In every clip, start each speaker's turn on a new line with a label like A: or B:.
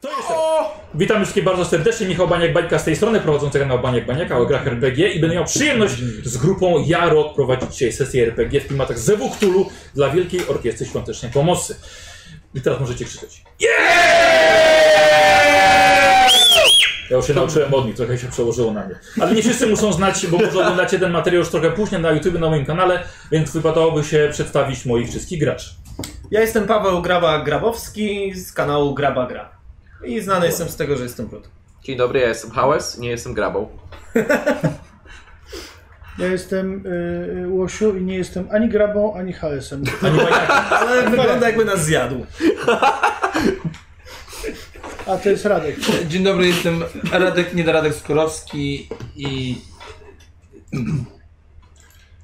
A: To jest Witam wszystkich bardzo serdecznie, Michał Baniak Bańka z tej strony, prowadzący kanał Baniak Baniaka o grach RPG i będę miał przyjemność z grupą Jarod prowadzić dzisiaj sesję RPG w klimatach Zewu Cthulhu dla Wielkiej Orkiestry Świątecznej Pomocy. I teraz możecie krzyczeć. Ja już się nauczyłem od nich, trochę się przełożyło na mnie. Ale nie wszyscy muszą znać, bo może oglądacie ten materiał już trochę później na YouTube, na moim kanale, więc wypadałoby się przedstawić moich wszystkich graczy.
B: Ja jestem Paweł Graba-Grabowski z kanału Graba Gra. I znany jestem z tego, że jestem brud.
C: Dzień dobry, ja jestem Hałes, nie jestem grabą.
D: Ja jestem y, Łosiu i nie jestem ani grabą, ani halesem.
A: Ani Baniaka.
B: Ale wygląda jakby nas zjadł.
D: A to jest Radek.
E: Dzień dobry, jestem Radek, nie Radek Skorowski i...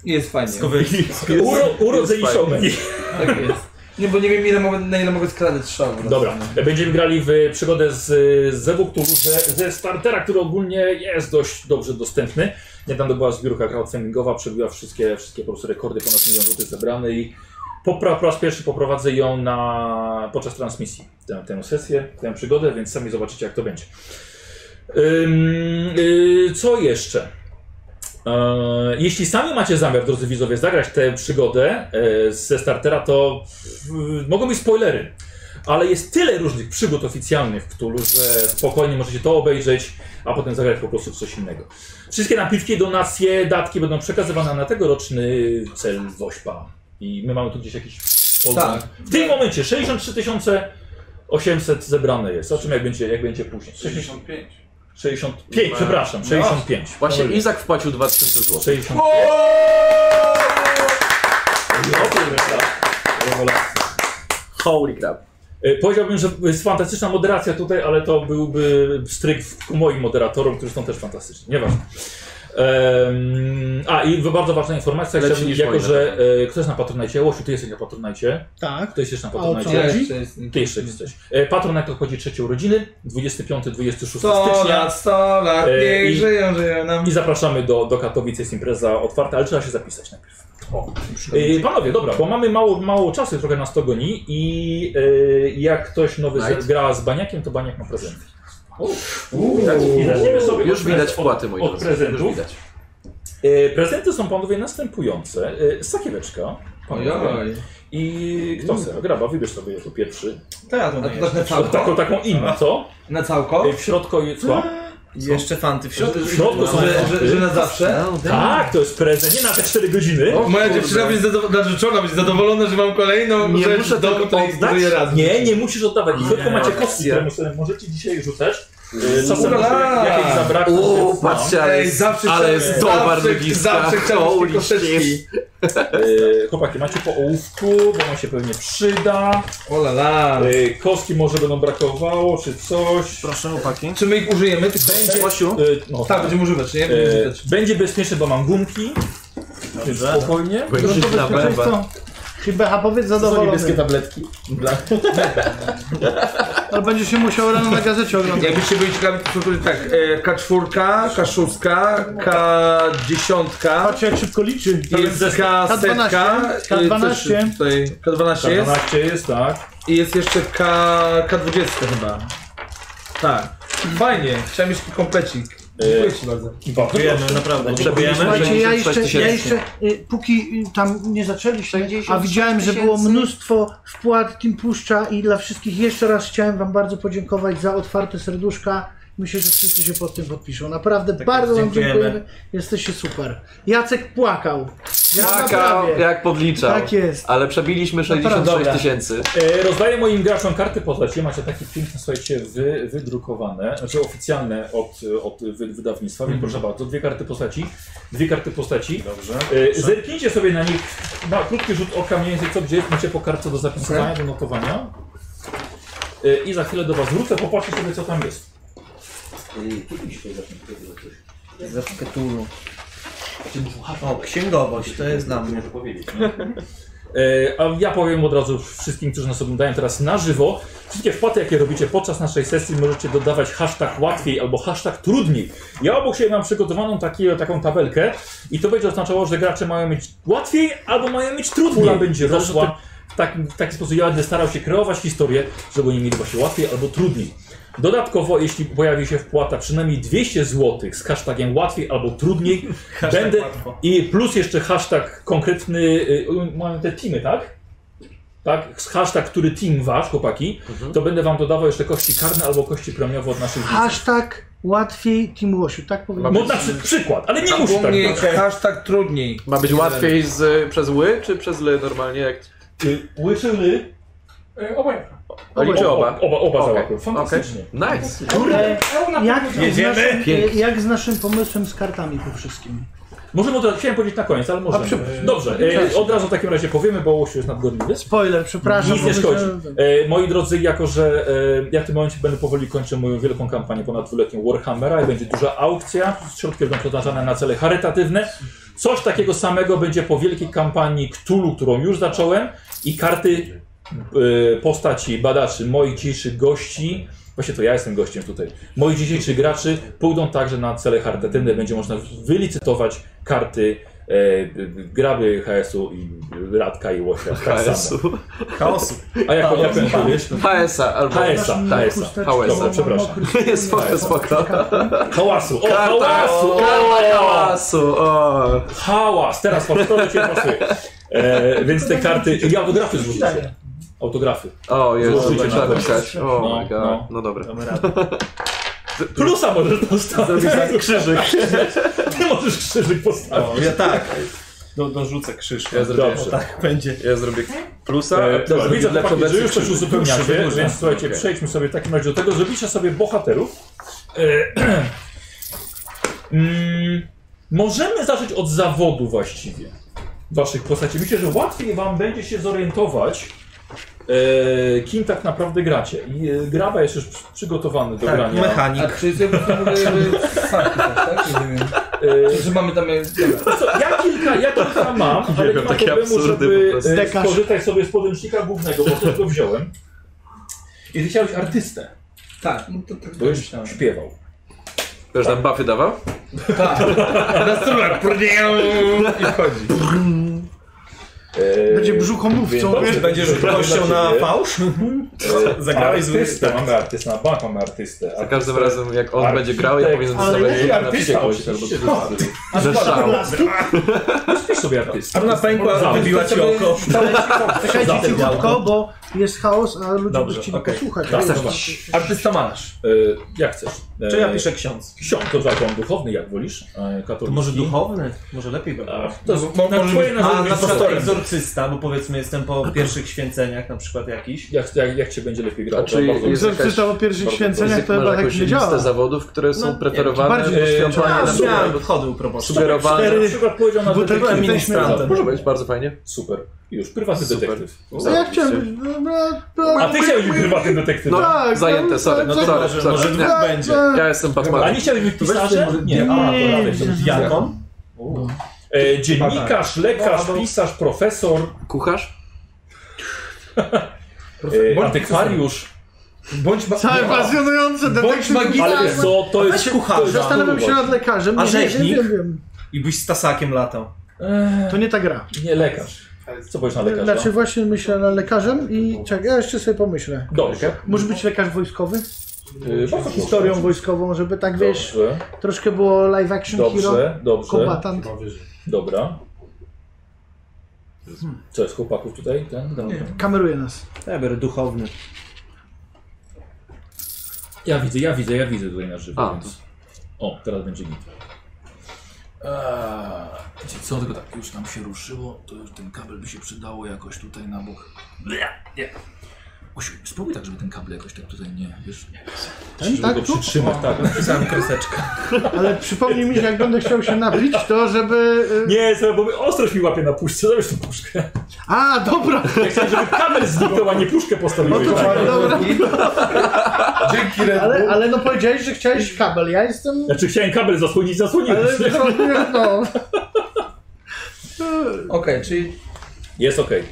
E: Jest fajnie,
B: Skowyli.
A: Uro, urodzeni
E: tak jest. Nie, bo nie wiem ile mogę, na ile mogę skradać strzał.
A: Dobra, będziemy grali w przygodę z z Zewu, który ze, ze startera, który ogólnie jest dość dobrze dostępny. Niedawno była zbiórka crowdfundingowa, przebiła wszystkie, wszystkie po prostu rekordy, ponad milion złotych zebrane i po, pra- po raz pierwszy poprowadzę ją na, podczas transmisji, tę, tę sesję, tę przygodę, więc sami zobaczycie jak to będzie. Ym, y, co jeszcze? E, Jeśli sami macie zamiar, drodzy widzowie, zagrać tę przygodę e, ze startera, to y, mogą być spoilery. Ale jest tyle różnych przygód oficjalnych w Cthulhu, że spokojnie możecie to obejrzeć, a potem zagrać po prostu w coś innego. Wszystkie napiwki, donacje, datki będą przekazywane na tegoroczny cel Wośpa. I my mamy tu gdzieś jakiś podgląd.
E: Tak.
A: W tym momencie 63 800 zebrane jest. O czym jak będzie, jak będzie później?
F: 65.
A: 65, przepraszam, 65.
C: Właśnie
A: Dobra.
C: Izak wpłacił 2000 zł.
A: 65. Rewelacja.
C: Holy crap.
A: E, Powiedziałbym, że jest fantastyczna moderacja tutaj, ale to byłby stryk w- ku moim moderatorom, którzy są też fantastyczni. Nieważne. Ehm, a i bardzo ważna informacja,
C: Lepsi
A: chciałbym,
C: niż
A: jako
C: moje.
A: że e, kto jest na Patronajcie? Łosiu, ty jesteś na Patronajcie.
D: Tak.
A: Kto jest jeszcze na
D: co?
A: Patronajcie?
E: Ja jeszcze jestem.
A: Ty jeszcze jesteś. E, Patronajt obchodzi trzecie urodziny, 25-26
E: 100
A: stycznia.
E: lat, 100 lat,
A: E,
E: niech
A: i-
E: żyją, żyją nam.
A: I zapraszamy do, do Katowic, jest impreza otwarta, ale trzeba się zapisać najpierw. O. Yy, panowie, dobra, bo mamy mało, mało czasu, trochę nas to goni i yy, jak ktoś nowy
C: Right.
A: z, gra z Baniakiem, to Baniak ma prezent. I
C: Widać?
A: zaczniemy sobie
C: Już
A: od
C: widać
A: prez-
C: wpłaty, moi
A: od
C: drodzy.
A: prezentów.
C: Już widać.
A: Yy, prezenty są panowie następujące. Yy, sakieweczka. panowie.
E: Ojoj.
A: I kto chce? Graba, wybierz sobie jako pierwszy.
B: To ja to
E: A to
B: jeszcze.
E: tak E, na
A: Taką,
E: całko?
A: taką inną, co?
E: Na całko?
A: Yy, w środku jest... co?
B: Jeszcze fanty w środku.
A: W
F: No.
A: środku są
E: Że, że, że na zawsze?
A: Tak, to jest prezent, nie na te 4 godziny.
E: Moja dziewczyna będzie zado- narzeczona, będzie zadowolona, że mam kolejną
C: Nie
E: rzecz
C: muszę
E: w domu,
C: tego
E: której
C: oddać?
E: zbuduję razem.
A: Nie, nie musisz oddawać. Nie, tylko macie kostki,
C: Ja.
A: które sobie możecie dzisiaj rzucać. Yy, no. Czasem
E: Ura!
A: może jakieś zabraknie.
C: Uuu,
A: więc mam.
C: patrzcie, ale
E: Ej,
C: jest,
E: zawsze
C: ale jest
E: chciałem-
C: towar
E: zawsze-
C: wygiska.
E: Zawsze chciałbym
C: Holy
E: tylko
C: shit.
E: kosteczki.
A: Yy, Chłopaki, macie po ołówku, bo on się pewnie przyda.
E: O la la.
A: Yy, Kostki może będą brakowało, czy coś.
B: Proszę, chłopaki.
E: Czy my ich użyjemy? Tych kostek?
C: Łosiu,
A: Yy, No,
E: Tak, będziemy używać, nie? Będziemy
A: Yy,
E: używać.
A: Będzie bezpieczne, bo mam gumki. Więc Spokojnie.
C: będziesz na bęba.
D: Chyba powiedz zadowolony.
B: tabletki.
D: Ale będziesz się musiał rano na gazecie oglądać.
E: Jakbyście byli ciekawi, to byli tak, e, K4, K6, K10,
D: Patrzcie jak szybko liczy.
E: jest K12,
D: K12.
E: Tutaj, K12 jest
A: 12 jest, tak.
E: i jest jeszcze K, K20 chyba. Tak, fajnie, chciałem mieć taki komplecik. Dziękuję ci bardzo.
A: Dziękujemy.
E: No
B: Naprawdę.
D: Słuchajcie, ja jeszcze,
C: 66
D: ja jeszcze y, póki y, tam nie zaczęliśmy,
G: 60
D: a widziałem, że było
G: tysięcy.
D: mnóstwo wpłat Team Puszcza i dla wszystkich jeszcze raz chciałem Wam bardzo podziękować za otwarte serduszka. Myślę, że wszyscy się pod tym podpiszą. Naprawdę bardzo Wam
B: dziękujemy.
D: dziękujemy. Jesteście super. Jacek płakał. Ja
C: Taka,
D: naprawdę.
C: jak podliczał.
D: Tak jest.
C: Ale przebiliśmy 66
B: Dobra.
C: tysięcy.
A: E, Rozdaję moim graczom karty postaci. Macie takie piękne, słuchajcie, wy, wydrukowane, znaczy oficjalne od, od wy, wydawnictwa. Więc proszę bardzo, dwie karty postaci. Dwie karty postaci.
F: Dobrze.
A: E, Zerknijcie sobie na nich na krótki rzut oka mniej więcej co gdzie jest. Macie po kartce do zapisywania, do notowania. E, I za chwilę do Was wrócę, popatrzcie sobie co tam jest.
B: Zawsze tu. O, księgowość, to jest dla mnie.
A: E, A ja powiem od razu wszystkim, którzy nas oglądają teraz na żywo. Wszystkie wpłaty, jakie robicie podczas naszej sesji, możecie dodawać hashtag łatwiej albo hashtag trudniej. Ja obok siebie mam przygotowaną taki, taką tabelkę i to będzie oznaczało, że gracze mają mieć łatwiej albo mają mieć trudniej. Pula będzie rosła w taki, tak, w taki sposób ja będę starał się kreować historię, żeby oni mieli właśnie łatwiej albo trudniej. Dodatkowo, jeśli pojawi się wpłata przynajmniej 200 zł z hashtagiem łatwiej albo trudniej,
F: Hashtag
A: będę
F: łatwo.
A: i plus jeszcze hashtag konkretny, y, y, mamy te teamy, tak? Tak, hashtag, który team wasz, chłopaki,
G: Mhm.
A: to będę wam dodawał jeszcze kości karne albo kości premiowe od naszych widzów.
D: Hashtag tak łatwiej Team Łosiu, tak powinno
A: No na przy, przykład, ale nie musi
E: U
A: tak
E: mnie
A: być.
E: hashtag trudniej.
G: Ma być łatwiej z, przez ły, czy przez ly normalnie? Jak...
A: Y, Łyczyny,
F: E,
H: Obojętnie.
G: Liczę oba.
A: oba, oba
G: Okej.
A: załapią, fantastycznie.
G: Okej. Nice.
D: Kurde, jak, z
F: Jedziemy?
D: naszym, y,
G: Pięknie.
D: jak z naszym pomysłem z kartami po wszystkim?
A: Możemy od razu, chciałem powiedzieć na koniec, ale
D: A
A: możemy.
D: przy-
A: Dobrze, e, od razu w takim razie powiemy, bo Łosiu jest nadgorliwy.
D: Spoiler, przepraszam.
A: Nic nie
D: bo
A: szkodzi.
D: myślałem, że-
A: E, moi drodzy, jako że e, ja w tym momencie będę powoli kończył moją wielką kampanię ponad dwuletnią Warhammera i będzie duża aukcja, środki będą przeznaczane na cele charytatywne. Coś takiego samego będzie po wielkiej kampanii Cthulhu, którą już zacząłem i karty e, postaci badaczy, moich dzisiejszych gości, właśnie to ja jestem gościem tutaj, moich dzisiejszych graczy pójdą także na cele charytatywne, będzie można wylicytować karty e, e, graby HS-u i Radka i Łosia. Tak samo.
G: HS-u.
F: Chaosu.
A: A jak jak powiesz?
G: HS-a albo...
A: HS-a. Esa, ta Esa.
D: Chusteczki,
G: Hałesa,
D: bo mam
A: przepraszam.
D: mokry
G: Spoko, spoko.
A: Hałasu! O,
G: Karta,
A: hałasu!
G: karta
A: O,
G: hałasu, o.
A: hałas! Teraz po prostu cię pasuje. E, więc te karty... I autografy zrzucicie. Autografy.
G: O, Jezu,
A: Złożycie
G: trzeba
A: na to.
G: pisać. O
A: No,
G: my god.
A: no.
G: No, dobra.
A: Plusa możesz postawić. krzyżyk. Ty możesz krzyżyk postawić.
F: O, ja tak. Do, dorzucę krzyż.
G: Ja zrobię
A: Dobrze.
G: jeszcze.
F: Tak będzie.
G: Ja zrobię plusa, a
A: E,
G: ty
A: Dobra,
G: zrobisz
A: widzę,
G: lepszą
A: chłopaki, że już
G: wersję.
A: coś
G: krzyży.
A: uzupełniacie,
G: Dłuższy,
A: więc słuchajcie,
G: okej.
A: przejdźmy sobie w takim razie do tego. Zrobicie sobie bohaterów. E, mm, możemy zacząć od zawodu właściwie waszych postaci. Myślę, że łatwiej wam będzie się zorientować, e, kim tak naprawdę gracie. I e, graba jest już przy- przygotowany do
F: Tak,
A: grania.
E: A
F: mechanik.
E: czy to tak, tak? Rozumiem.
A: E,
E: Że mamy tam...
A: Co, ja kilka, ja kilka mam, ale nie
G: Uwielbiam
A: ma
G: takie
A: problemu,
G: absurdy po
A: żeby
G: prostu.
A: e, skorzystać sobie z podręcznika głównego, bo też go wziąłem. I ty chciałeś artystę,
E: Tak, no to tak
A: bo już śpiewał.
G: Wiesz, tam buffy dawał?
E: Na strunach. I wchodzi.
A: E,
D: Będzie brzuchomówcą.
A: Dobrze,
D: wiesz?
A: będzie
F: Będziesz gością na fałsz?
A: e,
F: Zagrałeś zły
A: artystę,
F: tekst.
A: mamy artystę, na bank mamy artystę.
G: Za każdym razem jak on
A: Architekt.
G: będzie grał, ja powinien
D: Ale
G: dostawać
D: jaki
G: na
A: artysta,
G: wściekłość albo
A: oczywiście.
G: coś. Ze szału.
A: Spisz sobie artystę.
F: Arna pękła,
A: Za-
F: wybiła ci oko.
D: Czekajcie cichutko, bo jest chaos, a ludzie
F: Dobrze,
D: by chcieli
F: okej.
D: posłuchać.
A: Tak,
D: Dobra.
A: dobra.
E: Artysta
A: E,
E: malarz.
A: jak chcesz? E,
F: Czy ja piszę ksiądz?
A: Ksiądz, to zakon duchowny, jak wolisz, e, katolicki.
F: duchowny? Może lepiej by
A: A,
F: było.
A: To jest
E: Mo-
A: na
E: może
A: twoje
E: być-
F: No, A, na przykład
A: nazwisko.
F: egzorcysta, bo powiedzmy jestem po pierwszych święceniach na przykład jakiś.
A: Jak, jak, jak się będzie lepiej grało?
G: A czy
A: to bardzo-
G: jest jakaś...
D: Egzorcysta po pierwszych
A: bardzo-
D: święceniach to
G: masz
D: chyba tak
G: jakąś
D: nie
G: listę
D: działa.
G: zawodów, które są
F: No, nie,
G: preferowane
D: bardziej-
G: do świątowania
A: A,
G: na
A: super.
G: przykład?
F: Miałem chodu propozycji.
G: Sugerowane.
A: Na przykład powiedział na
D: Bo tak
A: detektyw.
D: jesteśmy
A: Ministranta.
G: Może być, bardzo fajnie.
A: Super. Już, prywatny
G: Super.
A: detektyw.
D: No ja chciałem być... no, no,
A: A ty chciałeś być prywatnym detektywem.
G: No,
D: Tak, no,
G: zajęte, sorry, no
D: co-
G: sorry,
F: Może, może
G: sorry.
F: dwóch
G: Nie.
F: będzie.
G: Ja jestem
A: A
G: Batman.
A: nie chciałeś być pisarzem? Nie, a to
D: Nie,
A: dalej.
D: nie,
A: Ja.
F: Jaką?
A: E, dziennikarz, lekarz, pisarz, profesor,
G: Kucharz?
A: e, antykwariusz.
E: Bądź ma...
D: Całe Tak, pasjonujące detektywy.
E: magika.
A: No. Ale co, to jest...
F: Weź kucharza.
A: to jest
D: Zastanawiam się nad lekarzem.
F: A
D: Nie, nie,
F: rzeźnik?
D: Wiem, wiem.
F: I byś z tasakiem latał.
D: To nie ta gra.
A: E, Nie, lekarz. no. Co powiesz na lekarza?
D: Znaczy właśnie myślę nad lekarzem i czekaj, ja jeszcze sobie pomyślę.
A: Dobrze.
D: Może być lekarz wojskowy?
A: E, bardzo proszę.
D: Historią wojskową, żeby tak wiesz,
A: Dobrze,
D: troszkę było live action hero,
A: dobrze, dobrze.
D: kombatant.
A: Dobra. Co jest chłopaków tutaj? Ten? Ten?
D: Kameruje nas.
F: Ja biorę duchowny.
A: Ja widzę, ja widzę, ja widzę tutaj na żywo,
G: A.
A: więc... O, teraz będzie git. Eee, wiecie co, tylko tak już nam się ruszyło, to już ten kabel by się przydało jakoś tutaj na bok. Ble, Nie. Osiu, spróbuj tak, żeby ten kabel jakoś tak tutaj nie, wiesz, nie. Ten, żeby
D: tak
A: go
D: tu?
A: przytrzymać, tak.
F: Pisałem kreseczkę.
D: Ale przypomnij mi, że jak będę chciał się napić, to żeby... y,
A: Nie, sobie, bo mi- ostrość mi łapie na puszce, zabierz tą puszkę.
D: A, dobra!
A: Ja chciałem, żeby kabel zniknął, a nie puszkę postawiłeś.
D: No to
A: Tak.
D: Dobra.
E: Dzięki Red
D: Ale, ale no powiedziałeś, że chciałeś kabel, ja jestem...
A: Znaczy chciałem kabel zasłonić, zasłoniłem.
D: Ale no...
E: Bull. Okej, czyli...
A: Jest okej.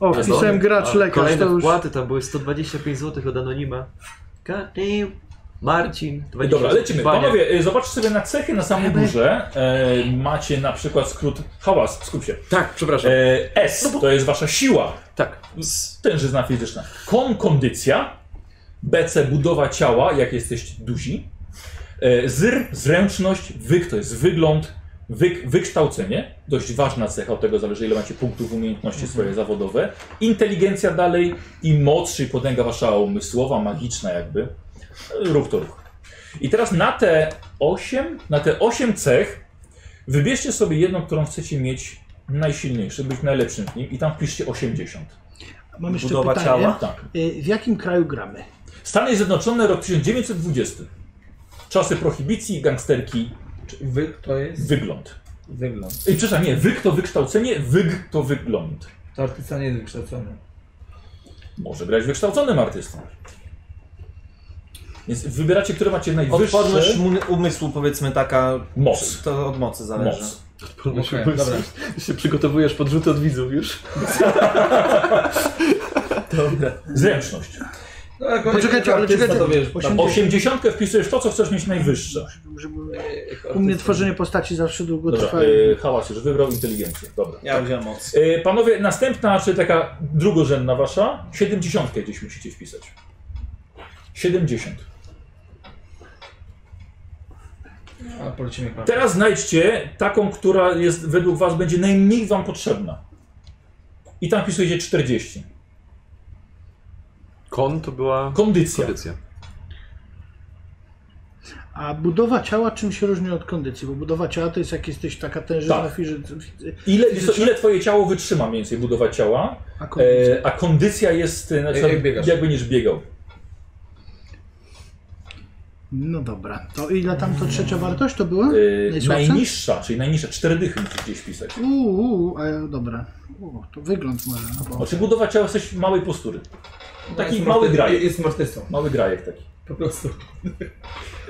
D: O, wpisałem gracz,
G: A,
D: lekarz, to
G: Kolejne
D: już...
G: wpłaty, tam były 125 zł od Anonima. Katyn, Marcin, 20
A: Dobra, lecimy.
G: Panie.
A: Panowie, y, zobaczcie sobie na cechy na samej górze. E, macie na przykład skrót hałas, skup się.
G: Tak, przepraszam.
A: E, S to jest wasza siła.
C: Tak.
A: Stężyzna fizyczna. Kon kondycja. BC budowa ciała, jak jesteś duzi. E, Zr zręczność. Wyk to jest wygląd. Wyk, wykształcenie, dość ważna cecha, od tego zależy ile macie punktów umiejętności
G: Mhm.
A: swoje zawodowe. Inteligencja dalej i moc, czyli potęga wasza umysłowa, magiczna jakby. E, Ruch to ruch. I teraz na te 8, na te 8 cech wybierzcie sobie jedną, którą chcecie mieć najsilniejszy, być najlepszym w nim i tam wpiszcie 80.
D: Mam jeszcze
F: Budowa
D: pytanie.
F: ciała.
A: Tak.
D: Y, W jakim kraju gramy?
A: Stany Zjednoczone, rok 1920. Czasy prohibicji, gangsterki,
E: Wy to jest?
A: wygląd.
E: Wygląd.
A: I przepraszam, nie, wyk to wykształcenie, wyg to wygląd.
E: To artysta nie jest wykształcony.
A: Może grać wykształconym artystą. Więc wybieracie, które macie najwyższe
F: Odporność mu- umysłu powiedzmy taka,
A: moc.
F: to od mocy zależy.
A: Moc.
E: Okej, dobra.
C: Ty się przygotowujesz pod rzut od widzów już.
A: Zręczność.
E: No, jak on
D: Poczekajcie,
E: jest
D: ale
E: artysta,
D: czekajcie.
E: to wiesz,
D: Osiem-
E: tam,
A: 80 wpisujesz to, co chcesz mieć najwyższe.
D: U mnie tworzenie postaci zawsze długo
A: Dobra,
D: trwa.
A: e, hałas już wybrał inteligencję. Dobra.
F: Ja wziąłem moc.
A: E, panowie, następna, czy taka drugorzędna wasza, 70 gdzieś musicie wpisać. 70.
E: A polecimy pan.
A: Teraz znajdźcie taką, która jest według was będzie najmniej wam potrzebna. I tam wpisujecie 40.
C: Kon to była
A: Kondycja.
C: kondycja.
D: A budowa ciała czym się różni od kondycji? Bo budowa ciała to jest jak jesteś taka tężyzna
A: Tak.
D: fizy-
A: Ile, jest to, ile twoje ciało wytrzyma mniej więcej budowa ciała,
D: A kondycja?
A: e, a kondycja jest e, na
E: Jak-
A: przykład,
E: jak biegasz.
A: jak będziesz biegał. E,
D: No dobra. To ile tam to trzecia wartość to była?
A: E,
D: Najsłabsza?
A: najniższa, czyli najniższa, 4 dychy musisz gdzieś wpisać.
D: Uuu, uu, a dobra. Uu, to wygląd może. No bo...
A: Znaczy budowa ciała jesteś małej postury. Taki
E: No, Jest
A: mały
E: arty-
A: graj.
E: Jest artystą,
A: Mały grajek taki.
E: po prostu.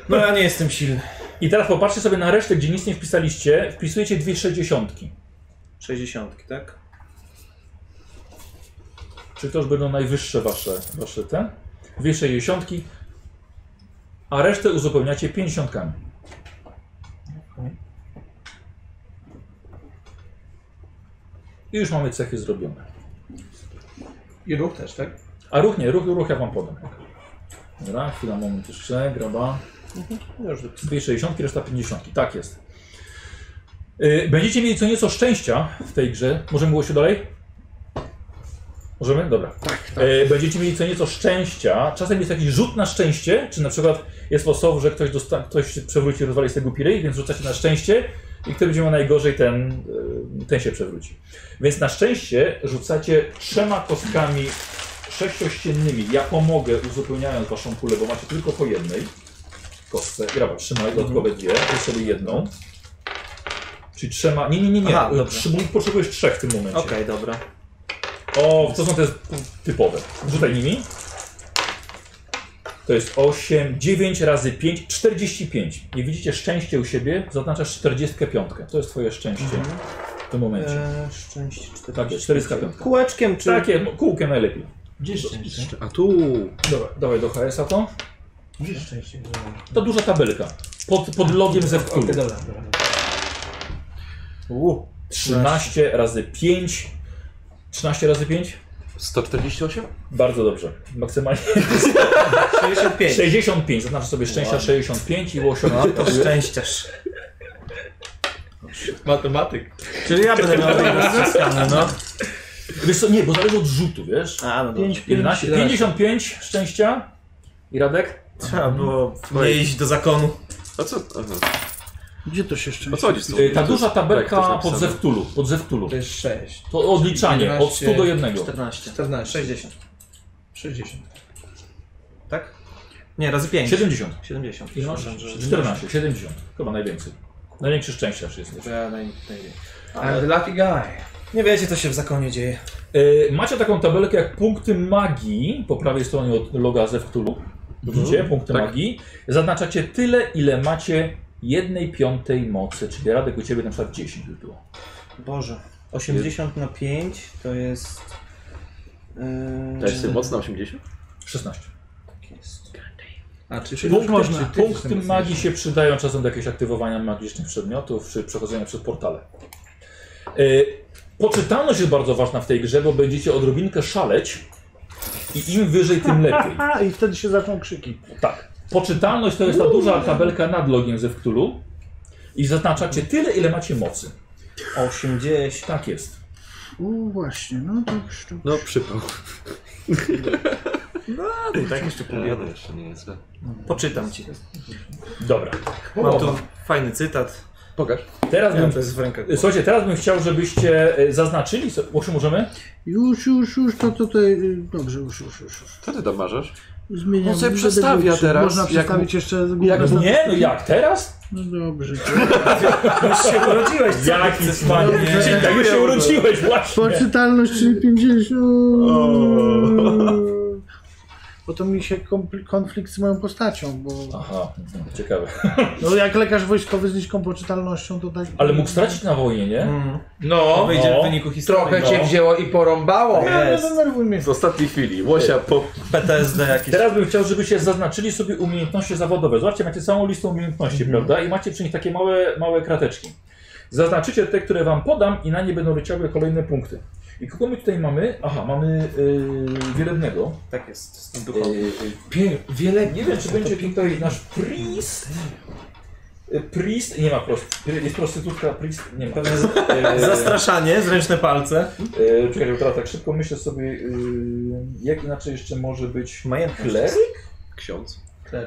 F: No ja nie jestem silny.
A: I teraz popatrzcie sobie na resztę, gdzie nic nie wpisaliście, wpisujecie dwie sześćdziesiątki.
F: 60, tak?
A: Czy to już będą najwyższe wasze, wasze te? Dwie sześćdziesiątki, a resztę uzupełniacie pięćdziesiątkami. I już mamy cechy zrobione.
E: I ruch też, tak?
A: A ruch nie, ruch, ruch ja wam podam. Dobra, chwila, moment jeszcze, graba. Dwie sześćdziesiątki, reszta pięćdziesiątki, tak jest. Yy, Będziecie mieli co nieco szczęścia w tej grze. Możemy było się dalej? Możemy? Dobra.
F: Tak,
A: E, Będziecie mieli co nieco szczęścia. Czasem jest jakiś rzut na szczęście, czy na przykład jest losowo, że ktoś, dosta- ktoś się przewróci, rozwali z tego pirej, więc rzuca się na szczęście i kto będzie miał najgorzej, ten, e, ten się przewróci. Więc na szczęście rzucacie trzema kostkami sześciościennymi. Ja pomogę uzupełniając waszą pulę, bo macie tylko po jednej kostce. Grawa, trzymaj dodatkowe
F: Mhm.
A: dwie, weź sobie jedną. Czyli trzema. Nie, nie, nie, nie.
F: Aha,
A: E,
F: dobra.
A: trzy, potrzebujesz trzech w tym momencie.
F: Okej, dobra.
A: O, to są te typowe. Rzucaj nimi. To jest 8, 9 razy 5, 45. Nie widzicie szczęście u siebie, zaznaczasz 45. To jest twoje szczęście w tym momencie.
F: Eee, szczęście 40.
A: Tak jest, 45.
F: Kółeczkiem czy...
A: Takie, no, kółkiem najlepiej.
F: Gdzie szczęście?
C: A tu.
A: Dobra, dawaj do HS-a to.
F: Gdzie szczęście?
A: Ta duża tabelka. Pod, pod logiem ze wtór.
E: Okej, dobra, dobra.
A: 13 razy 5. 13 razy 5?
C: 148?
A: Bardzo dobrze. Maksymalnie
F: 65.
A: 65. Zaznacz sobie szczęścia 65 i łosiona.
F: To szczęściarz.
E: Matematyk.
F: Czyli ja będę miał tego ścianę, no.
A: Wiesz co, nie, bo zależy od rzutu, wiesz?
F: A, no dobrze.
A: 11, 55 szczęścia. I Radek?
F: Trzeba było nie iść do zakonu.
C: A co? Aha.
D: Gdzie to się szczęście?
C: O co chodzi z tą?
A: Y, Ta duża
C: Tak, to
A: tabelka
C: jest
A: pod
C: napisane.
A: Zewtulu. Pod Zewtulu.
E: To jest 6.
A: To odliczanie od 100 do 1.
F: 14.
E: 14.
F: 60.
E: 60.
F: Tak? Nie, razy 5.
A: 70.
F: 70.
A: Ile masz? 14, 70. Chyba najwięcej. Największy szczęściarz jesteś.
F: Ja naj, najwięcej.
E: I'm the lucky guy.
F: Nie wiecie, co się w zakonie dzieje.
A: Y, Macie taką tabelkę jak punkty magii po prawej stronie od loga Zewtulu. Widzicie? Punkty
C: Tak.
A: magii. Zaznaczacie tyle, ile macie jednej piątej mocy. Czyli Radek u Ciebie na przykład 10 by było.
F: Boże. 80 na 5 to jest... Yy,
C: To jest mocna 80?
A: 16.
F: tak jest.
E: A, czy
A: Punkty,
D: można.
A: czy punkty magii się przydają czasem do jakiegoś aktywowania magicznych przedmiotów, czy przechodzenia przez portale. E, Poczytalność jest bardzo ważna w tej grze, bo będziecie odrobinkę szaleć i im wyżej, tym lepiej.
D: A, i wtedy się zaczną krzyki.
A: Tak. Poczytalność to jest ta duża tabelka nad logiem ze Wktulu i zaznaczacie tyle, ile macie mocy.
F: 80.
A: Tak jest.
D: U, właśnie, no tak szczu.
C: No, przypał. No, i tak jeszcze pół biedy jeszcze nie
E: tak.
C: jest.
F: Poczytam ci.
A: Dobra.
F: Mam tu fajny cytat.
C: Pokaż.
A: Teraz bym,
F: to jest w rękach.
A: słuchajcie, teraz bym chciał, żebyście e, zaznaczyli, so- Łosiu, możemy?
D: Już, już, już, to tutaj. y, Dobrze, już, już, już. już.
C: Co ty tam marzesz?
D: Zmieniam.
C: On sobie
D: będę
C: przestawia
D: głupszy.
C: teraz,
D: Można
C: jak
D: przestawić
C: mu-
D: jeszcze.
C: jak mu-
A: Nie, no jak, teraz?
D: No dobrze.
F: Już się urodziłeś, co
A: Jaki
F: chcesz?
A: wspaniały.
F: Nie.
A: Dzień, Jak Tak, już się urodziłeś, właśnie.
D: Poczytalność, czyli 50. Bo to mi się kompli- konflikt z moją postacią, bo
A: Aha, mhm, ciekawe.
D: no jak lekarz wojskowy z niską poczytalnością to tak...
A: Ale mógł stracić na wojnie, nie?
F: Mm.
E: No,
F: Wyjdzie
A: No.
F: w wyniku historii.
E: trochę
A: No.
E: cię wzięło i porąbało.
D: Nie, nie
F: Jest.
D: denerwuj mnie.
E: Z ostatniej chwili. Łosia po...
F: PTSD jakieś.
A: Teraz bym chciał, żebyście zaznaczyli sobie umiejętności zawodowe. Zobaczcie, macie całą listę umiejętności, prawda? I macie przy nich takie małe, małe krateczki. Zaznaczycie te, które wam podam i na nie będą leciały kolejne punkty. I kogo my tutaj mamy? Aha, mamy yy, Wielebnego.
F: Tak jest. Z tym
A: Yy,
F: duchowym.
A: pie, wiele, nie wiem, czy będzie tutaj nasz priest. Yy, Priest, nie ma prost, jest prostytutka, priest, nie ma.
F: Pewnie z- Zastraszanie, zręczne palce.
A: Yy, czekaj, bo teraz tak szybko myślę sobie, yy, jak inaczej jeszcze może być
F: Majętność.
A: Kler?
E: Ksiądz.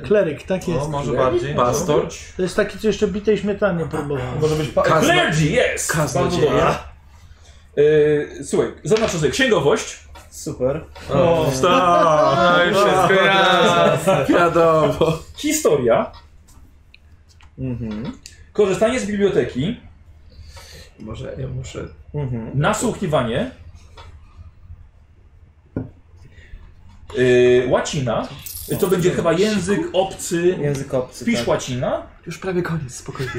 D: Kleryk, tak
A: No,
D: jest.
F: O, może bardziej.
E: Pastor.
D: To jest taki, co jeszcze bitej śmietany próbował.
A: Może być pa-
E: Kazno-
A: Clergy, jest! Bardzo
E: kaznodzieja.
A: dobra. Yy, słuchaj, zaznaczę sobie księgowość.
F: Super.
E: O,
C: Tak,
E: wstał! No Tak, i wszystko jasne. Wiadomo.
A: Historia.
F: Mhm.
A: Korzystanie z biblioteki.
E: Może ja muszę...
F: Mhm.
A: Nasłuchiwanie. Yy, łacina. To będzie chyba język obcy.
F: Język obcy.
A: Pisz
F: tak.
A: łacina.
C: Już prawie koniec, spokojnie.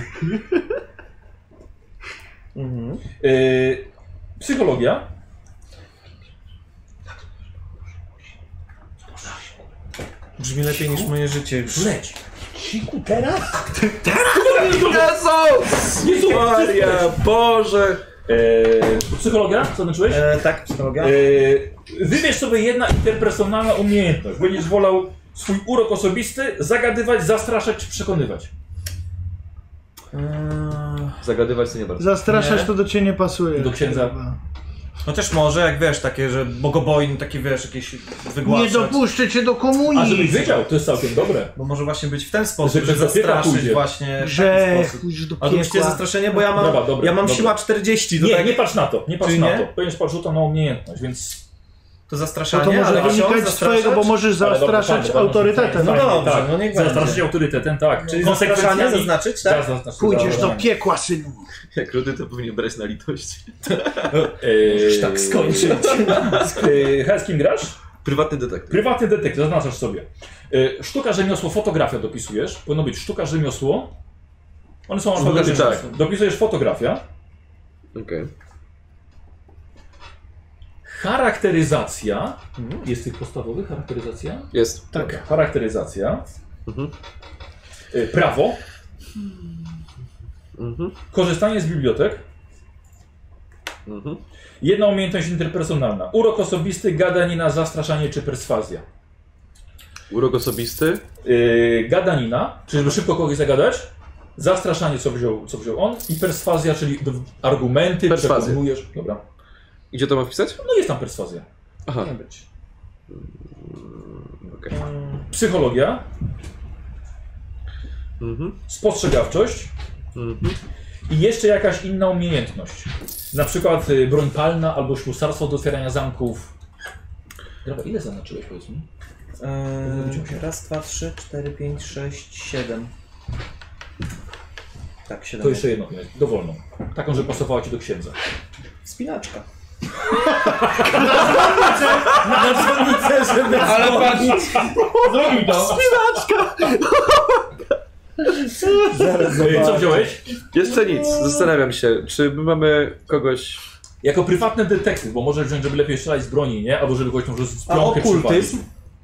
F: Mhm.
A: Yy, psychologia.
F: Brzmi lepiej niż moje życie już.
A: Leć. Siku teraz?
E: Jezus!
A: Jezu,
E: Maria, Boże!
F: Y,
A: Yy, psychologia? Co znaczyłeś?
F: E, tak, psychologia?
A: Yy, wybierz sobie jedna interpersonalna umiejętność. Będziesz wolał swój urok osobisty zagadywać, zastraszać czy przekonywać.
F: Eee,
E: Zagadywać to nie bardzo.
D: Zastraszać
F: Nie.
D: to do ciebie nie pasuje.
A: Do księdza.
D: Chyba.
F: No też może, jak wiesz, takie, że bogobojny, taki wiesz, jakieś
D: Nie
F: wygłaszać.
D: dopuszczę cię do komunii.
A: A żebyś wiedział, to jest całkiem dobre.
F: Bo może właśnie być w ten sposób,
A: Że
F: że
A: do piekła
F: zastraszyć
A: pójdzie.
F: właśnie w ten
D: Grzech,
F: sposób.
D: pójdź do
F: A to myślicie
D: piekła.
F: zastraszenie, bo ja mam,
A: Dobra, dobra,
F: ja mam
A: dobra.
F: siła 40, to,
A: Nie,
F: tak,
A: nie patrz na to, nie patrz
F: Czyli
A: na
F: nie?
A: to. Będziesz patrz rzutał na umiejętność, więc...
F: to
D: No
F: zastraszanie,
D: to może
F: ale ksiądz
D: wynikać z
F: zastraszacz?
D: twojego, bo możesz
A: Ale dobra,
D: zastraszać
A: fajnie, fajnie,
D: autorytetem.
A: fajnie,
F: No dobrze,
A: tak.
F: no niech będzie.
A: Zastraszyć autorytetem, tak.
F: Czyli zastraszanie
A: konsekwencjami-
F: zaznaczyć, tak?
A: Tak, zaznaczyć.
D: Pójdziesz do
A: Dobra.
D: piekła, synu.
E: Jak rudy to powinien brać na litość.
A: Eee,
F: Tak skończyć.
A: Eee, Hej, z kim grasz?
E: Prywatny detektyw.
A: Prywatny detektyw, zaznaczasz sobie. Eee, sztuka, rzemiosło, fotografia dopisujesz. Powinno być sztuka, rzemiosło. One są alfabetyczne.
E: tak.
A: Dopisujesz fotografia.
E: Okej.
A: Charakteryzacja.
C: Mhm.
A: Jest tych podstawowych charakteryzacja?
E: Jest.
A: Tak. Charakteryzacja.
C: Mhm.
A: Y, Prawo.
C: Mhm,
A: Korzystanie z bibliotek.
C: mhm.
A: Jedna umiejętność interpersonalna. Urok osobisty, gadanina, zastraszanie czy perswazja.
E: Urok osobisty.
A: Yy, gadanina, czyli żeby szybko kogoś zagadać. Zastraszanie, co wziął, co wziął on. I perswazja, czyli do- argumenty,
E: Perswazja.
A: przekonujesz. Dobra.
E: I gdzie to ma wpisać?
A: No jest tam perswazja.
E: Aha.
A: Powinna być. Mm,
E: Okej.
A: Psychologia.
C: Mhm,
A: Spostrzegawczość.
C: mhm.
A: I jeszcze jakaś inna umiejętność. Na przykład y, broń palna albo ślusarstwo do otwierania zamków. Dobra, ile zaznaczyłeś powiedz mi?
F: Eee, raz, dwa, trzy, cztery, pięć, sześć, siedem. Tak, siedem.
A: To jeszcze jedną, miałeś, dowolną. Taką, że pasowała ci do księdza.
F: Spinaczka.
E: Ale patrz!
A: Zrobił to! Co wziąłeś?
E: Jeszcze nic. Zastanawiam się, czy my mamy kogoś...
A: Jako prywatny detektyw, bo możesz wziąć, żeby lepiej strzelać z broni, nie? Albo żeby kogoś może z
F: A
A: pionkę
F: okultyzm?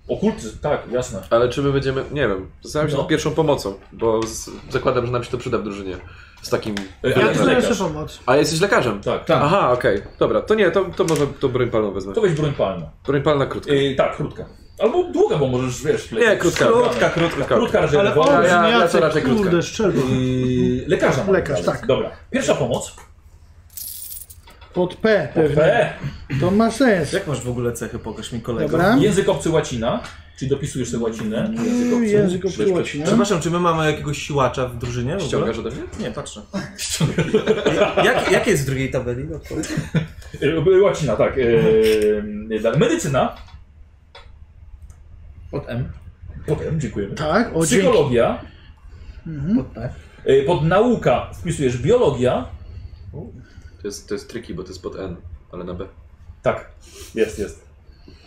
A: Okultyzm, tak, jasne.
G: Ale czy my będziemy, nie wiem, zastanawiam się
A: No.
G: nad pierwszą pomocą, bo z, zakładam, że nam się to przyda w drużynie. Z takim...
A: E,
D: Ja tak.
A: ale
D: tu
A: lekarz.
D: jeszcze pomoc.
G: A jesteś lekarzem?
A: Tak.
E: Tak.
G: Aha, okej, dobra, to nie, to, to może tą broń palną wezmę.
A: To weź broń palną.
G: Broń palna krótka.
A: E, tak, krótka. Albo długa, bo możesz, wiesz...
G: Nie, krótka.
A: Krótka,
G: krótka.
A: krótka raczej
D: Ale
A: lewo.
D: on
G: ja- ja
D: Jacek,
G: to raczej krótka.
D: kurde, szczerbo.
A: Yy, lekarza mam.
D: Lekarz, tak.
A: Dobra. Pierwsza pomoc.
D: Pod P pewnie.
A: P.
D: To ma sens.
B: Jak masz w ogóle cechy? Pokaż mi kolego.
D: Dobra.
A: Język obcy łacina. Czyli dopisujesz sobie łacinę. Język obcy.
D: Język
A: Przecież-
D: obcy nie?
B: Przepraszam, czy my mamy jakiegoś siłacza w drużynie? W ogóle?
G: Ściągasz ode mnie?
B: Nie, patrzę.
F: Jak, jak jest w drugiej tabeli? No to...
A: E, Łacina, tak. E, dalej. Medycyna.
F: Pod M.
A: Potem, dziękujemy.
D: Tak, o dzięki. Mhm.
A: Psychologia.
F: Pod P.
A: E, pod nauka wpisujesz biologia.
G: To jest, to jest triki, bo to jest pod N, ale na B.
A: Tak, jest, jest.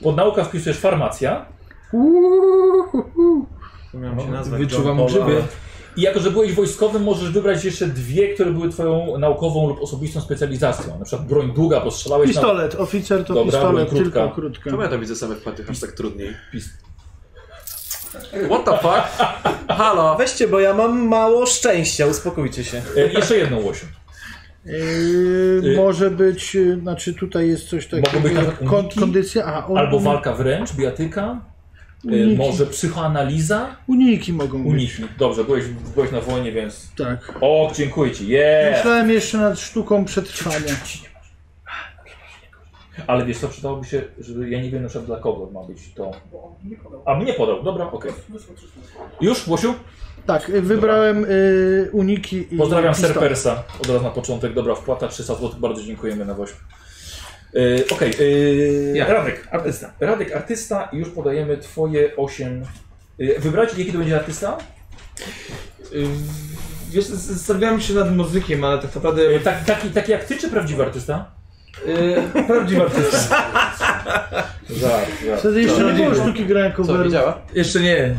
A: Pod nauka wpisujesz farmacja.
D: Uuuu.
B: Miałem się nazwać
E: tak. Wyczuwam
B: John Paul,
E: grzyby.
B: ale-
A: I jako, że byłeś wojskowym, możesz wybrać jeszcze dwie, które były twoją naukową lub osobistą specjalizacją. Na przykład broń długa, bo strzelałeś na...
D: Pistolet, oficer to
A: Dobra,
D: pistolet,
A: była krótka.
D: tylko krótka.
G: Czemu ja tam widzę same wpłaty, aż tak trudniej?
A: Pis-
G: What the fuck? Halo!
F: Weźcie, bo ja mam mało szczęścia, uspokójcie się.
A: E, jeszcze jedną łosią.
D: Yy, może być, yy, znaczy tutaj jest coś
A: Y, Mogą
D: takiego
A: być
D: jak
A: nawet
D: kon,
A: uniki?
D: kondycja, a o-
A: Albo
D: uni-
A: walka wręcz, bijatyka. E,
D: Uniki.
A: może psychoanaliza.
D: uniki mogą być,
A: Uniki. Dobrze, byłeś, byłeś na wojnie, więc...
D: tak.
A: O, dziękuję ci. Yeah.
D: Myślałem jeszcze nad sztuką przetrwania.
A: Ale wiesz co, przydałoby się, żeby... Ja nie wiem na przykład dla kogo ma być to... A mnie podał, dobra, okej. Już, Łosiu?
D: Tak, yy, wybrałem yy, uniki i
A: Pozdrawiam
D: pistolet.
A: Serpersa od razu na początek. Dobra, wpłata 300 zł, bardzo dziękujemy na woźb. Yy, Okej, yy,
E: Ja.
A: Radek, artysta. Radek, artysta i już podajemy twoje 8. Yy, wybrać, jaki to będzie artysta?
E: Y, Wiesz, zastanawiałem się nad muzykiem, ale tak naprawdę
A: Yy, tak, taki, taki jak ty, czy prawdziwy artysta?
E: y, prawdziwa artysta.
A: Żart, żart.
D: Wtedy jeszcze nie było sztuki grania
G: Co, nie
D: coveru.
G: działa?
E: Jeszcze nie.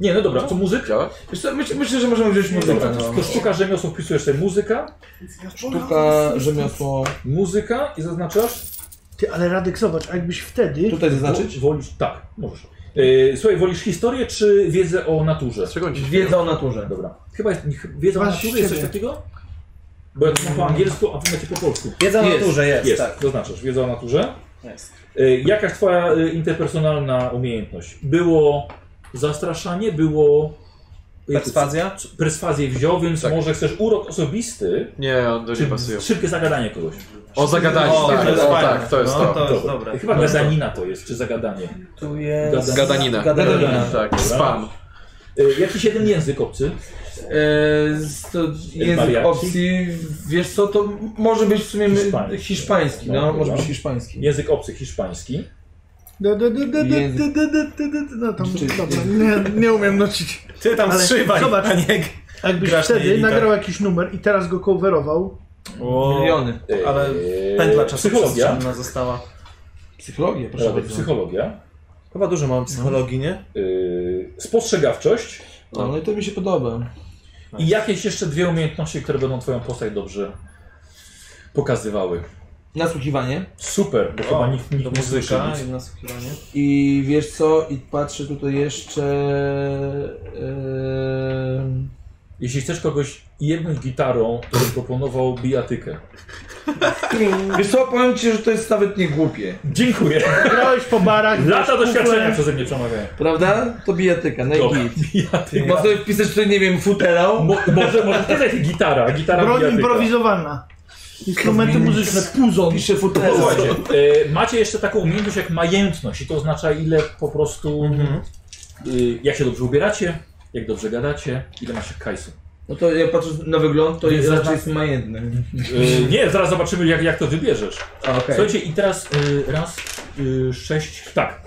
A: Nie, no dobra, co muzyk?
G: Działa?
E: Wiesz co, myśl, myślę, że możemy wziąć
A: Dobra,
E: muzykę.
A: to,
E: No.
A: to sztuka rzemiosło, wpisujesz sobie muzyka,
F: Sztuka, rzemiosło.
A: muzyka i zaznaczasz?
D: Ty, ale Radek, zobacz, a jakbyś wtedy...
E: Tutaj zaznaczyć?
A: Wo- Wolisz, tak, możesz. Yy, słuchaj, wolisz historię czy wiedzę o naturze?
G: Z czego oni się
E: Wiedza o naturze.
A: Dobra. Chyba jest, nie, wiedza o
D: Masz
A: naturze jest coś
D: siebie.
A: takiego? Bo ja to mam po angielsku, a wy macie po polsku.
F: Wiedza o
E: Jest,
F: naturze jest,
A: Jest,
F: tak.
A: to znaczy, wiedza o naturze.
F: Jest.
A: Y, Jakaś twoja y, interpersonalna umiejętność? Było zastraszanie, było...
F: Perswazja?
A: C- Perswazję wziął, więc
G: Tak.
A: może chcesz urok osobisty,
G: Nie, on do
A: czy
G: nie pasuje.
A: szybkie zagadanie kogoś.
G: O, zagadanie,
B: O,
G: tak,
B: to jest
G: o,
B: fajne.
G: tak, to jest
B: No,
G: to.
B: to- jest
A: Dobra.
B: dobre.
A: Chyba gadanina to jest, czy zagadanie.
F: Tu jest...
G: Gadanina.
F: Gadanina.
G: Tak, spam.
A: Y, Jakiś jeden język obcy?
E: E, z- to język
A: Mariachi?
E: opcji, wiesz co, to m- może być w sumie my-
A: Hiszpański.
E: hiszpański,
A: No,
E: no, może
A: dobra.
E: być hiszpański.
A: Język obcy hiszpański.
D: Da, da, da, da, da, da, da, da, da, da, No tam, dobra, nie, nie umiem nocić.
B: Ty tam
D: Ale
B: strzywaj,
D: zobacz.
B: a nie...
D: A Jakbyś
B: Grasz na
D: wtedy
B: jelitach.
D: nagrał
A: tak?
D: jakiś numer i teraz go coverował,
B: O,
E: Miliony.
A: Y,
B: Ale
A: y,
B: pętla czasoprzestrzenna
A: Psychologia.
B: została.
E: Psychologię, proszę
A: Radek,
E: bardzo.
A: psychologia.
F: Chyba dużo mam psychologii, nie?
A: Y, Spostrzegawczość.
E: No, no i to mi się podoba.
A: I jakieś jeszcze dwie umiejętności, które będą twoją postać dobrze pokazywały.
E: Nasłuchiwanie.
A: Super, bo chyba nikt, nikt nie słyszy
B: Muzyka,
A: nic.
B: jedna słuchiwanie.
E: I wiesz co, i patrzę tutaj jeszcze... em,
A: Jeśli chcesz kogoś jebnąć gitarą, to bym proponował bijatykę.
E: Wiesz co, powiem ci, że to jest nawet nie głupie.
A: Dziękuję.
D: grałeś po barach,
A: Lata
D: grałeś
A: doświadczenia
D: kufle.
A: przeze mnie przemawiają.
E: Prawda? To bijatyka, no i
A: Dobra,
E: git. Jak
A: bijatyka.
E: ma sobie wpisać tutaj, nie wiem, futerał.
A: Mo, może, może to jest gitara, gitara
D: Broń
A: bijatyka.
D: improwizowana. Instrumenty muzyczne, puzon.
E: Pisze futerał.
A: Słuchajcie, e, macie jeszcze taką umiejętność jak majętność i to oznacza ile po prostu,
E: Mhm.
A: y, jak się dobrze ubieracie, jak dobrze gadacie, ile macie kajsu.
E: No to jak patrzę na wygląd, to jest raczej jest majętny.
A: Y, nie, zaraz zobaczymy jak, jak to wybierzesz.
E: A, okej.
A: Słuchajcie, i teraz y, raz, y, sześć, tak.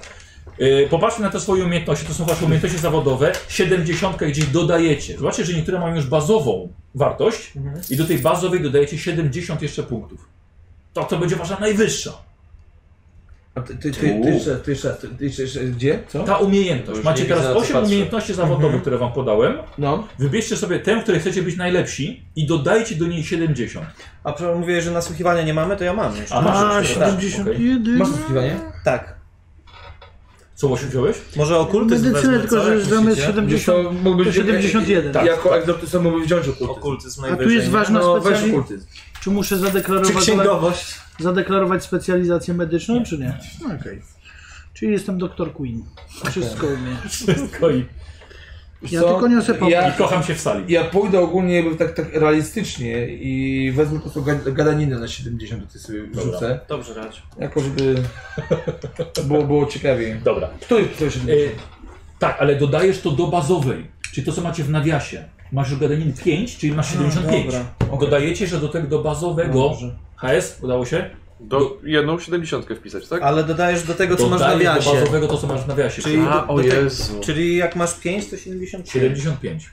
A: Y, popatrzmy na te swoje umiejętności, to są wasze umiejętności zawodowe. 70 gdzieś dodajecie. Zobaczcie, że niektóre mają już bazową wartość
E: Mhm.
A: i do tej bazowej dodajecie 70 jeszcze punktów. To, to będzie wasza najwyższa.
E: A ty, ty, ty, ty,
A: Uuu.
E: jeszcze- ty, jeszcze- ty, ty, jeszcze- gdzie? Co?
A: Ta
G: To
A: umiejętność.
G: już
A: Macie
G: nie widzę,
A: teraz
G: na co
A: 8
G: patrzę. Mhm.
A: umiejętności zawodowych, które wam podałem.
E: No.
A: Wybierzcie sobie tę, w której chcecie być najlepsi i dodajcie do niej 70.
F: A przecież mówię, że nasłuchiwania nie mamy, to ja mam już.
A: A,
D: A,
A: masz jeszcze, tak, okej.
D: 71.
E: Masz poszukiwanie?
F: Tak.
A: Co właśnie wziąłeś?
F: Może okultyzm
D: Medycynę,
F: wezmę,
D: tylko
F: co?
D: że
F: Jak
D: zamiast
F: myślicie?
D: 70.
E: to mógłby
D: to 71.
E: Tak. Jako egzotyzm mógłby wziąć okultyzm.
F: Okultyzm
D: A
F: najwyżej.
D: tu jest ważna
E: No weź
D: specjalizacja.
E: okultyzm.
D: Czy muszę
B: Czy
D: zadeklarować,
B: księgowość?
D: zadeklarować specjalizację medyczną, czy nie? No, Okej. Czyli jestem doktor Queen. Wszystko umiem.
A: Wszystko i,
D: Ja
E: Co?
D: tylko niosę pomoc.
E: Ja-
A: i kocham się w sali.
E: Ja pójdę ogólnie jakby tak, tak realistycznie i wezmę po prostu ga- gadaninę na 70, tutaj sobie rzucę.
B: Dobrze, radź.
E: Jako żeby było, było ciekawiej.
A: Dobra.
E: Kto jest tutaj
A: E,
E: 70?
A: tak, ale dodajesz to do bazowej, czyli to co macie w nawiasie. Masz już gadanin 5, czyli masz 75.
F: dobra,
A: Dodajecie, że do tego do
G: No
A: bazowego
F: Dobrze.
A: HS udało się?
G: Do jedną 70 wpisać, tak?
F: Ale dodajesz do tego, co masz na
A: Dodajesz do
F: wiasie.
A: bazowego to co masz w nawiasie.
F: Czyli-
G: A,
F: do-
G: o
F: do tego-
G: Jezu.
F: Czyli jak masz 5, to 73.
A: 75.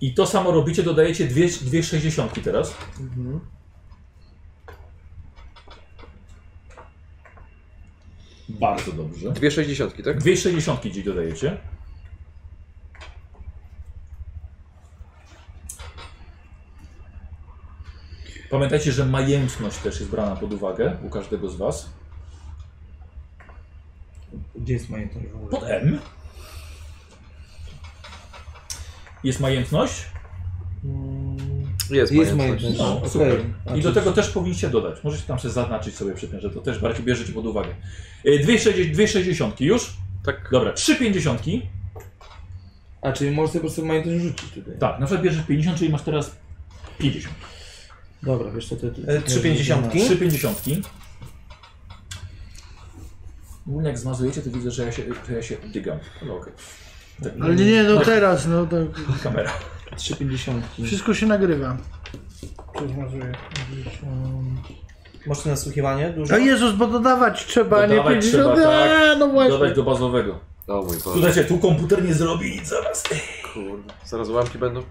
A: I to samo robicie, dodajecie dwie, dwie 60 teraz. Bardzo dobrze.
G: Dwie 60, tak?
A: Dwie 60 gdzieś dodajecie. Pamiętajcie, że majętność też jest brana pod uwagę u każdego z Was.
E: Gdzie jest majętność w ogóle?
A: Pod M. Jest majętność.
G: Jest,
E: Jest
G: majętność.
E: majętność.
A: No,
E: Okej.
A: super.
E: A
A: I do
E: czy-
A: tego też powinniście dodać. Możecie tam sobie zaznaczyć sobie przy tym, że to też bardziej bierzecie pod uwagę. Y, Dwie 60 dwie 60 już.
G: Tak.
A: Dobra, trzy 50.
E: A czyli możesz sobie po prostu majętność rzucić tutaj.
A: Tak, na przykład bierzesz 50, czyli masz teraz 50.
E: Dobra, wiesz co, to... to
F: E, trzy pięćdziesiątki?
A: Trzy 50. Ogólnie jak zmazujecie, to widzę, że ja się, że ja się dygam. No okej.
D: Ale nie, no teraz, no to
A: Kamera.
E: Trzy pięćdziesiątki.
D: wszystko się nagrywa.
F: Masz nasłuchiwanie dużo?
D: A Jezus, bo dodawać trzeba, a nie
A: Dodawać
D: 50.
A: trzeba, tak.
D: A, no właśnie.
A: Dodać do bazowego.
G: O mój Boże,
A: Słuchajcie, tu komputer nie zrobi nic zaraz.
G: kurde. Zaraz łamki będą.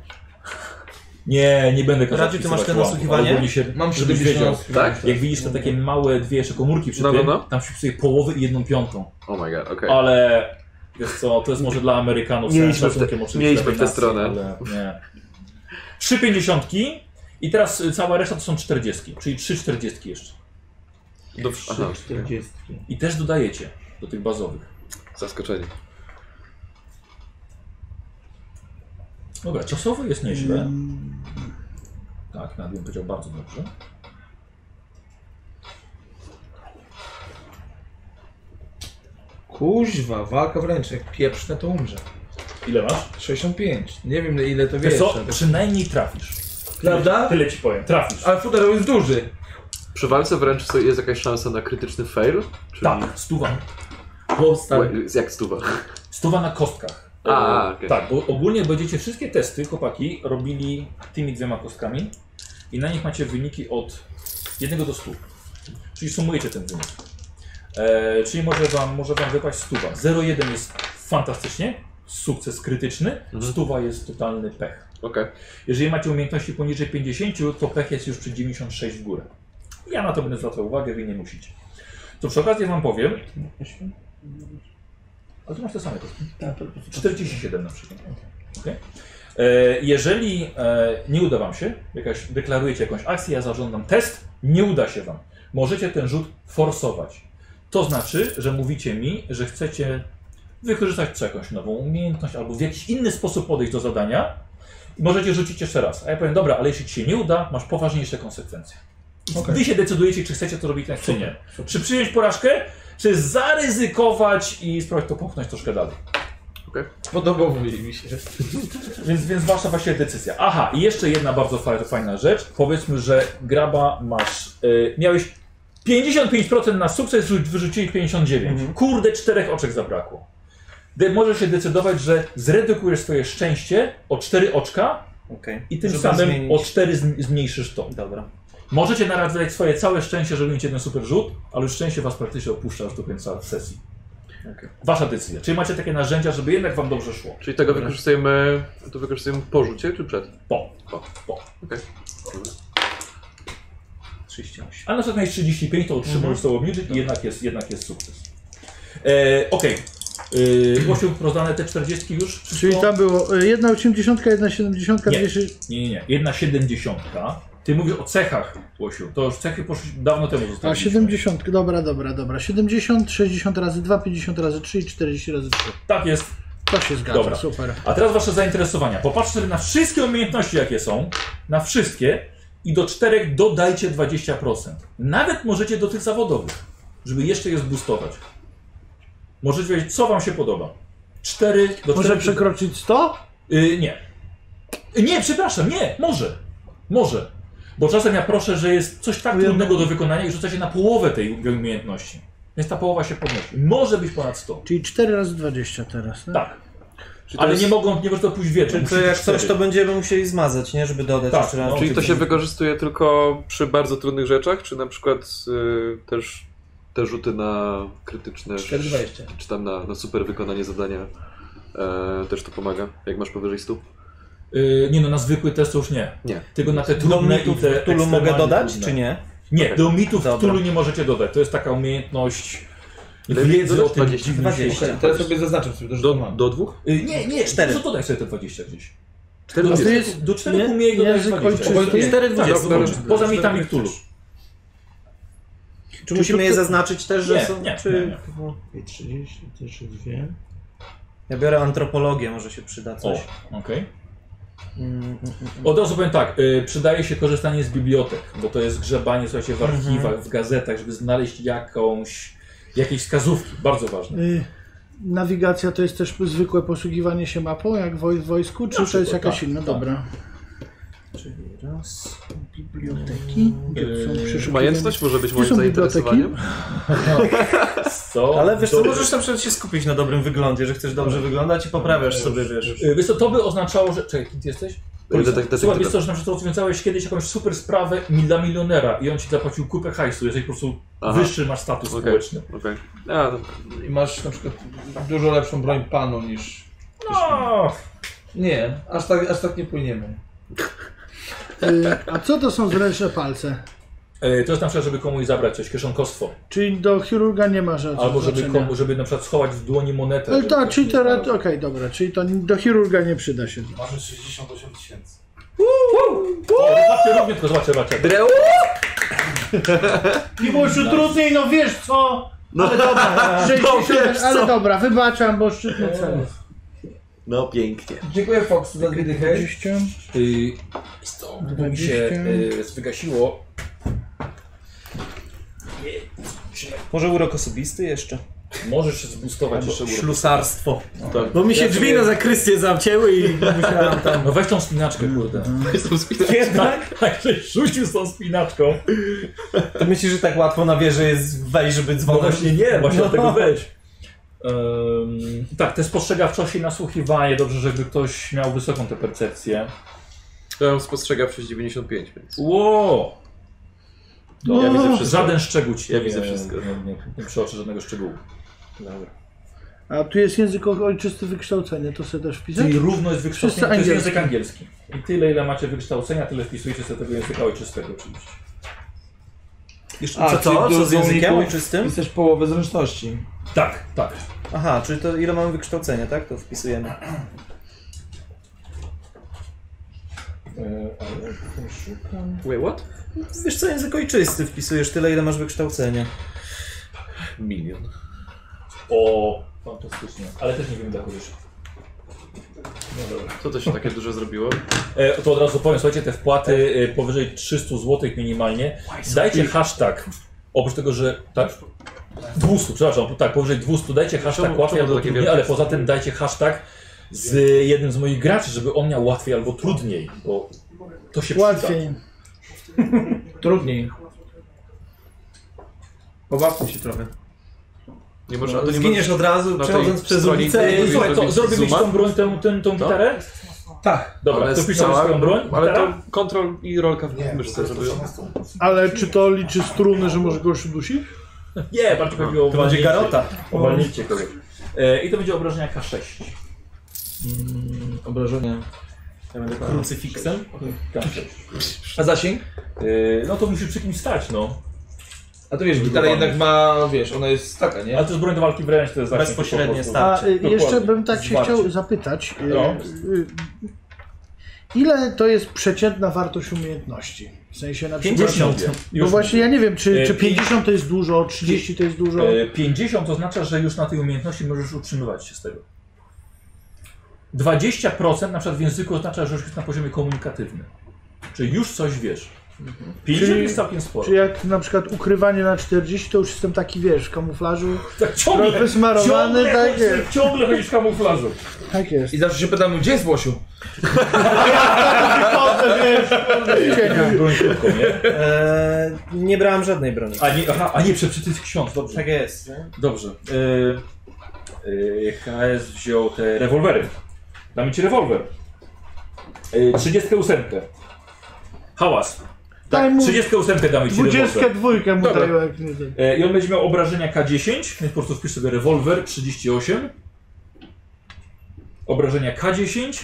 A: Nie, nie będę kazał
F: Radziu, ty
A: ci
F: masz
A: wstawać
F: te
A: łapy,
F: nasłuchiwanie?
A: ale ogólnie się-
E: Mam
A: żebyś wiedział.
E: 70.
G: Tak?
A: Jak widzisz te takie małe dwie jeszcze komórki przy
G: No, no,
A: tym,
G: no.
A: tam się psuje połowy i jedną piątą.
G: Oh my god, okej.
A: Ale wiesz co, to jest może dla Amerykanów
G: Nie
A: z
G: idźmy w te-
A: szacunkiem
G: nie idźmy w tę
A: dla nacji,
G: stronę.
A: Ale nie. Trzy pięćdziesiątki i teraz y, cała reszta to są czterdziestki, czyli trzy czterdziestki jeszcze.
G: Do... Aha,
E: Czterdziestki.
A: I też dodajecie do tych bazowych.
G: zaskoczenie.
A: Dobra, czasowo jest nieźle. Tak, nawet bym powiedział bardzo dobrze.
E: Kuźwa, walka wręcz, jak pieprzne to umrze.
A: Ile masz?
E: 65. Nie wiem na ile to
A: Wiesz
E: wiesz.
A: co,
E: ale-
A: przynajmniej trafisz.
E: Prawda?
A: Tyle ci powiem, trafisz.
E: Ale futerał jest duży.
G: Przy walce wręcz sobie jest jakaś szansa na krytyczny fail? Czyli...
A: Tak, stuwa.
E: Powstał.
G: Ła- Jak stuwa.
A: Stuwa na kostkach.
G: A,
A: E,
G: okej.
A: Tak, bo ogólnie będziecie wszystkie testy, chłopaki, robili tymi dwiema kostkami i na nich macie wyniki od 1 do 100. Czyli sumujecie ten wynik. E, czyli może wam, może wam wypaść stuwa. 0,1 jest fantastycznie, sukces krytyczny,
G: Mhm.
A: stuwa jest totalny pech.
G: Okej.
A: Jeżeli macie umiejętności poniżej 50, to pech jest już przy 96 w górę. Ja na to będę zwracał uwagę, wy nie musicie. To przy okazji wam powiem. Ale tu masz te same kostki. 47 na przykład. Okej. E, Jeżeli e, nie uda wam się, jakaś, deklarujecie jakąś akcję, ja zażądam test, nie uda się wam. Możecie ten rzut forsować. To znaczy, że mówicie mi, że chcecie wykorzystać co, jakąś nową umiejętność albo w jakiś inny sposób podejść do zadania. I Możecie rzucić jeszcze raz. A ja powiem, dobra, ale jeśli ci się nie uda, masz poważniejsze konsekwencje.
E: Okej.
A: Wy się decydujecie, czy chcecie to robić, tak, czy nie. Czy przyjąć porażkę, czy zaryzykować i spróbować to popchnąć troszkę dalej.
E: Podobał mi się.
A: Więc, więc wasza właśnie decyzja. Aha, i jeszcze jedna bardzo fa- fajna rzecz. Powiedzmy, że graba masz. y, miałeś 55% na sukces, rzu- wyrzucili 59.
F: Mhm.
A: Kurde, czterech oczek zabrakło. De, możesz się decydować, że zredukujesz swoje szczęście o 4 oczka
F: Okej.
A: i tym
F: Żeby
A: samym
F: zmienić.
A: o 4 zm- zmniejszysz to.
F: Dobra.
A: Możecie naradzać swoje całe szczęście, żeby mieć jeden super rzut, ale już szczęście was praktycznie opuszcza aż do końca sesji. Wasza decyzja. Czyli macie takie narzędzia, żeby jednak wam dobrze szło.
G: Czyli tego wykorzystujemy, to wykorzystujemy po rzucie czy przed?
A: Po.
G: Po.
A: Po.
G: Okej.
F: 38.
A: A na przykład miałeś 35, to otrzymujesz mhm. sobie obniżyć i jednak jest, jednak jest sukces. E, Okej. Okay. Głosił rozdane te 40 już? Wszystko?
D: Czyli tam było y, e, jedna 80, jedna 70,
A: Nie.
D: dwie 60.
A: Nie, nie, nie. Jedna 70. Ty mówisz o cechach, Łosiu. To już cechy poszły dawno temu
D: A
A: zostały.
D: 70, dobra, dobra, dobra. 70, 60 razy 2, 50 razy 3 i 40 razy 3.
A: Tak jest.
D: To się zgadza,
A: Dobra.
D: super.
A: A teraz wasze zainteresowania. Popatrzcie sobie na wszystkie umiejętności, jakie są. Na wszystkie. I do czterech dodajcie 20%. Nawet możecie do tych zawodowych, żeby jeszcze je zboostować. Możecie wiedzieć, co wam się podoba. 4 do
D: Może
A: 4.
D: przekroczyć 100?
A: Y, nie. Y, Nie, przepraszam, nie, może. Może. Bo czasem ja proszę, że jest coś tak trudnego do wykonania i rzuca się na połowę tej umiejętności. Więc ta połowa się podnosi. Może być ponad 100.
D: Czyli 4 razy 20 teraz. No?
A: Tak.
G: Czyli to
A: Ale
G: jest-
A: nie mogą, nie może to pójść wieczór.
F: Czyli
A: musi
F: to
A: być
F: jak coś,
A: cztery.
F: to będziemy musieli zmazać, nie? Żeby dodać
A: Tak,
F: jeszcze raz.
A: no.
G: Czyli to się wykorzystuje tylko przy bardzo trudnych rzeczach, czy na przykład y, też te rzuty na krytyczne,
E: 4,20.
G: czy tam na, na super wykonanie zadania e, też to pomaga, jak masz powyżej 100?
A: Y, nie no, na zwykły test to już nie.
G: Nie.
A: Tylko na te
F: Do
A: trudne i
F: mitów
A: te
F: w Tulu mogę
A: ekstremalnie
F: dodać,
A: trudne.
F: czy nie?
A: Nie, do mitów w
F: Dobra.
A: Tulu nie możecie dodać. To jest taka umiejętność
G: Ile
A: wiedzy o
G: dodasz?
A: tym
G: 20?
A: dziwnym
F: 20.
A: świecie.
E: Teraz sobie zaznaczam sobie, że to
G: Do,
E: mam.
G: do dwóch?
A: Y, Nie, nie,
F: Cztery. No
A: Co dodaj sobie te 20 gdzieś?
D: A to
G: 40.
D: jest
A: Do
D: nie?
A: czterech umiej dodać
D: język
A: 20.
D: ojczysty.
G: Tak, dobra.
A: Poza mitami w Tulu.
F: Czy musimy je zaznaczyć też, że
A: Nie,
F: są?
A: nie,
F: czy...
A: nie, nie.
F: No.
E: 30, też dwie.
F: Ja biorę antropologię, może się przyda
A: O,
F: coś.
A: okej.
F: Mm, mm, mm.
A: Od razu powiem tak, y, przydaje się korzystanie z bibliotek, bo to jest grzebanie, słuchajcie, w
F: Mhm.
A: archiwach, w gazetach, żeby znaleźć jakąś, jakieś wskazówki, bardzo ważne.
D: Y, nawigacja to jest też zwykłe posługiwanie się mapą, jak wo- w wojsku, czy to
A: przykład,
D: jest jakaś
A: tak,
D: inna?
A: tak.
D: Dobra.
F: Tak. Czyli raz. Mm.
D: Biblioteki? Gdzie są
A: Yy,
D: przeszukiwania?
G: Majętność może być
D: Gdzie
G: moim
D: są biblioteki?
G: zainteresowaniem.
A: Co?
F: Ale wiesz, co,
A: Dobrze.
F: możesz na przykład się skupić na dobrym wyglądzie, że chcesz dobrze wyglądać i poprawiasz sobie, wiesz.
A: Y, Wiesz co, to by oznaczało, że... Czekaj, kim ty jesteś? Policjant.
G: detek-
A: Słuchaj, wiesz
G: detektywem.
A: co, że na przykład rozwiązałeś kiedyś jakąś super sprawę mi- dla milionera i on ci zapłacił kupę hajsu, jesteś po prostu
G: Aha.
A: wyższy, masz status
G: Okej.
A: społeczny.
G: Okej. A, no. to-
E: I masz na przykład dużo lepszą broń panu niż...
A: No,
E: Nie, aż tak, aż tak nie płyniemy.
D: Y, a co to są zręczne palce?
A: y, to jest na przykład, żeby komuś zabrać coś, kieszonkostwo.
D: Czyli do chirurga nie ma żadnego
A: Albo żeby,
D: znaczenia.
A: komu, żeby na przykład schować w dłoni monetę.
D: Ale
A: żeby
D: tak,
A: ktoś
D: czyli
A: nie
D: teraz,
A: znalazł.
D: okej, dobra, czyli to do chirurga nie przyda się.
I: Mamy 68 tysięcy.
A: O, Zobaczcie równie, tylko zobaczcie, zobaczcie.
D: Miłościu, trudniej, no wiesz co?
G: No, wiesz
D: 60,
G: co.
D: ale dobra, wybaczam, bo szczytny cel.
G: no pięknie.
E: Dziękuję Fox za dwie dychy.
D: 20,
A: Y, Stąd bo mi się y, wygasiło.
F: Może urok osobisty jeszcze?
A: Możesz się zbustować jeszcze urok. No
F: Ślusarstwo.
G: Tak.
F: Bo mi się drzwi na zakrystię zamcięły i musiałam tam...
A: No weź tą spinaczkę, kurde.
D: Mhm.
F: Jednak?
A: Tak, żeś rzucił z tą spinaczką.
F: To myślisz, że tak łatwo na wieżę jest wejść, żeby
A: No
F: dzwonić?
A: właśnie nie, właśnie
F: No.
A: dlatego weź. Ym, tak, te spostrzegawczość i nasłuchiwanie. Dobrze, żeby ktoś miał wysoką tę percepcję.
G: Ja ją spostrzegam przez 95, więc...
A: Ło!
G: Ja widzę wszystko.
A: Żaden szczegół ci
G: Ja
A: nie-
G: widzę wszystko.
A: Nie, nie, nie przeoczy żadnego szczegółu.
D: a tu jest język ojczysty wykształcenia, to sobie też wpisać?
A: Czyli równo jest wykształcenie. To jest
D: angielski.
A: język angielski. I tyle, ile macie wykształcenia, tyle wpisujecie sobie tego języka ojczystego oczywiście.
F: A, co, co, co z językiem ojczystym?
E: Jesteś połowę zręczności.
A: Tak, tak.
F: Aha, czyli to ile mamy wykształcenia, tak? To wpisujemy.
A: E,
G: Wait, what?
F: Wiesz co, język ojczysty wpisujesz tyle, ile masz wykształcenia.
G: Milion.
A: O, fantastycznie. Ale też nie wiem, jak już.
G: Co to się takie dużo zrobiło?
A: E, to od razu powiem, słuchajcie, te wpłaty e, powyżej 300 zł minimalnie. Dajcie hashtag, oprócz tego, że... Tak? 200, przepraszam, tak, powyżej 200, dajcie hashtag
G: Czemu-
A: łatwiej
G: czemu
A: albo
G: to takie
A: trudniej,
G: wielkie
A: ale
G: jest?
A: poza tym dajcie hashtag z jednym z moich graczy, żeby on miał łatwiej albo trudniej, bo to się przyda.
D: Łatwiej.
E: Trudniej. Pobawmy się trochę.
G: Nie możesz,
F: No,
G: a to nie
F: zginiesz
G: możesz...
F: od razu,
G: tej
F: przechodząc przez
G: stronie
F: ulicę
A: E,
F: i...
A: Słuchaj, to
G: Zrobić
A: zrobimy ci
G: zooma?
A: tą broń, tę, tę, tą gitarę?
E: Tak.
A: Dobra,
G: Ona
A: to
G: jest
A: piszemy
G: cała,
A: swoją broń,
G: Ale
A: gitara?
G: to kontrol i rolka w myszce, żeby...
D: Ale czy to liczy struny, że może goś udusi?
A: Nie, bardziej chodzi o
F: To będzie
A: uwalnięcie.
F: garota.
A: Uwalnijcie kogoś. E, I to będzie obrażenia K6.
E: Obrażenia.
F: Ja będę krucyfiksem.
A: K6.
E: A zasięg?
A: E, no to musi przy kimś stać, no.
E: A to wiesz, gitara jednak ma, wiesz, ona jest taka, nie?
A: Ale to jest broń do walki wręcz, to jest zasięg
F: Bezpośrednie
A: po
F: tak.
A: prostu.
F: stać.
D: A y,
A: Dokładnie. No.
D: jeszcze bym tak się
A: Zwarcie.
D: chciał zapytać. y,
A: No.
D: y, Ile to jest przeciętna wartość umiejętności? W sensie na przykład...
A: 50.
D: No właśnie, ja nie wiem, czy,
A: E,
D: czy
A: pięć-
D: 50 to jest dużo, 30 to jest dużo.
A: E, 50 oznacza, że już na tej umiejętności możesz utrzymywać się z tego. 20% na przykład w języku oznacza, że już jest na poziomie komunikatywnym. Czyli już coś wiesz.
F: Mhm.
A: 50
D: Czyli-
A: jest całkiem sporo.
D: Czy jak na przykład ukrywanie na 40, to już jestem taki, wiesz, w kamuflażu,
A: tak ciągle,
D: trochę smarowany,
A: ciągle,
D: tak
A: chodzisz-
D: jest.
A: ciągle chodzisz w kamuflażu.
D: Tak jest.
E: I zawsze się pytamy, gdzie jest Łosiu?
D: Cienia.
A: Broń krótką, nie?
F: Eee, nie brałem żadnej broni.
A: A nie, aha, a nie przeczytać ksiądz, dobrze.
F: Tak jest. nie?
A: Dobrze. Y, y, KS wziął te rewolwery. Damy ci rewolwer. Y, 38. Hałas.
D: Daj mu
A: 38 damy ci rewolwer.
D: 22 mu
E: Dobra.
D: dają, jak nie wiem.
A: E, I on będzie miał obrażenia K10, więc po prostu wpisz sobie rewolwer 38. Obrażenia K10.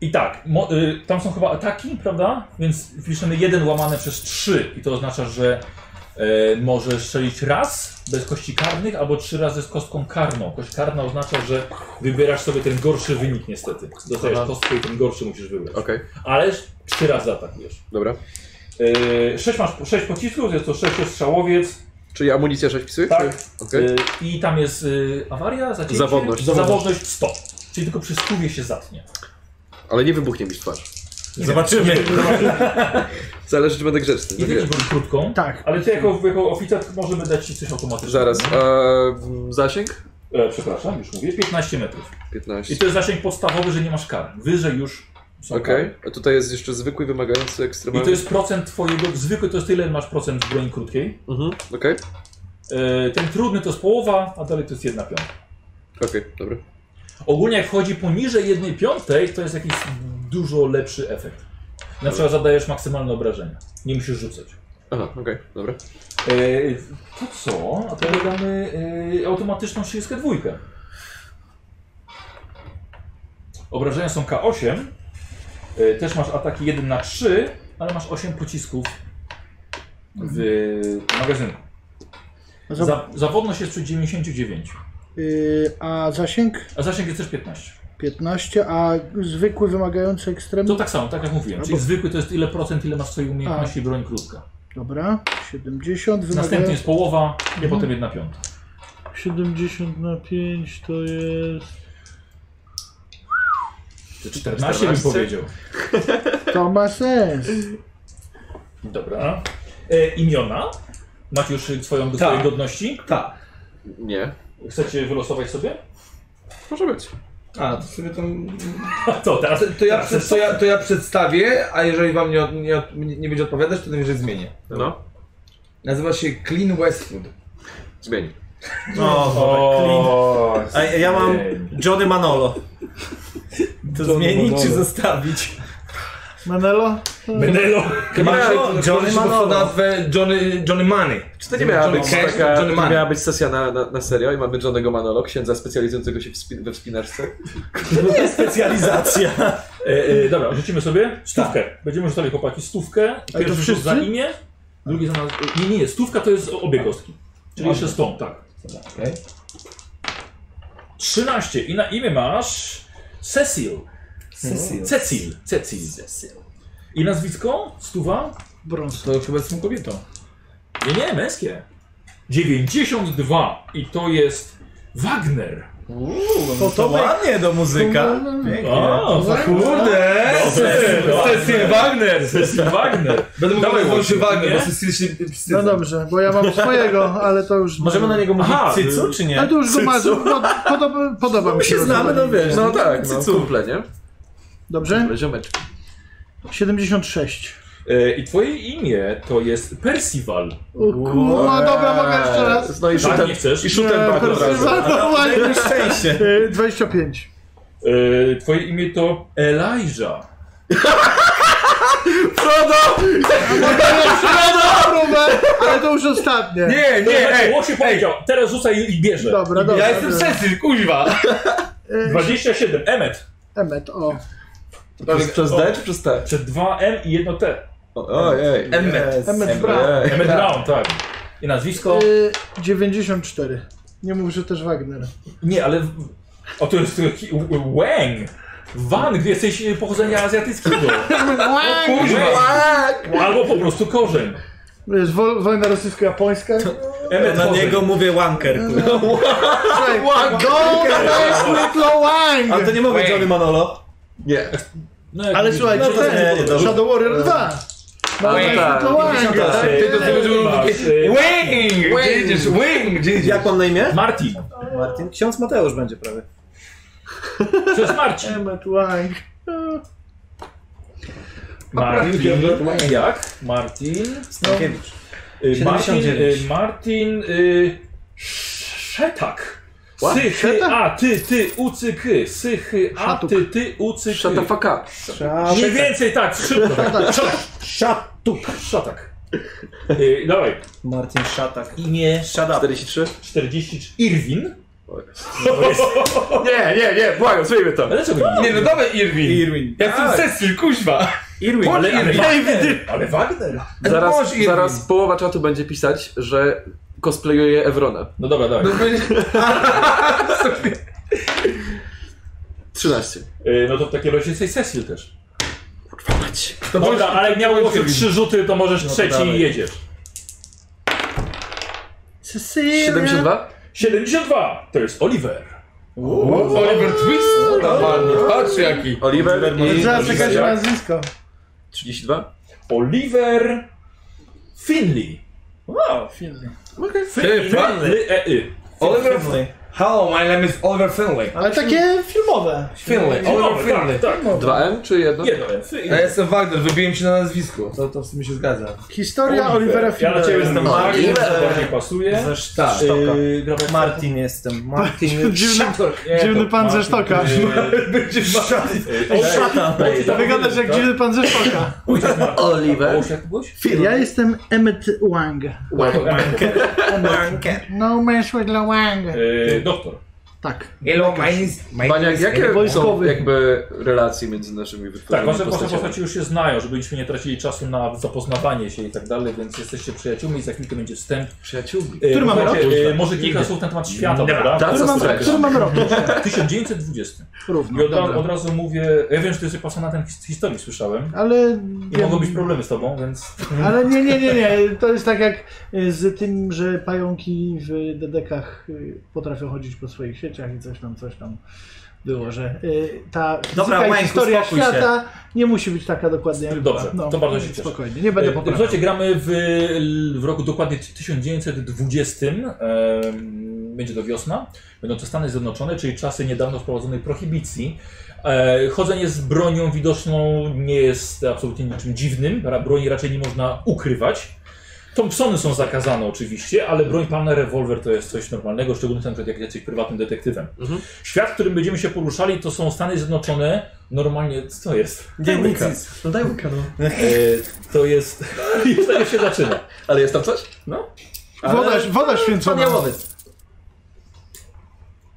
A: I tak, mo, y, tam są chyba ataki, prawda? Więc wpiszemy 1 łamane przez 3 i to oznacza, że e, może strzelić raz bez kości karnych albo trzy razy z kostką karną. Kość karna oznacza, że wybierasz sobie ten gorszy wynik niestety. Dostajesz
G: Aha.
A: kostkę i ten gorszy musisz wybrać.
G: Okej,
A: Ale trzy razy atakujesz.
G: dobra.
A: Yy, sześć masz sześć pocisków, jest to sześciostrzałowiec.
G: Czyli amunicja 6 pisy?
A: Tak.
G: Czy... Okej.
A: Yy, I tam jest yy, awaria, zacięcie.
G: Zawodność.
A: Zawodność 100. Czyli tylko przy stówie się zatnie.
G: Ale nie wybuchnie mi w twarz.
B: Zobaczymy.
G: Zależy, czy będę grzeczny.
A: I
G: Tak
A: ci
G: jest.
A: broń krótką.
D: Tak.
A: Ale ty jako, jako oficer możemy dać ci coś automatycznego.
G: Zaraz. A, mm, zasięg?
A: E, przepraszam, już mówię. 15 metrów.
G: 15.
A: I to jest zasięg podstawowy, że nie masz kar. Wyżej już są
G: Okej. A tutaj jest jeszcze zwykły, wymagający,
A: kary. I
G: ekstremalny.
A: to jest procent twojego, zwykły to jest tyle, ile masz procent w broni krótkiej.
G: Mhm. Okej,
A: Yy, ten trudny to jest połowa, a dalej to jest jedna piąta.
G: okej, dobra.
A: Ogólnie jak wchodzi poniżej 1 piątej, to jest jakiś dużo lepszy efekt. Na przykład zadajesz maksymalne obrażenia. Nie musisz rzucać.
G: Aha, okej, dobra.
A: Eee, to co? A to damy eee, automatyczną 32. Obrażenia są K8. Eee, też masz ataki 1 na 3, ale masz 8 pocisków w magazynku.
D: Za-
A: Za, zawodność jest przy 99,
D: y, a zasięg
A: a zasięg jest też 15.
D: 15, a zwykły wymagający
A: To
D: ekstremny.
A: tak samo, tak jak mówiłem. Czyli
D: Albo-
A: zwykły to jest ile procent, ile masz swojej umiejętności broń krótka.
D: Dobra, 70,
A: Następnie
D: wymagający.
A: jest połowa, i potem jedna piąta.
D: 70 na 5 to jest.
A: Czy 14, bym powiedział.
D: To ma sens.
A: Dobra. E, imiona? Macie już swoją do
B: Tak.
A: swojej godności?
B: Tak.
G: Nie.
A: Chcecie wylosować sobie?
G: Może być.
B: A, to sobie tam...
A: To teraz.
E: To, to, ja,
A: teraz
E: przed, to, ja, to ja przedstawię, a jeżeli wam nie, od- nie, od- nie będzie odpowiadać, to najwyżej zmienię.
G: No,
E: Nazywa się Clean Westwood.
G: zmieni.
B: No,
A: O,
B: A ja ja mam Johnny Manolo. To zmienić czy zostawić?
D: Manelo?
A: Menelo.
B: Manolo, Johnny Manolo.
E: nazwę Johnny, Johnny Money.
B: Czy to
G: Nie
B: nie
G: miała
B: miał
G: być,
E: Cash,
G: taka,
E: Johnny
G: nie
E: Man.
G: miała być sesja na, na, na serio i mamy Johnego Manolo, księdza specjalizującego się w spi- we wspinaczce.
B: być specjalizacja?
A: E, e, dobra, rzucimy sobie stówkę. Będziemy rzucali chłopaki stówkę. Pierwszy
D: Tak. to
A: rzut za
D: wszyscy?
A: imię, drugi za nas. Nie, nie, nie, stówka to jest o- obie kostki. Czyli jeszcze stąd, tak.
E: Okej.
A: 13 i na imię masz Cecil. Cecil. Cecil. Cecil. I nazwisko? Stuwa?
D: Brąz.
E: To chyba jestem kobietą.
A: Nie, nie, męskie. 92 i to jest Wagner.
B: To, to ładnie do muzyka.
A: O,
E: Kurde! Cecil Wagner!
A: Cecil Wagner.
E: Będę mówił
A: Dawaj,
E: Dawaj,
A: Wojciech,
E: Wojciech Wagner,
A: nie?
E: bo Cecil się wstydza.
D: No dobrze, bo ja mam swojego, ale to już.
B: Możemy na niego mówić
A: Aha,
B: cycu, czy nie?
D: Ale to już go ma. Pod, podoba, podoba mi
B: My
D: się.
B: się znamy, no
D: rozwiązanie.
B: wiesz.
G: No tak, no, Tak.
B: cycu.
G: kumple, nie?
D: Dobrze?
G: Kumple, ziomeczki.
D: 76.
A: E, I twoje imię to jest Percival.
D: O kurwa, dobra, mogę jeszcze raz. E,
G: No i
A: Tak,
G: szutem,
A: nie chcesz?
G: i szutem
D: Nie,
G: back od
D: kurwa,
G: razu.
D: no
B: Daj mi
D: właśnie.
B: szczęście.
D: Y, 25.
A: E, twoje imię to Elijah.
D: Próbę, ale to już ostatnie.
E: Nie, nie,
A: Ej,
E: ej!
A: tak się powiedział, teraz rzucaj i bierze.
D: Dobra, dobra.
E: Ja jestem
D: dobra.
E: Cecil, kuźwa!
A: 27, Emmet.
D: Emet, o.
G: Przez, przez D czy przez T?
A: Przed 2 M i jedno T.
G: O- Ojej.
E: Emmet.
D: Emet Brown.
G: Ojej.
A: Emmet Brown, tak. I nazwisko?
D: Y, 94. Nie mów, że też Wagner.
A: Nie, ale... O, to jest... Wang. Wang, jesteś e, pochodzenia azjatyckiego. Albo po prostu korzeń.
D: Wiesz, wo- wojna rosyjsko-japońska.
B: To na niego mówię wanker. kurwa.
D: Słuchaj, Go mess with Lowang!
B: Ale to nie mówię Johnny Manolo.
G: Nie.
A: No, jak
D: Ale
A: widzisz,
D: słuchaj,
B: No to nie, nie,
D: ten,
B: dobrze.
D: Shadow Warrior 2. No,
G: Ej,
D: mess
G: tak,
D: with Lowang.
B: tak.
D: Ej,
E: Ty to
D: ej,
E: zrobił
A: masz, e,
E: Wing! Gdzie idziesz? Wing! Gdzie idziesz?
B: Jak mam na imię?
A: Martin.
B: Martin. Ksiądz Mateusz będzie prawie.
A: To jest Marcin.
D: Emmett Wang.
A: Martin. Jak? Martin.
B: Stankiewicz.
A: Y, Martin.
F: 79.
A: y, Martin. y, Szetak.
G: What?
A: Sy, hy,
D: Szetak?
A: a, ty, ty, u, cy, ky. Sy, hy, a,
D: Szatuk.
A: ty, ty, u, cy, ky.
G: Shut the fuck up.
A: Mniej więcej tak, szybko.
B: Szatuk.
A: Szatak. Y, Dawaj.
F: Martin Szatak.
B: Imię Szadap.
G: 43?
A: 43. Irwin.
G: Nie, nie, nie, błagam, zmieńmy to.
A: Ale dlaczego nie?
E: Nie no dawaj Irwin.
B: Irwin.
E: Ja jestem Cecil, kuźwa.
B: Irwin.
A: Ale, ale, Wagner, ale Wagner.
G: Zaraz,
E: Boże,
G: zaraz połowa czatu będzie pisać, że cosplayuje Evrona.
A: No dobra, dawaj.
E: No będzie...
G: 13.
A: Y, No to w takim razie jesteś Cecil też.
E: To
A: Dobra, ale jak miało
E: Irwin.
A: trzy rzuty, to możesz trzeci i jedziesz.
D: Cecilia.
G: 72?
A: 72 to jest Oliver.
E: O, Oliver Twist! No, no, Patrz jaki.
G: Oliver i...
D: Zaraz czekać na nazwisko.
G: 32?
A: Oliver Finley.
B: Wow, filmy.
E: Ty, pan.
A: Finley e y.
E: Oliver Finley. Hello, my name is Oliver Finley.
D: Ale takie filmowe.
E: Finley, Oliver Finley.
A: tak, tak.
G: 2M czy jedno?
A: Nie, no, Finley.
E: Ja jestem Wagner, wybiłem się na nazwisko. To, to w sumie się zgadza.
D: Historia Olivera
A: Ja na
D: Filmera.
A: ciebie jestem Marcin,
B: Oliver.
A: to bardziej pasuje.
B: Ze Sztaka.
F: Yy,
B: Martin jestem. Martin.
D: Dziwny, dziwny pan ze sztoka.
E: Będzie
A: E,
B: Szatan.
D: Wyglądasz
A: tak?
D: jak dziwny pan ze sztoka.
G: Oliver.
A: jak ty byłeś?
D: Ja jestem Emmet Wang.
B: Wanker.
D: No mess with Lowang.
A: Y, Doktor.
D: Tak.
E: Hello, my
G: Baniak, jakie są
D: Wojskowy.
G: jakby relacje między naszymi
A: Tak,
G: wytwórcami
A: wasze wasze
G: postaciami?
A: postaci już się znają, żebyśmy nie tracili czasu na zapoznawanie się i tak dalej, więc jesteście przyjaciółmi, za chwilkę będzie wstęp.
G: Przyjaciółmi.
A: Y,
D: Który mamy
A: słuchajcie,
G: rok?
A: y, Może kilka słów na temat świata, prawda? tak.
G: Tak, No
D: Który mam,
G: Zastrzegam.
D: który mam rok?
A: 1920. I
D: Równo.
A: od,
D: Dobra.
A: od razu mówię, ja wiem, że ty jesteś pasjonatem his- historii, słyszałem.
D: Ale...
A: I mogą być problemy z tobą, więc...
D: Ale nie, nie, nie, nie. To jest tak jak y, z tym, że pająki w dedekach y, potrafią chodzić po swoich sieciach i coś tam, coś tam było, że y, ta fizyka
B: Dobra,
D: i
B: Łęku,
D: historia
B: spokój się.
D: świata nie musi być taka dokładnie jak
A: Dobrze,
D: była. No, y,
A: to bardzo się cieszę.
D: Spokojnie, nie będę
A: E,
D: poprawiał.
A: Słuchajcie, gramy w, w roku dokładnie 1920. em, Będzie to wiosna. Będą to Stany Zjednoczone, czyli czasy niedawno wprowadzonej prohibicji. E, Chodzenie z bronią widoczną nie jest absolutnie niczym dziwnym. Ra- Broni raczej nie można ukrywać. Thompsony są zakazane oczywiście, ale broń palna, rewolwer to jest coś normalnego, szczególnie na przykład jak jesteś prywatnym detektywem.
G: Mhm.
A: Świat, w którym będziemy się poruszali, to są Stany Zjednoczone. Normalnie, co jest?
B: Nie, nic, nic.
F: no daj łukę, no.
A: E, to jest... Już tak się zaczyna.
G: Ale jest tam coś?
D: Woda, woda święcona.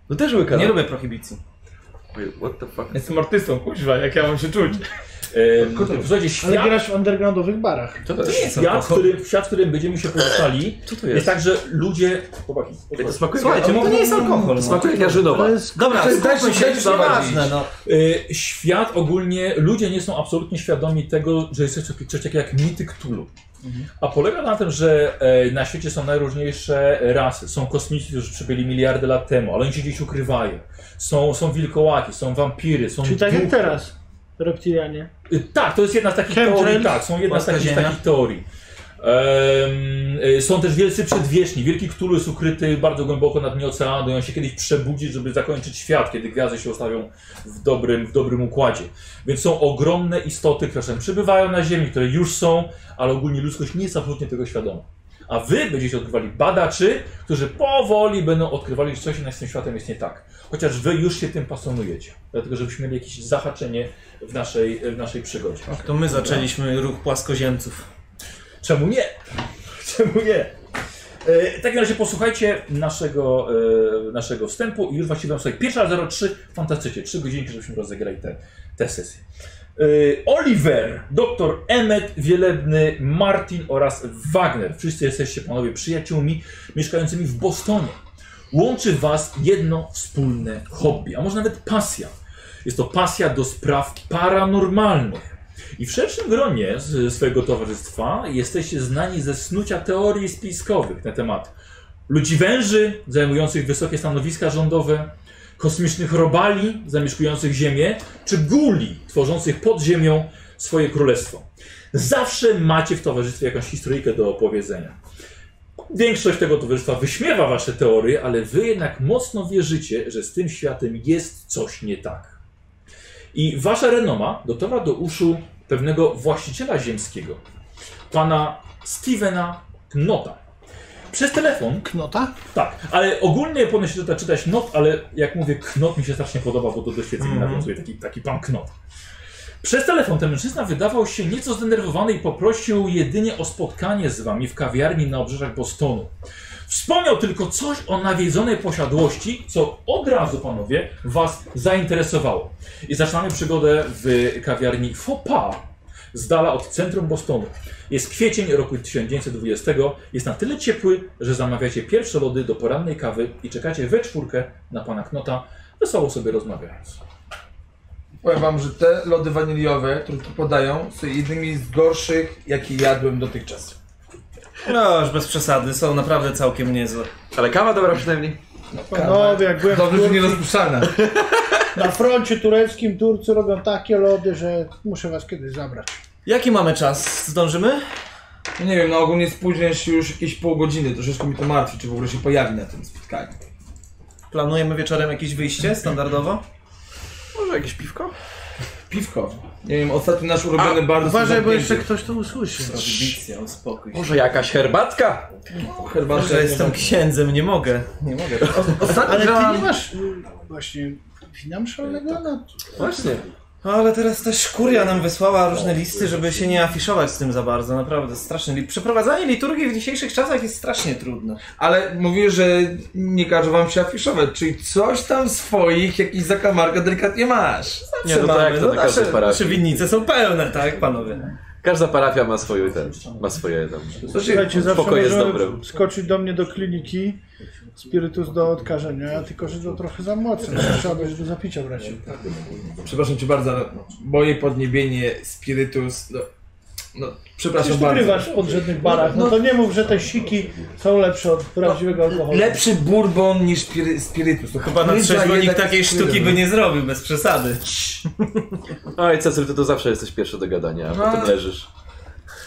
G: No też łyka.
B: Nie
G: no.
B: lubię prohibicji.
G: Wait, What the fuck?
E: Jestem artystą, kuźwa, jak ja mam się czuć?
A: Em, Słuchajcie, świat,
D: Ale grasz w undergroundowych barach.
G: Tak.
A: to
B: to
A: jest
B: jest
A: świat, w
B: alkohol.
A: którym, świat, w którym będziemy się poruszali,
G: Co to
A: jest
G: jest?
A: tak, że ludzie... Chłopaki,
G: Ej, To
A: posłuchajcie.
G: smakuje,
B: Słuchajcie,
G: to
B: to nie jest alkohol. no.
G: smakuje jak jarzynowa.
D: To jest
B: Dobra,
E: To jest
B: skupmy
E: dalszy
B: się,
E: sieć
B: już
E: prowadzić.
B: nieważne, no.
A: E, świat ogólnie, ludzie nie są absolutnie świadomi tego, że jest coś, coś takiego jak mity Cthulhu.
D: Mhm.
A: A polega na tym, że e, na świecie są najróżniejsze rasy. Są kosmici, którzy przybyli miliardy lat temu, ale oni się gdzieś ukrywają. Są, są wilkołaki, są wampiry, są
D: Czyli tak
A: duchy.
D: jak teraz. Reptilianie.
A: Y, Tak, to jest jedna z takich
D: Chemtrails,
A: teorii. Tak, są jedna z
B: płaska
A: takich,
B: ziemia.
A: takich teorii. Em, y, są też wielcy przedwieczni. Wielki Cthulhu jest ukryty bardzo głęboko na dnie oceanu i on się kiedyś przebudzi, żeby zakończyć świat, kiedy gwiazdy się ustawią w dobrym, w dobrym układzie. Więc są ogromne istoty, które czasem przybywają na Ziemi, które już są, ale ogólnie ludzkość nie jest absolutnie tego świadoma. A wy będziecie odkrywali badaczy, którzy powoli będą odkrywali, że coś jednak z tym światem jest nie tak. Chociaż wy już się tym pasjonujecie. Dlatego, żebyśmy mieli jakieś zahaczenie w naszej, w naszej przygodzie.
F: no.
B: To my zaczęliśmy ruch płaskoziemców.
A: Czemu nie? Czemu nie? E, W takim razie posłuchajcie naszego, e, naszego wstępu i już właściwie mam sobie pierwsza 03 fantastycznie, 3 godzinki, żebyśmy rozegrali te, te sesje. E, Oliver, doktor Emmet, Wielebny, Martin oraz Wagner. Wszyscy jesteście panowie przyjaciółmi mieszkającymi w Bostonie. Łączy was jedno wspólne hobby, a może nawet pasja. Jest to pasja do spraw paranormalnych. I w szerszym gronie z- swojego towarzystwa jesteście znani ze snucia teorii spiskowych na temat ludzi węży zajmujących wysokie stanowiska rządowe, kosmicznych robali zamieszkujących Ziemię, czy guli tworzących pod Ziemią swoje królestwo. Zawsze macie w towarzystwie jakąś historyjkę do opowiedzenia. Większość tego towarzystwa wyśmiewa wasze teorie, ale wy jednak mocno wierzycie, że z tym światem jest coś nie tak. I wasza renoma dotarła do uszu pewnego właściciela ziemskiego, pana Stevena Knota. Przez telefon
D: Knota?
A: tak, ale ogólnie powinno się czyta, czytać knot, ale jak mówię knot mi się strasznie podoba, bo to do świecenia nawiązuje taki, taki pan knot. Przez telefon ten mężczyzna wydawał się nieco zdenerwowany i poprosił jedynie o spotkanie z wami w kawiarni na obrzeżach Bostonu. Wspomniał tylko coś o nawiedzonej posiadłości, co od razu, panowie, was zainteresowało. I zaczynamy przygodę w kawiarni Fopa, z dala od centrum Bostonu. Jest kwiecień roku 1920. Jest na tyle ciepły, że zamawiacie pierwsze lody do porannej kawy i czekacie we czwórkę na pana Knota, wesoło sobie rozmawiając.
E: Powiem wam, że te lody waniliowe, które tu podają, są jednymi z gorszych, jakie jadłem dotychczas.
F: No, już bez przesady, są naprawdę całkiem niezłe.
G: Ale kawa dobra przynajmniej.
D: Panowie, jak byłem w
E: Dobrze, że nie
D: Turcji,
E: rozpuszczalne.
D: na froncie tureckim, Turcy robią takie lody, że muszę was kiedyś zabrać.
F: Jaki mamy czas? Zdążymy?
E: No Nie wiem, no ogólnie spóźnię się już jakieś pół godziny, troszeczkę mi to martwi, czy w ogóle się pojawi na tym spotkaniu.
F: Planujemy wieczorem jakieś wyjście standardowo?
G: Może jakieś piwko?
E: Piwko. Nie wiem, ostatni nasz ulubiony bardzo.
D: Uważaj, bo jeszcze ktoś to usłyszy.
F: Prohibicja, uspokój się.
G: Może jakaś herbatka?
E: Herbatę.
F: Może jestem księdzem, nie mogę.
E: Nie mogę. O, ostatnio
D: Ale ty nie
E: grałem...
D: masz y, właśnie finansowego No, na
G: Właśnie.
F: No, Ale teraz też kuria nam wysłała różne listy, żeby się nie afiszować z tym za bardzo, naprawdę strasznie. Li- Przeprowadzanie liturgii w dzisiejszych czasach jest strasznie trudne.
E: Ale mówię, że nie każą wam się afiszować, czyli coś tam swoich, jakiś zakamarka delikatnie masz.
G: Nie, no tak, to na każdej
F: nasze
G: parafii.
F: przywinnice są pełne, tak panowie?
G: Każda parafia ma swoje ten, ma swoje tam.
D: Słuchajcie, zawsze
G: Spokoj Znaczy, jest
D: możemy
G: dobry.
D: skoczyć do mnie do kliniki, spirytus do odkażenia, tylko że to trochę za mocne, trzeba będzie do zapicia brać.
E: Przepraszam cię bardzo, ale moje podniebienie, spirytus, no... No, przepraszam
D: Przecież ty
E: bardzo.
D: grywasz w podrzędnych barach, no to nie mów, że te siki są lepsze od prawdziwego alkoholu.
E: Lepszy bourbon niż spiry, spirytus. To
F: Chyba na
E: krydza
F: trzeźwo
E: jednak
F: nikt takiej
E: jest
F: sztuki
E: krydza.
F: by nie zrobił, bez przesady.
G: Oj, Cecyl, ty to zawsze jesteś pierwszy do gadania, a
E: No.
G: potem leżysz.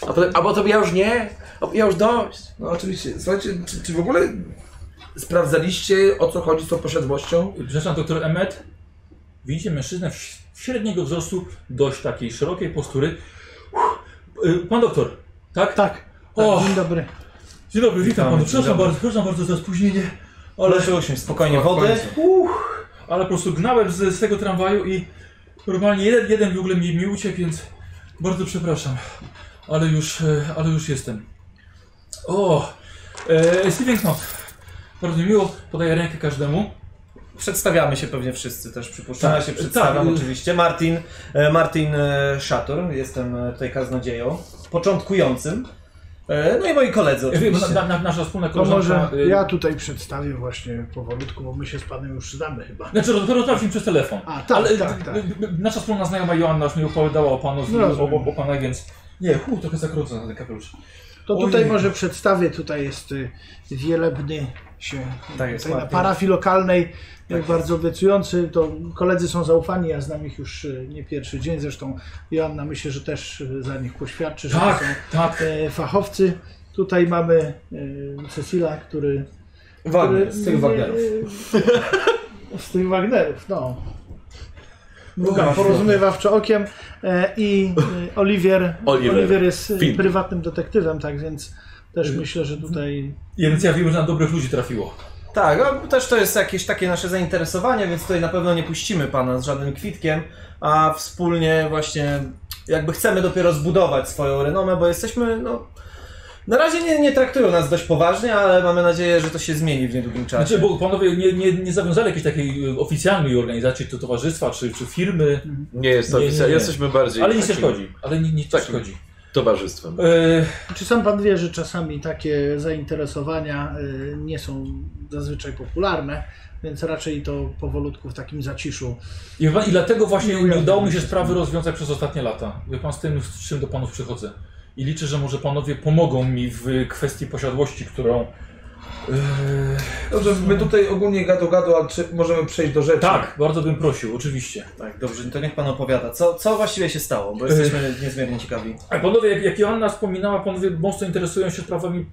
G: A potem, a potem ja już nie, a ja już dość.
E: No oczywiście. Słuchajcie, czy, czy w ogóle sprawdzaliście o co chodzi z tą posiadłością?
A: Przepraszam, doktor Emmet. Widzicie mężczyznę w ś- średniego wzrostu, dość takiej szerokiej postury. Uff, y, Pan doktor, tak?
D: Tak,
A: O,
D: tak, dzień dobry.
A: dzień dobry, witam
F: Witamy,
A: panu.
F: dzień
A: Przepraszam
F: dobry.
A: bardzo, przepraszam bardzo za spóźnienie, ale,
F: Proszę usiąść, spokojnie, wody.
A: ale po prostu gnałem z, z tego tramwaju i normalnie jeden, jeden w ogóle mi, mi uciekł, więc bardzo przepraszam. Ale już, e, ale już jestem. O, e, Steven Knott. Bardzo mi miło, podaję rękę każdemu. E,
F: Przedstawiamy się pewnie wszyscy też, przypuszczam. Ja się
A: Tak,
F: przedstawiam
A: tak.
F: oczywiście. Martin, e, Martin e, Szatur, jestem e, tutaj kaznodzieją, początkującym. E, No i moi koledzy
A: Ja wiem,
F: oczywiście.
A: na, na, nasza wspólna
D: To może
A: koleżanka... y,
D: ja tutaj przedstawię właśnie powolutku, bo my się z panem już znamy chyba.
A: Znaczy, roz- rozmawialiśmy przez telefon.
D: A, tak,
A: Ale
D: tak, tak.
A: y, y, nasza wspólna znajoma Joanna już mi opowiadała o panu,
D: No,
A: o,
D: rozumiem.
A: o, o panach, więc... Nie, hu, trochę zakrócę na ten kapelusz.
D: To tutaj
A: Ojej.
D: może przedstawię, tutaj jest y, wielebny się
F: Tak jest,
D: tutaj na
F: ładnie.
D: parafii lokalnej, y, bardzo obiecujący, to koledzy są zaufani, ja znam ich już y, nie pierwszy dzień, zresztą Joanna myślę, że też y, za nich poświadczy, że to
A: Tak,
D: są
A: tak.
D: e, fachowcy. Tutaj mamy y, Cecila, który... który-
E: Wagner, z tych Wagnerów.
D: y, Z tych Wagnerów, no. Mruga porozumiewawczo okiem e, i e, Oliwier,
G: Oliwier.
D: Oliwier jest e,
G: Film.
D: prywatnym detektywem, tak więc też myślę, że tutaj
A: Więc ja wiem, że na dobrych ludzi trafiło.
F: Tak, a też to jest jakieś takie nasze zainteresowanie, więc tutaj na pewno nie puścimy pana z żadnym kwitkiem, a wspólnie właśnie jakby chcemy dopiero zbudować swoją renomę, bo jesteśmy, no... Na razie nie, nie traktują nas dość poważnie, ale mamy nadzieję, że to się zmieni w niedługim czasie.
A: Znaczy, bo panowie nie, nie, nie zawiązali jakiejś takiej y, oficjalnej organizacji, czy towarzystwa, czy, czy firmy,
G: Nie jest to
A: Nie, nie,
G: oficjalnie,
A: nie.
G: jesteśmy bardziej
A: ale nic nie
G: takim
A: szkodzi. Ale ni- nic nie
G: Takim.
A: szkodzi.
G: towarzystwem.
A: E,
D: Czy sam pan wie, że czasami takie zainteresowania y, nie są zazwyczaj popularne, więc raczej to powolutku w takim zaciszu.
A: I, chyba- I dlatego właśnie
D: Nie
A: nie udało mi się
D: ujawniam się.
A: sprawy rozwiązać przez ostatnie lata. Wie pan z tym, z czym do panów przychodzę. I liczę, że może panowie pomogą mi w kwestii posiadłości, którą. Yy,
E: Dobrze, my tutaj ogólnie gado gado, ale czy możemy przejść do rzeczy?
A: tak, bardzo bym prosił, oczywiście.
B: Tak, dobrze, to niech pan opowiada. Co, co właściwie się stało?
F: Y-
B: Bo jesteśmy niezmiernie ciekawi.
A: A panowie, jak, jak Joanna wspominała, panowie mocno interesują się sprawami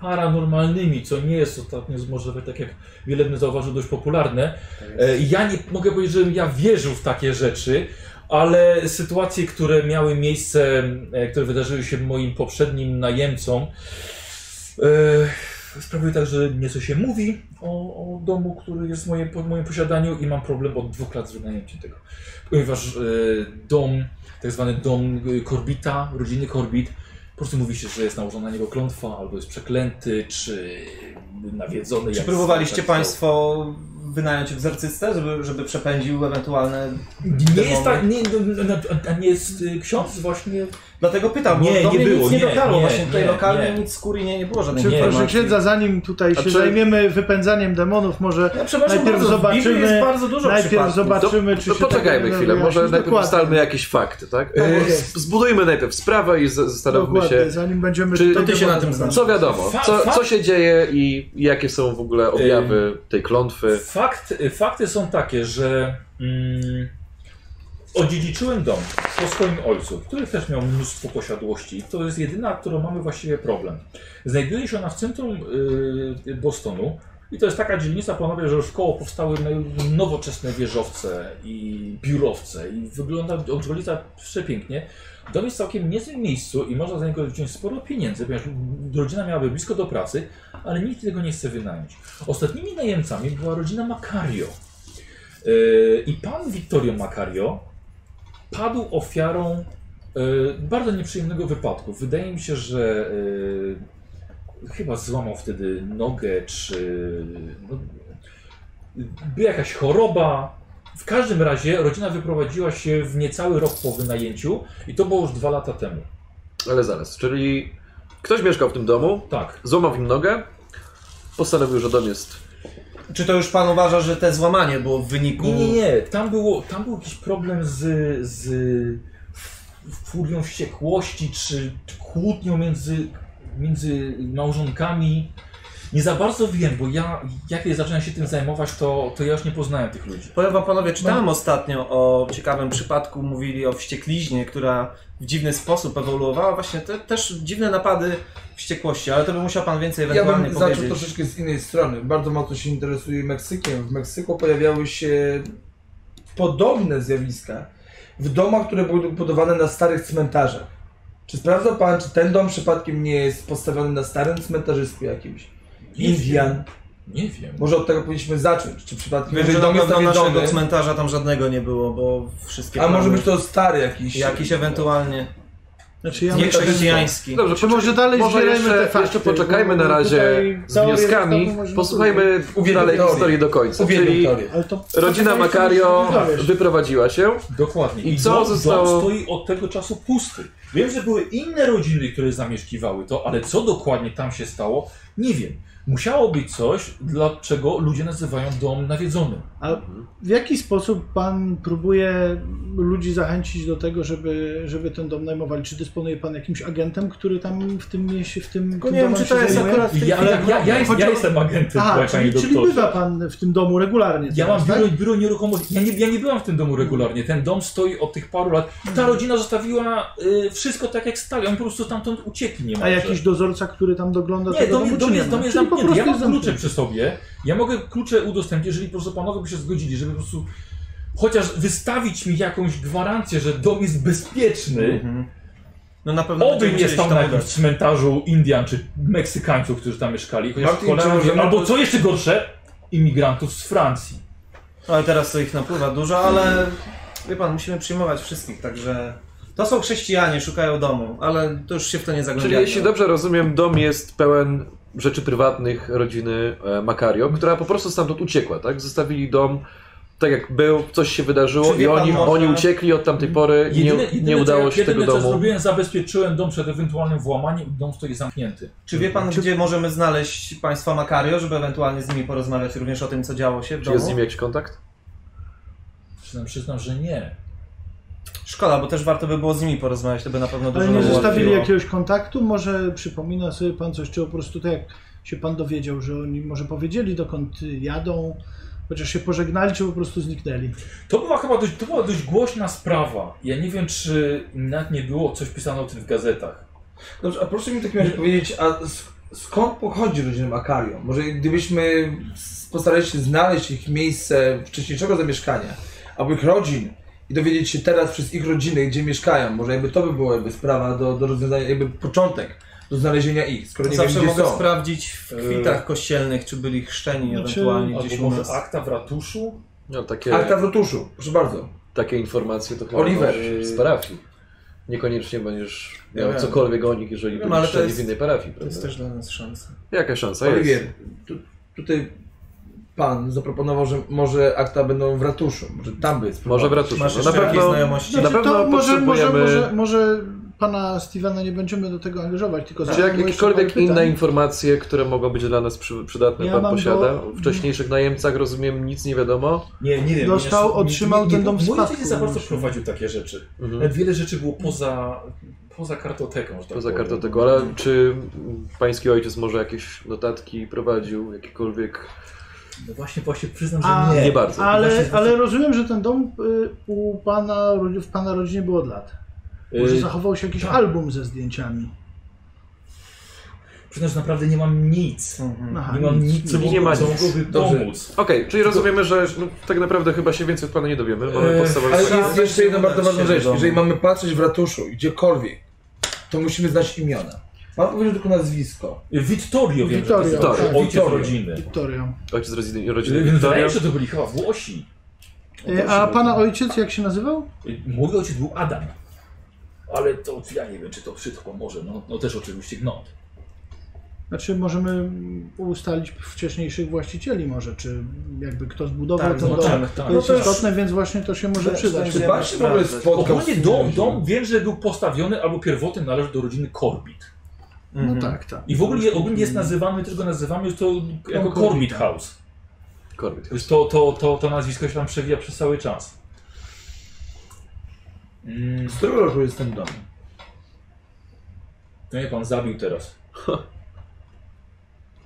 A: paranormalnymi, co nie jest ostatnio z może tak jak Wielebny zauważył, dość popularne. E, Ja nie mogę powiedzieć, żebym ja wierzył w takie rzeczy, ale sytuacje, które miały miejsce, e, które wydarzyły się moim poprzednim najemcom, e, sprawiły tak, że nieco się mówi o, o domu, który jest w moim, pod moim posiadaniu i mam problem od dwóch lat z wynajęciem tego, ponieważ e, dom tak zwany dom y, Korbita, rodziny Korbit. Po prostu mówi się, że jest nałożona na niego klątwa, albo jest przeklęty, czy nawiedzony.
B: Czy
A: jak-
B: próbowaliście
A: tak,
B: państwo wynająć egzorcystę, żeby, żeby przepędził ewentualne...
A: Nie
B: demony?
A: jest tak, nie, no, no, a- a nie jest y, ksiądz właśnie?
B: Dlatego pytam, bo
A: Nie,
B: do
A: nie
B: mnie
A: było,
B: nic nie,
A: nie,
B: dotarło.
A: nie,
B: Właśnie tutaj
A: nie,
B: lokalnie
A: nie.
B: nic z kurii nie, nie było żadnych
D: Czy
A: Nie,
D: proszę
B: informacji.
D: księdza, zanim tutaj się
G: A czy-
D: zajmiemy wypędzaniem demonów, może
A: No,
B: Ja przepraszam
D: Najpierw
B: bardzo, w Biblii
D: zobaczymy-
B: jest bardzo dużo
D: najpierw
B: przypadków.
D: zobaczymy, czy
G: to
D: się tak tego
G: No, poczekajmy
D: nie da
G: chwilę, może
D: wyjaśnić.
G: najpierw
D: Dokładnie.
G: ustalmy jakieś fakty, tak?
D: Tak
G: E,
D: jest.
G: Zbudujmy najpierw sprawę i z- zastanówmy
D: Dokładnie,
G: się,
D: zanim będziemy...
G: Czy-
D: tutaj
G: To
B: ty się na tym
D: demonów-
B: znasz.
G: co wiadomo,
A: Fa-
G: co,
A: fa-
G: co się dzieje i jakie są w ogóle objawy tej klątwy.
A: Fakt, fakty są takie, że mm, odziedziczyłem dom po swoim ojcu, który też miał mnóstwo posiadłości. To jest jedyna, którą mamy właściwie problem. Znajduje się ona w centrum y, Bostonu i to jest taka dzielnica, panowie, że już koło powstały naj- nowoczesne wieżowce i biurowce i wygląda okolica przepięknie. Dom jest całkiem niezłym miejscu i można za niego wziąć sporo pieniędzy, ponieważ rodzina miałaby blisko do pracy, ale nikt tego nie chce wynająć. Ostatnimi najemcami była rodzina Macario. Yy, I pan Vittorio Macario padł ofiarą yy, bardzo nieprzyjemnego wypadku. Wydaje mi się, że yy, chyba złamał wtedy nogę, czy no, była jakaś choroba. W każdym razie rodzina wyprowadziła się w niecały rok po wynajęciu i to było już dwa lata temu.
G: Ale zaraz, czyli ktoś mieszkał w tym domu,
A: Tak.
G: złamał im nogę, postanowił, że dom jest...
B: Czy to już pan uważa, że te złamanie było w wyniku...
A: Nie, nie, nie. Tam, było, tam był jakiś problem z, z furią wściekłości czy kłótnią między, między małżonkami. Nie za bardzo wiem, bo ja, jak ja zacząłem się tym zajmować, to, to ja już nie poznałem tych ludzi.
B: Powiem wam panowie, czytałem
A: No.
B: ostatnio o ciekawym przypadku, mówili o wściekliźnie, która w dziwny sposób ewoluowała. Właśnie te, też dziwne napady wściekłości, ale to by musiał pan więcej
E: Ja
B: ewentualnie
E: bym
B: powiedzieć.
E: zaczął troszeczkę z innej strony. Bardzo mocno się interesuję Meksykiem. W Meksyku pojawiały się podobne zjawiska w domach, które były budowane na starych cmentarzach. Czy sprawdza pan, czy ten dom przypadkiem nie jest postawiony na starym cmentarzysku jakimś? Indian.
A: Nie wiem.
E: Może od tego powinniśmy zacząć. Czy przypadkiem,
B: Wiem, że
E: jeżeli
B: na
E: dom jest
B: pewno naszego
E: nawiedzony,
B: cmentarza tam żadnego nie było, bo wszystkie
E: a może
B: plany-
E: być to stary jakiś.
B: Jakiś ewentualnie
D: Znaczy ja myślę, że-
B: niechrześcijański.
G: Dobrze,
D: Czy może dalej
G: Może
D: zbierajmy
G: jeszcze,
D: te fakty?
G: jeszcze poczekajmy na
D: Bo
G: razie
D: tutaj
G: z
D: teorie
G: wnioskami.
D: zostaną możliwe.
G: Posłuchajmy
E: Uwielbiam
G: dalej
E: teorię.
G: historii do końca.
E: Uwielbiam
G: Czyli
E: teorię.
D: Ale to...
G: rodzina
D: to
G: Macario
D: nie dowiesz.
G: wyprowadziła się.
A: Dokładnie.
G: I co
A: dom,
G: zostało-
A: dom stoi od tego czasu pusty. Wiem, że były inne rodziny, które zamieszkiwały to, ale co dokładnie tam się stało, nie wiem. Musiało być coś, dlaczego ludzie nazywają dom nawiedzonym. Mhm.
D: W jaki sposób pan próbuje ludzi zachęcić do tego, żeby, żeby ten dom najmowali? Czy dysponuje pan jakimś agentem, który tam w tym mieście, w tym,
B: Tylko
D: tym
B: nie wiem,
D: domem
B: czy
D: się
B: to jest
D: zajmuje?
B: akurat w tej
A: Ja,
B: chwili
A: ale ja, ja,
B: aktualne.
A: jest, ja jestem agentem,
D: Aha,
A: panie
D: czyli, czyli
A: doktorze.
D: bywa pan w tym domu regularnie. tak?
A: Ja mam
D: teraz,
A: biuro, biuro nieruchomości. Ja nie, ja nie byłam w tym domu regularnie. Ten dom stoi od tych paru lat.
D: Hmm.
A: Ta rodzina zostawiła y, wszystko tak jak stali. On po prostu stamtąd uciekli nie
D: A jakiś dozorca, który tam dogląda
A: Nie,
D: tego
A: dom,
D: domu,
A: dom
D: czy
A: jest,
D: nie
A: dom
D: ma?
A: jest
D: Czyli
A: zamknięty.
D: po prostu
A: Ja mam
D: jest
A: klucze
D: zamknięty.
A: przy sobie. Ja mogę klucze udostępnić, jeżeli po prostu panowie by się zgodzili, żeby po prostu chociaż wystawić mi jakąś gwarancję, że dom jest bezpieczny.
B: Mhm. No na pewno
A: Oby
B: będziemy
A: nie
B: chcieli
A: stał
B: się
A: na
B: tam
A: jakimś
B: udać.
A: cmentarzu Indian czy Meksykańców, którzy tam mieszkali. Chociaż
E: Martin, czy
A: cholera wie-
E: możemy-
A: Albo co jeszcze gorsze, imigrantów z Francji.
B: Ale teraz to ich napływa dużo, ale wie pan, musimy przyjmować wszystkich, także... To są chrześcijanie, szukają domu, ale to już się w to nie
F: No,
G: Czyli
B: zagłębiamy.
G: jeśli dobrze rozumiem, dom jest pełen rzeczy prywatnych rodziny e, Macario, która po prostu stamtąd uciekła, tak? Zostawili dom tak jak był, coś się wydarzyło
B: Czy wie
G: i
B: pan
G: oni,
B: może-
G: oni uciekli od tamtej pory,
A: Jedyne,
G: nie, nie udało się tego
A: jedyne, co
G: domu.
A: zrobiłem, zabezpieczyłem dom przed ewentualnym włamaniem. Dom stoi zamknięty.
B: Czy wie pan, gdzie możemy znaleźć państwa Makario, żeby ewentualnie z nimi porozmawiać również o tym, co działo się w
G: Czy
B: domu?
G: jest z nim jakiś kontakt?
A: Przyznam, przyznam że nie.
B: Szkoda, bo też warto by było z nimi porozmawiać, to by na pewno dużo
D: Ale nie
B: nam
D: zostawili
B: ułatwiło.
D: jakiegoś kontaktu? Może przypomina sobie pan coś, czy po prostu tak jak się pan dowiedział, że oni może powiedzieli dokąd jadą, chociaż się pożegnali, czy po prostu zniknęli?
A: To była chyba dość, to była dość głośna sprawa. Ja nie wiem, czy nawet nie było coś pisane o tym w gazetach.
E: Dobrze, a proszę mi w takim razie powiedzieć, a s- skąd pochodzi rodzina Makario? Może gdybyśmy s- postarali się znaleźć ich miejsce wcześniejszego zamieszkania, albo ich rodzin i dowiedzieć się teraz przez ich rodziny, gdzie mieszkają, może jakby to by była jakby sprawa do, do rozwiązania, jakby początek do znalezienia ich, skoro nie
B: Zawsze
E: wiem, gdzie
B: mogę
E: są.
B: sprawdzić w kwitach kościelnych, czy byli chrzczeni
D: Znaczy,
B: ewentualnie gdzieś
A: Albo
B: u
A: może
B: nas.
A: akta w ratuszu?
G: No, takie,
E: Akta w ratuszu, proszę bardzo.
G: takie informacje to chyba
E: Oliver.
G: masz z parafii. Niekoniecznie będziesz miał
B: wiem.
G: cokolwiek o nich, jeżeli
B: Wiem,
G: byli
B: ale to
G: szczeni
B: jest-
G: w innej parafii.
B: To jest
G: prawda?
B: też dla nas szansa.
G: Jaka szansa
E: Oliwier,
G: jest?
E: tu, tutaj pan zaproponował, że może akta będą w ratuszu, może tam by jest
G: Może w
E: problem.
G: ratuszu.
B: Masz
G: No,
B: jeszcze
G: na
B: jakieś
G: pewno
B: znajomości?
G: na
D: Znaczy,
G: pewno
D: to może, może,
G: potrzebujemy-
D: może, może pana Stevena nie będziemy do tego angażować, tylko
G: Czy jak,
D: zadajmy jeszcze
G: jakiekolwiek
D: parę pytań.
G: inne informacje, które mogą być dla nas przy, przydatne,
D: tak. Ja
G: pan
D: mam
G: posiada?
D: do-
G: O wcześniejszych najemcach, rozumiem, nic nie wiadomo.
A: Nie, nie wiem.
D: Dostał,
A: nie- nie-
D: otrzymał
A: nie-
D: ten dom w
A: Mój ojciec
D: spadku,
A: nie za bardzo
D: myślę.
A: prowadził takie rzeczy.
G: Mhm.
A: Nawet wiele rzeczy było poza, poza kartoteką. Że tak
G: Poza
A: powiem.
G: kartą tego, ale czy pański ojciec może jakieś notatki prowadził, jakiekolwiek?
A: No właśnie, właśnie przyznam, że
D: A,
A: nie.
G: Nie bardzo.
D: Ale,
A: Właśnie-
D: ale rozumiem, że ten dom y, u pana, rodzi- w pana rodzinie był od lat. Może
A: Y,
D: zachował się jakiś
A: tak.
D: album ze zdjęciami.
A: Przyznam, że naprawdę nie mam nic.
B: Mhm.
D: Aha,
A: Nie mam
D: nic.
A: nic, co
G: Czyli nie ma
A: mogłoby co
G: nic.
A: mogłoby
E: Dobrze.
A: pomóc.
G: Okej, czyli rozumiemy, że no, tak naprawdę chyba się więcej od pana nie dowiemy. Mamy
A: Eee,
G: podstawowe...
E: Ale
B: Trzeba
E: jest jeszcze
B: będzie
E: jedna bardzo
B: udać się
E: ważna
B: do
E: rzecz.
B: domu.
E: Jeżeli mamy patrzeć w ratuszu, gdziekolwiek, to musimy znać imiona. Pan powiedział tylko nazwisko.
A: Vittorio Yy, wiem,
D: Vittorio,
A: że to jest
G: tak.
A: ojciec
E: Vittorio.
A: rodziny.
D: Wiktorio.
G: Ojciec rodziny,
A: Y,
G: rodziny Wiktoria.
A: Wydaje się, że to byli chyba Włosi.
D: Y, A pana ojciec jak się nazywał?
A: Y, Mój ojciec był Adam. Ale to ja nie wiem, czy to wszystko może. No, no też oczywiście no.
D: Znaczy możemy mm, ustalić wcześniejszych właścicieli może, czy jakby kto zbudował
B: Tak,
D: ten
B: no
D: dom.
A: tak, tak.
D: To jest
B: No to już-
D: istotne, więc właśnie to się może
B: Też
D: przydać.
B: będzie-
E: Czy pan się w ogóle
B: sprawdzać.
E: spotkał
A: Ogólnie dom, dom wiem, że był postawiony albo pierwotny należy do rodziny Corbit.
D: No tak, tak.
A: I w ogóle je, ogólnie jest nazywany, też go nazywamy to jako
D: Corbita.
A: Corbit House.
G: Korbit.
A: Już To, to, to, to nazwisko się tam przewija przez cały czas. Mm,
E: Z którego roku jest ten dom?
A: to mnie No pan zabił teraz.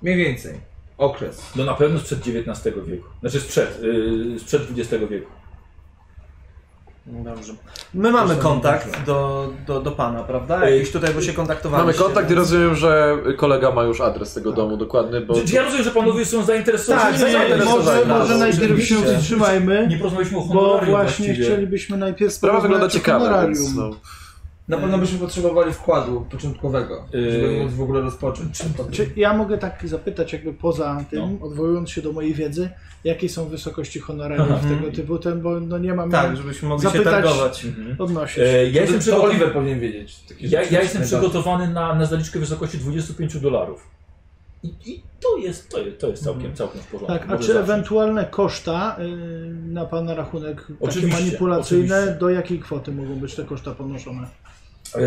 E: Mniej więcej. Okres.
A: No na pewno sprzed XIX wieku. Znaczy sprzed, yy, sprzed XX wieku.
B: Dobrze. My mamy kontakt do, do, do pana, prawda?
A: Ej,
B: Jakiś tutaj, bo się
G: Mamy
B: kontaktowaliście.
G: kontakt i
B: więc-
G: rozumiem, że kolega ma już adres tego domu dokładny, bo...
A: Czy, czy ja rozumiem, że panowie są zainteresowani?
D: Tak,
A: Nie,
B: nie,
A: nie,
B: nie,
D: może,
B: zainteresowanie.
D: może najpierw się
A: Oczywiście.
D: wstrzymajmy,
A: nie porozmawialiśmy o
D: bo
A: honorarium
D: właśnie
A: właściwie.
D: chcielibyśmy najpierw
G: Sprawa wygląda
D: porozmawiać o
G: ciekawa, więc
D: honorarium.
G: no...
E: Na pewno byśmy potrzebowali wkładu początkowego, żeby
A: Yy.
E: móc w ogóle rozpocząć.
D: Czy ja mogę tak zapytać, jakby poza tym,
A: No.
D: odwołując się do mojej wiedzy, jakie są wysokości honorariów
B: Mhm.
D: tego typu, ten, bo no nie mam
B: Tak,
D: jak
B: żebyśmy mogli się
D: Zapytać-
B: targować.
A: Mhm.
D: odnosić.
A: E, ja
E: to,
A: jestem,
E: to
A: przygotowany,
E: Oliver powinien wiedzieć. Takie
A: ja,
E: rzeczy.
A: ja jestem
E: Najbardziej.
A: przygotowany na, na zaliczkę w wysokości 25 dolarów. I, i to, jest, to, jest, to jest całkiem, całkiem w porządku.
D: tak, a
A: Może
D: czy
A: zacząć.
D: ewentualne koszta y, na Pana rachunek, takie
A: Oczywiście,
D: manipulacyjne,
A: oczywiście.
D: do jakiej kwoty mogą być te koszta ponoszone?
A: E,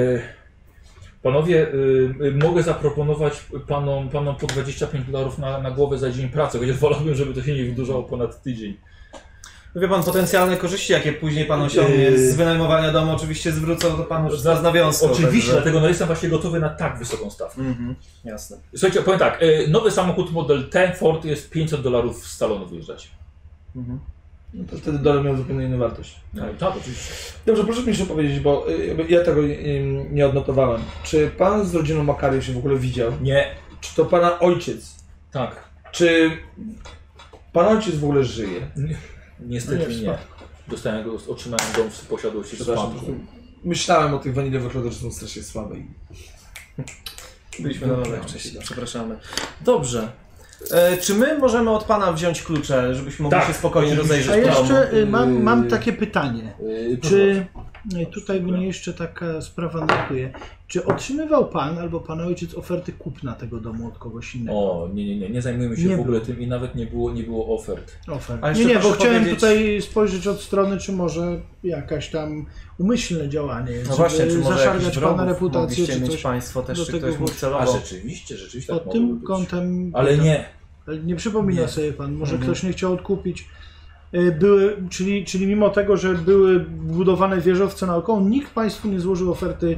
A: Panowie, y, y, mogę zaproponować panom, panom po 25 dolarów na, na głowę za dzień pracy, chociaż wolałbym, żeby to się nie wydłużało ponad tydzień.
B: Wie pan, potencjalne korzyści, jakie później pan osiągnie
A: Yy.
B: z wynajmowania domu, oczywiście zwrócą do panu za nawiązką.
A: Oczywiście,
B: także-
A: dlatego no jestem właśnie gotowy na tak wysoką stawkę.
B: Mhm, jasne.
A: Słuchajcie, powiem tak, y, nowy samochód model T Ford jest 500 dolarów z salonu wyjeżdżać.
E: No to wtedy dolar miał zupełnie inną wartość.
A: No, tak, oczywiście.
E: Dobrze, proszę mi jeszcze powiedzieć, bo y, jakby ja tego y, nie odnotowałem. Czy pan z rodziną Makario się w ogóle widział?
A: Nie,
E: Czy to pana ojciec
A: tak,
E: Czy pan ojciec w ogóle żyje?
A: niestety
D: No nie, w
A: nie. Dostałem go, otrzymałem dom w posiadłości w
E: Przepraszam, po
A: spadku.
E: prostu myślałem o tych wanilowych lodach, że są strasznie słabe. i-
B: Byliśmy na nowym wcześniej, przepraszamy. Dobrze. E, czy my możemy od pana wziąć klucze, żebyśmy mogli
A: Tak,
B: się spokojnie
A: oczywiście.
B: rozejrzeć
D: A
B: po domu?
D: jeszcze y, mam, mam takie pytanie.
A: Yy, proszę
D: Czy E, Tutaj mnie jeszcze taka sprawa nurtuje. Czy otrzymywał pan albo pana ojciec oferty kupna tego domu od kogoś innego?
A: O, nie, nie, nie, nie zajmujemy się
D: Nie
A: w ogóle tym i nawet nie było, nie było ofert.
D: Ofert.
B: A
D: Nie,
B: jeszcze
D: nie, bo
B: proszę
D: chciałem
B: powiedzieć-
D: tutaj spojrzeć od strony, czy może jakaś tam umyślne działanie,
B: No właśnie, czy może
D: zaszargać
B: jakichś
D: pana
B: wrogów
D: reputację,
B: mogliście
D: czy
B: mieć
D: coś.
B: państwo
D: do
B: też, czy
D: tego
B: ktoś mu
D: włożyć?
A: A
B: celował.
A: rzeczywiście, rzeczywiście tak
D: Pod
A: mogło
D: tym
A: być.
D: kątem.
A: Ale nie,
D: Ale nie przypomina
B: Nie.
D: sobie pan, może
B: Mhm.
D: ktoś nie chciał odkupić. Y, Były, czyli, czyli mimo tego, że były budowane wieżowce naokoło, nikt państwu nie złożył oferty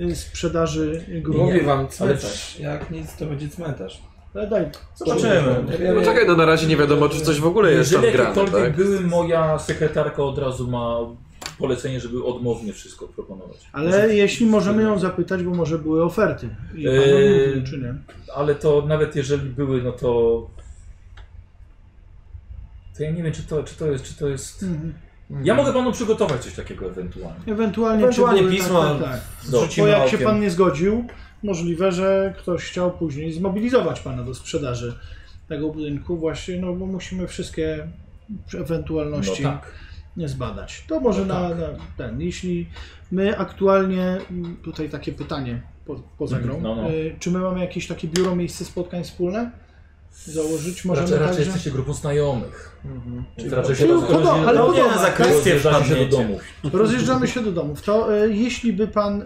D: e, e, sprzedaży gruntu.
E: Mówię wam,
A: przecież-
E: cmentarz. Jak nic, to będzie cmentarz.
D: Ale No daj,
B: Zobaczymy.
E: E,
G: No czekaj, no na razie nie wiadomo, czy coś w ogóle jest tam
A: jeżeli
G: grane,
A: jakiekolwiek
G: tak?
A: były, moja sekretarka od razu ma polecenie, żeby odmownie wszystko proponować.
D: ale jeśli możemy ją zapytać, bo może były oferty. I pan
A: Eee,
D: mówił, czy nie?
A: Ale to nawet jeżeli były, no to... To ja nie wiem, czy to, czy to jest, czy to jest...
D: Mhm.
A: Ja mogę panu przygotować coś takiego ewentualnie.
D: Ewentualnie,
B: Ewentualnie
D: czy były,
B: pismo
D: Tak, tak, tak. Bo
B: zrzucimy
D: jak się pan
B: okiem.
D: nie zgodził, możliwe, że ktoś chciał później zmobilizować pana do sprzedaży tego budynku, właśnie, no bo musimy wszystkie
A: No
D: ewentualności.
A: tak.
D: nie zbadać. To może
A: No
D: na,
A: tak.
D: na ten, jeśli my aktualnie, m, tutaj takie pytanie po, poza
A: Mhm,
D: grą,
A: no, no.
D: Y, czy my mamy jakieś takie biuro, miejsce spotkań wspólne? Założyć możemy
A: Raczej, raczej
D: także...
A: jesteście grupą znajomych. Czyli raczej
D: Czyli podoba, ale
A: rozjeżdżacie-
D: podoba,
B: za
D: tak?
B: kwestię
A: rozjeżdżacie się do
B: wpadniecie.
A: domów.
D: Rozjeżdżamy się do domów. To y, jeśli by pan y,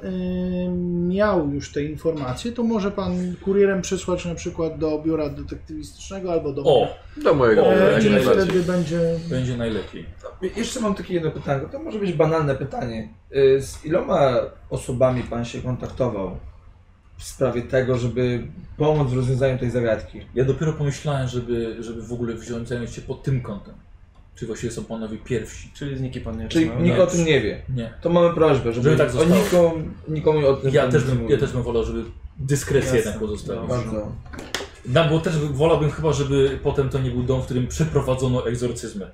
D: miał już te informacje, to może pan kurierem przysłać na przykład do biura detektywistycznego albo do...
A: O,
G: Do mojego.
A: O,
G: biura,
D: E,
A: będzie
D: I
G: jak najbardziej.
D: wtedy będzie...
A: będzie najlepiej.
E: Jeszcze mam takie jedno pytanie. To może być banalne pytanie. Y, Z iloma osobami pan się kontaktował w sprawie tego, żeby pomóc w rozwiązaniu tej zagadki?
A: Ja dopiero pomyślałem, żeby, żeby w ogóle wziąć, zająć się pod tym kątem. Czy właściwie są panowie pierwsi?
B: Czyli z nikim pan nie
E: Czyli
B: rozmawiał.
E: nikt o tym nie wie.
A: Nie.
E: To mamy prośbę, żeby,
A: Znaczy, Żeby tak
E: o
A: zostało.
E: nikomu, nikomu o tym
A: Ja
E: nie
A: też, bym, ja
E: mówił.
A: też bym wolał, żeby dyskrecję
B: Jasne.
A: jednak pozostawić.
B: No.
E: Bardzo.
A: No, bo też wolałbym chyba, żeby potem to nie był dom, w którym przeprowadzono egzorcyzmy.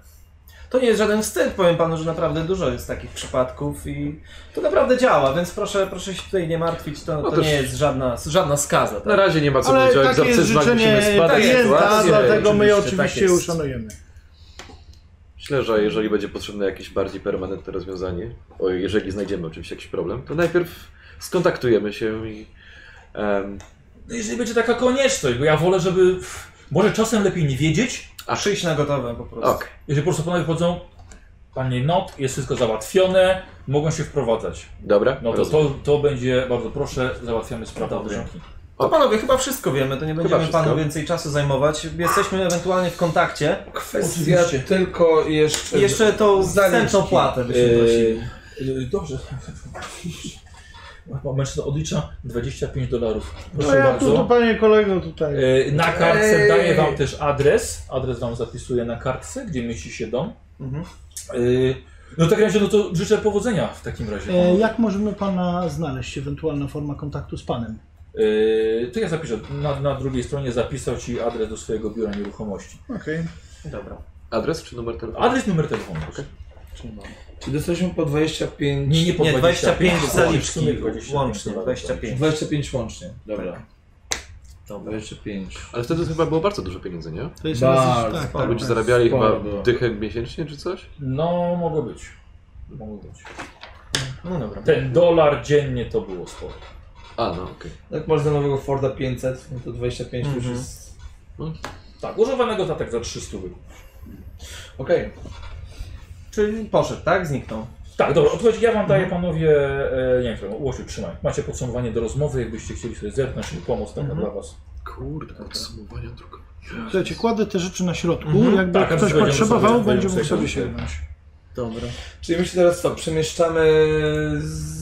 B: To nie jest żaden wstyd, powiem panu, że naprawdę dużo jest takich przypadków i to naprawdę działa, więc proszę, proszę się tutaj nie martwić, to,
G: No
B: to
G: też-
B: nie jest żadna, żadna skaza.
G: Na
B: Tak?
G: razie nie ma co
D: Ale
G: mówić o
D: takie jest
G: egzorcyzmach, musimy
D: życzenie
G: spadać
D: klienta,
G: sytuację.
D: dlatego my je
B: Oczywiście, tak
D: oczywiście
B: jest.
D: uszanujemy.
G: Myślę, że jeżeli będzie potrzebne jakieś bardziej permanentne rozwiązanie, o, jeżeli znajdziemy oczywiście jakiś problem, to najpierw skontaktujemy się i em,
A: No, jeżeli będzie taka konieczność, bo ja wolę, żeby... pff, Może czasem lepiej nie wiedzieć,
B: Przyjść na gotowe po prostu.
G: okej.
A: jeżeli po prostu panowie powiedzą, panie Not, jest wszystko załatwione, mogą się wprowadzać.
G: Dobra?
A: No to, to, to będzie, bardzo proszę, załatwiamy sprawę od
B: Dobrze.
A: ręki.
B: To panowie, chyba wszystko wiemy, to nie będziemy
G: wszystko.
B: panu więcej czasu zajmować. Jesteśmy ewentualnie w kontakcie.
E: Kwestia tylko jeszcze...
B: I jeszcze tą wstępną płatę byśmy
A: E,
B: prosili.
A: Yy, Dobrze. Mężczyzna odlicza 25 dolarów. Proszę
D: No ja tu,
A: bardzo.
D: tu panie kolego tutaj.
A: Yy, Na kartce
E: Ej.
A: daję wam też adres. Adres wam zapisuję na kartce, gdzie mieści się dom.
B: Mhm.
A: Yy, No w takim razie, no to życzę powodzenia w takim
D: E,
A: razie.
D: jak możemy pana znaleźć, ewentualna forma kontaktu z panem?
A: Yy, To ja zapiszę. Na, na drugiej stronie zapisał ci adres do swojego biura nieruchomości.
D: Okej.
B: Dobra.
G: Adres czy numer telefonu?
A: Adres, numer telefonu.
E: Czy dostaliśmy po 25...
A: Nie, nie po
B: Nie, 25
A: dokładnie, w
B: zaliczki
A: sumie 25
B: łącznie,
A: dolarów.
B: 25.
E: 25 łącznie. Dobra.
B: Tak.
E: Dobra. 25.
G: Ale wtedy chyba było bardzo dużo pieniędzy, nie?
D: To jest
E: Bardzo
D: dosyć- tak,
E: sporo
D: tak,
G: Ludzie
D: tak.
G: zarabiali
E: sporo
G: chyba
E: było.
G: dychę miesięcznie czy coś?
A: No, mogło być. Mogło być.
B: No dobra.
A: Ten dolar dziennie to było sporo.
G: A, no okej.
E: Jak masz za nowego Forda 500, no to 25 to już
B: Mhm.
E: jest...
A: Tak, używanego to tak za 300 było.
E: Okej.
B: Czyli poszedł, tak? Zniknął.
A: Tak, dobra, odpowiedź ja wam daję panowie, e, nie wiem, Łosiu, trzymaj. Macie podsumowanie do rozmowy, jakbyście chcieli sobie zerknąć i pomoc taka dla was.
G: Kurde, podsumowania druga.
D: Słuchajcie, kładę te rzeczy na środku.
B: Mhm.
D: Jakby
A: Tak,
D: ktoś
A: będziemy
D: potrzebował,
A: sobie-
D: będzie mógł
A: będziemy sobie
D: sobie sięgnąć.
B: Dobra.
E: Czyli my się teraz co, przemieszczamy z...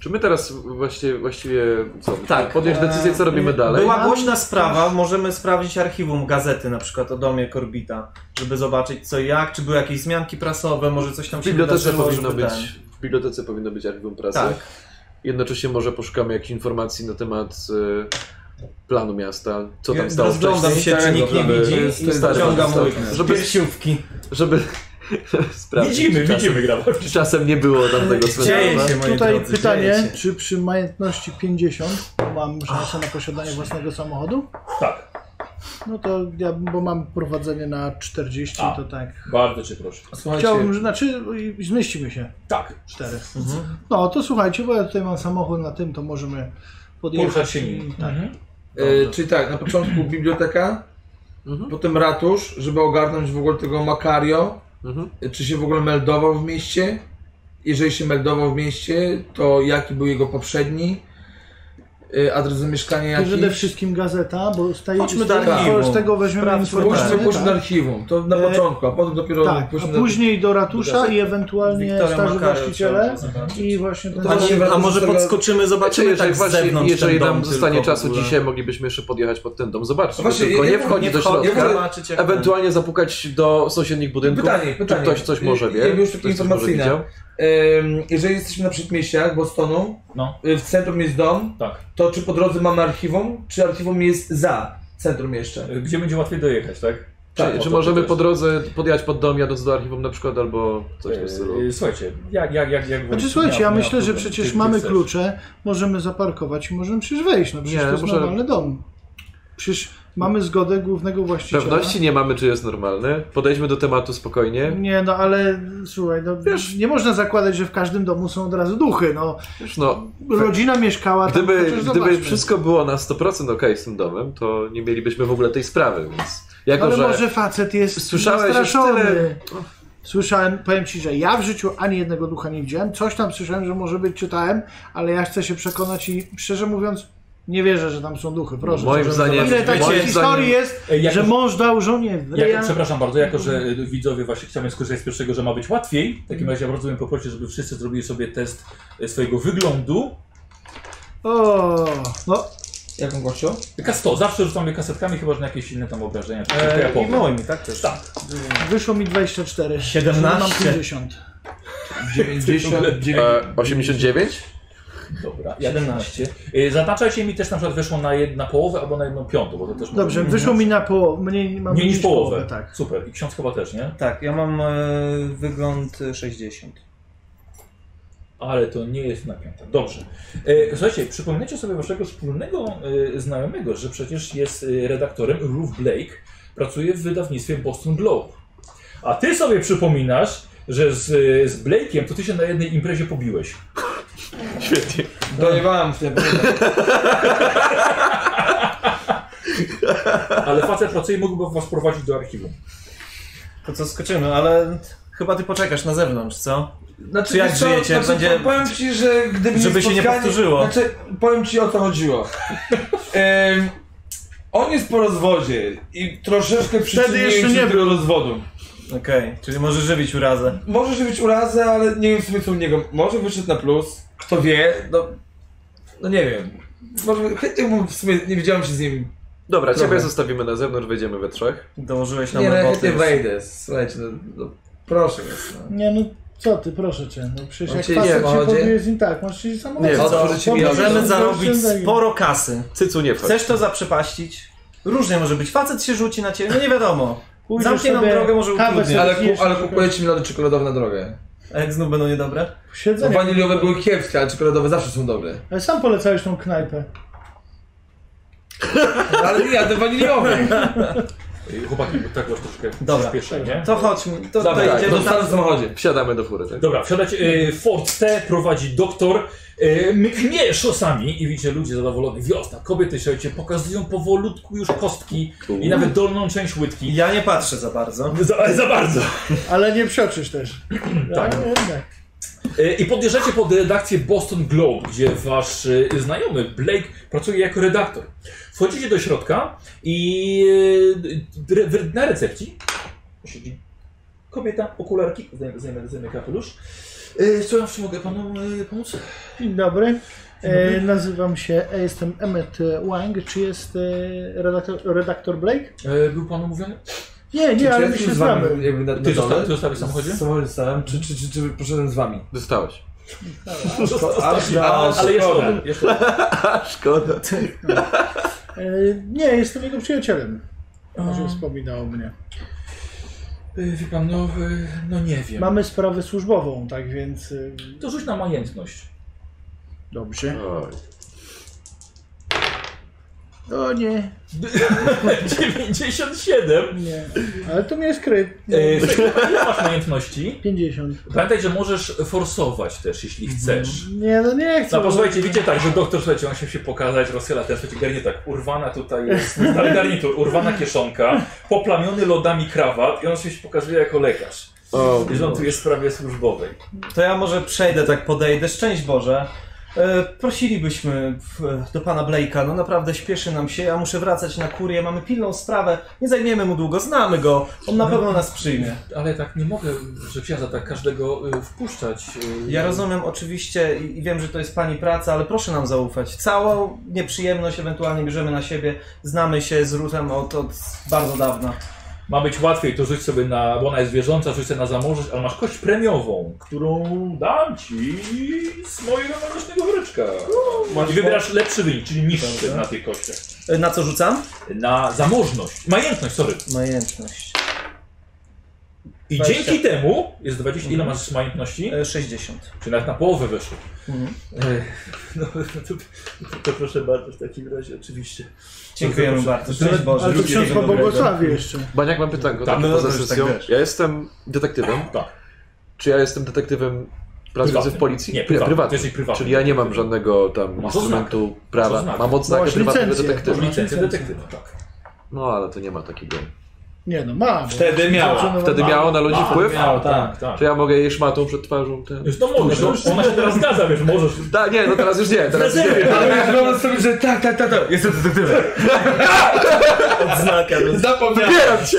G: Czy my teraz właściwie, właściwie co? musimy
B: Tak.
G: Podjąć decyzję, co robimy dalej?
B: Była głośna sprawa, możemy sprawdzić archiwum gazety na przykład o domie Korbita, żeby zobaczyć co i jak, czy były jakieś zmianki prasowe, może coś tam
G: W
B: się
G: bibliotece
B: wydarzyło,
G: powinno
B: żeby
G: być.
B: ten-
G: W bibliotece powinno być archiwum pracy.
B: Tak.
G: Jednocześnie może poszukamy jakichś informacji na temat e, planu miasta, co tam stało
B: Rozglądam
G: wcześniej.
B: się, czy nikt nie
G: żeby-
B: widzi i
G: stary
B: ściągam
G: stary.
B: żeby...
G: Żeby-
B: piersiówki.
G: Żeby sprawdzić. czy Tak, czasem, Tak.
A: graba.
G: Czy czasem nie było tamtego
B: Dzieje
G: cmentarza.
B: się, moi
D: Tutaj
B: drodzy, dzieje
D: pytanie,
B: się.
D: czy przy majątności 50 mam szansę na posiadanie własnego samochodu?
A: Tak.
D: No to ja, bo mam prowadzenie na 40,
A: A.
D: to tak.
A: Bardzo cię proszę.
E: Słuchajcie,
D: Chciałbym, że- znaczy i- i zmieścimy się.
A: Tak.
D: Cztery.
B: Mhm.
D: No to słuchajcie, bo ja tutaj mam samochód na tym, to możemy
A: Poruszać
D: podjechać.
A: się nim.
D: i- Tak.
B: Mhm.
E: e, czyli tak, na początku biblioteka, potem ratusz, żeby ogarnąć w ogóle tego Makario,
G: Mhm.
E: e, czy się w ogóle meldował w mieście. Jeżeli się meldował w mieście, to jaki był jego poprzedni, e, adres zamieszkania
D: To
E: jaki.
D: Przede wszystkim gazeta, bo z, tej,
B: Chodźmy
D: z,
B: do
D: tego,
B: archiwum.
D: z tego weźmiemy
B: Sprawdźmy,
E: Pójdźmy,
D: informacje.
E: pójdźmy do
D: tak?
E: archiwum, to na
D: E,
E: początku, a potem dopiero
D: Tak,
E: pójdźmy
D: a później do ratusza i ewentualnie
B: Wiktora
D: starzy
B: Makario
D: właściciele
B: trzeba zobaczyć.
D: i właśnie
B: No
D: ten...
E: A nie-
B: A może
E: tego-
B: podskoczymy, zobaczymy
G: jeżeli
B: tak z
G: właśnie,
B: zewnątrz
G: jeżeli
B: ten dom
G: nam zostanie
B: tylko w
G: czasu
B: ogóle.
G: dzisiaj, moglibyśmy jeszcze podjechać pod ten dom, zobaczyć.
E: Właśnie,
G: tylko
E: ja-
G: nie
E: ja-
G: wchodzić
B: Nie
G: do
B: wchodzi,
G: środka.
B: zobaczyć jak ten-
G: Ewentualnie zapukać do sąsiednich budynków.
E: Pytanie, pytanie.
G: Czy ktoś coś może wie?
E: Jakby już
G: Czy
E: takie
G: ktoś coś może
E: informacyjne.
G: widział?
E: Ym, jeżeli jesteśmy na przedmieściach Bostonu,
A: No.
E: y, w centrum jest dom,
A: Tak.
E: to czy po drodze mamy archiwum, czy archiwum jest za centrum jeszcze?
A: tak. Gdzie będzie łatwiej dojechać, tak?
E: Tak,
G: Czy,
E: o
G: czy
E: to
G: możemy
E: pytać.
G: po drodze podjechać pod dom, jadąc do archiwum na przykład, albo coś w tym stylu?
E: Yy,
A: Eee, Słuchajcie, jak, jak, jak, jak...
D: Znaczy
A: wolicie.
D: słuchajcie,
A: Nie
D: ja
A: ma- nie ma
D: myślę, że
A: problemu.
D: przecież
A: Ty- ty
D: mamy
A: chcesz.
D: klucze, możemy zaparkować i możemy przecież wejść, no przecież
G: Nie,
D: to jest
G: może-
D: normalny dom. Przecież mamy zgodę głównego właściciela.
G: Pewności nie mamy, czy jest normalny. Podejdźmy do tematu spokojnie.
D: Nie, no ale słuchaj, no
G: Wiesz-
D: nie można zakładać, że w każdym domu są od razu duchy, no.
G: Wiesz, no,
D: Rodzina mieszkała tam,
G: gdyby,
D: chociaż
G: gdyby
D: zobaczmy.
G: wszystko było na 100% okej z tym domem, to nie mielibyśmy w ogóle tej sprawy, więc... Jako,
D: Ale
G: że...
D: może facet jest
G: Słyszałeś już
D: zastraszony.
G: tyle-
D: Słyszałem, powiem ci, że ja w życiu ani jednego ducha nie widziałem. Coś tam słyszałem, że może być, czytałem, ale ja chcę się przekonać i szczerze mówiąc, nie wierzę, że tam są duchy. Proszę.
G: Moim
D: Proszę,
G: zdaniem-
D: Ile takich
G: moim
D: historii
G: zdaniem-
D: jest,
A: Ej, jak-
D: że mąż dał żonie w
A: Jako,
D: ryja?
A: Przepraszam bardzo, jako że y, widzowie właśnie chciałem skorzystać z pierwszego, że ma być łatwiej, w takim razie bardzo bym poprosił, żeby wszyscy zrobili sobie test y, swojego wyglądu.
D: O, no,
E: Jaką gością?
A: Kasto, zawsze rzucamy kasetkami, chyba że na jakieś inne tam obrażenia. czy to ja
B: E, I
A: powiem.
B: moimi, tak też.
A: Tak.
D: wyszło mi 24.
B: 17.
D: Mam 50.
E: 99.
G: E, 89?
A: Dobra, ja 11. Y, Zataczajcie mi też na przykład wyszło na, jed, na połowę albo na jedną piątą, bo to też może
D: Dobrze,
A: być.
D: wyszło mi na połowę. Mniej, mam
A: Mniej niż połowę.
D: tak.
A: Super, i ksiądz chyba też, nie?
F: Tak, ja mam e, wygląd e, 60.
A: Ale to nie jest na piątą. Dobrze. E, Słuchajcie, przypominajcie sobie waszego wspólnego e, znajomego, że przecież jest e, redaktorem, Ruth Blake, pracuje w wydawnictwie Boston Globe. A ty sobie przypominasz, że z, e, z Blake'iem to ty się na jednej imprezie pobiłeś.
G: Świetnie.
E: Dojewałem w tym.
A: Ale facet pracuje mógłby was prowadzić do archiwum.
B: To co skoczymy, ale chyba ty poczekasz na zewnątrz, co?
E: Znaczy,
B: Czy jak
E: wiesz co,
B: żyjecie,
E: znaczy,
B: będzie-
E: Powiem ci, że gdyby
B: Żeby się nie
E: spotkanie-
B: powtórzyło.
E: Znaczy, powiem ci o co chodziło. Ym, on jest po rozwodzie i troszeczkę przyczynił
D: jeszcze
E: się
D: nie
E: do tego rozwodu.
B: Okej, czyli może żywić urazę.
E: Może żywić urazę, ale nie wiem w sumie co u niego. Może wyszedł na plus, kto wie, no... No nie wiem. Może chętnie mu w sumie nie widziałem się z nim.
G: Dobra,
E: Trochę.
G: ciebie zostawimy na zewnątrz, wejdziemy we trzech.
B: Dołożyłeś nam
E: Nie, no ja
B: roboty.
E: chętnie
B: już.
E: wejdę. Słuchajcie, no, no proszę was. No.
D: Nie no, co ty, proszę cię. No przecież
E: On
D: jak
E: cię nie
D: facet się
E: powodzi.
D: pobije z nim tak, masz się samochód.
G: Nie,
E: co, że ci
D: Pobijesz
E: bierzemy
D: się
B: Możemy
D: z
B: zarobić
D: gościem,
B: sporo kasy.
G: Cycu, nie wchodź.
B: Chcesz to zaprzepaścić? Różnie może być. Facet się rzuci na ciebie, no nie wiadomo.
D: Pójdziesz
B: Zamknie nam
D: sobie
B: drogę, może
D: kawę
B: utrudnię.
D: sobie
E: Ale,
D: pijesz,
E: ku, ale kupujecie mi lody czekoladowe na drogę.
B: A jak znów będą niedobre?
E: Bo
D: Siedzenie.
E: waniliowe były kiepskie, ale czekoladowe zawsze są dobre.
D: Ale sam polecałeś tą knajpę.
E: No, Ale nie jadę waniliowe.
A: Y, Chłopaki, bo tak was troszkę
B: Dobra.
A: przyspieszę, nie?
B: To chodźmy, to, to
E: Dobra, tak,
B: idziemy tam.
E: dostanę w samochodzie.
G: Wsiadamy do fury, tak?
A: Dobra, wsiadać. E, Ford T prowadzi doktor. E, mknie szosami i widzicie ludzie zadowoleni. Wiosna, kobiety słuchajcie, pokazują powolutku już kostki i nawet dolną część łydki.
B: Ja nie patrzę za bardzo.
A: Za, za bardzo.
D: Ale nie przeoczysz też.
A: Tak.
D: Ja jednak.
A: E, I podjeżdżacie pod redakcję Boston Globe, gdzie wasz e, znajomy Blake pracuje jako redaktor. Wchodzicie do środka i e, re, re, na recepcji siedzi kobieta, okularki, zajmę, zajmę, zajmę kapelusz. E, co ja jeszcze mogę panu e, pomóc?
D: Dzień dobry. E, nazywam się, e, jestem Emmet Wang. Czy jest e, redaktor, redaktor Blake?
A: E, był panu mówiony?
D: Nie, nie, ale my się znamy.
E: jakby na, na
A: Ty
E: dole?
A: zosta- ty zostawisz w samochodzie?
E: W samochodzie zostałem, czy, czy, czy, czy poszedłem z wami?
G: Dostałeś.
E: To, aż, aż,
A: Ale jeszcze jeden, jeszcze jeden.
G: Szkoda.
D: E, nie, jestem jego przyjacielem. Może wspominał o mnie.
A: Y, Wie pan, no, y, no nie wiem.
D: Mamy sprawę służbową, tak więc e,
A: To rzuć na majętność.
D: dobrze.
G: Oj.
D: O no nie,
A: 97.
D: nie. Ale to nie jest kryp.
A: E, słuchaj, ile masz umiejętności?
D: 50.
A: Pamiętaj, że możesz forsować też, jeśli chcesz.
D: Nie, no nie chcę.
A: No posłuchajcie, wiecie tak, że doktor, słuchajcie, on się, się pokazać, rozchyla ten, słuchajcie, garnitur tak, urwana tutaj jest, ale garnitur, urwana kieszonka, poplamiony lodami krawat i on się pokazuje jako lekarz.
G: O,
A: I że on tu jest w sprawie służbowej.
F: To ja może przejdę, tak podejdę. Szczęść Boże. E, prosilibyśmy w, do pana Blake'a, no naprawdę śpieszy nam się, ja muszę wracać na kurię, mamy pilną sprawę, nie zajmiemy mu długo, znamy go, on na pewno nas przyjmie.
A: Ale tak nie mogę, że księdza tak każdego y, wpuszczać. y.
F: Ja rozumiem oczywiście i, i wiem, że to jest pani praca, ale proszę nam zaufać. Całą nieprzyjemność ewentualnie bierzemy na siebie, znamy się z Ruthem od, od bardzo dawna.
A: Ma być łatwiej, to rzuć sobie na, bo ona jest zwierząca, rzuć sobie na zamożność, ale masz kość premiową, którą dam ci z mojego noworocznego wryczka. I wybierasz lepszy wynik, czyli niższy na tej kościach.
F: E, Na co rzucam?
A: Na zamożność, majętność, sorry.
F: Majętność.
A: I
F: Dwadzieścia.
A: dzięki temu jest 20, ile masz majętności?
F: E, 60.
A: Czy nawet na połowę weszło.
F: Mhm.
A: Ech, No, no to, to, to proszę bardzo, w takim razie oczywiście.
F: Dziękujemy bardzo. Szczęść Boże.
D: Ale to ksiądz pobłogosławi jeszcze.
G: Baniak, mam pytanko,
A: Tak,
G: tak,
A: no
G: poza
A: dobrze,
G: sesją.
F: tak wiesz.
G: ja jestem detektywem.
A: Tak.
G: Czy ja jestem detektywem pracującym w policji?
A: Nie,
G: Pry-
A: prywatnym. To jest ich prywatny.
G: Czyli ja nie mam żadnego tam
A: Masz
G: instrumentu
A: Masz
G: prawa.
A: oznakę.
G: Mam odznakę
D: Masz
G: prywatnego
D: licencję.
A: Masz
G: detektywa.
A: licencję detektywa, tak.
G: No ale to nie ma takiego.
D: Nie no, ma. bo-
E: Wtedy miała.
G: Wtedy miało na ludzi wpływ?
A: Miał, tak, tak.
G: Czy ja mogę jej szmatą przed twarzą? Ten...
A: Już to możesz, no, ona się teraz zgadza, wiesz, możesz.
G: Da, nie, no teraz już nie, teraz już nie.
E: Ale ja wyobrażam sobie, że tak, tak, tak, tak, jestem detektywem.
F: Odznaka.
E: Zapomniałem.
G: Wybieram cię!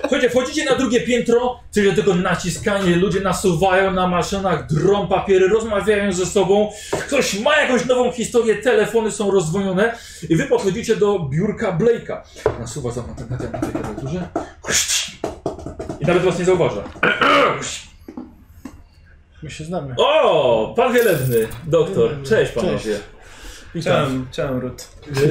A: Słuchajcie, wchodzicie na drugie piętro, czyli tylko naciskanie, ludzie nasuwają na maszynach, drą papiery, rozmawiają ze sobą, ktoś ma jakąś nową historię, telefony są rozwojone i wy podchodzicie do biurka Blake'a. Nasuwa za matematykę na tej klawiaturze i nawet was nie zauważa.
D: My się znamy.
A: O, pan wielebny, doktor, cześć panowie. Witam.
F: Czełem, czełem Rut.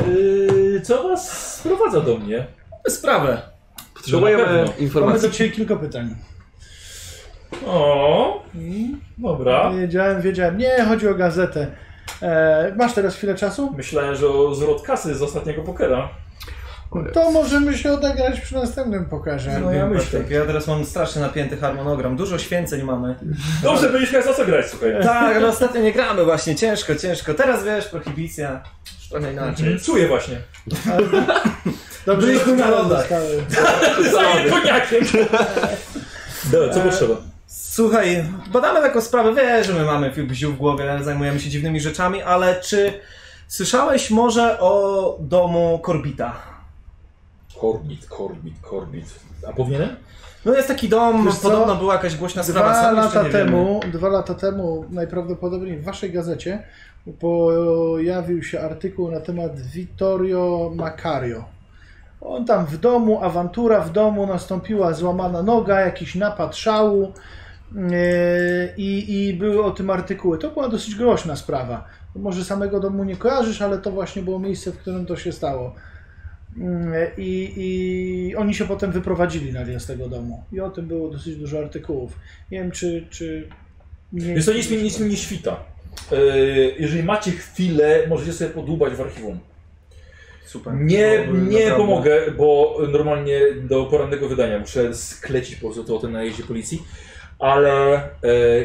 A: Yy, co was sprowadza do mnie?
F: Sprawę.
A: To na
G: Potrzebujemy
A: pewno.
D: Mamy
G: informacji.
D: do Ciebie kilka pytań.
A: O, dobra.
D: Wiedziałem, wiedziałem. Nie, chodzi o gazetę. E, masz teraz chwilę czasu?
A: Myślałem, że o zwrot kasy z ostatniego pokera.
D: To możemy się odegrać przy następnym pokaże.
F: No ja myślę. Ja teraz mam strasznie napięty harmonogram. Dużo święceń mamy.
A: Dobrze, byliśmy za co grać, słuchaj.
F: Tak, ale ostatnio nie gramy właśnie. Ciężko, ciężko. Teraz wiesz, prohibicja. Trochę inaczej.
A: Mhm. Czuję właśnie.
D: Dobrze,
F: Byliśmy
D: że
F: na lodach.
D: zostały.
A: Zaję koniakiem. Dobra, co
F: Eee.
A: potrzeba?
F: Słuchaj, badamy taką sprawę. Wiesz, że my mamy bziu w głowie, zajmujemy się dziwnymi rzeczami, ale czy słyszałeś może o domu Korbita?
A: Korbit, korbit, korbit. A powinienem?
F: No jest taki dom,
D: Wiesz co?
F: podobno była jakaś głośna sprawa.
D: Dwa
F: sam jeszcze
D: lata
F: nie wiemy.
D: temu, dwa lata temu, najprawdopodobniej w waszej gazecie pojawił się artykuł na temat Vittorio Macario. On tam w domu, awantura w domu, nastąpiła złamana noga, jakiś napad szału yy, i, i były o tym artykuły. To była dosyć groźna sprawa. Może samego domu nie kojarzysz, ale to właśnie było miejsce, w którym to się stało. Mm, I, I oni się potem wyprowadzili nagle z tego domu. I o tym było dosyć dużo artykułów. Nie wiem, czy. czy nie,
A: Więc to nic mi, nic mi nie świta. Eee, Jeżeli macie chwilę, możecie sobie podłubać w archiwum.
F: Super.
A: Nie,
F: Byłoby
A: nie
F: Tak, naprawdę-
A: pomogę, bo normalnie do porannego wydania muszę sklecić po prostu to o tym najeździe policji. Ale e,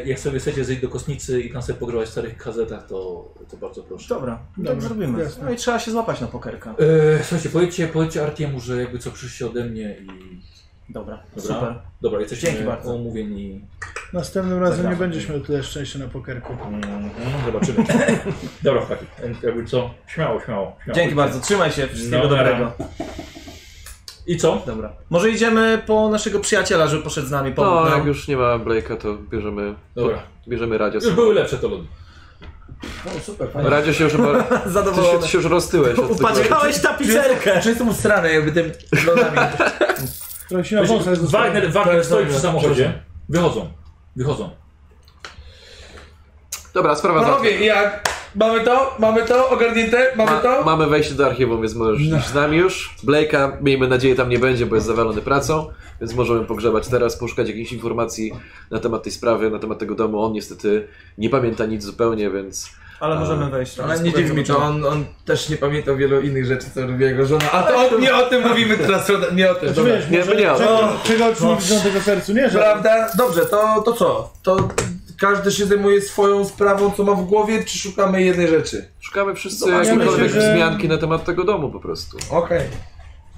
A: jak sobie chcecie zejść do kosnicy i tam sobie pogrywać w starych gazetach, to, to bardzo proszę.
F: Dobra,
D: Dobra,
F: tak zrobimy.
D: jasne.
F: No i trzeba się złapać na pokerka.
A: E, słuchajcie, powiedzcie, powiedzcie Artiemu, że jakby co przyszli ode mnie i...
F: Dobra,
A: Dobra.
F: super.
A: Dobra, jesteśmy
F: Dzięki bardzo.
A: omówieni.
D: Następnym razem nie
F: Zagramy.
D: będziesz miał tyle szczęścia na pokerku.
A: Mhm, zobaczymy. Dobra, chłopaki, jakby co? Śmiało, śmiało. śmiało.
F: Dzięki bardzo, trzymaj się, wszystkiego
A: No, nara.
F: dobrego.
A: I co?
F: Dobra. Może idziemy po naszego przyjaciela, żeby poszedł z nami pomóc
G: No,
F: nam.
D: Tak.
G: jak już nie ma Blake'a, to bierzemy,
A: Dobra.
G: bierzemy radio.
A: Już były lepsze te lody.
E: O, super, fajnie.
G: Radio się już chyba... Ty się,
F: no. Zadowolony.
G: ty się już roztyłeś. od tego-
F: Upaczkałeś tapicerkę!
E: Czy jestem usrany jakby tym lodami?
D: Rosina wąsa jest została.
A: Wagner, Wagner stoi przy samochodzie. Wychodzą. Wychodzą.
G: Dobra, sprawa załatwiona.
E: Panowie, jak? Mamy to? Mamy to? Ogarnięte? Mamy
G: Ma,
E: to? No.
G: mamy wejście do archiwum, więc możesz iść z nami już. Blake'a, miejmy nadzieję, tam nie będzie, bo jest zawalony pracą, więc możemy pogrzebać teraz, poszukać jakichś informacji na temat tej sprawy, na temat tego domu. On niestety nie pamięta nic zupełnie, więc
B: Ale możemy wejść.
E: Ale nie dziwi mi to, on, on też nie pamiętał wielu innych rzeczy, co robi jego żona. A to o, nie o tym mówimy teraz, nie o tym.
D: Znaczy,
E: Dobra.
D: wiesz,
G: nie,
D: może
G: nie, no. ale-
D: czego, czego ci nie widzą tego sercu, nie? Że
E: Prawda? Dobrze, to, to co? To każdy się zajmuje swoją sprawą, co ma w głowie, czy szukamy jednej rzeczy?
G: Szukamy wszyscy
D: Zobaczmy,
G: jakiejkolwiek
D: myślę, że-
G: wzmianki na temat tego domu po prostu.
E: Okej.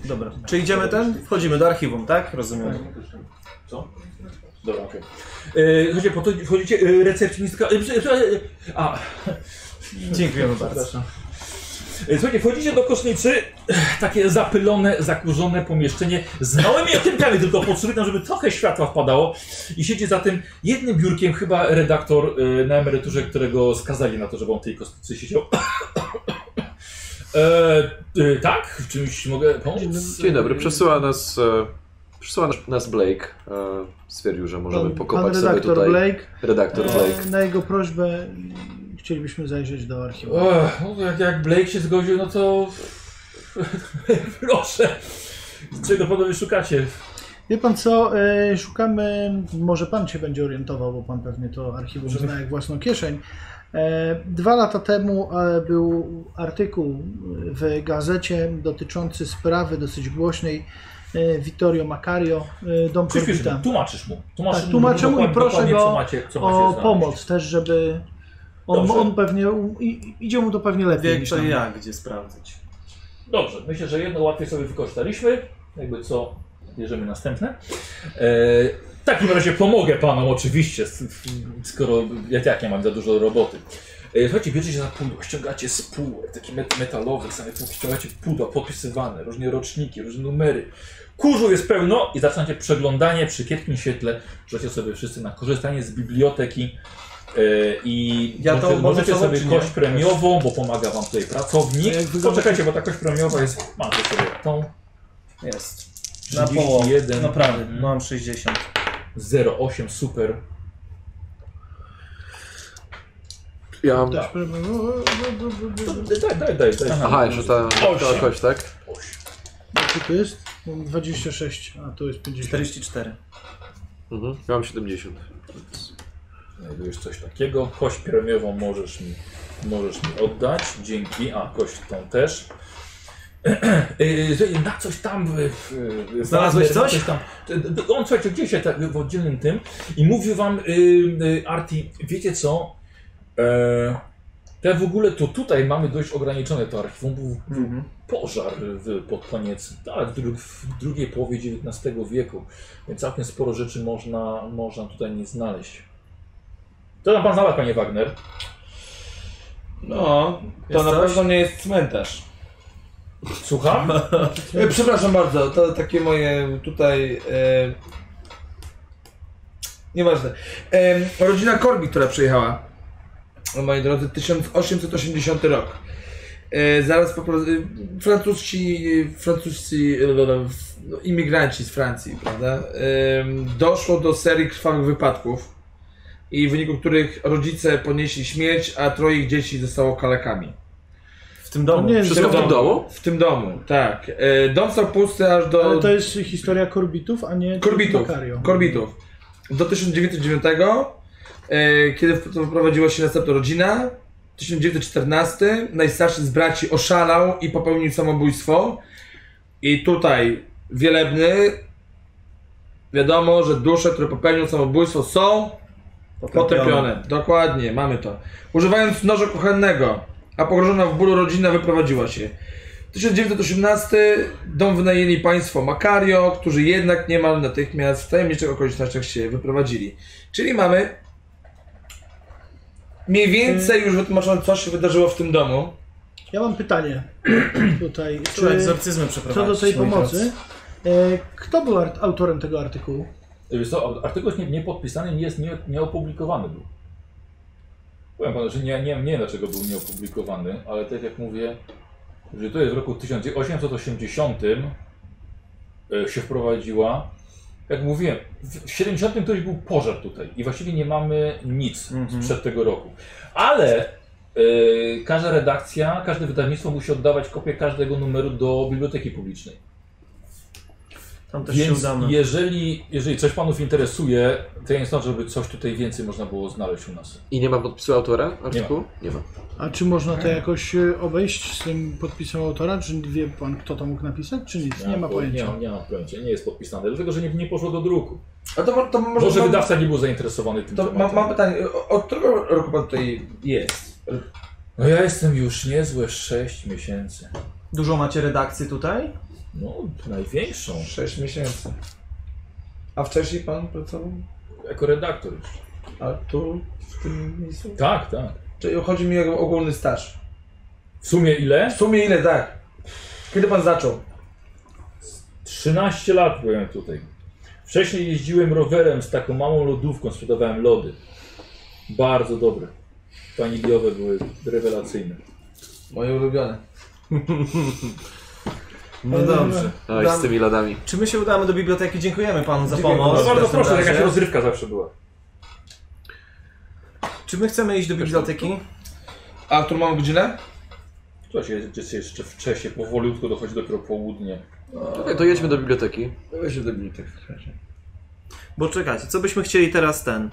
B: Dobra. Czy idziemy ten? Wchodzimy do archiwum, tak? Rozumiem.
A: Dobra, okej. Okay. Chodźcie, po to wchodzicie, yy, recepcjonistka... e, prze- prze- e, a,
B: Dziękujemy bardzo.
A: e, słuchajcie, wchodzicie do kosznicy, takie zapylone, zakurzone pomieszczenie z małymi okienkami tylko potrzebne, tam, żeby trochę światła wpadało i siedzi za tym jednym biurkiem chyba redaktor e, na emeryturze, którego skazali na to, żeby on w tej kostnicy siedział. E, e, tak? W czymś mogę pomóc?
G: Dzień
D: Yy,
G: dobry, przesyła nas, e, przesyła nas- nas Blake. E, stwierdził, że możemy pokopać
D: pan
G: sobie
D: redaktor
G: tutaj.
D: Blake,
G: Redaktor Blake.
D: e, na jego prośbę chcielibyśmy zajrzeć do archiwum.
A: Ech, no to jak, jak Blake się zgodził, no to... Proszę. Czego panowie szukacie?
D: Wie pan co, e, szukamy, może pan się będzie orientował, bo pan pewnie to archiwum zna jak własną kieszeń. E, Dwa lata temu e, był artykuł w gazecie dotyczący sprawy dosyć głośnej e, Vittorio Macario, e, dom
A: Przyspiesz mu,
D: Korbita.
A: tłumaczysz mu. Tłumaczysz
D: Tak, tłumaczę mu i
A: dokładnie-
D: proszę
A: dokładnie,
D: go
A: co macie, co macie
D: O
A: znaleźć.
D: pomoc też, żeby... On,
A: Dobrze.
D: on pewnie, u- i- idzie mu to pewnie lepiej
B: Wie
D: niż
B: to
D: nam.
B: ja, gdzie sprawdzać.
A: Dobrze, myślę, że jedno łatwiej sobie wykorzystaliśmy. Jakby co, bierzemy następne. E, w takim razie pomogę panom oczywiście, s- skoro ja tak nie mam za dużo roboty. E, słuchajcie, bierzecie za pudło, ściągacie z półek, takich met metalowych, same półki, ściągacie pudła podpisywane, różne roczniki, różne numery. Kurzu jest pełno i zaczynacie przeglądanie przy kiepskim świetle. Rzucacie sobie wszyscy na korzystanie z biblioteki. E, I
B: Ja to
A: możecie, możecie
B: mogę
A: sobie
B: zobaczyć, nie?
A: kość premiową, bo pomaga wam tutaj pracownik.
D: A No jak wygląda-
A: Poczekajcie, bo ta kość premiowa jest. Mam tu sobie tą.
B: Jest. Na połowę.
A: 31,
B: No prawie,
A: Mhm.
B: mam 60.
A: 08, super.
D: tak.
G: Ja mam...
D: Też problem. O, o, o, o, o, o.
A: Daj, daj, daj. daj.
G: Aha, jeszcze ta, ta
A: Osiem.
G: kość, tak?
D: Jaki to jest? Mam 26, a to jest 50.
B: 44.
G: Mhm. Ja mam 70.
A: Znajdujesz coś takiego. Kość premiową możesz mi, możesz mi oddać. Dzięki. A, kość tą też. Yy, słuchaj, na coś tam. w- w-
B: Znalazłeś
A: Wagner, na
B: coś?
A: Tam. Y, On słuchajcie, gdzieś się tak w oddzielnym tym i mówił wam, yy, yy, Arti, wiecie co? E, te w ogóle to tutaj mamy dość ograniczone to archiwum. Był
B: Mhm.
A: pożar w, pod koniec, tak, w, dru- w drugiej połowie XIX wieku. Więc całkiem sporo rzeczy można, można tutaj nie znaleźć. To tam pan znalazł, panie Wagner.
E: No, to
B: Jest
E: na
B: coś?
E: pewno nie jest cmentarz.
A: Słucham?
E: E, przepraszam bardzo, to takie moje tutaj... E, nieważne. E, rodzina Korbi, która przyjechała. No, moi drodzy, 1880 rok. E, zaraz po prostu... e, Francuski... Francuscy... e, No, imigranci z Francji, prawda? E, doszło do serii krwawych wypadków. I w wyniku których rodzice ponieśli śmierć, a troje ich dzieci zostało kalekami.
B: W tym domu.
D: Nie,
G: Wszystko w
D: to-
G: tym domu?
E: W tym domu, tak. E, Dom stał pusty aż
D: Ale
E: do
D: to jest historia korbitów, a nie
E: korbitów.
D: Macario.
E: korbitów. Do 1909, e, kiedy wyprowadziła się następna rodzina. 1914, najstarszy z braci oszalał i popełnił samobójstwo. I tutaj wielebny, wiadomo, że dusze, które popełnią samobójstwo są Potępione, dokładnie, mamy to. Używając noża kuchennego, a pogrożona w bólu rodzina wyprowadziła się. 1918 dom wynajęli państwo Makario, którzy jednak niemal natychmiast w tajemniczych okolicznościach się wyprowadzili. Czyli mamy mniej więcej już wytłumaczone, co się wydarzyło w tym domu.
D: Ja mam pytanie tutaj.
B: Trzeba
D: Czy,
B: egzorcyzmy
D: co do
B: przeprowadzić.
D: tej
B: moi
D: pomocy.
B: drodzy.
D: E, Kto był art- autorem tego artykułu?
A: Wiesz co, artykuł jest nie- niepodpisany, nie jest nie- nieopublikowany był. Powiem panu, że nie, nie, nie wiem dlaczego był nieopublikowany, ale tak jak mówię, że to jest w roku 1880 e, się wprowadziła. Jak mówiłem, w 70 któryś był pożar tutaj i właściwie nie mamy nic
B: Mhm.
A: sprzed tego roku. Ale e, każda redakcja, każde wydawnictwo musi oddawać kopię każdego numeru do biblioteki publicznej.
B: Tam też się
A: Więc
B: udamy.
A: jeżeli, jeżeli coś panów interesuje, to ja nie sądzę, żeby coś tutaj więcej można było znaleźć u nas.
G: I nie ma podpisu autora artykułu? Nie ma.
D: A czy można to jakoś e, obejść z tym podpisem autora? Czy wie pan, kto to mógł napisać, czy nic? Nie ma
A: po- Nie
D: pojęcia.
A: mam, nie mam pojęcia, nie jest podpisane, dlatego że nie, nie poszło do druku.
E: A to, ma- to może...
A: Może
E: mam-
A: wydawca nie był zainteresowany tym
E: To mam,
A: tematem.
E: mam pytanie, o- od którego roku pan tutaj jest?
A: No ja jestem już niezłe 6 miesięcy.
B: Dużo macie redakcji tutaj?
A: No, największą.
E: 6 miesięcy. A wcześniej pan pracował?
A: Jako redaktor już.
E: A tu, w tym miejscu?
A: Tak, tak.
E: Czyli chodzi mi o ogólny staż.
A: W sumie
E: W
A: ile?
E: sumie ile, tak? Kiedy pan zaczął?
A: 13 lat byłem tutaj. Wcześniej jeździłem rowerem z taką małą lodówką, sprzedawałem lody. Bardzo dobre. Waniliowe były rewelacyjne.
E: Moje ulubione.
B: No
D: Eee,
B: dobrze.
G: Oj, z tymi ladami.
B: Czy my się udamy do biblioteki? Dziękujemy panu za
E: Dziękuję.
B: pomoc.
E: No
B: w
E: bardzo
B: każdym razie.
A: rozrywka zawsze była.
B: Czy my chcemy iść do biblioteki?
E: A którą mamy godzinę?
A: Coś jest, jest jeszcze wcześniej, powolutku dochodzi dopiero południe.
G: Okej, to jedźmy do biblioteki.
E: Weźmy do biblioteki tak w takim razie.
B: Bo czekajcie, co byśmy chcieli teraz ten?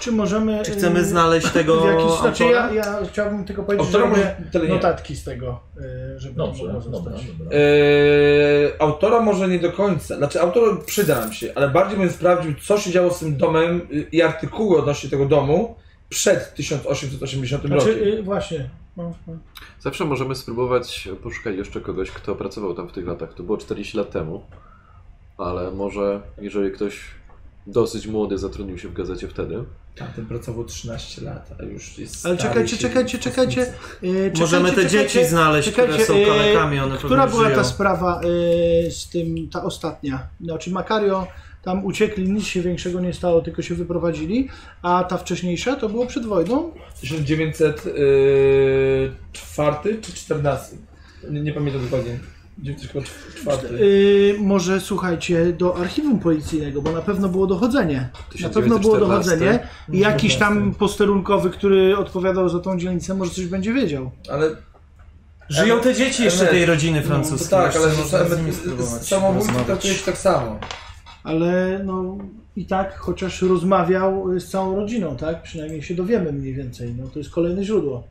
D: Czy możemy...
B: Czy
D: e,
B: chcemy znaleźć
D: w
B: tego
D: jakiś, Znaczy ja,
B: autora?
D: ja chciałbym tylko
E: O
D: powiedzieć, że
E: którą
D: robię
E: może... no tak. Tyle nie.
D: notatki z tego, e, żeby to
A: Dobrze,
D: mogło
A: dobra,
D: zostać.
A: dobra.
E: Eee, autora może nie do końca. Znaczy, autor przyda nam się, ale bardziej bym sprawdził, co się działo z tym domem y, i artykuły odnośnie tego domu przed 1880 rokiem.
D: Znaczy, e, właśnie. No, no.
G: Zawsze możemy spróbować poszukać jeszcze kogoś, kto pracował tam w tych latach. To było 40 lat temu, ale może jeżeli ktoś dosyć młody zatrudnił się w gazecie wtedy.
E: Tamten pracował 13 lat, a już jest.
D: Ale
E: stary
D: czekajcie,
E: się-
D: czekajcie, czekajcie. E, czekajcie
B: Możemy te
D: czekajcie.
B: dzieci znaleźć, które
D: czekajcie,
B: są
D: e,
B: kalekami, one
D: Która
B: pewnie
D: była
B: żyją.
D: ta sprawa e, z tym, ta ostatnia? Znaczy Makario tam uciekli, nic się większego nie stało, tylko się wyprowadzili, a ta wcześniejsza to było przed wojną?
E: 1904 y, czy 14? Nie, nie pamiętam dokładnie. 1904.
D: Yy, może słuchajcie do archiwum policyjnego, bo na pewno było dochodzenie. Na pewno było
G: 1914.
D: dochodzenie i jakiś tam posterunkowy, który odpowiadał za tą dzielnicę, może coś będzie wiedział.
E: Ale
B: Żyją te dzieci jeszcze
E: Emet.
B: tej rodziny
E: no, to
B: francuskiej.
E: tak, ale
B: Jeszcze można z nimi spróbować
E: samobójstwo
B: porozmawiać.
E: traktuje się tak samo.
D: Ale no i tak, chociaż rozmawiał y, z całą rodziną, tak? Przynajmniej się dowiemy mniej więcej. No to jest kolejne źródło.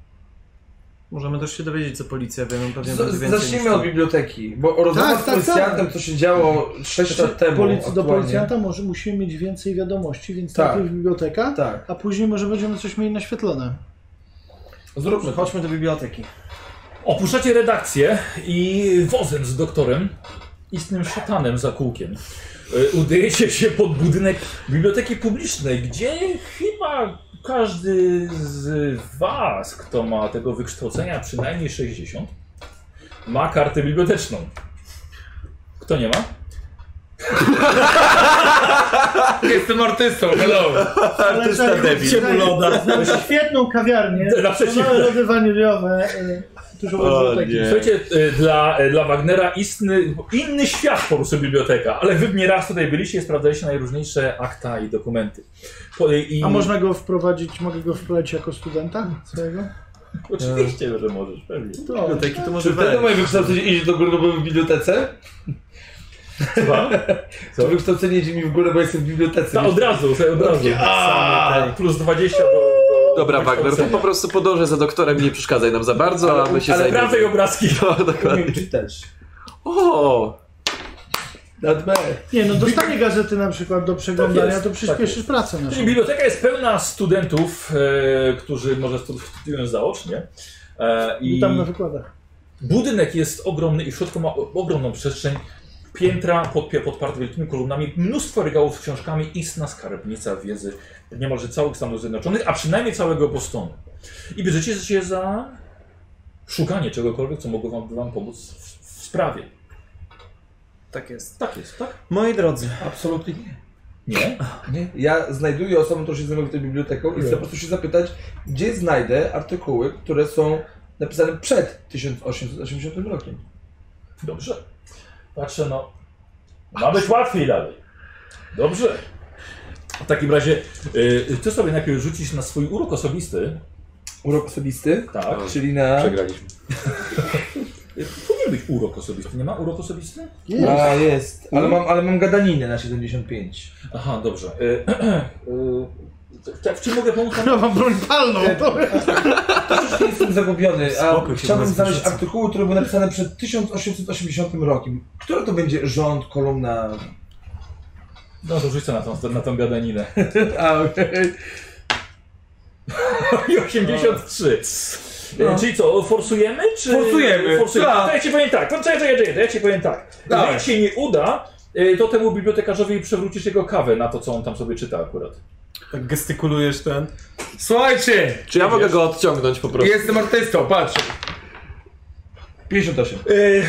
B: Możemy też się dowiedzieć, co policja wie, no pewnie
E: Z-
B: będzie więcej
E: Zacznijmy
B: niż
E: od
B: to.
E: biblioteki, bo o rozmowa
D: Tak,
E: z
D: tak,
E: policjantem,
D: tak.
E: co się działo 6 lat temu.
D: Polic- do
E: aktualnie.
D: policjanta może musimy mieć więcej wiadomości, więc
E: Tak.
D: najpierw biblioteka,
E: Tak.
D: a później może będziemy coś mieli naświetlone.
E: Zróbmy, chodźmy.
B: Chodźmy do biblioteki.
A: Opuszczacie redakcję i wozem z doktorem, istnym szatanem za kółkiem, y, udajecie się pod budynek biblioteki publicznej, gdzie chyba każdy z was, kto ma tego wykształcenia przynajmniej 60, ma kartę biblioteczną. Kto nie ma?
E: Jestem artystą, hello!
D: Artysta debil. tak, znaczy Świetną kawiarnię,
A: Na przeciwko.
D: małe lody waniliowe, y, dużo biblioteki.
G: E,
A: Słuchajcie, y, dla, y, dla Wagnera istny, inny świat po prostu biblioteka, ale wy mnie raz tutaj byliście i sprawdzaliście najróżniejsze akta i dokumenty. Po- i-
D: A można go wprowadzić, mogę go wprowadzić jako studenta swojego? No.
A: Oczywiście, że możesz, pewnie.
D: To,
B: Biblioteki to
E: Czy
B: może
E: wtedy
B: wejść.
E: moje wykształcenie idzie do góry, bo byłem w bibliotece?
A: Chyba?
E: To wykształcenie idzie mi w górę, bo jestem w bibliotece.
B: No.
A: Ta, od razu, sobie od razu. Same te Plus 20 do... do
G: Dobra, Wagner, to po prostu podążę za doktorem, nie przeszkadzaj nam za bardzo, a my się
A: Ale prawda i
G: zajmiemy.
A: obrazki.
G: No, dokładnie.
E: Umiem czytać.
G: O!
E: Nad B.
D: nie no, dostanie gazety na przykład do przeglądania,
A: Tak jest,
D: to przyspieszysz pracę naszą.
A: Czyli biblioteka jest pełna studentów, e, którzy może studiują zaocznie. E,
D: I
A: I
D: tam na wykładach.
A: budynek jest ogromny i w środku ma o- ogromną przestrzeń. Piętra podpie- podparte wielkimi kolumnami, mnóstwo regałów z książkami, istna skarbnica wiedzy niemalże całych Stanów Zjednoczonych, a przynajmniej całego Bostonu. I bierzecie się za szukanie czegokolwiek, co mogło wam, wam pomóc w, w sprawie.
B: Tak jest.
A: Tak jest, tak?
B: Moi drodzy,
E: Absolutnie nie.
A: Nie?
E: nie. Ja znajduję osobę, która się zajmuje tą biblioteką i chcę po prostu się zapytać, gdzie znajdę artykuły, które są napisane przed 1880 rokiem.
A: Dobrze. Patrzę, no. Ma być łatwiej dalej. Dobrze. W takim razie, y, ty sobie najpierw rzucisz na swój urok osobisty.
E: Urok osobisty,
A: Tak.
E: czyli na...
G: Przegraliśmy.
A: być urok osobisty. Nie ma urok osobisty?
D: Jest.
E: A, jest. Ale mam, ale mam gadaninę na 75.
A: Aha, dobrze. E, e, e, w czym mogę pomóc?
D: Ja wam broń palną. To...
E: Troszeczkę jestem zagubiony, a
F: No Spokój się,
E: chciałbym
F: nas
E: znaleźć
F: wyrzuca.
E: artykuły, które były napisane przed 1880 rokiem. Które to będzie rząd, kolumna...
A: No to rzucę na tą, na tą gadaninę.
E: A, okej.
A: I 83. E, Czyli co, forsujemy? Czy...
E: Forsujemy,
A: forsujemy.
E: tak.
A: To ja ci powiem tak, to czekaj, czekaj, czekaj, to ja ci powiem tak.
E: Dawaj.
A: Jak się nie uda, e, to temu bibliotekarzowi przewrócisz jego kawę na to, co on tam sobie czyta akurat.
B: Tak gestykulujesz ten.
E: Słuchajcie!
G: Czy ja mogę go odciągnąć po prostu?
E: Jestem artystą, patrz! 58.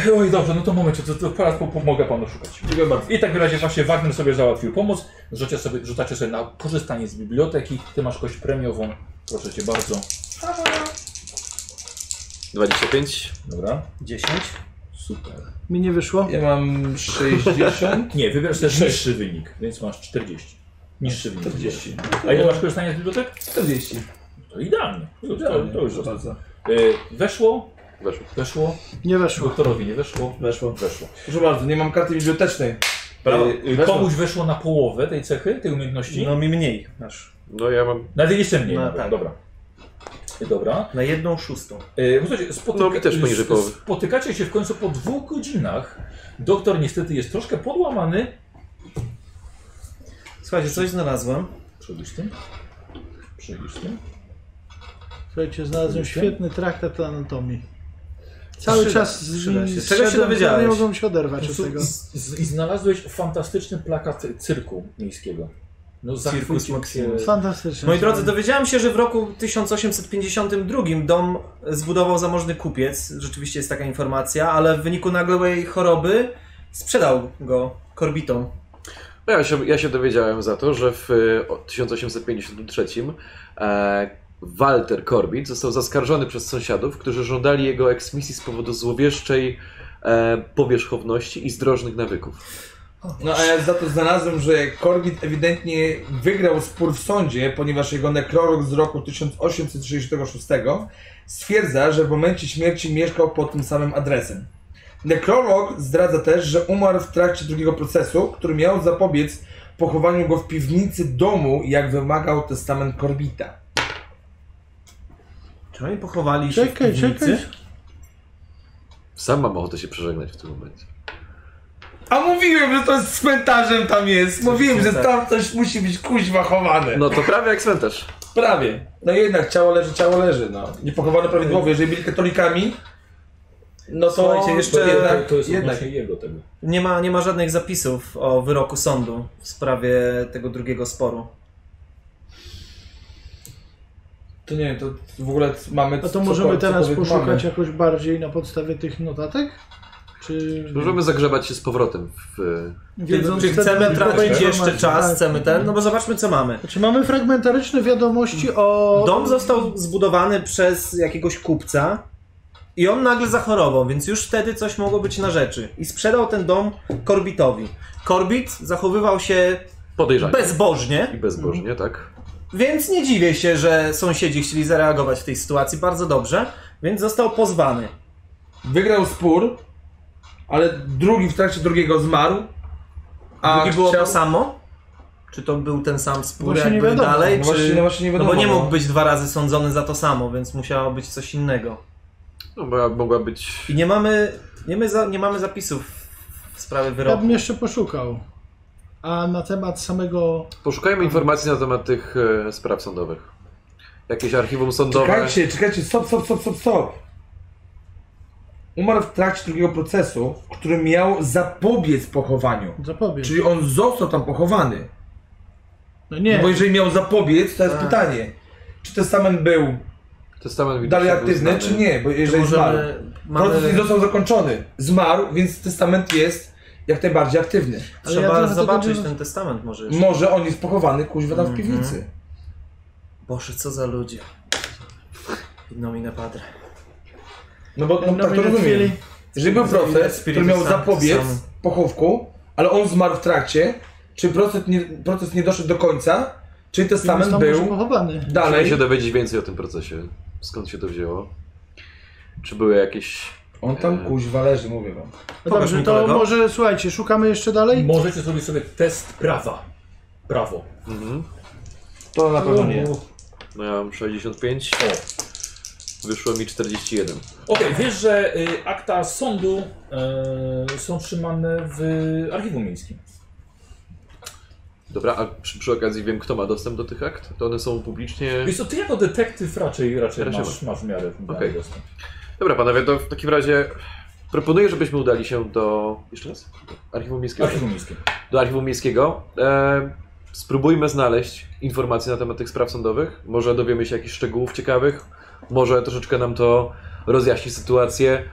A: E, oj, dobrze, no to moment, to, to teraz po- pomogę panu szukać.
E: Dziękuję bardzo.
A: I tak w razie właśnie Wagner sobie załatwił pomoc. Rzucie sobie, rzucacie sobie na korzystanie z biblioteki. Ty masz kość premiową. Proszę cię bardzo.
G: 25.
A: Dobra.
F: 10.
A: Super.
D: Mi nie wyszło.
E: Ja mam 60.
A: Nie, wybierasz też niższy wynik, więc masz 40. Niższy wynik. 40. A ile masz korzystania z bibliotek?
E: 40.
A: To idealnie. To, to, No, to już zostało.
E: bardzo.
A: Y, Weszło,
G: Weszło.
A: weszło.
D: Nie weszło.
A: Doktorowi nie weszło.
E: Weszło.
A: Weszło.
E: Proszę bardzo, nie mam karty bibliotecznej.
A: Brawo.
E: Y, y, weszło.
A: Komuś weszło na połowę tej cechy, tej umiejętności.
F: E, No mi mniej. Masz.
G: No ja mam.
A: Nawet jeszcze mniej.
F: No
A: nawet.
F: tak.
A: Dobra. Dobra.
F: Na jedną szóstą.
A: E, Słuchajcie, spotyka-
G: No, mi też poniżej
A: s-
G: połowy.
A: Spotykacie się w końcu po dwóch godzinach. Doktor niestety jest troszkę podłamany.
F: Słuchajcie, coś znalazłem.
A: Przyjdziesz tym. Przyjdziesz tym.
D: Słuchajcie, znalazłem
A: Widzicie?
D: świetny traktat anatomii. Cały
F: Przyda-
D: czas z
F: przyda
D: nim
F: się. Czego się
D: zszedłem,
F: dowiedziałeś?
D: Nie mogłem się oderwać od
A: Słuchaj,
D: tego.
A: z- z- I znalazłeś fantastyczny plakat cyrku miejskiego. No,
F: Circus
A: zachwycił cię-
F: Maximus.
D: Fantastycznie.
F: Moi drodzy, dowiedziałem się, że w roku 1852 dom zbudował zamożny kupiec. Rzeczywiście jest taka informacja, ale w wyniku nagłej choroby sprzedał go korbitom.
G: No ja się, ja się dowiedziałem za to, że w y, o- 1853 e, Walter Corbett został zaskarżony przez sąsiadów, którzy żądali jego eksmisji z powodu złowieszczej e, powierzchowności i zdrożnych nawyków.
E: No a ja za to znalazłem, że Corbett ewidentnie wygrał spór w sądzie, ponieważ jego nekrolog z roku 1866 stwierdza, że w momencie śmierci mieszkał pod tym samym adresem. Nekrolog zdradza też, że umarł w trakcie drugiego procesu, który miał zapobiec pochowaniu go w piwnicy domu, jak wymagał testament Corbita.
F: Czy oni pochowali się
D: Czekaj,
F: w piwnicy?
D: czekaj.
G: Sam mam ochotę się przeżegnać w tym momencie.
E: A mówiłem, że to z cmentarzem tam jest! Mówiłem, że
F: cmentarz.
E: tam coś musi być kuźwa chowane!
G: No to prawie jak cmentarz.
E: Prawie. No jednak, ciało leży, ciało leży, no. Nie pochowano prawidłowo, jeżeli byli katolikami, no to...
F: Słuchajcie,
A: To,
F: jeszcze-
A: jednak, to jest
E: jednak.
A: odnośnie jego tego.
F: Nie ma, nie ma żadnych zapisów o wyroku sądu w sprawie tego drugiego sporu.
E: To nie wiem, to w ogóle mamy...
D: A No to
E: co-
D: możemy
E: co-
D: teraz
E: cokolwiek
D: poszukać
E: mamy.
D: jakoś bardziej na podstawie tych notatek? Czy
G: Możemy zagrzebać się z powrotem w...
D: wiedząc
F: Czy
D: te-
F: chcemy tracić
D: informacje?
F: jeszcze czas,
D: Tak.
F: chcemy ten? No bo zobaczmy co mamy.
D: Znaczy mamy fragmentaryczne wiadomości o...
F: Dom został zbudowany przez jakiegoś kupca i on nagle zachorował, więc już wtedy coś mogło być na rzeczy. I sprzedał ten dom Corbitowi. Corbit zachowywał się
G: podejrzanie. I
F: bezbożnie,
G: bezbożnie, tak?
F: więc nie dziwię się, że sąsiedzi chcieli zareagować w tej sytuacji bardzo dobrze, więc został pozwany.
E: Wygrał spór, ale drugi w trakcie drugiego zmarł, a
F: Drugi było
E: chciał...
F: to samo? Czy to był ten sam spór
D: Właśnie nie
F: jakby
D: wiadomo.
F: dalej?
E: No
F: Czy...
E: właśnie, no właśnie
F: no
E: nie wiadomo.
F: bo nie mógł być dwa razy sądzony za to samo, więc musiało być coś innego.
G: No bo mogła być...
F: I nie mamy, nie, my za, nie mamy zapisów w sprawie
D: Ja
F: wyroku.
D: bym jeszcze poszukał. A na temat samego...
G: Poszukajmy informacji na temat tych e, spraw sądowych. Jakieś archiwum sądowe.
E: Czekajcie, czekajcie, stop, stop, stop, stop, stop. Umarł w trakcie drugiego procesu, który miał zapobiec pochowaniu.
D: Zapowiem.
E: Czyli on został tam pochowany.
D: No
E: No
D: nie,
E: bo jeżeli miał zapobiec, to jest
F: Tak.
E: pytanie, czy testament był
G: Testament
E: dalej
G: widocznie był
E: aktywny,
G: znany.
E: czy nie, bo
F: Czy
E: jeżeli zmarł.
F: możemy,
E: Proces
F: mamy,
E: nie został zakończony. Zmarł, więc testament jest jak najbardziej aktywny.
D: Ale ja
F: trzeba
D: trochę tego
F: zobaczyć
D: nie-
F: ten testament może jeszcze.
E: Może on jest pochowany kuźwa tam w
F: Mhm.
E: piwnicy.
F: Boże, co za ludzie. No mi napadre.
E: No bo no,
D: No
E: tak to
D: my nie
E: rozumiem.
D: chcieli.
E: Jeżeli był proces, który miał zapobiec pochówku, ale on zmarł w trakcie, czy proces nie, proces nie doszedł do końca, czyli testament
D: został może
E: był
D: pochowany.
G: Musimy
E: dalej.
G: się dowiedzieć więcej o tym procesie. Skąd się to wzięło? Czy były jakieś
E: On tam kuźwa leży, mówię wam.
D: No
F: Pokaż
D: dobrze,
F: mi
D: to
F: kolego.
D: może słuchajcie, szukamy jeszcze dalej?
A: Możecie zrobić sobie test prawa. Prawo.
G: Mhm.
E: To na pewno nie.
G: No ja mam 65. Wyszło mi 41.
A: Okej, wiesz, że y, akta sądu y, są trzymane w archiwum miejskim.
G: Dobra, a przy, przy okazji wiem, kto ma dostęp do tych akt? To one są publicznie.
A: Wiesz co, ty jako detektyw raczej, raczej
G: Raczej
A: masz, masz w miarę
G: Okej.
A: okay. dostęp.
G: Dobra, panowie, to w takim razie proponuję, żebyśmy udali się do. Jeszcze raz? Archiwum Miejskiego.
A: Archiwum miejskim.
G: Do Archiwum Miejskiego. E, spróbujmy znaleźć informacje na temat tych spraw sądowych. Może dowiemy się jakichś szczegółów ciekawych. Może troszeczkę nam to rozjaśni sytuację.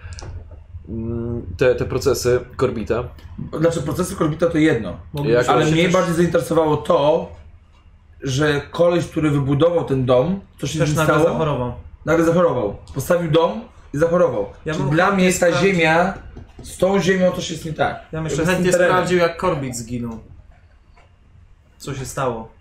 G: Mm, Te, te procesy Korbita.
E: Znaczy, procesy Korbita to jedno.
G: Jak
E: Ale
G: się
E: mnie
G: też-
E: bardziej zainteresowało to, że koleś, który wybudował ten dom, co się
F: Też
E: z nim
F: nagle
E: stało,
F: zachorował.
E: nagle zachorował. Postawił dom i zachorował.
F: Ja
E: Czyli
F: bym
E: dla mnie ta
F: chętnie sprawdził-
E: ziemia, z tą ziemią coś jest nie tak.
F: Ja bym jeszcze
E: Z tym
F: chętnie
E: terenem.
F: sprawdził, jak Korbit zginął. Co się stało.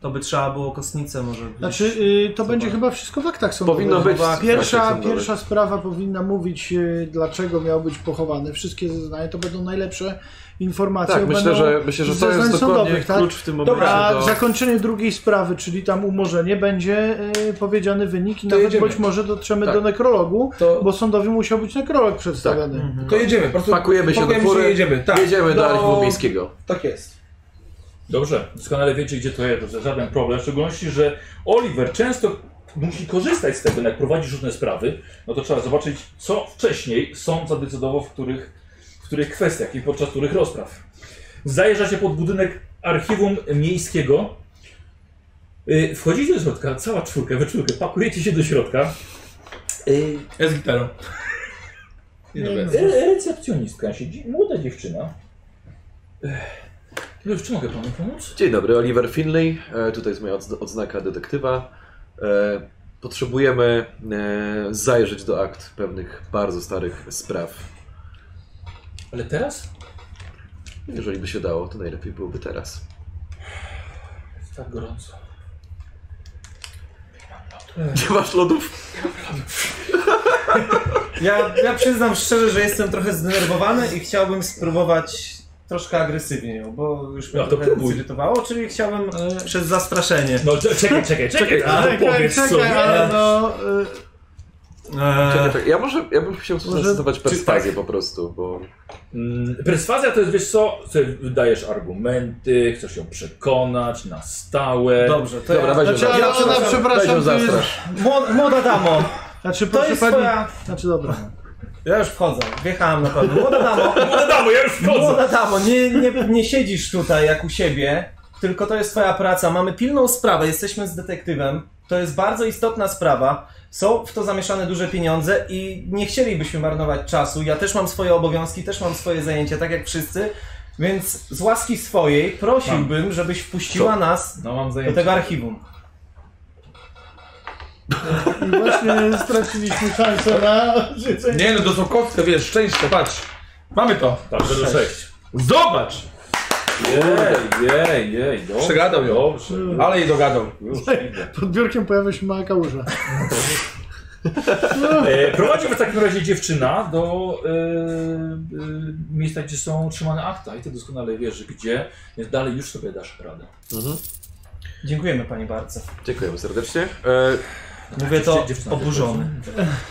F: To by trzeba było kostnicę może gdzieś-
D: Znaczy, y, to będzie chyba wszystko w aktach sądowych.
G: Powinno być.
F: Chyba
D: Pierwsza,
G: Sądowych.
D: pierwsza sprawa powinna mówić, y, dlaczego miał być pochowany. Wszystkie zeznania to będą najlepsze informacje.
G: Tak, myślę,
D: będą
G: że, myślę, że to
D: zeznań
G: jest dokładnie
D: sądowych, tak?
G: klucz w tym momencie. no.
D: Dobra,
G: do...
D: zakończenie drugiej sprawy, czyli tam umorzenie, będzie y, powiedziany wynik i
E: To
D: nawet
E: jedziemy.
D: być może dotrzemy
G: Tak.
D: do nekrologu,
E: To-
D: bo sądowi musiał być nekrolog przedstawiony.
G: Tak. Mhm.
E: To jedziemy, po prostu
G: Pakujemy się do fury,
E: i jedziemy. Tak,
G: jedziemy do Archiwum Miejskiego.
E: Tak jest.
A: Dobrze, doskonale wiecie, gdzie to jest, to żaden problem. W szczególności, że Oliver często musi korzystać z tego, jak prowadzisz różne sprawy, no to trzeba zobaczyć, co wcześniej sąd zadecydował, w których, w których kwestiach i podczas których rozpraw. Zajeżdża się pod budynek archiwum miejskiego. Yy, Wchodzicie do środka, cała czwórka, we czwórkę, pakujecie się do środka. Yy,
E: Ja z gitarą. Nie,
D: Nie,
E: dobra.
D: no.
A: Re- Recepcjonistka siedzi, młoda dziewczyna. Ech. Już, czy mogę panu pomóc?
G: Dzień dobry, Oliver Finley. E, tutaj jest moja odz- odznaka detektywa. E, potrzebujemy e, zajrzeć do akt pewnych bardzo starych spraw.
A: Ale teraz?
G: Jeżeli by się dało, to najlepiej byłoby teraz.
A: Jest tak gorąco.
G: Gdzie masz lodów?
F: Ja, ja przyznam szczerze, że jestem trochę zdenerwowany i chciałbym spróbować troszkę agresywnie ją, bo już mnie
A: No to
F: trochę
A: próbuj.
F: zirytowało, czyli chciałbym przez zastraszenie.
A: No cze- czekaj, czekaj, czekaj, a to powiedz sobie.
D: ale no, y,
G: Czekaj,
F: Eee,
G: czekaj. Ja może ja bym chciał
D: Może-
G: zastosować perswazję po prostu, bo
A: Mm, Perswazja to jest, wiesz co, sobie dajesz argumenty, chcesz ją przekonać na stałe.
F: dobrze, to
G: Dobra,
F: ja...
G: weź ją
D: Znaczy,
G: zastrasz.
D: ale ona,
G: Weź ją
D: przepraszam, to jest...
G: zastrasz.
F: Młoda, młoda damo,
D: Znaczy,
F: to
D: proszę
F: jest
D: pani...
F: twoja...
D: Znaczy, dobra.
F: Ja już wchodzę, wjechałem na pewno. Młoda damo,
A: No damo, ja już wchodzę.
F: młoda damo, nie, nie, nie siedzisz tutaj jak u siebie, tylko to jest twoja praca. Mamy pilną sprawę, jesteśmy z detektywem, to jest bardzo istotna sprawa. Są w to zamieszane duże pieniądze i nie chcielibyśmy marnować czasu. Ja też mam swoje obowiązki, też mam swoje zajęcia, tak jak wszyscy. Więc z łaski swojej prosiłbym, żebyś wpuściła nas
E: No mam
F: do
E: zajęcie.
F: tego archiwum.
D: I właśnie straciliśmy szansę na życie.
E: Nie no, to są kostkę, wiesz, szczęście, patrz. Mamy to.
A: Dobrze, do Tak, sześć.
E: Zobacz!
A: Jej, jej, jej, dobrze.
E: Przegadał ją.
A: Dobrze,
E: Ale jej dogadał.
A: już idę.
D: Pod biurkiem pojawia się mała kałuża.
A: E, prowadzi w takim razie dziewczyna do e, e, miejsca, gdzie są trzymane akta i ty doskonale wiesz, gdzie, więc dalej już sobie dasz radę.
G: Mhm.
F: Dziękujemy pani bardzo.
G: Dziękujemy serdecznie. E,
F: Mówię to
A: Dziewczyna- dziewczyna
F: oburzony.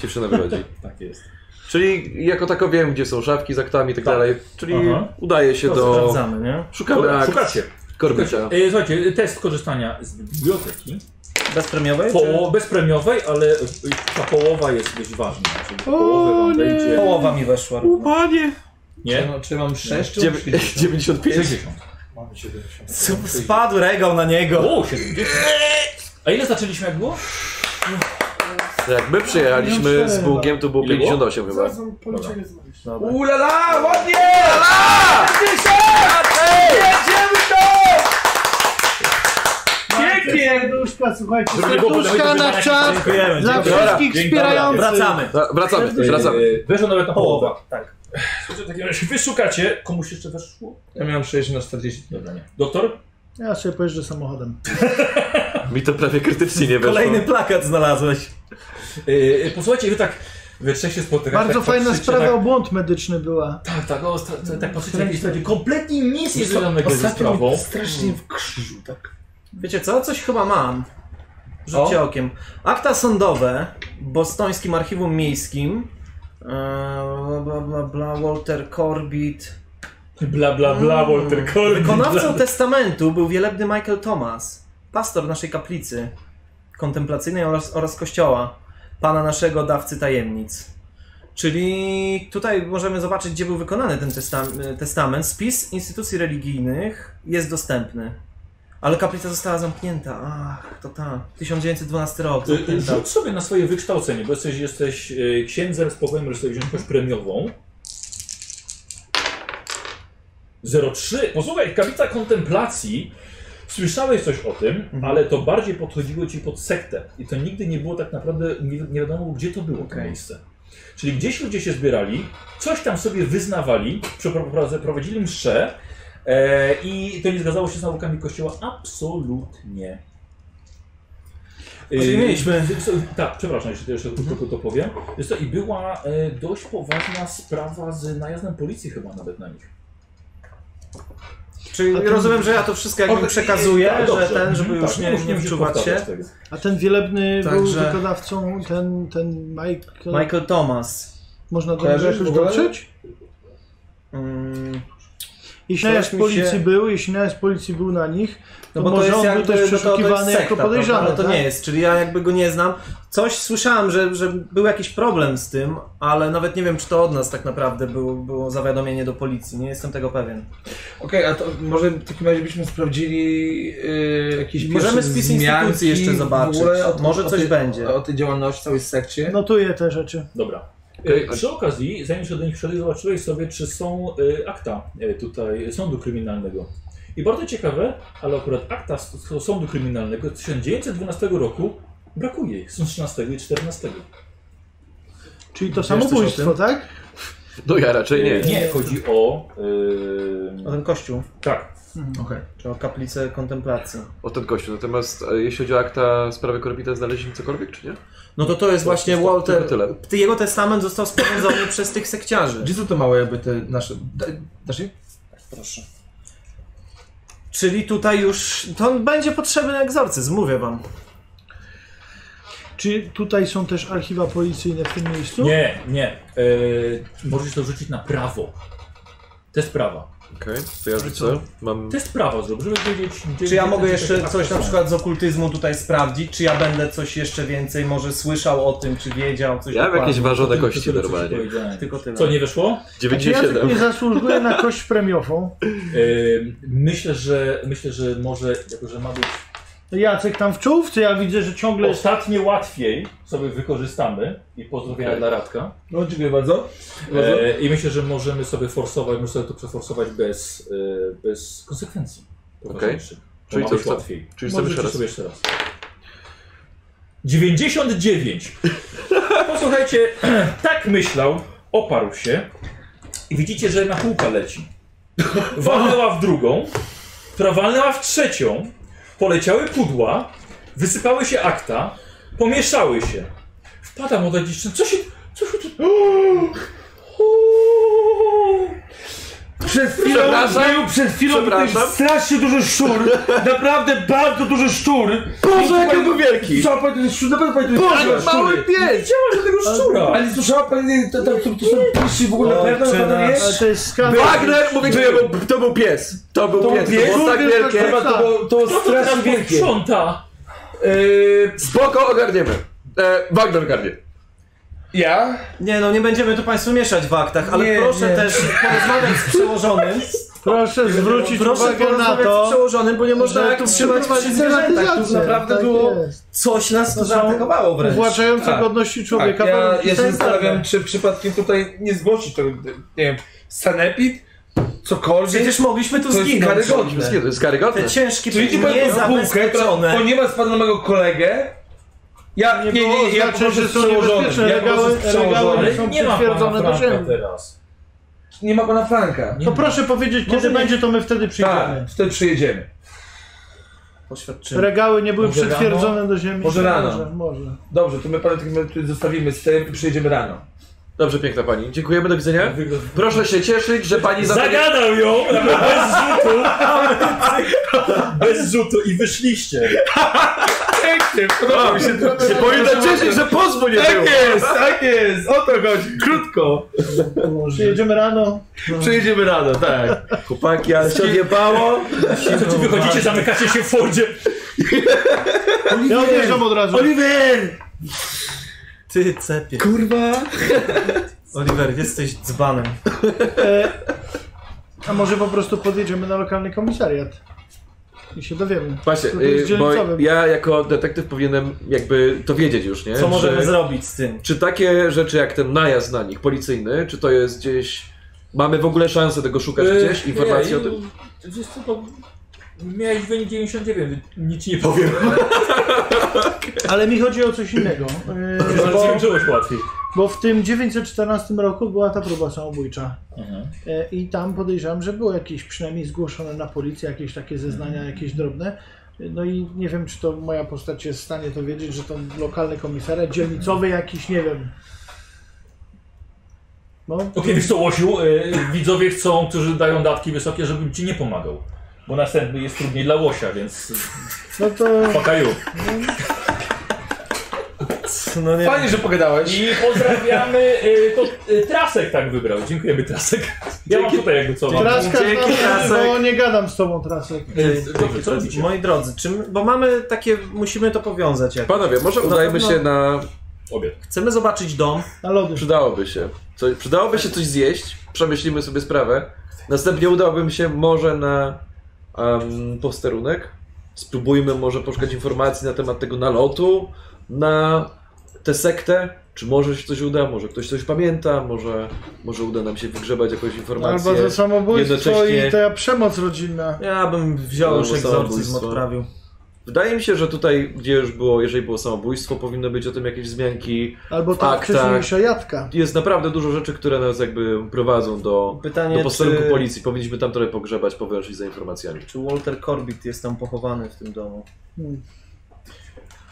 G: dziewczyna wychodzi.
A: Tak jest.
G: Czyli jako tako wiem, gdzie są szafki z aktami i tak
A: Tak.
G: dalej. Czyli
A: Aha.
G: udaje się
F: To
G: do...
F: sprawdzamy, nie?
G: Szukamy akt
A: Szukacie.
G: Korbita.
A: E, słuchajcie, test korzystania z biblioteki.
F: Bezpremiowej?
A: Poło- bezpremiowej, ale e, ta połowa jest dość ważna. Czyli
D: O,
A: połowę wam
D: nie.
F: czy...
A: wejdzie.
F: Połowa mi weszła. równo.
G: Panie!
E: Czy,
A: Nie?
E: no, czy mam 6 czy mam
G: 9,
E: 60?
G: 95.
A: 60.
I: Mamy 70.
F: Sup- Spadł regał na niego.
A: O, 70. A ile zaczęliśmy jak było?
G: Jak my przyjechaliśmy z Bugiem, to było
A: Ile było?
G: 58 chyba.
A: policzenie
F: Dobra.
E: Ulala, ładnie!
D: Pięknie! Serduszka, słuchajcie,
A: Żeby nie było
D: serduszka
A: podobnego
D: na
A: wybrania
D: czas
F: Dziękujemy.
D: dla
F: dziękujemy.
D: wszystkich
A: Dzień dobry.
D: wspierających.
F: Wracamy.
G: No, Wracamy, wracamy.
A: E, Weszła nawet na połowę.
F: Połowa, tak.
A: Słuchajcie, w takim razie wy szukacie. Komuś jeszcze weszło?
E: Ja miałem 60 na 40.
A: Dobra, nie. Doktor?
D: Ja sobie pojeżdżę samochodem.
G: Mi to prawie krytycznie nie weszło.
F: Kolejny plakat znalazłeś.
A: E, posłuchajcie, wy tak We trzech się spotykacie.
D: Bardzo
A: tak
D: fajna
A: patrzycie,
D: sprawa o
A: Tak,
D: błąd medyczny była.
A: tak, tak, o, stra- tak, tak patrzycie. jakieś takie-
J: Stracić kompletnie nic nie
A: Wiesz co,
J: związanego ze
A: ostatnio
J: sprawą.
D: strasznie
J: w krzyżu, tak.
F: Wiecie co? Coś chyba mam. Rzućcie okiem. Akta sądowe w bostońskim archiwum miejskim. Eee, Bla, bla, bla, bla, Walter Corbett.
A: Bla, bla, bla,
D: Mm.
A: Walter Corbin.
F: Wykonawcą testamentu był wielebny Michael Thomas, pastor naszej kaplicy kontemplacyjnej oraz, oraz kościoła, pana naszego dawcy tajemnic. Czyli tutaj możemy zobaczyć, gdzie był wykonany ten testam- testament. Spis instytucji religijnych jest dostępny. Ale kaplica została zamknięta. Ach, to ta. 1912 rok.
A: Y, y,
F: Zamknięta.
A: Rzuć sobie na swoje wykształcenie, bo jesteś, jesteś y, księdzem, spokojnie możesz sobie wziąć jakąś premiową. 03. Posłuchaj, kaplica kontemplacji. Słyszałeś coś o tym, ale to bardziej podchodziło ci pod sektę. I to nigdy nie było tak naprawdę, nie, nie wiadomo gdzie to było to
F: Okej.
A: miejsce. Czyli gdzieś ludzie się zbierali, coś tam sobie wyznawali, przeprowadzili- prowadzili msze e, i to nie zgadzało się z naukami kościoła absolutnie.
F: Czyli mieliśmy- Mhm.
A: Yy, co- Tak, przepraszam, jeśli to jeszcze tylko to powiem. Wiesz co, I była e, dość poważna sprawa z najazdem policji chyba nawet na nich.
F: Czyli rozumiem, że ja to wszystko jakby przekazuję,
A: Tak,
F: że
A: dobrze.
F: ten, żeby
A: Mhm,
F: już
A: tak,
F: nie, nie
A: musisz
F: wczuwać się.
A: powtarzać tego.
D: A ten wielebny był
F: Także-
D: wykonawcą, ten, ten Michael...
F: Michael Thomas.
D: Można go
E: Kojarzysz
D: jakoś
E: w ogóle?
D: dotrzeć?
F: Mm,
D: Jeśli najazd
F: Coś mi
D: policji
F: się-
D: był, jeśli najazd policji był na nich, to
F: No bo to
D: może
F: jest
D: on był
F: jakby,
D: też
F: no to, to jest
D: przeszukiwany
F: sekta,
D: jako
F: prawda?
D: podejrzany.
F: Ale to
D: tak?
F: nie jest, czyli ja jakby go nie znam. Coś słyszałem, że, że był jakiś problem z tym, ale nawet nie wiem, czy to od nas tak naprawdę było, było zawiadomienie do policji. Nie jestem tego pewien.
E: Okej, a to może w takim razie byśmy sprawdzili yy, jakieś
F: Możemy
E: pierwsze
F: spis
E: wzmianki
F: instytucji jeszcze
E: w
F: zobaczyć.
E: ogóle o-
F: Może
E: o
F: coś
E: tej-
F: będzie. No.
E: O tej działalności, całej sekcie.
D: Notuję te rzeczy.
A: Dobra. E, Przy okazji, zanim się do nich wszedłeś, zobaczyłeś sobie, czy są e, akta e, tutaj sądu kryminalnego. I bardzo ciekawe, ale akurat akta s- s- sądu kryminalnego z 1912 roku brakuje ich, są 13 i 14.
D: Czyli to samobójstwo, tak?
G: No ja raczej
A: E,
G: nie.
A: nie, chodzi o...
F: O
A: E,
F: ten kościół,
A: tak,
F: czy o kaplicę kontemplacji.
G: O ten kościół. Natomiast e, jeśli chodzi o akta sprawy Korbita, znaleźliśmy cokolwiek, czy nie?
F: No to to jest właśnie Walter.
G: tylko tyle.
F: ty- Jego testament został sporządzony przez tych sekciarzy.
E: Gdzie są te małe jakby te nasze... Da, nasze?
F: Proszę. Czyli tutaj już. To będzie potrzebny egzorcyzm, mówię wam.
D: Czy tutaj są też archiwa policyjne w tym miejscu?
A: nie, nie. E, możesz to rzucić na prawo. To jest prawa.
G: Okej, to ja rzucę. Mam...
A: To jest prawo, żeby wiedzieć... Gdzie,
F: Czy ja
A: gdzie-
F: mogę
A: gdzie
F: jeszcze
A: te akta
F: coś na
A: są.
F: przykład z okultyzmu tutaj sprawdzić? Czy ja będę coś jeszcze więcej może słyszał o tym, czy wiedział coś
G: Ja mam
F: dokładnie?
G: jakieś ważone
A: Tylko
G: kości
A: tyle, co ci
G: normalnie.
A: powiedziałem.
F: Tylko tyle.
A: Co, nie wyszło?
D: A czy Jacek
G: 97.
D: nie zasługuje na kość premiową?
A: Yy, myślę, że myślę, że może, jako że ma być
D: Jacek tam w czołówce, ja widzę, że ciągle jest...
A: ostatnie łatwiej, sobie wykorzystamy i pozdrowienia dla Radka.
E: No, dziękuję bardzo.
A: E, I myślę, że możemy sobie forsować, możemy sobie to przeforsować bez, e, bez konsekwencji. Czyli
G: Okej. Czyli
A: to
G: co,
A: jest
G: co?
A: łatwiej.
G: Czyli
A: Może
G: sobie jeszcze
A: rzućcie
G: raz.
A: sobie jeszcze raz. 99. Posłuchajcie, tak myślał, oparł się i widzicie, że na półka leci. Walnęła w drugą, która walnęła w trzecią, poleciały pudła, wysypały się akta, pomieszały się. Wpada młoda dziewczyna, co się... Co się tu...
J: Przed chwilą,
G: Przepraszam.
J: był, przed chwilą był
G: Przepraszam.
J: tutaj strasznie duży szczur. Naprawdę bardzo duży szczur.
G: Boże, jaki był wielki!
E: Słyszała pani ten szczur? Naprawdę pani ten
G: Tak mały pies!
A: Tego szczura!
E: Ale słyszała pani, to, to, to, to są piszy w ogóle,
F: O,
E: prawda?
F: czy
E: Ona
F: nas-
E: wie?
D: Ale to jest skandal.
G: Wagner mówi, że jego- to był pies. To był
E: To
G: pies. To
E: pies?
G: było tak
D: Kurde,
G: wielkie.
E: Chyba to było, to było strasznie wielkie.
A: Sprząta!
E: Yy,
G: Spoko, ogarniemy. E, Wagner ogarnie.
E: ja?
F: Nie no, nie będziemy tu Państwu mieszać w aktach, ale
E: Nie,
F: proszę
E: nie.
F: też porozmawiać z przełożonym.
D: Proszę zwrócić
F: proszę
D: uwagę na
F: porozmawiać z
D: to,
F: przełożonym, bo nie można
D: że
E: tak
F: jak
D: tu
F: trzymać przy zwierzętach.
D: prywatyzacja.
F: Tu naprawdę
D: tak
F: było...
D: jest.
F: Coś nas tu zaatakowało wręcz.
D: Uwłaczające
E: Tak.
D: godności człowieka.
E: Tak, ja,
D: warunki
E: ja się
D: sanitarne.
E: zastanawiam, czy przypadkiem tutaj nie zgłosić tego, nie wiem, sanepid? Cokolwiek?
F: Przecież mogliśmy tu
E: To jest
F: zginąć.
E: karygodne.
G: Nie, to jest karygodne.
F: Te ciężkie,
E: Czyli ci powiem tą bułkę, która
F: niezabezpieczone.
E: ponieważ spadła na mojego kolegę, ja nie,
D: Nie
E: nie,
D: było
E: nie, ja
D: znaczy,
E: proszę
D: że
E: z
D: są niebezpieczne
E: przełożonym. Ja proszę z
D: regały- regały.
E: przełożonym.
A: Ale
D: są
A: nie ma
D: przytwierdzone
A: pana
D: do
A: Franka
D: ziemi.
A: teraz.
E: Nie ma pana Franka.
A: Nie
D: To
A: ma.
D: proszę powiedzieć,
A: Może
D: kiedy
A: nie-
D: będzie, to my wtedy przyjdziemy.
E: Tak, wtedy przyjedziemy.
B: Poświadczymy.
D: Regały nie były
E: Może rano?
D: przytwierdzone do ziemi.
E: Może rano.
D: Może, może.
E: Dobrze, to my parę tych medytów zostawimy z tym i przyjedziemy rano.
G: Dobrze, piękna pani. Dziękujemy, do widzenia. Proszę się cieszyć, że pani Tak? za to nie-
A: Zagadał ją bez rzutu. bez rzutu i wyszliście.
E: Podoba mi się to.
G: Się powinno cieszyć, że pozwu nie było.
E: jest, tak jest, o to chodzi, krótko.
D: Przyjedziemy rano.
E: Przyjedziemy rano, tak. Chłopaki, ale się odjebało.
A: Słuchajcie, wychodzicie, zamykacie się w Fordzie.
D: Ja odjeżdżam od razu.
E: Oliver!
B: Ty cepie.
E: Kurwa!
B: Oliver, jesteś dzbanem.
D: A może po prostu podjedziemy na lokalny komisariat. I się dowiemy.
G: Właśnie,
D: No To jest
G: y, bo
D: dzielnicowym.
G: ja jako detektyw powinienem jakby to wiedzieć już, nie?
B: Co możemy
G: że,
B: zrobić z tym?
G: Czy takie rzeczy jak ten najazd na nich, policyjny, czy to jest gdzieś... Mamy w ogóle szansę tego szukać
D: Y,
G: gdzieś, informacji o tym?
A: E, Wiesz co, to miałeś wynik 99, nic ci nie powiem.
D: Ale mi chodzi o coś innego. Yy,
A: Ale
D: bo,
A: skończyłeś łatwiej.
D: bo w tym 914 roku była ta próba samobójcza.
G: Mhm.
D: E, I tam podejrzewam, że było jakieś przynajmniej zgłoszone na policję jakieś takie zeznania,
G: Mhm.
D: jakieś drobne. No i nie wiem, czy to moja postać jest w stanie to wiedzieć, że to lokalny komisariat, dzielnicowy jakiś, nie wiem. No,
A: Okej, wiesz co, Łosiu, y, widzowie chcą, którzy dają datki wysokie, żebym ci nie pomagał. Bo następny jest trudniej dla Łosia, więc
D: no to...
A: pakaju.
B: No nie
E: Fajnie, że pogadałeś.
A: I pozdrawiamy, y, to y, Trasek tak wybrał. Dziękujemy Trasek. Ja mam tutaj jakby co. mam.
D: Traska
C: Dzięki,
D: znam,
C: Trasek.
D: bo nie gadam z tobą, Trasek.
G: Y,
A: Dobrze, co robicie?
B: Moi drodzy, czym, bo mamy takie, musimy to powiązać jak.
G: Panowie, może udajmy się na...
A: Obiad.
B: Chcemy zobaczyć dom.
D: Na lody.
G: Przydałoby się. Co, przydałoby się coś zjeść, przemyślimy sobie sprawę. Następnie udałbym się może na em, posterunek. Spróbujmy może poszukać informacji na temat tego nalotu na tę sektę. Czy może się coś uda, może ktoś coś pamięta, może, może uda nam się wygrzebać jakąś informację.
B: No,
D: Albo to samobójstwo
G: jednocześnie-
D: i ta przemoc rodzinna.
B: Ja bym wziął już
G: Albo
B: egzorcyzm
G: samobójstwo.
B: odprawił.
G: Wydaje mi się, że tutaj, gdzie już było, jeżeli było samobójstwo, powinno być o tym jakieś wzmianki.
D: Albo ta
G: Tak, tak.
D: wcześniejsza jadka.
G: Jest naprawdę dużo rzeczy, które nas jakby prowadzą do, do
B: Pytanie,
G: posterunku
B: czy,
G: policji. Powinniśmy tam trochę pogrzebać, powęszyć za informacjami.
B: czy Walter Corbett jest tam pochowany w tym domu.
D: Hmm.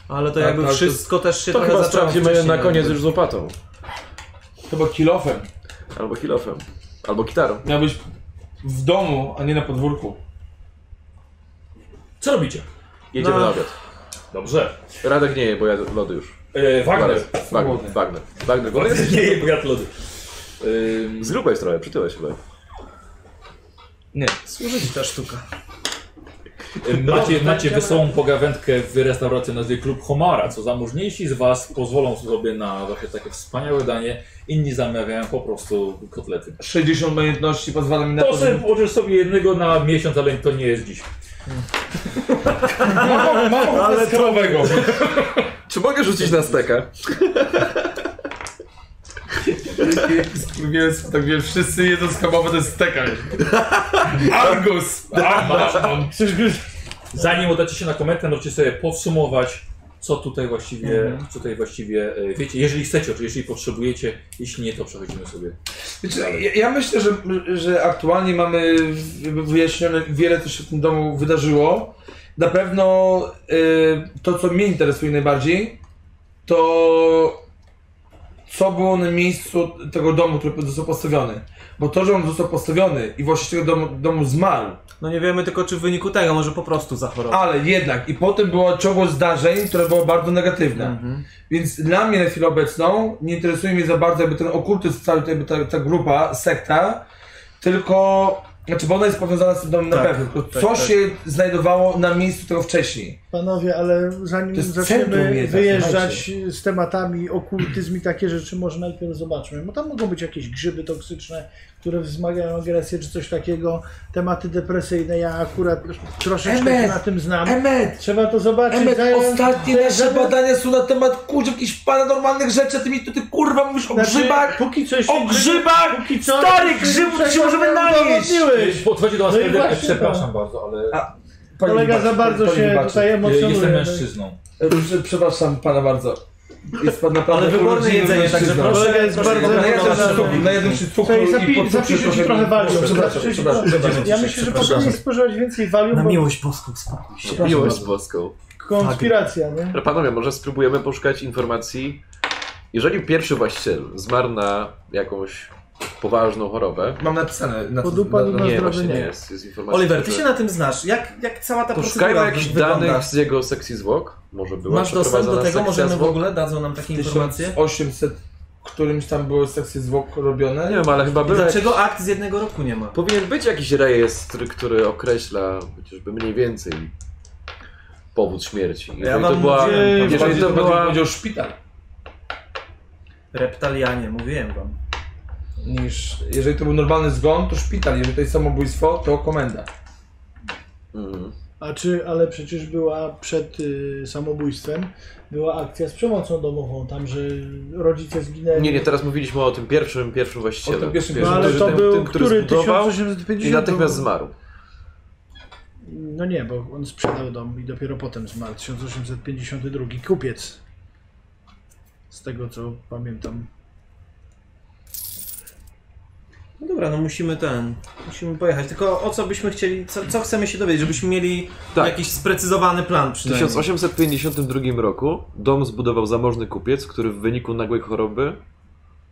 B: Ale to
E: Tak,
B: jakby
E: ale to-
B: wszystko też się
G: To
B: trochę
G: chyba
B: zaczęło
G: sprawdzimy
B: wcześniej,
G: na koniec
B: jakby.
G: już z łopatą.
E: Chyba kilofem.
G: Albo kilofem. Albo gitarą.
E: Miał być w domu, a nie na podwórku.
A: Co robicie?
G: Jedziemy
B: No.
G: na obiad.
A: Dobrze.
G: Radek nie je, bo ja lody już.
A: E, Wagner.
G: Wagner. Wagner. Wagner. Wagner.
A: Wagner
G: Wagner.
A: nie je, bo ja to lody. Ym,
G: Zgrubałeś trochę, przytyłeś chyba.
B: Służy ci ta sztuka.
A: Macie, macie wesołą pogawędkę w restauracji o nazwie Klub Homara, co zamożniejsi z Was pozwolą sobie na właśnie takie wspaniałe danie, inni zamawiają po prostu kotlety.
E: 60 majątności pozwala mi na
A: To sobie włożysz sobie jednego na miesiąc, ale to nie jest dziś.
E: Ale skrowego.
G: Czy mogę rzucić na steka?
E: Wiem, tak wiem, wszyscy jedzą skabowe, to jest steka. Argus! Argus!
A: Zanim udacie się na komentarz, możecie sobie podsumować, co tutaj właściwie, co tutaj właściwie e, wiecie. Jeżeli chcecie, oczywiście, jeżeli potrzebujecie, jeśli nie, to przechodzimy sobie.
E: Znaczy, ja, ja myślę, że, że aktualnie mamy jakby wyjaśnione wiele, co się w tym domu wydarzyło. Na pewno y, to, co mnie interesuje najbardziej, to co było na miejscu tego domu, który został postawiony. Bo to, że on został postawiony i właściciel tego domu, domu zmarł,
B: No nie wiemy tylko, czy w wyniku tego może po prostu zachorował.
E: ale jednak i potem było ciągło zdarzeń, które było bardzo negatywne.
B: Mhm.
E: Więc dla mnie na chwilę obecną nie interesuje mnie za bardzo jakby ten okultyzm, cały, jakby ta, ta grupa, sekta, tylko, znaczy bo ona jest powiązana z tym domem na
B: Tak,
E: pewno, tylko
B: tak,
E: co
B: tak.
E: się znajdowało na miejscu tego wcześniej.
D: Panowie, ale
E: To
D: zanim
E: jest centrum
D: zaczniemy
E: jednak,
D: wyjeżdżać z tematami okultyzm i takie rzeczy, może najpierw zobaczmy. Bo tam mogą być jakieś grzyby toksyczne, które wzmagają agresję czy coś takiego. Tematy depresyjne, ja akurat troszeczkę
E: Emet!
D: się na tym znam.
E: Emet!
D: Trzeba to zobaczyć.
E: Emet,
D: zająć-
E: ostatnie
D: zająć-
E: nasze badania są na temat kurczę, jakichś paranormalnych rzeczy, a ty mi tu ty kurwa mówisz o
D: Znaczy,
E: grzybach!
D: Póki coś
E: O grzybach!
D: Póki co-
E: Stary grzyb się możemy najeść!
D: Udowodniłeś.
A: Podchodzi do Was
D: No i
A: kolega, e,
D: właśnie,
A: przepraszam bardzo, ale
E: A, Pani
D: Kolega
E: Zobaczy,
D: za bardzo
E: pani
D: się
E: Zobaczy.
D: tutaj
A: e,
D: emocjonuje.
A: jestem mężczyzną.
E: E, prze- Przepraszam pana bardzo. Jest pan naprawdę
F: Ale wyborne
E: urodziwym
F: jedzenie, także
E: mężczyzną.
F: proszę-
D: Kolega jest
F: proszę,
D: bardzo
E: Na
G: no
E: jednym
F: Dobra,
E: przytupu, na jednym przytupu
D: Ej,
E: i
D: zapi-
E: podsuszę
D: zapiszę ci
E: trochę-
D: trochę walium.
E: Przepraszam,
D: Zapiszę ci
E: przepraszam,
D: trochę.
E: przepraszam.
D: Ja myślę, że powinien spożywać więcej walium,
K: Na
D: bo
K: miłość boską spokój się.
G: Miłość z boską.
D: konspiracja, nie?
G: Ale Panowie, może spróbujemy poszukać informacji. Jeżeli pierwszy właściciel zmarł na jakąś poważną chorobę,
E: Mam napisane na
D: Podupadł
E: na-
D: na-
G: nie,
D: zdrowie
G: właśnie nie
D: nie.
G: jest. Jest informacja.
F: Oliver, ty
G: że-
F: się na tym znasz. Jak, jak cała ta
G: Poszukajmy
F: procedura
G: jakichś
F: wygląda?
G: danych z jego sekcji zwłok. Może była
F: Masz dostęp do
G: przeprowadzona
F: tego?
G: sekcja
F: Możemy w
G: zwłok?
F: ogóle? Dadzą nam takie informacje?
E: 1800 którymś tam były sekcje zwłok robione.
G: Nie wiem, ale chyba był.
F: Dlaczego
G: jakiś-
F: akt z jednego roku nie ma?
G: Powinien być jakiś rejestr, który określa chociażby mniej więcej powód śmierci. Jeżeli to
F: wam
G: była.
F: mówiłem,
E: Bardziej
G: Jeżeli to
E: bardziej
G: była.
E: powiedział szpital.
F: Reptalianie, mówiłem wam.
E: Niż, jeżeli to był normalny zgon, to szpital. Jeżeli to jest samobójstwo, to komenda.
G: Mhm.
D: A czy, ale przecież była przed y, samobójstwem, była akcja z przemocą domową, tam, że rodzice zginęli.
G: Nie, nie, teraz mówiliśmy o tym pierwszym, pierwszym właścicielu.
E: O tym pierwszym,
D: no, ale
G: że
D: to
G: ten-
D: był
G: ten,
D: który?
G: zbudował
D: 1850?
G: i natychmiast
D: był-
G: zmarł.
D: No nie, bo on sprzedał dom i dopiero potem zmarł. 1852. Kupiec. Z tego co pamiętam.
F: No dobra, no musimy ten, musimy pojechać. Tylko o co byśmy chcieli, co, co chcemy się dowiedzieć, żebyśmy mieli
G: Tak.
F: jakiś sprecyzowany plan
G: W
F: przynajmniej.
G: 1852 roku dom zbudował zamożny kupiec, który w wyniku nagłej choroby.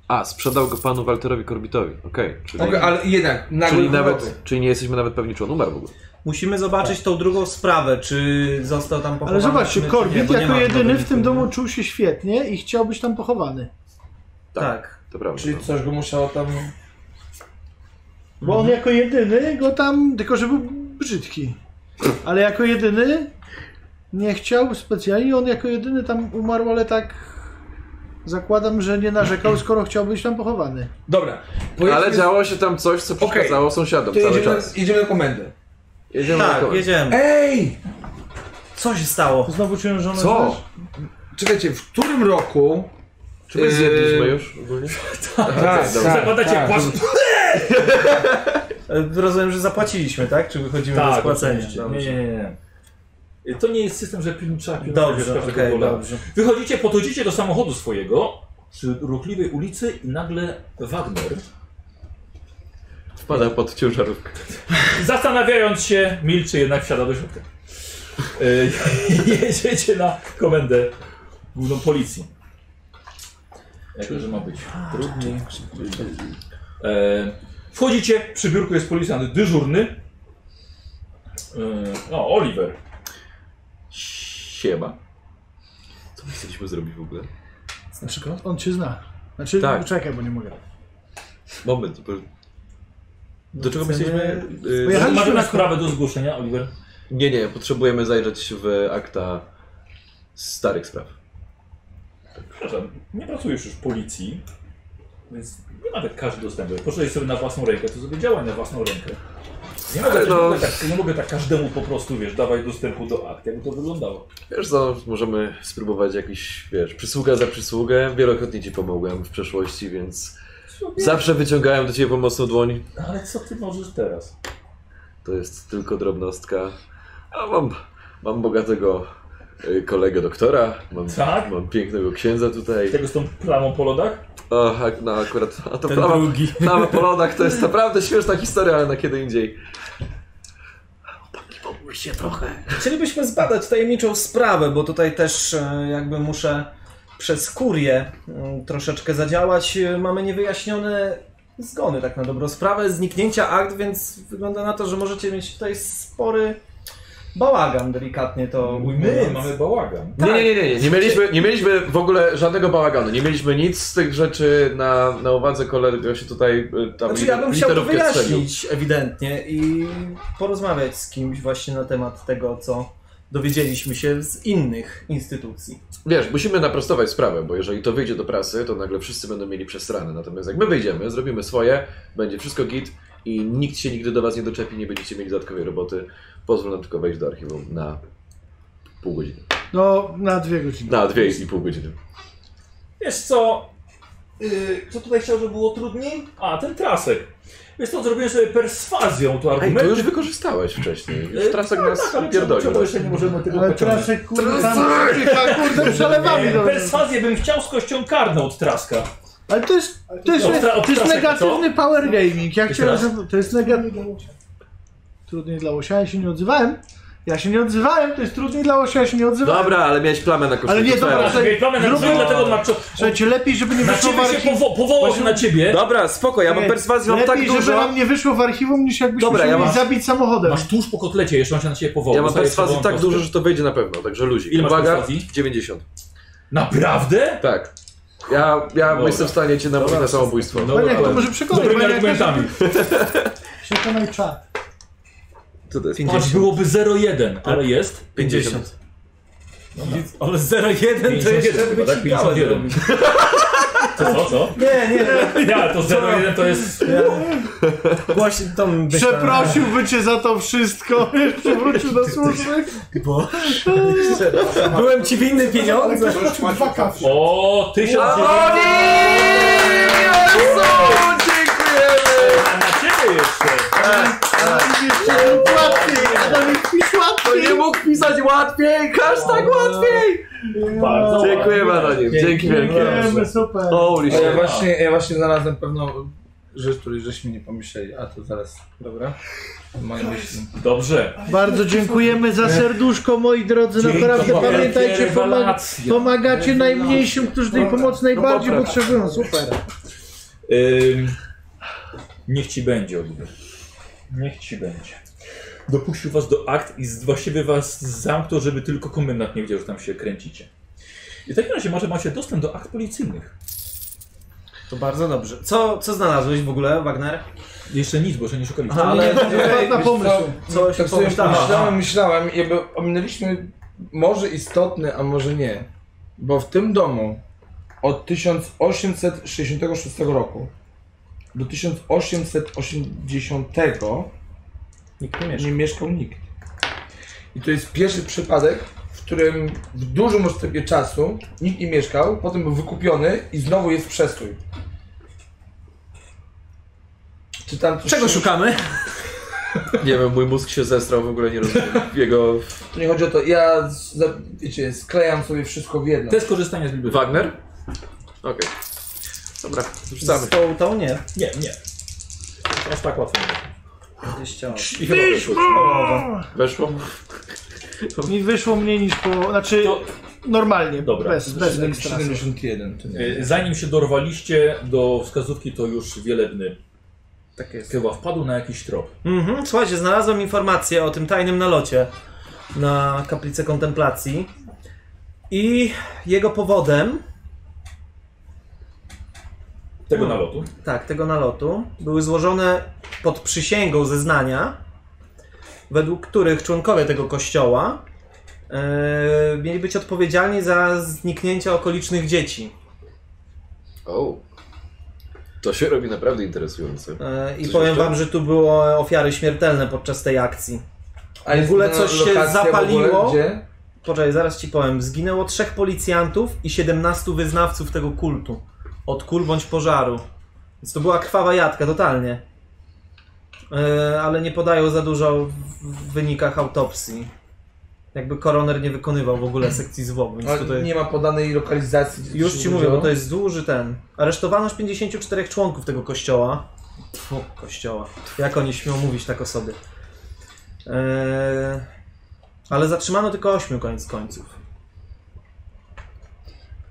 G: A, sprzedał go panu Walterowi Korbitowi. Okej, czyli,
E: Okej, ale jednak, nagle
G: czyli, nawet, czyli nie jesteśmy nawet pewni, czy on umarł w ogóle.
F: Musimy zobaczyć tą drugą sprawę, czy został tam pochowany.
D: Ale zobaczcie,
F: czy nie, bo
D: Corbett
F: nie
D: jako
F: ma
D: jedyny w
F: dowodów,
D: tym
F: nie?
D: domu czuł się świetnie i chciał być tam pochowany.
F: Tak.
G: To prawda.
E: Czyli
G: no.
E: coś go musiało tam...
D: Bo on jako jedyny go tam, tylko że był brzydki. Ale jako jedyny nie chciał specjalnie, on jako jedyny tam umarł, ale tak zakładam, że nie narzekał, skoro chciał być tam pochowany.
E: Dobra.
G: Ale
E: pojedźmy-
G: działo się tam coś, co przeszkadzało sąsiadom
E: To
G: cały
E: jedziemy,
G: czas.
E: jedziemy na komendę.
G: Jedziemy na
F: Tak,
G: komendę.
F: jedziemy.
E: Ej!
F: Co się stało?
D: Znowu czuję żonę.
G: Co?
E: Czekajcie, w którym roku...
G: Czy my
E: Yy,
G: zjedliśmy już ogólnie?
E: Tak,
G: dobra.
A: Zakładacie płaszcz.
F: E, Rozumiem, że zapłaciliśmy, tak? Czy wychodzimy do
A: Tak,
F: spłacenia?
A: oczywiście.
F: Dobrze.
A: Nie, nie, nie. To nie jest system, że piln- trzeba pilnować
F: Dobrze,
A: każdego
F: okej,
A: dolara.
F: dobrze.
A: Wychodzicie, podchodzicie do samochodu swojego przy ruchliwej ulicy i nagle Wagner,
G: Wpada pod ciężarówkę.
A: zastanawiając się, milczy jednak wsiada do środka. Y, Jedziecie na komendę główną policji. Jako, że ma być trudniej. E, Wchodzicie, przy biurku jest policjant dyżurny. E, No, Oliver.
G: Siema. Co my chcieliśmy zrobić w ogóle?
D: Znaczy, on cię zna. Znaczy,
G: Tak.
D: czekaj, bo nie mogę.
G: Moment, bo... Do czego my chcieliśmy...
D: Bo ja-
G: Yy,
D: Jechaliśmy
A: Masz na
D: na-
A: sprawę do zgłoszenia, Oliver.
G: nie, nie, potrzebujemy zajrzeć w akta starych spraw.
A: Przepraszam, nie pracujesz już w policji, więc nie ma tak każdy dostępu. Poszedłeś sobie na własną rękę, to sobie działaj na własną rękę. Nie mogę,
G: Ale no-
A: nie, mogę tak, nie mogę tak każdemu po prostu, wiesz, dawać dostępu do akt, jakby to wyglądało.
G: Wiesz co, możemy spróbować jakiś, wiesz, przysługa za przysługę. Wielokrotnie ci pomogłem w przeszłości, więc zawsze wyciągałem do ciebie pomocną dłoń.
A: No Ale co ty możesz teraz?
G: To jest tylko drobnostka. A mam, mam bogatego y, kolegę doktora, mam,
A: Tak?
G: mam pięknego księdza tutaj.
A: Tego z tą plamą po lodach?
G: Och, ak- no akurat, a to prawa, prawa po lodach to jest naprawdę śmieszna historia, ale na kiedy indziej.
F: Chcielibyśmy zbadać tajemniczą sprawę, bo tutaj też e, jakby muszę przez kurię mm, troszeczkę zadziałać. E, Mamy niewyjaśnione zgony, tak na dobrą sprawę, zniknięcia akt, więc wygląda na to, że możecie mieć tutaj spory bałagan, delikatnie to
A: My
F: ujmując.
A: mamy bałagan.
G: Nie, nie, nie, nie, nie, nie mieliśmy, nie mieliśmy w ogóle żadnego bałaganu, nie mieliśmy nic z tych rzeczy na, na uwadze, kolega się tutaj y, tam
F: Znaczy,
G: liter-
F: ja bym chciał to
G: literówkę strzelił.
F: wyjaśnić ewidentnie i porozmawiać z kimś właśnie na temat tego, co dowiedzieliśmy się z innych instytucji.
G: Wiesz, musimy naprostować sprawę, bo jeżeli to wyjdzie do prasy, to nagle wszyscy będą mieli przesrane. Natomiast jak my wyjdziemy, zrobimy swoje, będzie wszystko git i nikt się nigdy do was nie doczepi, nie będziecie mieli dodatkowej roboty. Pozwól nam tylko wejść do archiwum na pół godziny.
D: No, na dwie godziny.
G: Na dwie i pół godziny.
A: Wiesz co? Yy, co tutaj chciał, żeby było trudniej? A, ten trasek. Więc to zrobiłem sobie perswazją tu
G: Ej, to
A: argumenty.
G: już wykorzystałeś wcześniej. Już Trasek
A: tak,
G: nas
A: tak, ale czemu,
G: pierdolił.
A: czemu jeszcze nie możemy tego
D: Ale
A: pociągnąć?
D: teraz się kurde, tam, kurde przelewami.
A: Nie,
D: dobrze.
A: perswazję bym chciał z kością karną od Traska.
D: Ale to jest, to jest,
A: No, tra-
D: to jest
A: trasek,
D: negatywny power gaming. Ja
A: Jeszcze
D: chciałem,
A: raz?
D: żeby- to jest negatywny. Trudniej dla Łosia, ja się nie odzywałem. Ja się nie odzywałem, to jest trudniej dla Łosia, ja się nie odzywałem.
G: Dobra, ale miałeś plamę na koszulce.
D: Ale nie,
G: co
D: dobra,
G: ja-
D: że-
A: Słuchaj, Mamy na
D: drugi-
A: drugą, dlatego na,
D: Słuchajcie, lepiej, żeby nie
A: na
D: wyszło w
A: ciebie się
D: archiwum.
A: powo powołał na ciebie.
G: Dobra, spoko, ja mam perswazję, mam tak
D: Lepiej, żeby
G: dużo.
D: nam nie wyszło w archiwum, niż jakbyśmy
G: Dobra,
D: się
G: ja
D: mieli
G: mam-
D: zabić samochodem.
A: Masz tuż po kotlecie, jeszcze on się na ciebie powołał.
G: Ja mam
A: Dostajesz
G: perswazję
A: czerwoną
G: tak
A: kostkę.
G: dużo, że to wyjdzie na pewno, także luzik.
A: Ile masz
G: Uwaga,
A: perswazji?
G: 90.
A: Naprawdę?
G: Tak. Ja, ja
A: Dobra.
G: jestem w stanie cię namówić na samobójstwo.
A: No
D: No
A: dobra,
D: nie, to
A: ale
D: może
A: z
D: przekonaj, bo
A: dobrymi
D: ja też
A: argumentami.
D: przekonaj czat.
G: Co to jest?
A: Aż byłoby 0,1, ale jest.
G: 50.
F: Ale 0,1 to jeszcze
A: 51 chyba,
F: by
A: tak?
F: ci dało
A: 51.
F: zrobić.
A: Co, co, co?
F: Nie, nie,
A: Ja, to 0,1 to jest...
F: głośno tą byś tam-
D: Przeprosiłby cię za to wszystko, jeszcze wrócił do służby.
F: Byłem ci winny pieniądze.
D: Dwa kafle.
A: O, 1900.
G: Dziękujemy!
A: A na ciebie jeszcze.
G: To nie mógł pisać łatwiej! Hashtag łatwiej!
A: Bardzo
G: Dziękujemy Anonim, dzięki wielkie.
D: Dziękujemy, super.
G: Holy
E: A ja
G: shit.
E: E, właśnie, ja właśnie znalazłem pewną rzecz, której żeśmy nie pomyśleli, a to zaraz, dobra? Moje myśli.
A: Dobrze.
D: Bardzo dziękujemy za serduszko, moi drodzy. Naprawdę
A: Dzięki,
D: pamiętajcie,
A: wielkie
D: pomaga,
A: rewelacje.
D: pomagacie najmniejszym, którzy tej pomocy
A: No
D: najbardziej
G: dobra.
D: potrzebują. Super.
A: Ym, niech ci będzie, Oliver. Niech ci będzie. Dopuścił was do akt i z- właściwie was zamknął, żeby tylko komendant nie wiedział, że tam się kręcicie. I w takim razie może macie dostęp do akt policyjnych.
F: To bardzo dobrze. Co, co znalazłeś w ogóle, Wagner?
A: Jeszcze nic, bo jeszcze nie szukaliście.
F: Ale
E: Ej,
D: na
E: wiesz
D: pomysł.
E: co?
F: coś
E: Tak sobie
F: pomyślałem.
E: myślałem, myślałem i jakby ominęliśmy może istotne, a może nie. Bo w tym domu od 1866 roku do 1880
F: nikt nie
E: nie mieszkał nikt. I to jest pierwszy przypadek, w którym w dużym odstępie czasu nikt nie mieszkał, potem był wykupiony i znowu jest przestój. Czy tam coś
F: Czego
E: się-
F: szukamy?
G: Nie wiem, mój mózg się zestrał, w ogóle nie rozumiem jego...
E: To nie chodzi o to, ja z- za, wiecie, sklejam sobie wszystko w jedno.
A: To jest korzystanie z biblioteki.
G: Wagner? Okej. Dobra, rzucamy.
F: Z tą, tą nie.
A: Nie, nie. Aż tak łatwo. nie.
F: 28.
G: I chyba weszło. Weszło?
D: Mi wyszło mniej niż po. Znaczy
A: To-
D: normalnie,
A: Dobra.
D: bez, bez ekstra.
E: 71, to nie.
A: Y, Zanim się dorwaliście do wskazówki, to już wielebny
E: Tak jest.
A: chyba wpadł na jakiś trop.
F: Mhm. Słuchajcie, znalazłem informację o tym tajnym nalocie na kaplicę kontemplacji. I jego powodem,
A: Tego nalotu.
F: tak, tego nalotu, były złożone pod przysięgą zeznania, według których członkowie tego kościoła e, mieli być odpowiedzialni za zniknięcie okolicznych dzieci.
G: O. To się robi naprawdę interesujące.
F: E, I
G: Coś
F: powiem
G: jeszcze?
F: wam, że tu było ofiary śmiertelne podczas tej akcji.
E: A
F: W ogóle coś się
E: lokacja w ogóle,
F: zapaliło?
E: Gdzie?
F: Poczekaj, zaraz ci powiem. Zginęło trzech policjantów i 17 wyznawców tego kultu. Od kul bądź pożaru. Więc to była krwawa jadka, totalnie. E, ale nie podają za dużo w- w wynikach autopsji. Jakby koroner nie wykonywał w ogóle sekcji zwłok, więc
E: Ale
F: tutaj...
E: Nie ma podanej lokalizacji. gdzie
F: Już
E: się
F: ci mówię, bo
E: udziało.
F: to jest duży ten. Aresztowano aż 54 członków tego kościoła. Tfu, kościoła. Jak oni śmią mówić tak o sobie. Eee, ale zatrzymano tylko 8 koniec końców.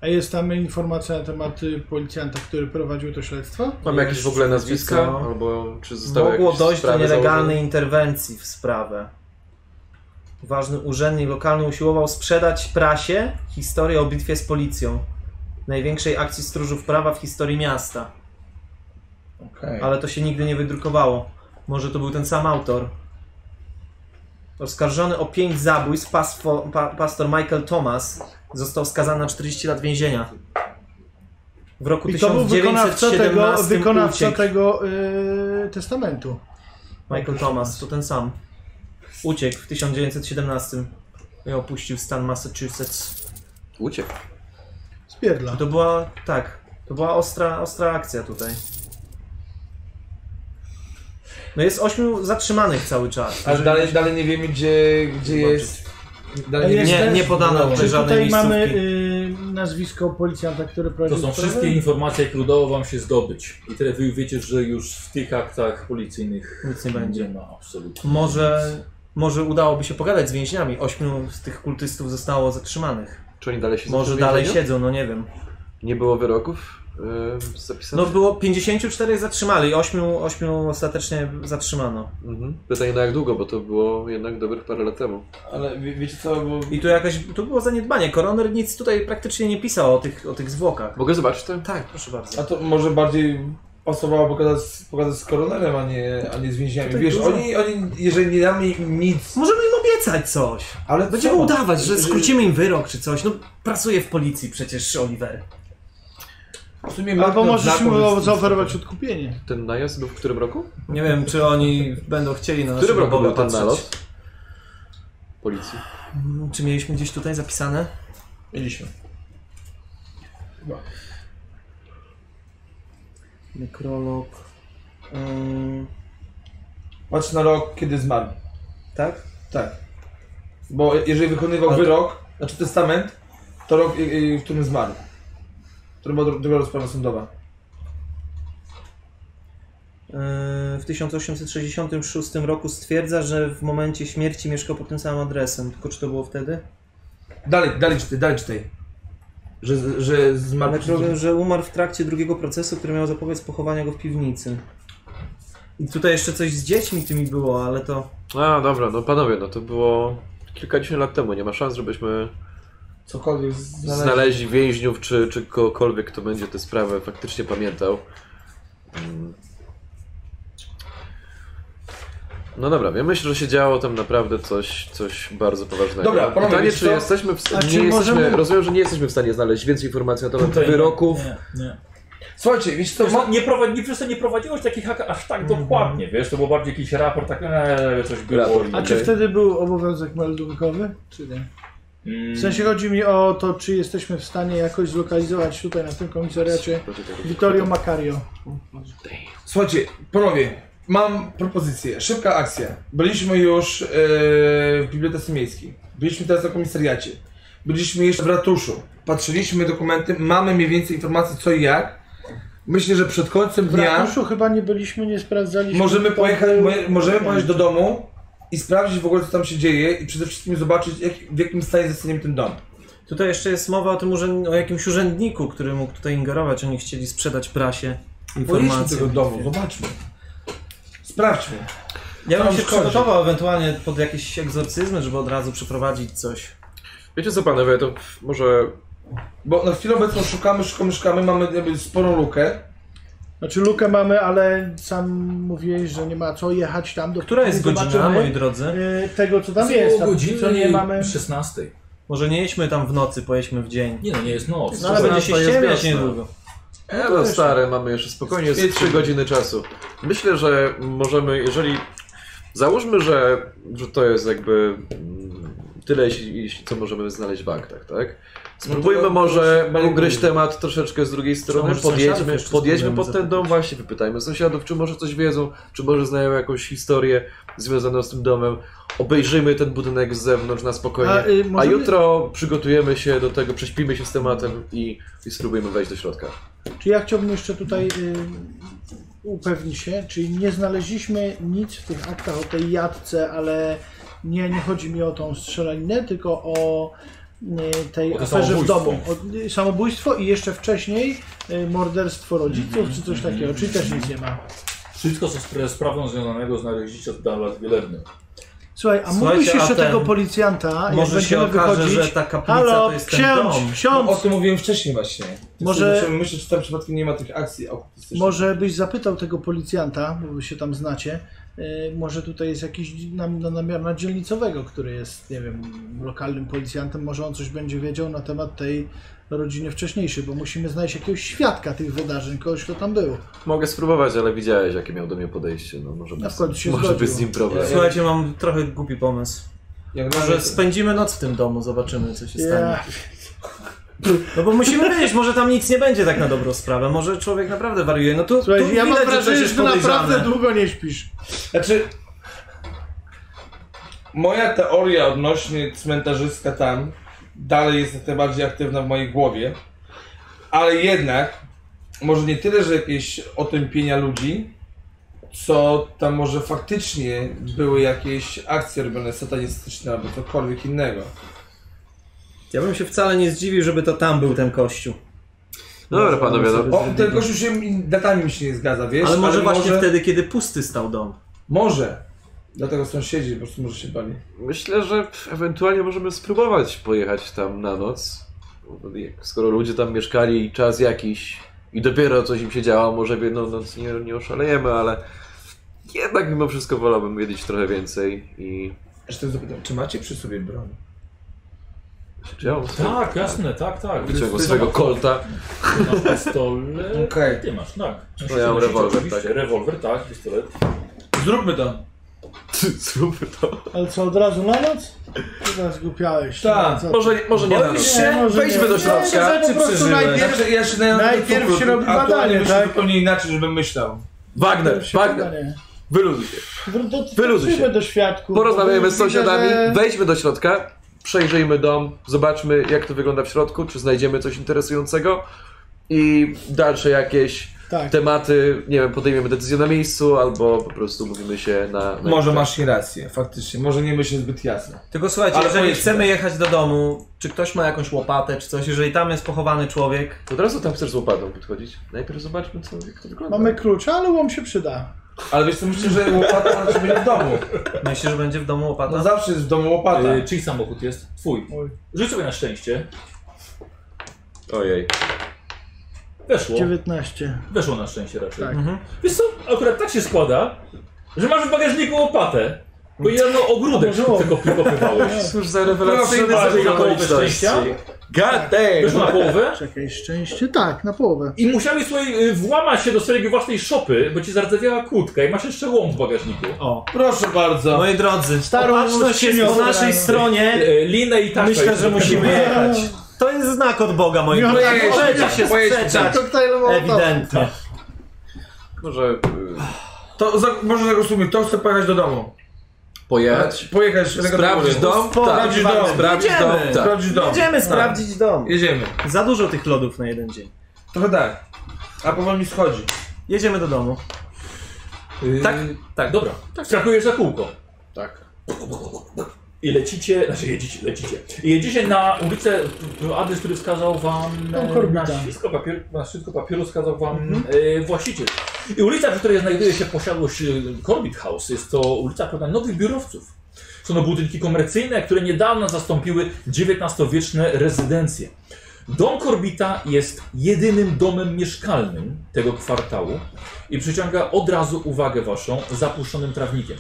D: A jest tam informacja na temat y, policjanta, który prowadził to śledztwo?
G: Mam jakieś w ogóle nazwiska?
F: co?
G: Albo czy zostały
F: Mogło
G: jakieś
F: dojść do
G: sprawy
F: nielegalnej
G: założone?
F: interwencji w sprawę. Ważny urzędnik lokalny usiłował sprzedać prasie historię o bitwie z policją. Największej akcji stróżów prawa w historii miasta.
E: Okej.
F: ale to się nigdy nie wydrukowało. Może to był ten sam autor. Oskarżony o pięć zabójstw, pasfo, pa, pastor Michael Thomas został skazany na 40 lat więzienia. W roku
D: I to był wykonawca
F: 1917
D: tego, wykonawca
F: uciekł.
D: tego y, testamentu.
F: Michael Thomas, to ten sam. Uciekł w 1917 i opuścił stan Massachusetts.
G: Uciekł.
D: Spierdla.
F: To była, tak, to była ostra, ostra akcja tutaj. No jest ośmiu zatrzymanych cały czas.
E: Ale dalej, dalej nie wiemy, gdzie, gdzie jest. Dalej nie,
D: Jest
F: Nie,
D: też-
F: nie podano tutaj
D: Czy
F: żadnej
D: tutaj
F: miejscówki.
D: mamy y, nazwisko policjanta, który prowadził
A: To są
D: sprawę?
A: wszystkie informacje, jakie udało wam się zdobyć. I tyle wy wiecie, że już w tych aktach policyjnych
F: Nic nie
A: nie
F: będzie.
A: ma absolutnie.
F: Może, może udałoby się pogadać z więźniami. Ośmiu z tych kultystów zostało zatrzymanych.
G: Czy oni dalej się
F: Może dalej siedzą, no nie wiem.
G: Nie było wyroków yy, zapisanych?
F: No było 54 zatrzymali, 8, 8 ostatecznie zatrzymano.
G: Mhm. Pytanie na jak długo, bo to było jednak dobrych parę lat temu.
E: Ale wie, wiecie co, bo
F: I tu jakaś, tu było zaniedbanie. Koroner nic tutaj praktycznie nie pisał o tych, o tych zwłokach.
G: Mogę zobaczyć to?
F: Tak, proszę bardzo.
E: A to może bardziej pasowało pokazać, pokazać z koronerem, a nie, a nie z więźniami.
F: Tutaj
E: Wiesz,
F: dużo.
E: oni, oni, jeżeli nie damy im nic,
F: Możemy im obiecać coś. Y,
E: ale
F: Będziemy
E: co?
F: udawać, że skrócimy im wyrok czy coś. No pracuje w policji przecież Oliver.
E: W sumie
D: Albo
E: Marko
D: możesz
E: Blaku
D: mu
E: jest-
D: zaoferować odkupienie.
G: Ten najazd był w którym roku?
F: Nie wiem, czy oni będą chcieli na
G: W którym
F: naszego
G: roku
F: Boga
G: był ten
F: patrzeć.
G: nalot? Policji.
F: Mm, Czy mieliśmy gdzieś tutaj zapisane?
E: Mieliśmy.
F: Nekrolog. E, Ym,
E: Patrz na rok, kiedy zmarł.
F: tak?
E: Tak. Bo jeżeli wykonywał
F: Ale to-
E: wyrok, znaczy testament, to rok, y, y, w którym zmarł. To była dru- druga rozprawa sądowa.
F: Yy, W 1866 roku stwierdza, że w momencie śmierci mieszkał pod tym samym adresem. Tylko czy to było wtedy?
E: Dalej, dalej czytaj, dalej czytaj. Że, z- że zmarł...
F: Ale problem, że umarł w trakcie drugiego procesu, który miał zapobiec pochowania go w piwnicy. I tutaj jeszcze coś z dziećmi tymi było, ale to...
G: A, dobra, no panowie, no to było kilkadziesiąt lat temu. Nie ma szans, żebyśmy
E: Cokolwiek
G: znaleźli więźniów, czy, czy kogokolwiek, kto będzie tę sprawę faktycznie pamiętał. Mm. No dobra, ja myślę, że się działo tam naprawdę coś, coś bardzo poważnego.
E: Dobra, panowie,
G: Pytanie,
E: wiecie
G: czy
E: co?
G: jesteśmy w
D: A
G: stanie,
D: czy
G: nie jesteśmy,
D: możemy-
G: rozumiem, że nie jesteśmy w stanie znaleźć więcej informacji na temat
A: Tutaj nie.
G: wyroków.
A: Nie, nie.
E: Słuchajcie, wiecie co,
A: Wiesz,
E: ma...
A: nie, prowadzi, nie, wiesz co, nie prowadziłeś takich ak- aż tak dokładnie, wiesz, to był bardziej jakiś raport, tak eee, coś było.
G: Raport.
D: A czy
G: Okej.
D: wtedy był obowiązek meldunkowy, czy nie?
A: Mm.
D: W sensie chodzi mi o to, czy jesteśmy w stanie jakoś zlokalizować tutaj na tym komisariacie Vittorio Macario.
E: Słuchajcie, panowie, mam propozycję. Szybka akcja. Byliśmy już e, w Bibliotece Miejskiej. Byliśmy teraz na komisariacie. Byliśmy jeszcze w ratuszu. Patrzyliśmy dokumenty, mamy mniej więcej informacji co i jak. Myślę, że przed końcem
D: W
E: dnia
D: ratuszu chyba nie byliśmy, nie sprawdzaliśmy.
E: możemy
D: Kto
E: pojechać,
D: był.
E: moje- możemy pojechać do domu i sprawdzić w ogóle co tam się dzieje i przede wszystkim zobaczyć jak, w jakim stanie zostaniemy ten dom.
F: Tutaj jeszcze jest mowa o tym urzęd... o jakimś urzędniku, który mógł tutaj ingerować. Oni chcieli sprzedać prasie
E: Pojedźmy
F: informacje.
E: tego domu, zobaczmy. Sprawdźmy.
F: Ja
E: Tam
F: bym się
E: szkodzi.
F: przygotował ewentualnie pod jakieś egzorcyzmy, żeby od razu przeprowadzić coś.
G: Wiecie co panowie, to może
E: Bo na chwilę obecną szukamy, szukamy, szukamy, mamy jakby sporą lukę.
D: Znaczy lukę mamy, ale sam mówiłeś, że nie ma co jechać tam do
F: Która jest
D: nie
F: godzina,
D: zobaczymy,
F: moi drodzy?
D: y, tego, co tam jest. Tam, co nie mamy.
A: 16.
F: Może nie jedźmy tam w nocy, pojedźmy w dzień.
A: Nie no, nie jest noc.
F: No ale będzie się
G: to jest
F: ściemniać
G: wiosna.
F: niedługo.
G: E, no stare, mamy jeszcze spokojnie
E: Wiecie.
G: z 3 godziny czasu. Myślę, że możemy, jeżeli. Załóżmy, że, że to jest jakby mm, tyle, jeśli, jeśli co możemy znaleźć w aktach, tak? Spróbujmy
E: No to-
G: może
E: to-
G: ugryźć temat troszeczkę z drugiej strony,
F: może sąsiadów
G: podjedźmy,
F: jeszcze
G: podjedźmy
F: spróbujemy
G: pod ten dom,
F: zapytać.
G: właśnie wypytajmy sąsiadów, czy może coś wiedzą, czy może znają jakąś historię związaną z tym domem. Obejrzyjmy ten budynek z zewnątrz na spokojnie,
D: A,
G: a,
D: y, możemy-
G: jutro przygotujemy się do tego, prześpimy się z tematem i, i spróbujemy wejść do środka.
D: Czy ja chciałbym jeszcze tutaj y, upewnić się, czyli nie znaleźliśmy nic w tych aktach o tej jadce, ale nie, nie chodzi mi o tą strzelaninę, tylko o y, tej
A: O to
D: aferze w
A: samobójstwo.
D: domu. O, y, samobójstwo i jeszcze wcześniej y, morderstwo rodziców czy coś takiego, czyli też nic nie ma.
A: Wszystko, co z sprawą związanego znaleźliście od Dallas Wielerny.
D: Słuchaj, a
F: Słuchajcie,
D: mówisz
F: a
D: jeszcze
F: ten-
D: tego policjanta, jak
F: Może się
D: będziemy
F: okaże,
D: wychodzić...
F: że ta kaplica
D: Halo,
F: to jest ten
D: ksiądz,
F: dom.
D: ksiądz!
E: No, o tym mówiłem wcześniej właśnie.
D: Może-
E: Może... Myślę, czy tam przypadkiem nie ma tych akcji okultystycznych.
D: Może byś zapytał tego policjanta, bo wy się tam znacie, yy, może tutaj jest jakiś nam, na namiar na dzielnicowego, który jest, nie wiem, lokalnym policjantem, może on coś będzie wiedział na temat tej rodziny wcześniejszej, bo musimy znaleźć jakiegoś świadka tych wydarzeń, kogoś, kto tam był.
G: Mogę spróbować, ale widziałeś, jakie miał do mnie podejście. No, może
D: Na
G: być,
D: końcu się
G: może
D: zgodził.
G: być z nim problem.
F: Słuchajcie, mam trochę głupi pomysł.
E: Jak dla
F: Może
E: mnie-
F: spędzimy noc w tym domu, zobaczymy co się stanie.
D: Ja-
F: No bo musimy wiedzieć, może tam nic nie będzie tak na dobrą sprawę. Może człowiek naprawdę wariuje. No tu, tu
D: Słuchaj, ja mam
F: widać, coś
D: wrażenie, że
F: jest
D: ty naprawdę
F: podejrzane.
D: długo nie śpisz.
E: Znaczy. Moja teoria odnośnie cmentarzyska tam dalej jest jak najbardziej aktywna w mojej głowie, ale jednak może nie tyle, że jakieś otępienia ludzi, co tam może faktycznie były jakieś akcje robione satanistyczne albo cokolwiek innego.
F: Ja bym się wcale nie zdziwił, żeby to tam był ten kościół.
G: No dobra, panowie, no.
E: O, ten gościu się datami mi się nie zgadza, wiesz?
F: Ale może właśnie
E: może,
F: wtedy, kiedy pusty stał dom.
E: Może. Dlatego sąsiedzi po prostu może się bali.
G: Myślę, że ewentualnie możemy spróbować pojechać tam na noc. Skoro ludzie tam mieszkali czas jakiś i dopiero coś im się działo, może w jedną noc nie, nie oszalejemy, ale jednak mimo wszystko wolałbym wiedzieć trochę więcej i...
E: Zresztą zapytam, czy macie przy sobie broń?
G: Czy ja mam swój-
A: Tak, jasne, tak, tak.
G: Wyciągnął
A: Ty
G: swojego
A: masz-
G: kolta.
A: Masz pistolet.
E: Okej.
A: Ty masz, tak.
G: No ja mam
A: Oczywiście,
G: rewolwer,
A: oczywiście.
G: tak.
A: Rewolwer, tak, pistolet.
E: Zróbmy to.
G: Zróbmy to.
D: Ale co, od razu na noc? Chyba zgłupiałeś.
E: Tak,
D: No, Co ty?
G: Może, może nie na
D: Nie,
G: noc.
D: może
E: wejdźmy
D: nie.
E: do
D: Nie,
E: środka.
D: to po prostu najpierw
E: Znaczy, ja się na-
D: najpierw
E: to-
D: się robi
E: aktualnie
D: badanie,
E: myślę
D: tak?
E: zupełnie inaczej, żebym myślał.
G: Wagner,
D: się
G: Wagner,
D: badanie.
G: wyluzuj się.
D: Wr- do-
G: Wyluzuj
D: wróćmy
G: się.
D: do świadków.
G: Porozmawiajmy z
D: Widzę,
G: sąsiadami,
D: że-
G: wejdźmy do środka, przejrzyjmy dom, zobaczmy jak to wygląda w środku, czy znajdziemy coś interesującego i dalsze jakieś
D: Tak.
G: tematy, nie wiem, podejmiemy decyzję na miejscu albo po prostu mówimy się na...
D: No
G: na
D: tak.
E: Może masz i rację, faktycznie. Może nie myślę zbyt jasno.
F: Tylko słuchajcie,
E: Ale
F: jeżeli
E: pojedźmy.
F: chcemy jechać do domu, czy ktoś ma jakąś łopatę, czy coś, jeżeli tam jest pochowany człowiek,
G: Od razu tam chcesz z łopatą podchodzić. Najpierw zobaczmy co, jak to wygląda.
D: Mamy klucze, ale łom się przyda.
E: Ale wiesz co, myślę, że łopata znaczy będzie w domu.
F: myślisz, że będzie w domu łopata?
E: No zawsze jest w domu
G: tak.
E: łopata.
A: Y, czyj samochód jest? Twój.
D: Mój.
A: Rzuć sobie na szczęście.
G: Ojej.
A: Weszło.
D: 19.
A: Weszło na szczęście raczej.
D: Tak.
F: Mhm.
A: Wiesz co, akurat tak się składa, że masz w bagażniku łopatę. Bo jedno ogródek
D: A może
A: tylko kopywałeś.
G: Cóż za rewelacyjne
A: bardzo,
G: zbieg
A: na połowę
G: okoliczności.
A: szczęścia.
G: God damn!
A: Weszło na połowę
D: Czekaj, szczęście? Tak, na połowę.
A: i musiałeś sobie y, włamać się do swojej własnej szopy, bo ci zardzewiała kurtka i masz jeszcze łom w bagażniku.
F: O,
E: Proszę bardzo.
D: No
F: moi drodzy,
D: Starą
F: opatrzność jest
D: miłościnią
F: po naszej
D: zabrano.
F: stronie,
A: Y, Linę i tak.
F: myślę, że musimy jechać. To jest znak od Boga, moi
D: Miło
F: drodzy.
D: jechać.
F: Możecie się
E: Pojedźmy tam.
D: Tak,
F: sprzeczać,
D: Koktajlowo.
F: ewidentnie.
G: Może y,
E: To za, może zagłosujmy, to chcę pojechać do domu.
G: pojechać,
E: Pojechać do tego
G: sprawdzić
E: domu.
G: dom, tak,
E: Sprawdzić dom.
G: sprawdzić dom,
F: Jedziemy.
G: tak.
E: Sprawdzić dom.
F: Będziemy sprawdzić dom.
E: Jedziemy.
F: Za dużo tych lodów na jeden dzień.
E: Trochę tak. A powoli mi schodzi.
F: Jedziemy do domu.
A: Tak, tak, dobra. Skakujesz za kółko.
G: Tak.
A: I lecicie, znaczy jedziecie, lecicie. I jedziecie na ulicę, adres, który wskazał wam
D: Tam
A: e,
D: Korbita.
A: na ślisko, papier, na ślisko papieru wskazał wam e, właściciel. I ulica, w której znajduje się posiadłość e, Corbett House, jest to ulica pełna nowych biurowców. Są to budynki komercyjne, które niedawno zastąpiły XIX-wieczne rezydencje. Dom Korbita jest jedynym domem mieszkalnym tego kwartału i przyciąga od razu uwagę waszą zapuszczonym trawnikiem.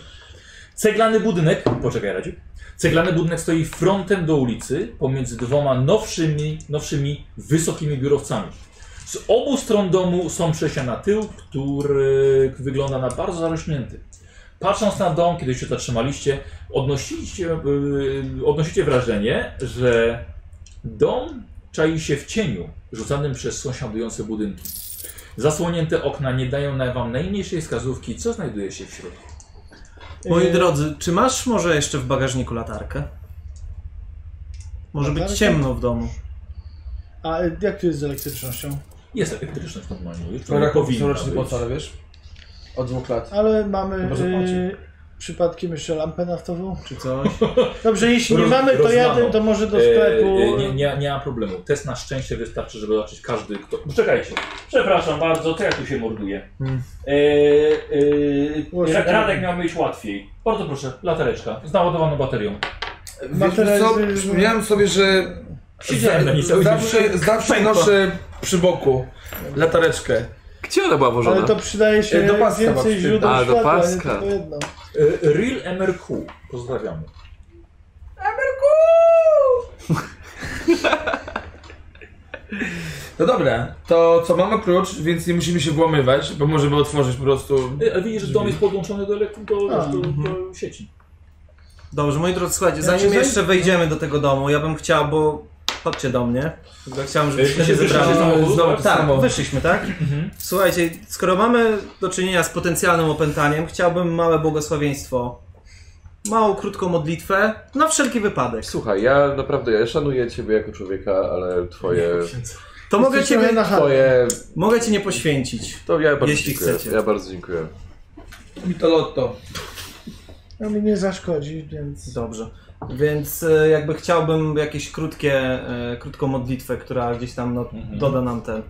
A: Ceglany budynek, poczekaj Radziu, ceglany budynek stoi frontem do ulicy pomiędzy dwoma nowszymi, nowszymi wysokimi biurowcami. Z obu stron domu są przejścia na tył, który wygląda na bardzo zarośnięty. Patrząc na dom, kiedy się zatrzymaliście, odnosicie, yy, odnosicie wrażenie, że dom czai się w cieniu rzucanym przez sąsiadujące budynki. Zasłonięte okna nie dają na- wam najmniejszej wskazówki, co znajduje się w środku.
F: Moi
D: Y,
F: drodzy, czy masz może jeszcze w bagażniku latarkę? Może być
D: Latarkę?
F: ciemno w domu.
D: A y, jak to jest z elektrycznością?
A: Jest elektryczność normalnie, już to nie
E: Raków są
A: powinna
E: rocznie
A: być.
E: płacone, wiesz? Od dwóch lat.
D: Ale mamy
E: Chyba, że płaci.
D: y, przypadkiem jeszcze lampę naftową?
F: Czy coś?
D: Dobrze, jeśli nie
A: Roz-
D: mamy, to
A: rozmaną.
D: jadę, to może do
F: Y,
D: sklepu.
A: Eee, nie, nie, nie ma problemu. Test na szczęście wystarczy, żeby zobaczyć każdy, kto. Czekajcie. Przepraszam bardzo, to ja tu się morduję.
F: Mm.
A: Eee, eee,
D: Proszę.
A: Ra- Radek miał mieć łatwiej. Bardzo proszę, latareczka z naładowaną baterią.
E: Wiesz co,
D: Materializy-
E: przypomniałem sobie, że
A: Siedziałem na niej cały dzień.
E: zawsze, zawsze
F: Pękła.
E: noszę przy boku latareczkę.
G: Gdzie ona była
D: Ale
G: włożona?
D: to przydaje się
E: E, do paska babci.
D: więcej źródeł
G: A, do
D: światła, nie
G: paska.
D: tylko jedno.
A: Eee, Real MRQ. Pozdrawiamy.
E: No dobra, to co mamy klucz, więc nie musimy się włamywać, bo możemy otworzyć po prostu.
A: Eee, widzisz, że dom jest podłączony do, elektry- do,
D: A,
A: do, do sieci.
F: Dobrze, moi drodzy, słuchajcie,
D: Znaczy,
F: zanim
D: zanim-
F: jeszcze wejdziemy do tego domu, ja bym chciał, bo Chodźcie do mnie. Tylko Chciałem, żebyśmy
A: Wy
F: się
A: się wyszliście z
F: zebrali.
A: samochodu, tak?
F: Znowu tak, wyszliśmy, tak? Słuchajcie, skoro mamy do czynienia z potencjalnym opętaniem, chciałbym małe błogosławieństwo. Małą, krótką modlitwę, na wszelki wypadek.
G: Słuchaj, ja naprawdę ja szanuję ciebie jako człowieka, ale twoje.
F: To mogę cię,
D: na chatę.
G: Twoje.
F: mogę cię nie poświęcić.
G: To ja bardzo
F: Jeśli
G: dziękuję.
F: chcecie.
G: Ja bardzo dziękuję.
E: Mi to lotto.
D: No mi nie zaszkodzi, więc...
F: Dobrze. Więc e, jakby chciałbym jakieś krótkie, e, krótką modlitwę, która gdzieś tam no, doda nam ten.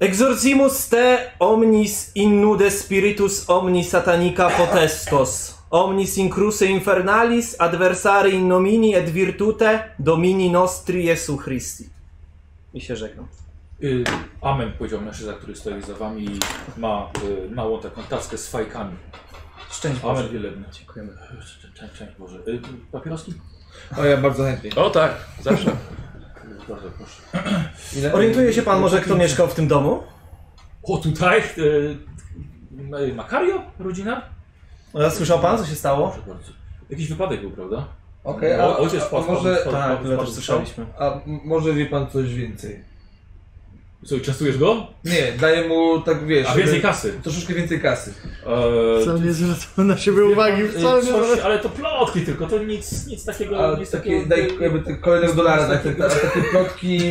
F: Exorcimus te omnis in nude spiritus omni satanica potestos. Omnis in cruce infernalis adversari in nomini et virtute domini nostri Jesu Christi. I się żegnam.
A: Y, Amen powiedział mężczyzna, który stoi za wami i ma y, małą taką taskę z fajkami.
F: Szczęść
A: Amen
F: Boże.
A: wielebny.
F: Dziękujemy.
A: Cześć, cześć, cześć Boże. Y, papieroski?
E: O, ja bardzo chętnie.
G: O tak, zawsze.
A: Bardzo proszę.
E: Ile?
F: Orientuje się pan może, kto mieszkał w tym domu?
A: O, tutaj? Y, y, Makario? Rodzina?
F: E, Słyszał pan, co się stało?
A: Proszę bardzo. Jakiś wypadek był, prawda?
E: Okej, a,
A: O, ojciec
E: a,
A: wpadł,
E: może,
A: wpadł,
F: Tak,
A: wpadł,
F: tyle też
A: wpadł, wpadł.
F: słyszeliśmy.
E: a m- może wie pan coś więcej?
A: Co, i częstujesz go?
E: Nie, daję mu tak wiesz.
A: A
E: żeby-
A: więcej kasy.
E: Troszeczkę więcej kasy.
A: Eee,
D: Wcale nie zwracam na siebie uwagi, wcale
A: Coś,
D: nie zwracam.
A: ale to plotki tylko, to nic, nic takiego,
E: A
A: nic
E: takie,
A: takiego...
E: daj jakby te kolejnego dolara, takie, takie plotki.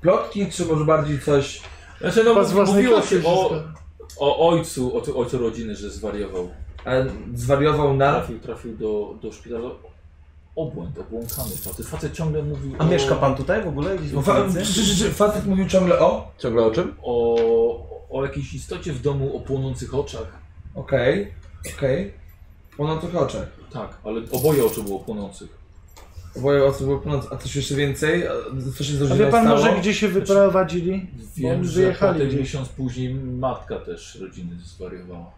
E: Plotki, czy może bardziej coś.
A: Znaczy, no,
D: Chyba z własnej
A: mówiło
D: kasy
A: się o,
D: wszystko.
A: o ojcu, o tu- ojcu rodziny, że zwariował.
E: A e, zwariował na.
A: Trafił, trafił do, do szpitala. Obłęd, obłąkany. Facet, facet ciągle mówił
F: A
A: o,
F: mieszka pan tutaj w ogóle? Gdzieś w
E: Fa,
F: okolicy?
E: czy, czy, czy, facet mówił ciągle o.
G: Ciągle o czym?
A: o, o jakiejś istocie w domu, o płonących oczach.
E: Okej, okej. no Ponad oczach.
A: Tak, ale oboje oczu było płonących.
E: Oboje osób było ponad. A coś jeszcze więcej? A Co się z
D: A
E: rodziną
D: wie pan
E: stało?
D: może, gdzie się wyprowadzili?
A: Wiem,
D: Oni
A: że
D: wyjechali
A: potem
D: gdzieś.
A: miesiąc później matka też rodziny zwariowała.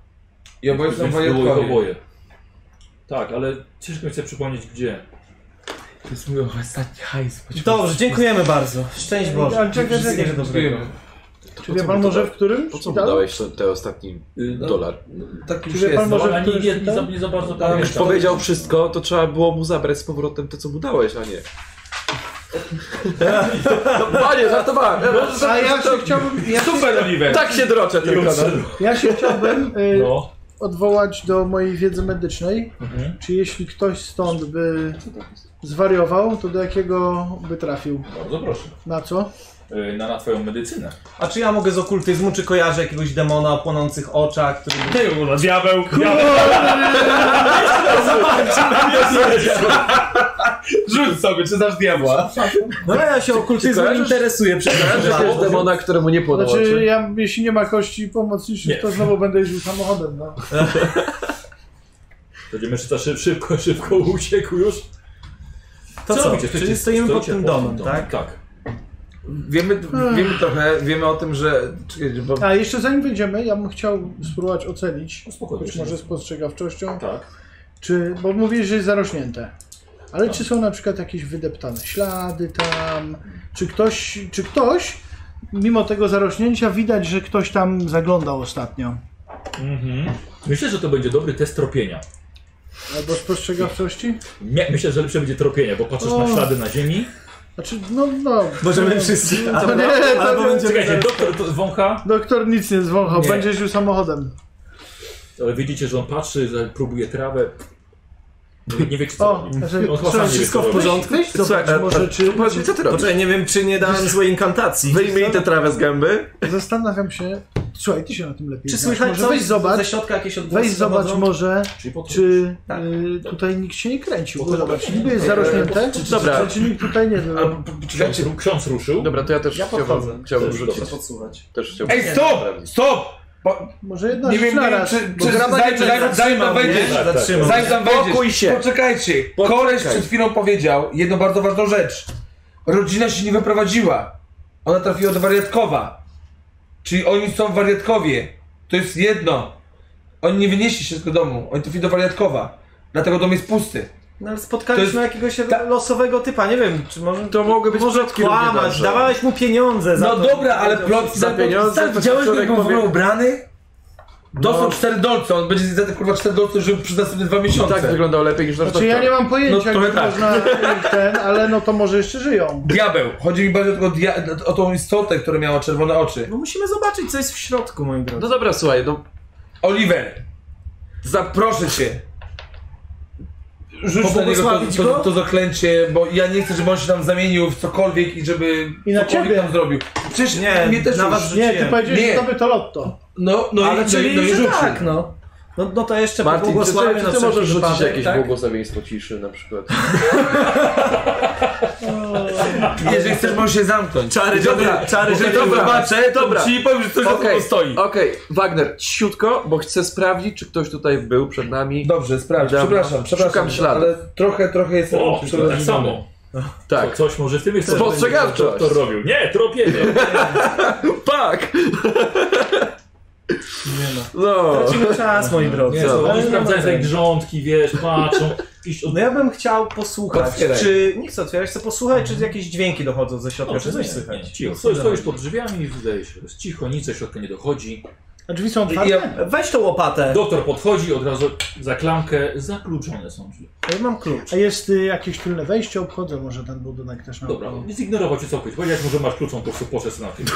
E: I oboje są
A: Więc było ich
E: wariatkowie.
A: oboje. Tak, ale ciężko mi sobie przypomnieć gdzie.
E: To jest mój ostatni hajs. chodźmy.
F: Dobrze, dziękujemy bardzo. Szczęść Boże.
D: Ale czekaj,
F: Wszystkiego
D: czekaj.
F: dobrego.
E: Dziękujemy.
D: Czy wie pan może w
G: Po
D: którym
G: co mu
D: szpitalu?
G: dałeś ten, ten ostatni
A: Y, no,
G: dolar?
E: Tak już
D: wie
E: jest.
D: pan
E: no.
A: No,
D: może-
A: ale nie,
D: któryś
A: nie, nie,
D: szpital?
A: za, nie za bardzo
E: Tam
G: Już
A: pamiętam.
G: powiedział wszystko, to trzeba było mu zabrać z powrotem to, co mu dałeś, a nie. No, panie, żartowałem.
D: A ja się chciałbym, ja,
A: Super, Oliver!
G: Tak się droczę tylko. No.
D: ja się chciałbym y,
A: No.
D: odwołać do mojej wiedzy medycznej.
A: Mhm.
D: Czy jeśli ktoś stąd by zwariował, to do jakiego by trafił?
A: Bardzo proszę.
D: Na co? Znaczy,
A: Y, Na, na twoją medycynę.
F: A czy ja mogę z okultyzmu, czy kojarzę jakiegoś demona o płonących oczach, który...
L: Ty, kurwa, diabeł, diabeł.
E: Rzuć sobie, czy znasz diabła?
F: No ja się okultyzmem
G: kojarzysz?
F: interesuję przez
G: Jest demona, któremu nie płonął
D: Znaczy,
G: oczy.
D: ja, jeśli nie ma kości pomocniczych,
A: Nie.
D: to znowu będę jeździł samochodem. No.
A: Będziemy czyta szyb, szybko, szybko uciekł już.
F: To co?
A: robicie?
F: Czyli stoimy pod
A: stoicie
F: tym domem, tak?
A: Tak.
E: No, Wiemy,
D: Hmm.
E: wiemy trochę, wiemy o tym, że. Czekaj, bo
D: A jeszcze zanim wyjdziemy, ja bym chciał spróbować ocenić,
A: No spokojnie,
D: być
A: jeszcze
D: może
A: nie.
D: z postrzegawczością,
A: Tak.
D: czy, bo mówisz, że jest zarośnięte. Ale czy są na przykład jakieś wydeptane ślady tam? Czy ktoś, czy ktoś, mimo tego zarośnięcia, widać, że ktoś tam zaglądał ostatnio?
A: Myślę, że to będzie dobry test tropienia.
D: Albo spostrzegawczości?
A: Mie- Myślę, że lepsze będzie tropienie, bo patrzysz na
D: O.
A: ślady na ziemi.
D: Znaczy, no, no.
F: Możemy wszyscy...
D: To nie, to nie.
A: Czekajcie, doktor to- wącha,
D: Doktor nic nie zwąchał,
A: Nie.
D: będzie jeździł samochodem.
A: ale widzicie, że on patrzy, że próbuje trawę. Nie, nie wie, czy co
D: O,
A: robi.
D: znaczy,
A: On chyba sam nie wie,
F: wszystko
A: co
F: w
A: robi.
F: porządku?
D: Weź zobacz,
G: Słuchaj, a-
D: może
G: a-
D: czy...
G: Powiedz mi, co ty robisz?
F: Poczekaj, nie wiem, czy nie dałem złej inkantacji.
G: Wyjmij tę trawę z gęby.
D: Zastanawiam się... Słuchaj, ty się na tym lepiej
F: Czy
D: znasz.
F: słychać
D: Może
F: coś?
D: weź zobacz,
F: Ze środka jakieś odgłosy
D: Weź zobacz
F: dochodzą?
D: może,
A: Czyli po Czy...
D: czy y, tutaj nikt się nie kręcił. Bo zobacz, niby jest
G: Eee,
D: zarośnięte,
G: czy- czy-
D: dobra.
G: dobra.
D: czy nikt tutaj nie był.
E: Albo,
A: ksiądz,
E: czekajcie,
A: ru- ksiądz ruszył.
G: Dobra, to ja też
F: Ja podchodzę.
G: chciałbym, chciałbym rzucić.
F: Muszę podsuwać.
G: Też chciałbym.
E: Ej, stop! Stop! Bo,
D: Może jedna
E: nie
D: rzecz
E: wiem, nie wiem,
D: naraz.
E: czy,
D: bo
E: czy
D: gra-
E: zanim, zanim, zanim tam wejdziesz,
A: Tak, tak.
F: Zatrzymam.
E: zanim tam
G: Spokój
E: wejdziesz,
G: się.
E: poczekajcie, koleś przed chwilą powiedział jedną bardzo ważną rzecz. Rodzina się nie wyprowadziła, ona trafiła do wariatkowa, czyli oni są wariatkowie, to jest jedno. Oni nie wynieśli się z tego domu, oni trafili do wariatkowa, dlatego dom jest pusty.
F: No ale
E: To
F: spotkaliśmy
E: jest-
F: jakiegoś
E: ta-
F: losowego typa, nie wiem, czy może...
G: To mogły być
F: Może
G: plotki równie
F: kłamać,
G: dobrze.
F: dawałeś mu pieniądze za
E: No
F: to.
E: dobra, ale plot
G: za pieniądze, to
E: Widziałeś,
G: człowiek No.
E: jak był w ogóle
G: powie-
E: ubrany? To są cztery dolce, on będzie za te kurwa cztery dolce żył przez następne dwa miesiące.
G: Tak wyglądał lepiej niż nasz
D: Znaczy ja
G: doktor.
D: nie mam pojęcia,
E: No,
D: jak
E: trochę tak.
D: można ten, ale no to może jeszcze żyją.
E: Diabeł. Chodzi mi bardziej o, tego dia- o tą istotę, która miała czerwone oczy.
F: No musimy zobaczyć, co jest w środku, moi drodzy.
G: No dobra, słuchaj, no
E: Oliver, zaproszę cię. Rzuć na niego to,
F: Pobłogosławić
E: to,
F: go?
E: to, zaklęcie, bo ja nie chcę, żeby on się tam zamienił w cokolwiek i żeby
D: I na
E: cokolwiek
D: ciebie.
E: tam zrobił. Przecież
F: Nie,
E: No, mnie też
F: na
E: już-
F: was
D: Nie, ty
F: Rzuciłem.
D: powiedziałeś,
E: Nie.
D: że to by to lotto.
E: No, no i,
F: Ale
E: no,
F: czyli
E: i- no i
F: że
E: rzucił.
F: tak, no. No, no to jeszcze
G: Martin, czy
F: pobłogosławię
G: ty,
F: na
G: czy ty
F: wszelki
G: możesz rzucić
F: wypadek,
G: jakieś
F: tak?
G: błogosławieństwo ciszy na przykład?
E: Jeżeli chcesz, możesz się zamknąć.
F: Czary,
E: Dobra,
F: czary,
E: jeżeli
F: dobra.
E: zobaczę, to
G: Dobra.
E: ci powiem, że coś okay. za
G: Okej,
E: tobą stoi.
G: Okej, Wagner, ciutko, bo chcę sprawdzić, czy ktoś tutaj był przed nami.
E: Dobrze, sprawdź,
G: Dobra.
E: przepraszam, przepraszam,
G: Szukam śladów.
E: ale trochę, trochę jestem
A: O, czyli tak
E: przerażony.
A: samo.
G: Tak.
A: Co, coś może w tym jest
G: Spostrzegawczość.
A: co doktor robił. Nie, tropienie.
G: Pak! No.
F: Tracimy czas, moi drodzy.
A: Nie,
G: Co?
A: co,
F: Ale
A: oni
F: nie
A: sprawdzają
F: ma
A: te
F: tego.
A: grządki, wiesz, patrzą. Iść od...
F: No ja bym chciał posłuchać,
E: Otwieraj.
F: czy... Nie chcę otwierać, chcę posłuchać, czy jakieś dźwięki dochodzą ze środka,
A: No,
F: czy coś
A: nie,
F: słychać.
A: nie, Cicho, stoisz, stoisz pod drzwiami i wydaje się, że jest cicho, nic do środka nie dochodzi.
D: A drzwi są otwarte?
E: Ja-
F: Weź tą łopatę,
A: Doktor podchodzi, od razu za klamkę, zakluczone są drzwi.
F: ja mam klucz.
D: A jest y, jakieś tylne wejście, obchodzę może ten budynek też na
A: Dobra,
F: No.
A: nie zignorował cię całkowicie. Powiedziałeś mu, że masz klucz, on po prostu poszedł na tym.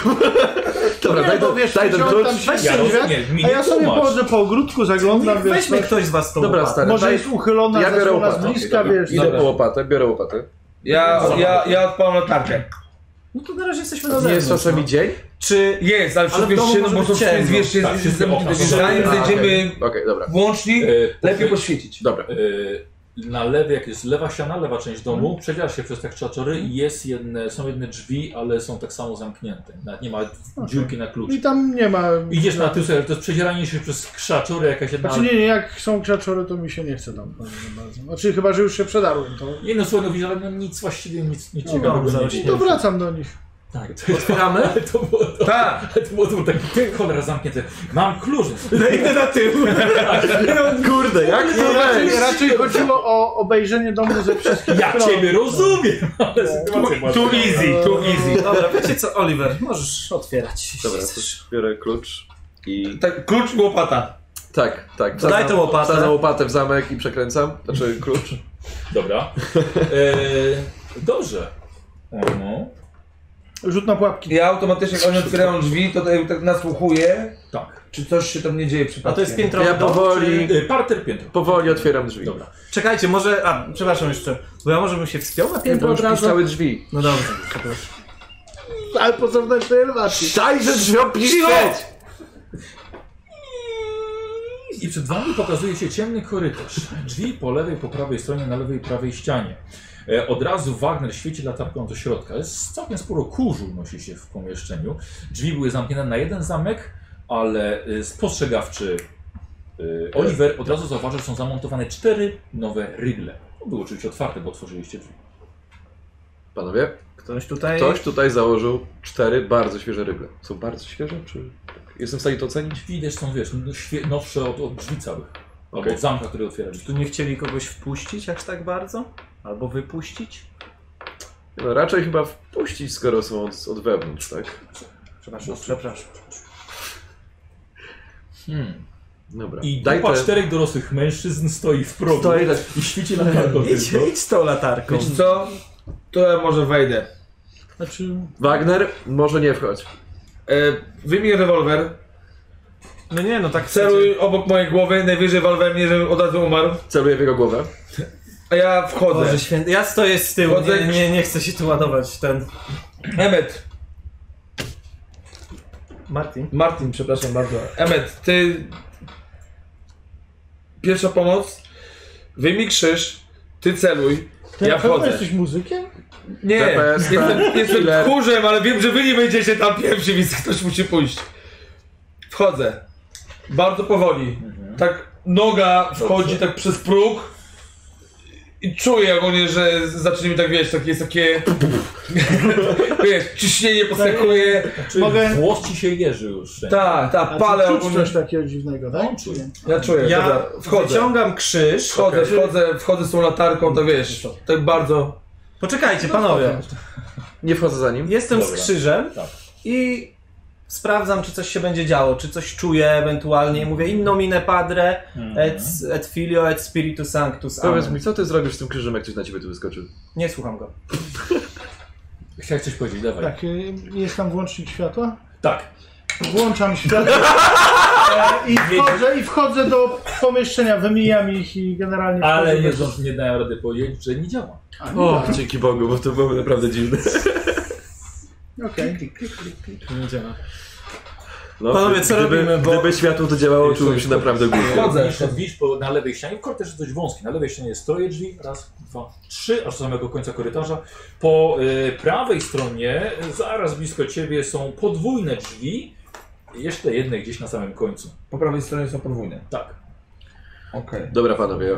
G: Dobra,
D: Nie,
G: daj,
D: bo
G: ten-
D: wiesz,
G: daj ten
D: wziąłem
G: klucz.
D: tam weź
A: Ja
D: te drzwi,
A: rozumiem, mi
D: a
A: nie
D: ja sobie
A: tłumacz.
D: pochodzę po ogródku, zaglądam, wiesz,
F: Weźmy
D: coś-
F: ktoś z was tą
G: Dobra,
F: łopatę.
G: stary,
D: może
G: daj-
D: jest uchylona,
G: Ja biorę
D: zasłona z
G: łopatę.
D: bliska,
G: Okej,
D: wiesz. no.
G: Idę
D: Dobra.
G: po łopatę, biorę łopatę.
E: Ja, ja, ja odpalam latarkę.
F: No to na razie jesteśmy na
G: Nie jest
F: zewnątrz. no.
G: czasami dzień?
F: Czy...
E: Jest,
F: Ale
E: ale
F: w
E: wszystko jest
F: domu
E: ciemno,
F: może
E: bo
F: być
E: to wszystko jest,
F: ciemno.
E: wiesz, jest,
A: Tak,
E: jest,
A: wszystkie okna
E: zamknięte,
A: są
E: więc zanim
G: Tak.
A: zamknięte.
E: znajdziemy
G: Okej, dobra.
E: włącznik,
A: E,
E: lepiej poświecić.
G: Dobra.
A: E, Na lewej, jak jest lewa ściana, lewa część
D: Mhm.
A: domu, przedzielasz się przez te krzaczory i jest jedne, są jedne drzwi, ale są tak samo zamknięte. Nawet nie ma dziurki na klucz.
D: I tam nie ma...
A: Idziesz na tył, słuchaj, ale to jest przedzieranie się przez krzaczory, jakaś jedna...
D: Znaczy nie, nie, jak są krzaczory, to mi się nie chce tam. powiem za bardzo. Znaczy chyba, że już się przedarłem, to...
A: Nie no, słuchaj, no widzisz, ale no, nic właściwie, nic, nic
D: No,
A: ciekawego
F: zaraz
A: nie
F: się-
A: było.
D: To wracam do nich.
A: Tak, to jest... Ale to było, to,
E: Tak!
A: to było, to było taki, ty cholera zamknięte. Mam klucz!
F: No idę na tył. Kurde, jak
D: Nie, raczej, raczej chodziło o obejrzenie domu ze wszystkich
A: Ja
D: stron.
A: ciebie rozumiem, ale
D: No.
A: sytuacja była...
E: Too easy, too easy.
F: No. Dobra, wiecie co, Oliver, możesz otwierać. jeśli
G: Dobra, to
F: chcesz.
G: biorę klucz i...
E: Tak, klucz i łopata.
G: Tak, tak.
F: To daj tę łopatę.
G: Wsadzam łopatę w zamek i przekręcam. Znaczy klucz.
A: Dobra. E, dobrze. No.
D: Rzut na pułapki.
E: Ja automatycznie, jak oni otwierają drzwi, to tak- tak nasłuchuję,
A: Tak.
E: czy coś się tam nie dzieje przypadkiem.
F: A to jest piętrowy
G: Ja
F: dom,
G: powoli-
A: E, parter piętro.
G: Powoli otwieram drzwi.
A: Dobra.
F: czy- Czekajcie, może... A, przepraszam jeszcze. Bo ja może bym się wspiął na
G: Nie,
F: piętro
G: bo
F: od
G: już
F: razu?
G: piszczały drzwi.
F: No dobrze, przepraszam.
D: Ale po zewnętrznej relacji.
G: Dajże
F: No,
G: drzwiom piszczeć!
A: I przed wami pokazuje się ciemny korytarz. Drzwi po lewej, po prawej stronie, na lewej i prawej ścianie. E, Od razu Wagner świeci latarką do środka. Jest całkiem sporo kurzu nosi się w pomieszczeniu. Drzwi były zamknięte na jeden zamek, ale e, spostrzegawczy e, Oliver od razu zauważył, że są zamontowane cztery nowe rygle. To były oczywiście otwarte, bo otworzyliście drzwi.
G: Panowie,
F: Ktoś tutaj...
G: ktoś tutaj założył cztery bardzo świeże rygle. Są bardzo świeże, czy... tak? Jestem w stanie to ocenić?
A: Widać są, wiesz, no, świe- nowsze od, od drzwi całych. Albo
G: Okej.
A: od zamka, który otwieraliście.
F: Tu nie chcieli kogoś wpuścić aż tak bardzo? Albo wypuścić?
G: No, raczej chyba wpuścić, skoro są od, od wewnątrz, tak?
F: Przepraszam, No, przepraszam.
A: Hmm.
G: Dobra.
A: I grupa czterech dorosłych mężczyzn stoi w progu
F: Stoi tak.
A: i świeci latarką
F: Idź,
A: tylko.
F: idź z tą latarką.
E: Wiecie co? To ja może wejdę.
D: Znaczy,
G: Wagner, może nie wchodź.
E: E, wyjmij rewolwer,
F: No nie, no tak chcecie.
E: celuj obok mojej głowy, najwyżej wal we mnie, żebym od razu umarł.
G: Celuję w jego głowę.
E: A ja wchodzę.
F: Boże święty, ja stoję z tyłu, nie,
E: Wchodzę-
F: nie, nie chcę się tu ładować, ten...
E: Emet,
F: Martin?
E: Martin, przepraszam bardzo. Emet, ty... Pierwsza pomoc, wyjmij krzyż, ty celuj,
D: ty
E: ja
D: na pewno
E: wchodzę.
D: jesteś muzykiem?
E: Nie,
G: DPS,
E: jestem, jestem
G: killer.
E: tchórzem, ale wiem, że wy nie będziecie tam pierwsi, więc ktoś musi pójść. Wchodzę. Bardzo powoli. Tak noga wchodzi tak przez próg i czuję ogólnie, że zacznie mi tak, wiesz, takie jest takie... wiesz, ciśnienie podskakuje.
A: Czy
D: Mogę-
A: włos ci się jeży już?
E: Tak, tak,
D: A
E: palę
D: ty czuć
E: ogólnie.
D: coś takiego dziwnego, tak?
A: No, czuję.
E: Ja czuję,
F: Ja
E: dobra, wchodzę.
F: wyciągam krzyż.
E: Wchodzę, wchodzę, wchodzę z tą latarką, to wiesz, tak bardzo...
F: No, Poczekajcie, panowie.
G: Nie wchodzę za nim.
F: Jestem z
A: Dobra.
F: krzyżem
A: Tak.
F: i Sprawdzam, czy coś się będzie działo, czy coś czuję ewentualnie. I Mówię inno mine padre, et, et filio, et spiritus sanctus. Amen.
G: Powiedz mi, co ty zrobisz z tym krzyżem, jak ktoś na ciebie tu wyskoczył?
F: Nie słucham go.
A: Chciałeś coś powiedzieć, dawaj. Tak.
D: Tak, y, jest tam włącznik światła?
A: tak.
D: Włączam światło. E, I wchodzę, I wchodzę do pomieszczenia, wymijam ich i generalnie
A: Ale
D: wchodzę
A: nie,
D: bez-
A: nie dałem rady powiedzieć, że nie działa.
D: A, nie
G: O,
D: tak.
G: dzięki Bogu, bo to było naprawdę dziwne.
D: Okej.
G: No,
F: Panowie, co
G: gdyby,
F: robimy, bo-
G: Gdyby światło to działało, czułbym się naprawdę głupio.
E: Wchodzę.
A: Niszczą drzwi po, na lewej ścianie, korytarz jest dość wąski. Na lewej ścianie jest troje drzwi, raz, dwa, trzy, aż do samego końca korytarza. Po y, prawej stronie, y, zaraz blisko ciebie, są podwójne drzwi. Jeszcze jedne gdzieś na samym końcu.
E: Po prawej stronie są podwójne.
A: Tak,
E: Okej.
G: Dobra, panowie.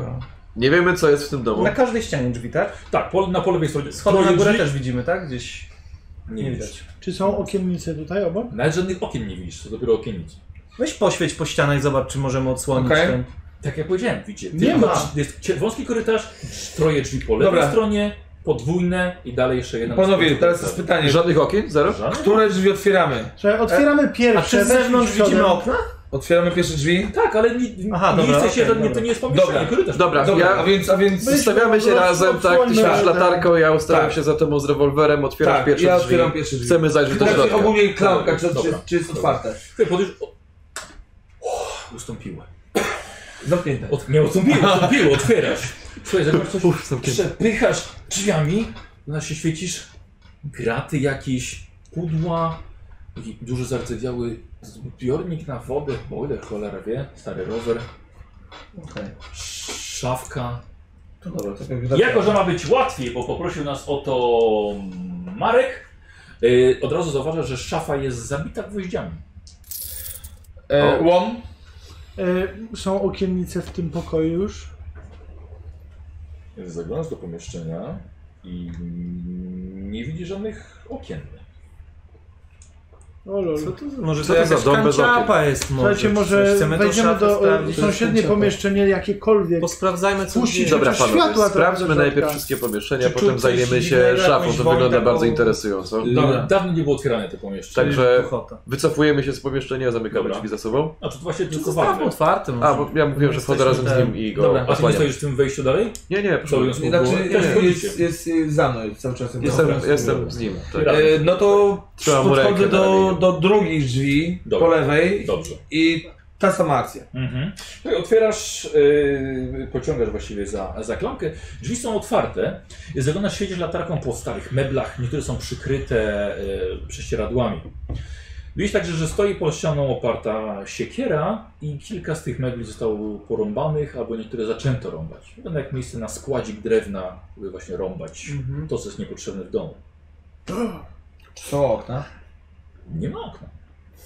G: Nie wiemy, co jest w tym domu.
F: Na każdej ścianie drzwi, tak?
A: tak, po, na po lewej stronie.
F: Schody
A: troje
F: na górę
A: drzwi.
F: też widzimy, tak? Gdzieś
A: Nie widać.
D: Czy są okiennice tutaj obok?
A: Nawet żadnych okien nie widzisz, to dopiero okiennic.
F: Weź poświeć po ścianach i zobacz, czy możemy odsłonić
E: Okej.
F: ten.
A: Tak jak powiedziałem, widzicie.
D: Nie
A: tylko
D: ma.
A: drzwi- Jest cie- wąski korytarz, troje drzwi po lewej
E: Dobra.
A: stronie, podwójne i dalej jeszcze jedna.
E: Panowie, teraz jest pytanie.
G: Żadnych okien? Zero?
A: Żadne?
E: Które drzwi otwieramy?
D: Słuchaj, otwieramy
F: A
D: pierwsze.
F: czy z zewnątrz
D: weszliśmy
F: widzimy
D: przodem.
F: okna?
E: Otwieramy pierwsze drzwi?
A: Tak, ale ni,
F: Aha,
A: nie
F: dobra,
A: jesteście,
F: okej,
A: żadni-
F: dobra.
A: to nie jest pomieszczenie,
E: Dobra.
A: korytarz.
G: Dobra,
E: Dobra,
G: ja...
E: a więc, a więc...
G: Zostawiamy się
D: Roz-
G: razem, tak, ty się
D: odsłońmy-
G: latarką, ja ustawiam
E: Tak.
G: się za tobą z rewolwerem, otwieram
E: Tak,
G: pierwsze
E: ja
G: drzwi.
E: otwieram pierwsze drzwi.
G: Chcemy zajrzeć do
E: Znaczy,
G: środka.
E: ogólnie klamka, czy, czy,
A: Dobra.
E: czy jest otwarte?
A: Ty podejrz... O... O, ustąpiłem.
E: Zamknięte.
A: Od... Nie, ustąpiło, ustąpiło, otwierasz. Słuchaj, zobacz coś,
G: Uff, zamknięte.
A: przepychasz drzwiami, na się świecisz, graty jakieś, pudła, taki duży zardzewiały zbiornik na wodę, bo ile cholera wie, stary rower,
E: Okej.
A: szafka.
E: To dobra, to tak
A: Jako, że ma być łatwiej, bo poprosił nas o to Marek, yy, od razu zauważasz, że szafa jest zabita gwoździami.
E: E, łom?
D: E, Są okiennice w tym pokoju już.
A: Zaglądasz do pomieszczenia i nie widzisz żadnych okien.
D: O lol.
F: Co to, może
G: Co
F: to
G: to
F: jakaś
G: za dom bez
F: kanciapa jest może.
D: Słuchajcie, może
F: Chcemy tą
D: wejdziemy
F: szafę
D: do e,
F: sprawdzić.
D: sąsiednie pomieszczenie jakiekolwiek.
F: Posprawdzajmy co
D: Puścić.
F: dzieje.
G: Dobra,
D: Przecież światła
G: panowie,
D: to
G: sprawdźmy
D: bardzo
G: najpierw
D: żarta.
G: wszystkie pomieszczenia,
F: tak. Czy czuł
G: potem
F: coś
G: zajmiemy się
F: dziwnego,
G: szafą,
F: jakąś
G: to wygląda
F: wojnę,
G: bardzo
F: bo-
G: interesująco.
E: Dobra.
A: Dawno nie było otwierane to pomieszczenie.
G: Także
F: Piechota.
G: wycofujemy się z pomieszczenia, zamykamy
A: Dobra.
G: drzwi za sobą.
A: A czy to właśnie
F: Czy
A: tylko
F: zostawmy
A: ważne?
F: otwarte może.
G: A, bo ja mówiłem, że wchodzę razem
F: Jesteśmy
G: z
F: tam.
G: nim i go
F: Dobra.
A: A ty nie
G: osłaniam.
A: stoisz w tym wejściu dalej?
G: Nie, nie,
A: Co
G: przepraszam.
A: robiąc mu
E: Znaczy,
A: głowę?
E: jest,
A: Też
E: jest,
A: chodzicie.
E: jest, jest za mną cały czas.
G: Jestem,
A: Dobra.
G: jestem z nim. Tak.
A: Dobra.
E: E, no to
G: Trzeba mu rękę
E: podchodzę do,
G: dalej.
E: do drugich drzwi
A: Dobra.
E: po lewej
A: Dobrze.
E: i ta sama akcja.
A: Mhm. Tak, otwierasz, yy, pociągasz właściwie za, za klamkę. Drzwi są otwarte. Zaglądasz, siedzisz latarką po starych meblach. Niektóre są przykryte yy, prześcieradłami. Widzisz także, że stoi pod ścianą oparta siekiera i kilka z tych mebli zostało porąbanych, albo niektóre zaczęto rąbać. Wygląda jak miejsce na składzik drewna, by właśnie rąbać to, co jest niepotrzebne w domu.
E: Są okna.
A: Nie ma okna.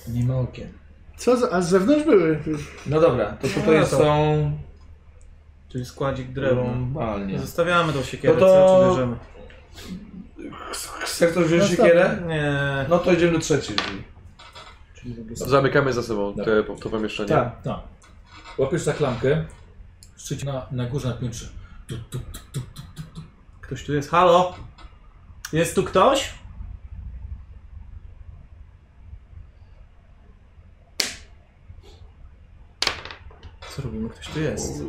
E: Nie ma okien.
D: Co za, a z zewnątrz były.
E: No dobra, to tutaj
F: No to-
E: są...
F: Czyli składzik
G: No,
F: drewna.
E: Normalnie.
F: Zostawiamy tą siekierę,
E: No
F: no
E: to-
F: to... czy bierzemy?
E: Chcesz ktoś wziąć siekierę?
F: Nie.
E: No to idziemy do trzeciej drzwi.
G: Zamykamy za sobą te, to pomieszczenie.
E: Tak.
A: Tak. Łapiesz za klamkę, szczyć na, na górze na piętrze. Tu, tu, tu, tu, tu.
F: Ktoś tu jest. Halo? Jest tu ktoś? Co robimy? Ktoś tu jest.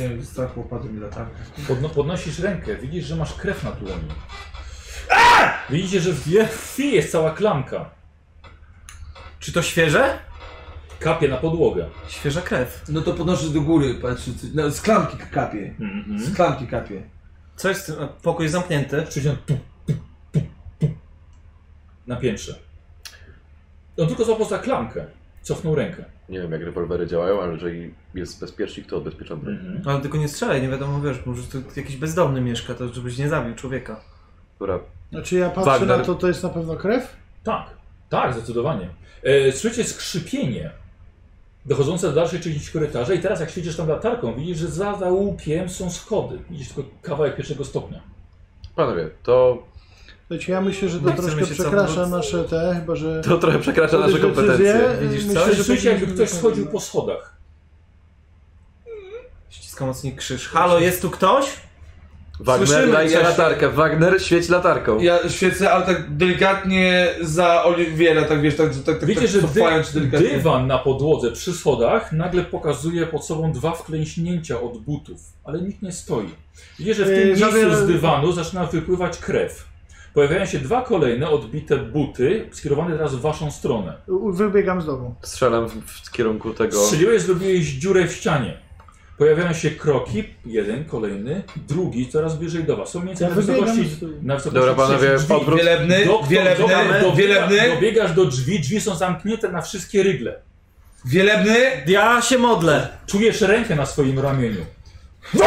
E: Nie wiem, strach opadł mi latarka.
A: Podno, podnosisz rękę, widzisz, że masz krew na dłoni. Widzicie, że w krwi jest cała klamka.
F: Czy to świeże?
A: Kapie na podłogę.
F: Świeża krew.
E: No to podnoszę do góry, patrzę, co- no, z klamki kapie. Z klamki kapie.
F: Co jest? w tym- a, Pokój jest zamknięty.
A: Szczyć na tu, tu, tu, tu. Na piętrze. On tylko złapał za klamkę. Cofnął rękę.
G: Nie wiem, jak rewolwery działają, ale jeżeli jest bezpiecznik, to odbezpieczam
E: Hmm.
G: broń.
F: Ale tylko nie strzelaj, nie wiadomo, wiesz, może tu jakiś bezdomny mieszka, to żebyś nie zabił człowieka.
G: Dobra.
D: Znaczy ja patrzę
G: Wagner.
D: na to, to jest na pewno krew?
A: Tak, tak, zdecydowanie. E, słyszycie skrzypienie dochodzące do dalszej części korytarza i teraz jak świecisz tam latarką, widzisz, że za załukiem są schody. Widzisz tylko kawałek pierwszego stopnia.
G: Panowie, to,
D: Słuchajcie, ja myślę, że to
F: Nie chcemy
D: troszkę
F: się
D: przekracza
F: cofnąć.
D: nasze te, chyba że...
G: to trochę przekracza nasze
D: Podejrzewam, że
G: kompetencje.
D: wie,
G: Widzisz
D: myślę,
G: co?
A: Ale
D: że
A: słyszycie,
D: powinniśmy
A: jakby ktoś
D: na
A: schodził
D: pewno.
A: po schodach.
F: Ściska mocniej krzyż. Halo, jest tu ktoś?
G: Wagner,
E: Słyszymy
G: daj
E: coś.
G: latarkę. Wagner, świeć latarką.
E: Ja świecę, ale tak delikatnie za Oliwiera, tak wiesz, tak, tak, tak,
A: Wiecie,
E: tak
A: że dy,
E: cofając delikatnie.
A: dywan na podłodze przy schodach nagle pokazuje pod sobą dwa wklęśnięcia od butów, ale nikt nie stoi. Widzicie, że w tym
D: Yy,
A: miejscu
D: żaden-
A: z dywanu zaczyna wypływać krew. Pojawiają się dwa kolejne odbite buty, skierowane teraz w waszą stronę.
D: U- Wybiegam z domu.
G: Strzelam w, w kierunku tego.
A: Strzeliłeś, zrobiłeś dziurę w ścianie. Pojawiają się kroki, jeden, kolejny, drugi, coraz bliżej do was. Są mniej więcej
D: Ja
A: na
D: wybiegam
A: wysokości,
D: z-
A: na wysokości
G: Dobra, panowie,
A: trzech drzwi.
G: obrót.
E: Wielebny,
A: Doktor,
E: wielebny,
A: dobra,
E: wielebny,
A: dobiegasz, dobiegasz do drzwi, drzwi są zamknięte na wszystkie rygle.
E: wielebny,
F: Ja się modlę.
A: Czujesz rękę na swoim ramieniu.
J: No,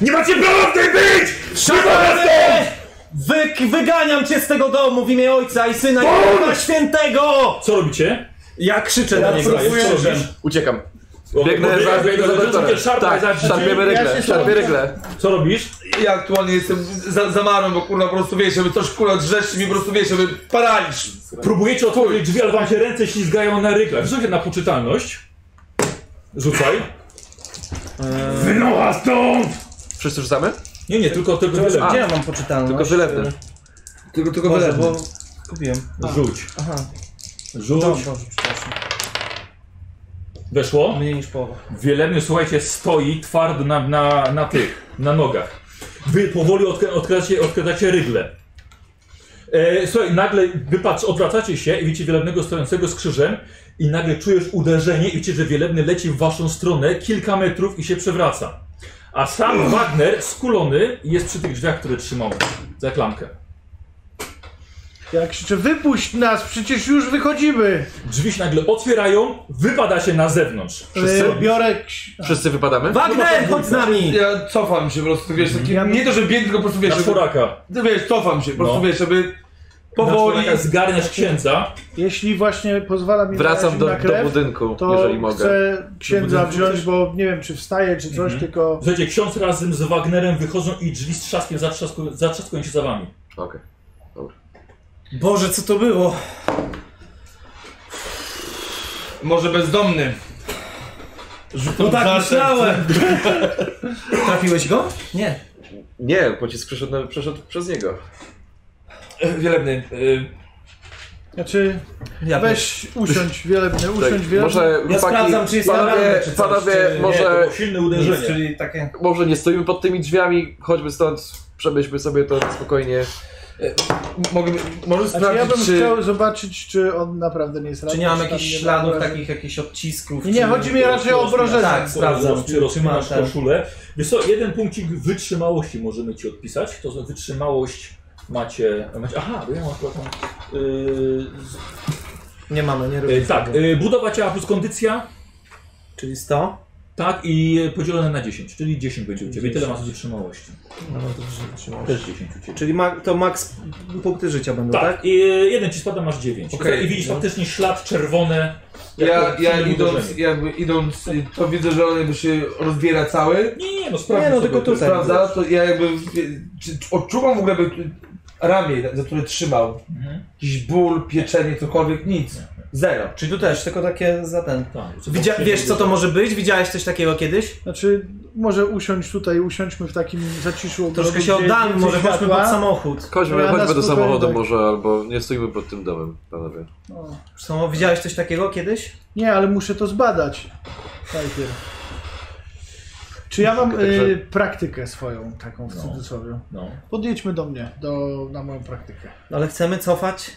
J: Nie macie prawa w tej być!
F: Szatanie! Wy, wyganiam cię z tego domu w imię Ojca i Syna i Ducha Świętego!
A: Co robicie?
F: Ja krzyczę na niego.
A: próbuję-
F: Co robisz?
G: Uciekam. Biegnę za, biegnę za doktorem. Tak, szarpiemy rygle,
D: się
G: szarpię
D: schowam.
G: rygle.
A: Co robisz?
E: ja aktualnie jestem za, zamarłem, bo kurwa po prostu wiesz, żeby coś kurwa drzeszczy mi po prostu wiesz, żeby paraliż.
A: Próbujecie otworzyć drzwi, ale wam się ręce ślizgają na rygle. Rzucaj na poczytalność. Rzucaj.
J: Wynocha stąd!
G: Wszyscy rzucamy?
A: Nie, nie, tylko tylko tyle.
F: Gdzie ja mam poczytalność?
G: Tylko wylewne.
E: Tylko, tylko
F: Boże,
E: wielebny.
F: bo kupiłem.
A: Rzuć.
F: Aha,
A: Rzuć.
F: dobrze, dobrze, przepraszam.
A: Weszło.
F: Mniej niż połowa.
A: Wielebny, słuchajcie, stoi twardo na, na, na tych, na nogach. Wy powoli odkra odkradacie, odkradacie rygle. E, słuchaj, nagle wypatrz, odwracacie się i widzicie wielebnego stojącego z krzyżem i nagle czujesz uderzenie i widzicie, że wielebny leci w waszą stronę kilka metrów i się przewraca. A sam Wagner, skulony, jest przy tych drzwiach, które trzymał za klamkę.
D: Ja krzyczę, wypuść nas, przecież już wychodzimy.
A: Drzwi się nagle otwierają, wypada się na zewnątrz.
D: Yy, biorę... ksi-
G: Wszyscy wypadamy?
F: Wagner, chodź z nami!
E: Ja cofam się po prostu, wiesz, taki, nie to, że biegnie, tylko po prostu wiesz,
A: Na
E: żeby,
A: czworaka.
E: wiesz, cofam się, po prostu
A: No.
E: wiesz, żeby
A: Na
E: powoli,
A: czworaka zgarniasz księdza.
D: Jeśli właśnie pozwala mi
G: Wracam
D: narazić
G: do,
D: na
G: do
D: krew,
G: budynku,
D: to
G: jeżeli mogę.
D: chcę księdza
A: budynku
D: wziąć,
A: chcesz?
D: bo nie wiem, czy wstaje, czy coś,
G: Mhm.
D: tylko...
A: Słuchajcie, ksiądz razem z Wagnerem wychodzą i drzwi z trzaskiem zatrzasku- zatrzaskują się za wami.
G: Okej.
F: Boże, co to było?
E: może bezdomny. Rzucam
F: No tak
E: żartem.
F: myślałem! Trafiłeś go? Nie.
G: Nie, pocisk przeszedł, na- no, przeszedł przez niego.
E: Wielebny, y,
D: Znaczy,
F: Ja
D: weź usiądź wielebny, usiądź
G: Tak,
D: wielebny.
G: może chłopaki,
F: sprawdzam, czy jest
G: panowie,
F: ranny, czy coś,
G: panowie
F: czy nie,
A: Nie, to
G: może,
A: było silne
F: Nic,
A: uderzenie.
F: czyli takie...
G: może nie stoimy pod tymi drzwiami, chodźmy stąd, przemyślmy sobie to spokojnie.
E: mogę, może
D: Znaczy, ja
E: sprawdzić,
D: bym
E: czy...
D: chciał zobaczyć, czy on naprawdę nie jest
F: Czy
D: ranny,
F: nie mam
D: tam
F: jakichś
D: nie ma
F: śladów
D: obrażeń.
F: takich, jakichś odcisków?
D: Nie, nie,
F: czy-
D: chodzi mi raczej o obrażenia.
F: Tak, sprawdzam,
A: czy rozmasz
F: ten-
A: koszulę. Wiesz co, jeden punkcik wytrzymałości możemy ci odpisać. To za wytrzymałość macie... macie aha, bo ja mam akurat tam... Yy, z-
F: Nie mamy, nie
A: yy,
F: robimy
A: tak,
F: tego.
A: yy, budowa ciała plus kondycja.
F: Czyli 100?
A: Tak, i yy, podzielone na 10, czyli 10 będzie u Ciebie. Tyle masz wytrzymałości.
F: No, to dobrze, trzymałeś.
A: Też 10 u Ciebie.
F: Czyli ma, to maks punkty życia będą, tak?
A: Tak, i jeden ci spada, masz 9.
E: Okej,
A: I widzisz
E: no.
A: faktycznie ślad czerwony.
E: Ja,
A: jak
E: ja
A: silne
E: idąc,
A: uderzenie.
E: jakby idąc, y, to widzę, że on jakby się rozbiera cały,
A: Nie, nie, no sprawdź.
F: Nie, no,
A: sobie
F: tylko
A: to.
F: tutaj.
E: prawda? To ja jakby, y, czy, czy odczuwam w ogóle jakby ramię, za które trzymał.
A: Mhm.
E: Jakiś ból, pieczenie, cokolwiek, nic. Zero.
F: Czyli tu też, tylko takie za ten.
A: Tak, co
F: Widzia
A: tam się
F: wiesz co tak? to
A: dzieje.
F: może być? Widziałeś coś takiego kiedyś?
D: Znaczy, może usiąść tutaj, usiądźmy w takim zaciszu ogrodu,
F: Troszkę się
D: gdzie
F: oddalmy,
D: więcej
F: może chodźmy
D: światła.
F: pod samochód.
G: Chodźmy,
D: Ja na
G: chodźmy do
D: spokojnie,
G: samochodu
D: tak.
G: może, albo nie stoimy pod tym domem, panowie.
D: No.
F: Samo, widziałeś coś takiego kiedyś?
D: Nie, ale muszę to zbadać najpierw. Czy ja mam
G: Także-
D: y, praktykę swoją, taką w
A: No.
D: cudzysłowie?
A: No.
D: Podjedźmy do mnie, do, na moją praktykę.
F: No, Ale chcemy cofać?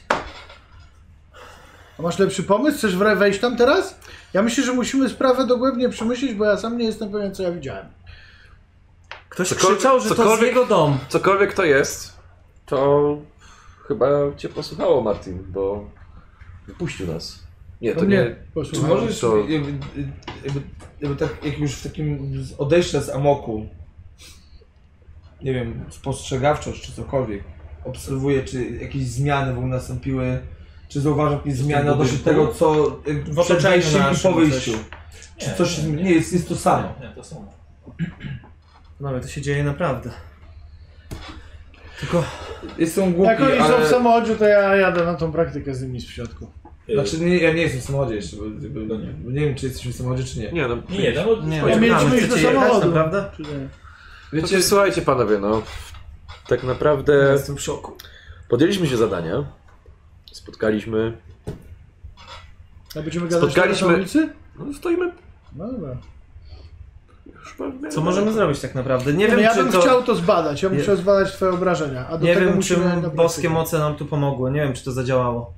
D: A masz lepszy pomysł? Chcesz wre- wejść tam teraz? Ja myślę, że musimy sprawę dogłębnie przemyśleć, bo ja sam nie jestem pewien, co ja widziałem.
F: Ktoś
G: Cokolwiek-
F: krzyczał, że to z
G: cokolwiek-
F: jego dom.
G: Cokolwiek to jest, to chyba cię posłuchało, Martin, bo wypuścił nas. Nie,
B: No
G: to
D: mnie
G: nie.
E: Czy
D: posłuchaj.
E: możesz
G: to-
E: jakby, jakby, jakby tak, jak już w takim z- odejścia z amoku, nie wiem, spostrzegawczość czy cokolwiek, obserwuję, czy jakieś zmiany w ogóle nastąpiły, czy zauważam jakieś zmiany odnośnie
A: budynku?
E: tego, co y,
F: W otoczeniu
E: przed wejściem i
F: naszym
E: po wyjściu.
F: coś.
E: Czy coś się zmieni- Nie, jest, jest to samo.
A: Nie, to samo.
F: No to się dzieje naprawdę. Tylko
E: Jestem głupi,
D: Jak oni są
E: ale... Tak,
D: w samochodzie, to ja jadę na tą praktykę z nimi z środku.
A: E,
E: Znaczy, nie, ja nie jestem w samochodzie jeszcze, bo, bo no nie, nie wiem, czy jesteśmy w samochodzie, czy nie.
G: Nie no,
A: nie, no, no
B: Nie,
D: Ja
B: wiem,
D: mieliśmy
B: czekamy.
D: iść do
B: Chcecie jechać,
D: samochodu.
B: Naprawdę?
D: Czy nie?
G: Wiecie, słuchajcie panowie, no tak naprawdę
B: Jestem w szoku.
G: podjęliśmy się zadania. Spotkaliśmy.
D: A będziemy gadać
G: Spotkaliśmy-
D: Spotkaliśmy... na ulicy?
G: No stoimy.
D: No dobra.
G: już pewnie-
B: Co możemy zrobić tak naprawdę? Nie,
D: Nie
B: wiem,
D: wiem, ja
B: czy
D: bym
B: to...
D: chciał to zbadać. Ja
B: Nie-
D: muszę zbadać twoje obrażenia. A do
B: Nie
D: tego
B: wiem,
D: musimy
B: czym
D: na
B: boskie
D: praktykę.
B: moce nam tu pomogły. Nie wiem, czy to zadziałało.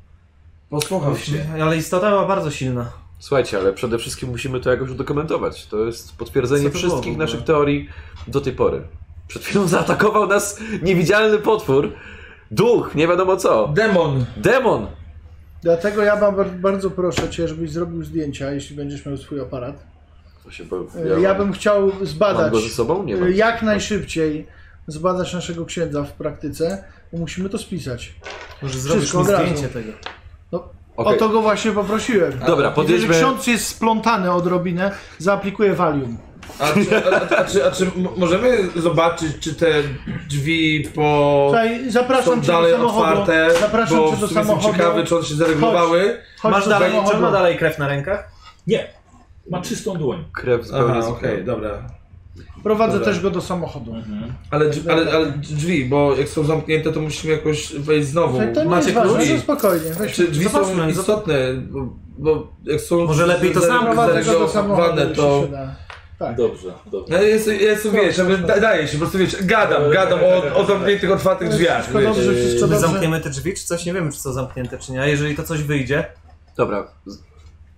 E: Posłuchał się.
B: Ale istota była bardzo silna.
G: Słuchajcie, ale przede wszystkim musimy to jakoś udokumentować. To jest potwierdzenie
B: Co to było w
G: wszystkich
B: ogóle?
G: naszych teorii do tej pory. Przed chwilą zaatakował nas niewidzialny potwór. Duch, nie wiadomo co.
E: Demon!
G: Demon!
D: Dlatego ja mam bar- bardzo proszę cię, żebyś zrobił zdjęcia, jeśli będziesz miał swój aparat.
G: To się bo-
D: E, Ja bym chciał
G: Mam
D: zbadać
G: go ze sobą? Nie
D: e,
G: mam.
D: jak najszybciej zbadać naszego księdza w praktyce, bo musimy to spisać.
B: Może zrobisz
D: Wszystko
B: mi
D: od razu.
B: zdjęcie tego.
G: Okej.
D: O to go właśnie poprosiłem.
G: Dobra,
D: Jeżeli
G: podjedźmy.
D: ksiądz jest splątany odrobinę, zaaplikuję Valium.
E: A czy, a, a, a, czy, a czy m- możemy zobaczyć, czy te drzwi po...
D: Tutaj zapraszam
E: są
D: cię do
E: dalej
D: samochodu.
E: otwarte,
D: zapraszam
E: bo
D: cię
E: w
D: do
E: sumie jestem
D: samochodu.
E: ciekawy, czy one się zaregulowały.
D: Chodź
B: Masz
D: do
B: dalej, czy on ma
D: samochodu.
B: dalej krew na rękach?
A: Nie. Ma czystą dłoń.
G: Krew zupełnie
E: Aha,
G: z
E: okej, dobra.
D: Prowadzę
E: Dobra.
D: też go do samochodu.
A: Mhm.
E: Ale, drzwi- ale, ale drzwi, bo jak są zamknięte, to musimy jakoś wejść znowu.
D: Tak, to nie
B: Macie
D: jest ważne,
B: klucz?
D: że spokojnie. Weź
E: Czy drzwi są
B: Zobaczmy, zob-
E: istotne, bo, bo jak są...
B: Może lepiej to sam
D: prowadzę go do samochodu,
E: zaregulowane,
D: jeśli
E: to...
D: się da. Tak.
A: Dobrze, dobrze.
E: Ja jestem, ja jestem wiesz, jakby da, daję się, po prostu wiesz, gadam, gadam o, o zamkniętych, otwartych drzwiach,
D: Wszystko
E: wiesz.
D: dobrze,
A: yy,
D: wszystko
B: My
D: dobrze.
B: zamkniemy te drzwi, czy coś? Nie wiemy, czy są zamknięte, czy nie. A jeżeli to coś wyjdzie,
G: Dobra, z-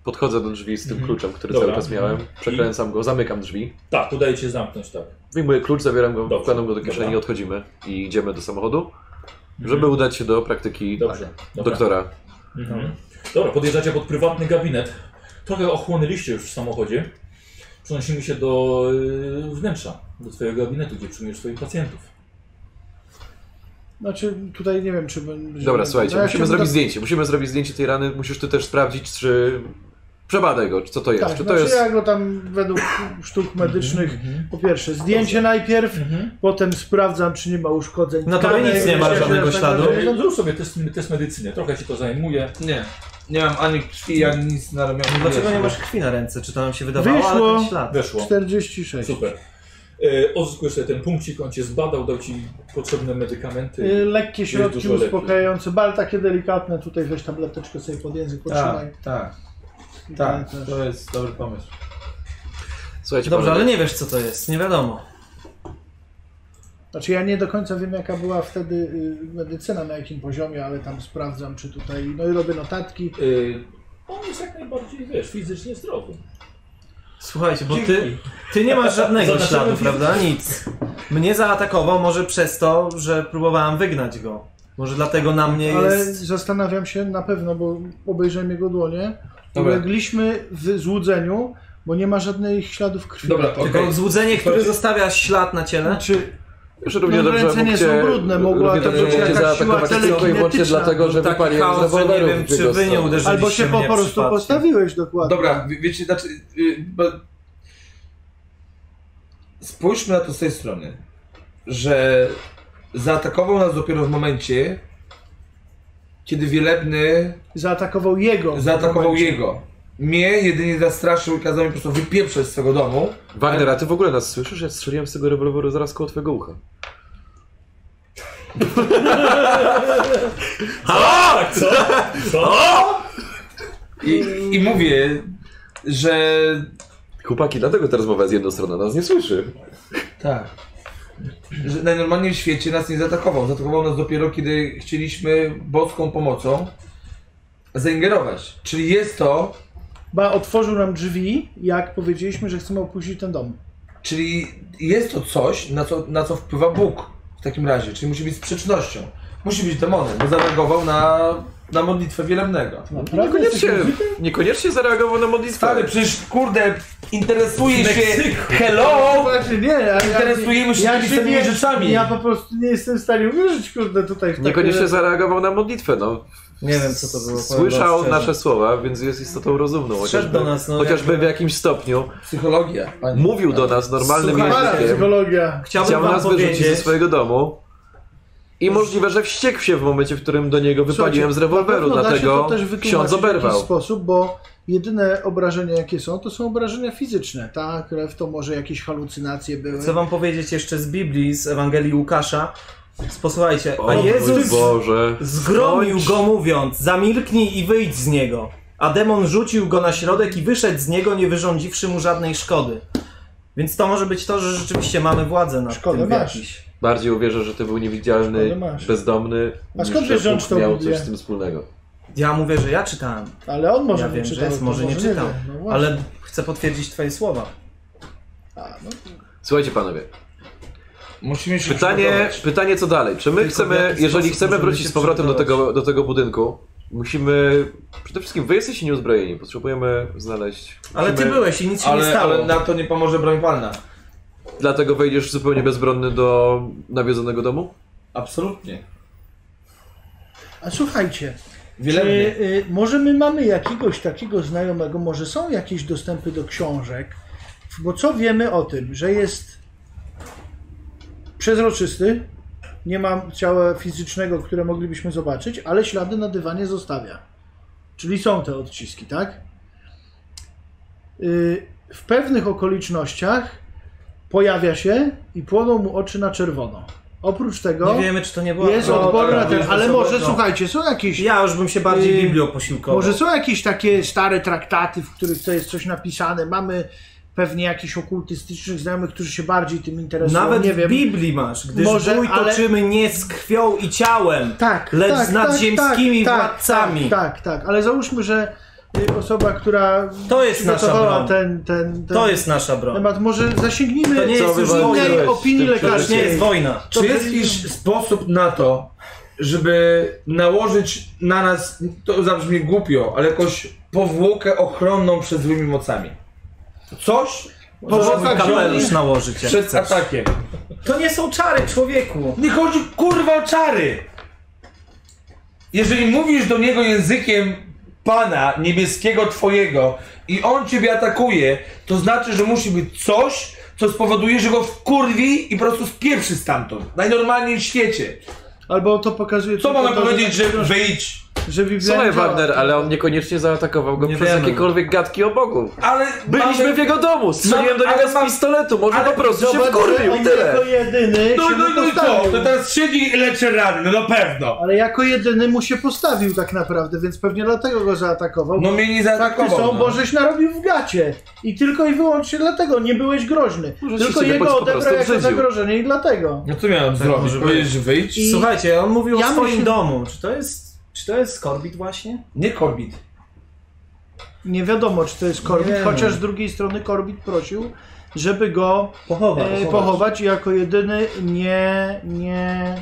G: podchodzę do drzwi z tym
D: Mhm.
G: kluczem, który
A: Dobra.
G: cały czas miałem. Przekręcam go, zamykam drzwi.
A: Tak, udaje ci się zamknąć, tak.
G: Wyjmuję klucz, zabieram go,
A: Dobrze.
G: wkładam go do kieszeni,
A: Dobra.
G: odchodzimy i idziemy do samochodu,
D: Mhm.
G: żeby udać się do praktyki
A: Dobrze. Dobra.
G: doktora.
A: Mhm. Dobra, podjeżdżacie pod prywatny gabinet. Trochę ochłonęliście już w samochodzie. Przenosimy się do y, wnętrza, do twojego gabinetu, gdzie przyjmujesz swoich pacjentów.
D: Znaczy tutaj nie wiem, czy będzie...
G: Dobra, słuchajcie,
D: No, ja
G: musimy
D: się
G: zrobić
D: do-
G: zdjęcie. Musimy zrobić zdjęcie tej rany. Musisz ty też sprawdzić, czy. Przebadaj go, czy co to jest.
D: Tak,
G: czy to
D: znaczy
G: jest.
D: ja go tam według sztuk medycznych,
B: Mhm,
D: po pierwsze zdjęcie najpierw, potem sprawdzam, czy nie ma uszkodzeń.
B: No to
D: tkanek,
B: Mhm. nic nie ma
D: myślę, że
B: żadnego
D: tak
B: śladu.
D: dalej.
A: No, zrób sobie test, test medycyny, trochę ci to zajmuje.
E: Nie, nie mam ani krwi, ani nic na ramionach.
B: dlaczego
E: Wiesz,
B: nie
E: no.
B: masz krwi na ręce? Czy to nam się wydawało, ale
D: Wyszło.
B: ten ślad.
A: Weszło.
D: 46.
A: Super. E, Odzyskujesz sobie ten punkcik, on cię zbadał, dał ci potrzebne medykamenty.
D: Y, Lekkie środki
A: dużo lepiej.
D: uspokajające, ale takie delikatne, tutaj weź tableteczkę sobie pod język, podtrzymaj.
E: Tak, tak,
D: I
E: tak,
D: ten też.
E: to jest dobry pomysł.
G: Słuchajcie,
B: Dobrze,
G: panowie,
B: ale nie wiesz, co to jest. Nie wiadomo.
D: Znaczy ja nie do końca wiem jaka była wtedy y, medycyna, na jakim poziomie, ale tam sprawdzam czy tutaj, no i robię notatki.
A: E, On jest jak najbardziej, wiesz, fizycznie zdrowy.
B: Słuchajcie, bo ty, ty nie masz żadnego
A: Zobaczymy
B: śladu,
A: film.
B: prawda? Nic. Mnie zaatakował może przez to, że próbowałam wygnać go. Może dlatego na mnie
D: Ale
B: jest...
D: zastanawiam się na pewno, bo obejrzałem jego dłonie.
E: Dobra.
D: Ulegliśmy w złudzeniu, bo nie ma żadnych śladów krwi.
E: Dobra,
B: Tylko
E: okej.
B: złudzenie, które zostawia ślad na ciele.
D: Znaczy,
G: już równie
D: no,
G: dobrze
D: ręce nie
G: mógłcie,
D: są brudne, mogła
B: tak
G: równie
D: to
G: dobrze
E: być
G: mógłcie
E: jakaś siła
G: zaatakować tylko i wyłącznie
D: telekinetyczna.
G: dlatego, że
B: Był taki
G: wypaliłem
B: chaos, że nie
G: zawolarów
B: wiem,
G: w
B: czy
G: jego
B: wy nie
G: stronę.
B: uderzyliście
D: albo się po
B: mnie
D: prostu
B: przypadkiem.
D: postawiłeś dokładnie.
E: Dobra, wie- wiecie, znaczy... Yy, bo... Spójrzmy na to z tej strony, że zaatakował nas dopiero w momencie, kiedy Wielebny
D: Zaatakował jego.
E: zaatakował jego. Mnie jedynie zastraszył i kazał mi po prostu wypieprzeć z tego domu.
G: Wagner, a ty w ogóle nas słyszysz? Ja strzeliłem z tego rewolweru zaraz koło twojego ucha.
A: Tak, co? co?
E: I,
B: Mm.
E: i mówię, że...
G: Chłopaki, dlatego ta rozmowa jest jednostronna, nas nie słyszy.
E: Tak. Że najnormalniej w świecie nas nie zaatakował. Zaatakował nas dopiero, kiedy chcieliśmy boską pomocą zaingerować. Czyli jest to
D: Ba otworzył nam drzwi, jak powiedzieliśmy, że chcemy opuścić ten dom.
E: Czyli jest to coś, na co, na co wpływa Bóg w takim razie, czyli musi być sprzecznością. Musi być demonem, bo zareagował na, na modlitwę wielebnego.
D: Naprawdę
G: Niekoniecznie,
D: jesteś-
G: niekoniecznie zareagował na modlitwę.
E: Stary, przecież kurde, interesuje
A: W
E: się.
A: Meksyku.
E: Hello!
D: No Właśnie nie, ale ja-
E: Interesujemy się
D: ja
E: tymi samymi
D: nie-
E: rzeczami.
D: Ja po prostu nie jestem w stanie uwierzyć, kurde, tutaj w takie...
G: Tak, Niekoniecznie zareagował na modlitwę, no.
B: tak, Nie wiem, co to było. powiem wam
G: Słyszał
B: szczerze.
G: nasze słowa, więc jest istotą rozumną.
B: Wszedł do
G: Chociażby,
B: nas, no,
G: chociażby
B: jakby-
G: w jakimś stopniu
E: Psychologia. Pani.
G: mówił do nas normalnym
B: Słuchaj,
D: Para,
G: językiem.
D: psychologia.
B: Chciałbym
G: Chciał
B: wam
G: nas wyrzucić ze
B: powiedzieć,
G: swojego domu. I możliwe, że wściekł się w momencie, w którym do niego wypaliłem z rewolweru,
D: Na pewno da się
G: dlatego
D: to też wytłumaczyć
G: ksiądz
D: W jakiś
G: oberwał.
D: sposób, bo jedyne obrażenia, jakie są, to są obrażenia fizyczne. Ta krew to może jakieś halucynacje były.
F: Chcę wam powiedzieć jeszcze z Biblii, z Ewangelii Łukasza. Posłuchajcie,
G: O
F: a
G: mój
F: Jezus
G: Boże.
F: zgromił go mówiąc, zamilknij i wyjdź z niego. A demon rzucił go na środek i wyszedł z niego, nie wyrządziwszy mu żadnej szkody. Więc to może być to, że rzeczywiście mamy władzę nad
D: Szkodę
F: tym w
D: masz.
F: jakiś.
G: Bardziej uwierzę, że ty był
D: Szkoda,
G: niewidzialny,
D: No, masz.
G: bezdomny,
D: A skąd
G: niż
D: wiesz, że
G: że
D: on
G: Bóg
D: czytał
G: miał
D: Biblię?
G: coś z tym wspólnego.
F: Ja mówię, że ja czytałem,
D: Ale on może
F: Ja
D: nie
F: wiem, że
D: czytał.
F: jest,
D: to
F: może nie czytał,
D: wie. No właśnie.
F: ale chcę potwierdzić twoje słowa.
D: A, no.
G: Słuchajcie panowie,
E: Musimy się
G: pytanie,
E: przygotować.
G: pytanie co dalej? Czy my
F: Tylko w
G: chcemy,
F: jaki
G: jeżeli
F: sposób
G: chcemy
F: możemy
G: wrócić
F: się
G: z powrotem do
F: przygotować?
G: tego, do tego budynku, musimy... Przede wszystkim wy jesteście nieuzbrojeni, potrzebujemy znaleźć...
F: Ale ty
G: musimy-
F: byłeś i nic się nie
E: Ale,
F: stało.
E: ale na to nie pomoże broń palna.
G: Dlatego wejdziesz zupełnie bezbronny do nawiedzonego domu?
E: Absolutnie.
D: A słuchajcie, czy
E: Wielebnie.
D: y, może my mamy jakiegoś takiego znajomego, może są jakieś dostępy do książek, bo co wiemy o tym, że jest przezroczysty, nie ma ciała fizycznego, które moglibyśmy zobaczyć, ale ślady na dywanie zostawia. Czyli są te odciski, tak? Y, w pewnych okolicznościach pojawia się i płoną mu oczy na czerwono. Oprócz tego
F: Nie wiemy, czy to nie było.
D: jest
E: No,
D: odporna
E: dobra,
D: ten,
E: jest
D: ale
E: osobno.
D: może słuchajcie, są jakieś
F: Ja już bym się bardziej
D: Yy,
F: Biblią posiłkował.
D: może są jakieś takie stare traktaty, w których to jest coś napisane. Mamy pewnie jakichś okultystycznych znajomych, którzy się bardziej tym interesują.
F: Nawet
D: nie wiem.
F: w Biblii masz, gdyż
D: Może,
F: bój
D: ale-
F: toczymy nie z krwią i ciałem,
D: tak,
F: lecz
D: tak,
F: z nadziemskimi
D: tak, tak,
F: władcami.
D: Tak, tak, tak, ale załóżmy, że y, osoba, która
F: To jest nasza
D: przygotowała
F: broń.
D: ten, ten, ten
F: To jest nasza broń.
D: temat, może zasięgnijmy
F: To nie jest
D: z
F: już
D: innej
G: wojna.
D: opinii
G: Tym przede
F: To nie
D: lekarskiej.
F: jest wojna.
E: Czy jest jakiś sposób na to, żeby nałożyć na nas, to zabrzmi głupio, ale jakąś powłokę ochronną przed złymi mocami? Coś powłoka
F: Kapelusz
E: zieloni
F: nałożyć. jak
E: przed
F: chcesz.
E: atakiem.
F: To nie są czary, człowieku.
E: Nie chodzi kurwa o czary! Jeżeli mówisz do niego językiem Pana niebieskiego Twojego i on ciebie atakuje, to znaczy, że musi być coś, co spowoduje, że go wkurwi i po prostu spieprzy stamtąd. Najnormalniej w świecie.
D: Albo to pokazuje
E: Co
D: tylko
E: mamy
D: No to, tak
E: powiedzieć, że
D: że,
E: wyjdź?
D: że Biblia
G: Słuchaj
D: nie działa.
G: Wagner, ale on niekoniecznie zaatakował go
F: Nie
G: przez
F: wiemy.
G: jakiekolwiek gadki o Bogu.
E: Ale
G: Byliśmy
E: mamy-
G: w jego domu, strzeliłem
E: Mamy-
G: do niego
E: ale
G: z
E: mam-
G: pistoletu, może
E: ale
G: po prostu się
D: Zobacz,
G: wkurwił
D: on
G: i tyle.
D: jako jedyny
E: No,
D: się
E: no,
D: mu
E: no i co?
D: postawił.
E: To teraz siedzi i leczy rany, no na pewno.
D: Ale jako jedyny mu się postawił tak naprawdę, więc pewnie dlatego go zaatakował.
E: No mnie nie
D: Fakty
E: zaatakował.
D: są,
E: no.
D: bo żeś narobił w gacie. I tylko i wyłącznie dlatego nie byłeś groźny.
G: Może ci
D: tylko
G: się po
D: jego
G: prostu
D: odebrał jako
G: brzydził.
D: zagrożenie i dlatego.
E: No co miałem zrobić?
F: może
E: Powiedzieć, że wyjdź?
D: I
F: Słuchajcie, on mówił
D: Ja
F: o swoim
D: myślę-
F: domu. Czy to jest... Czy to jest skorbit właśnie?
E: Nie korbit.
D: nie wiadomo, czy to jest Korbit,
F: Nie.
D: chociaż z drugiej strony Korbit prosił, żeby go
F: Pochowa.
D: e, pochować i jako jedyny nie, nie...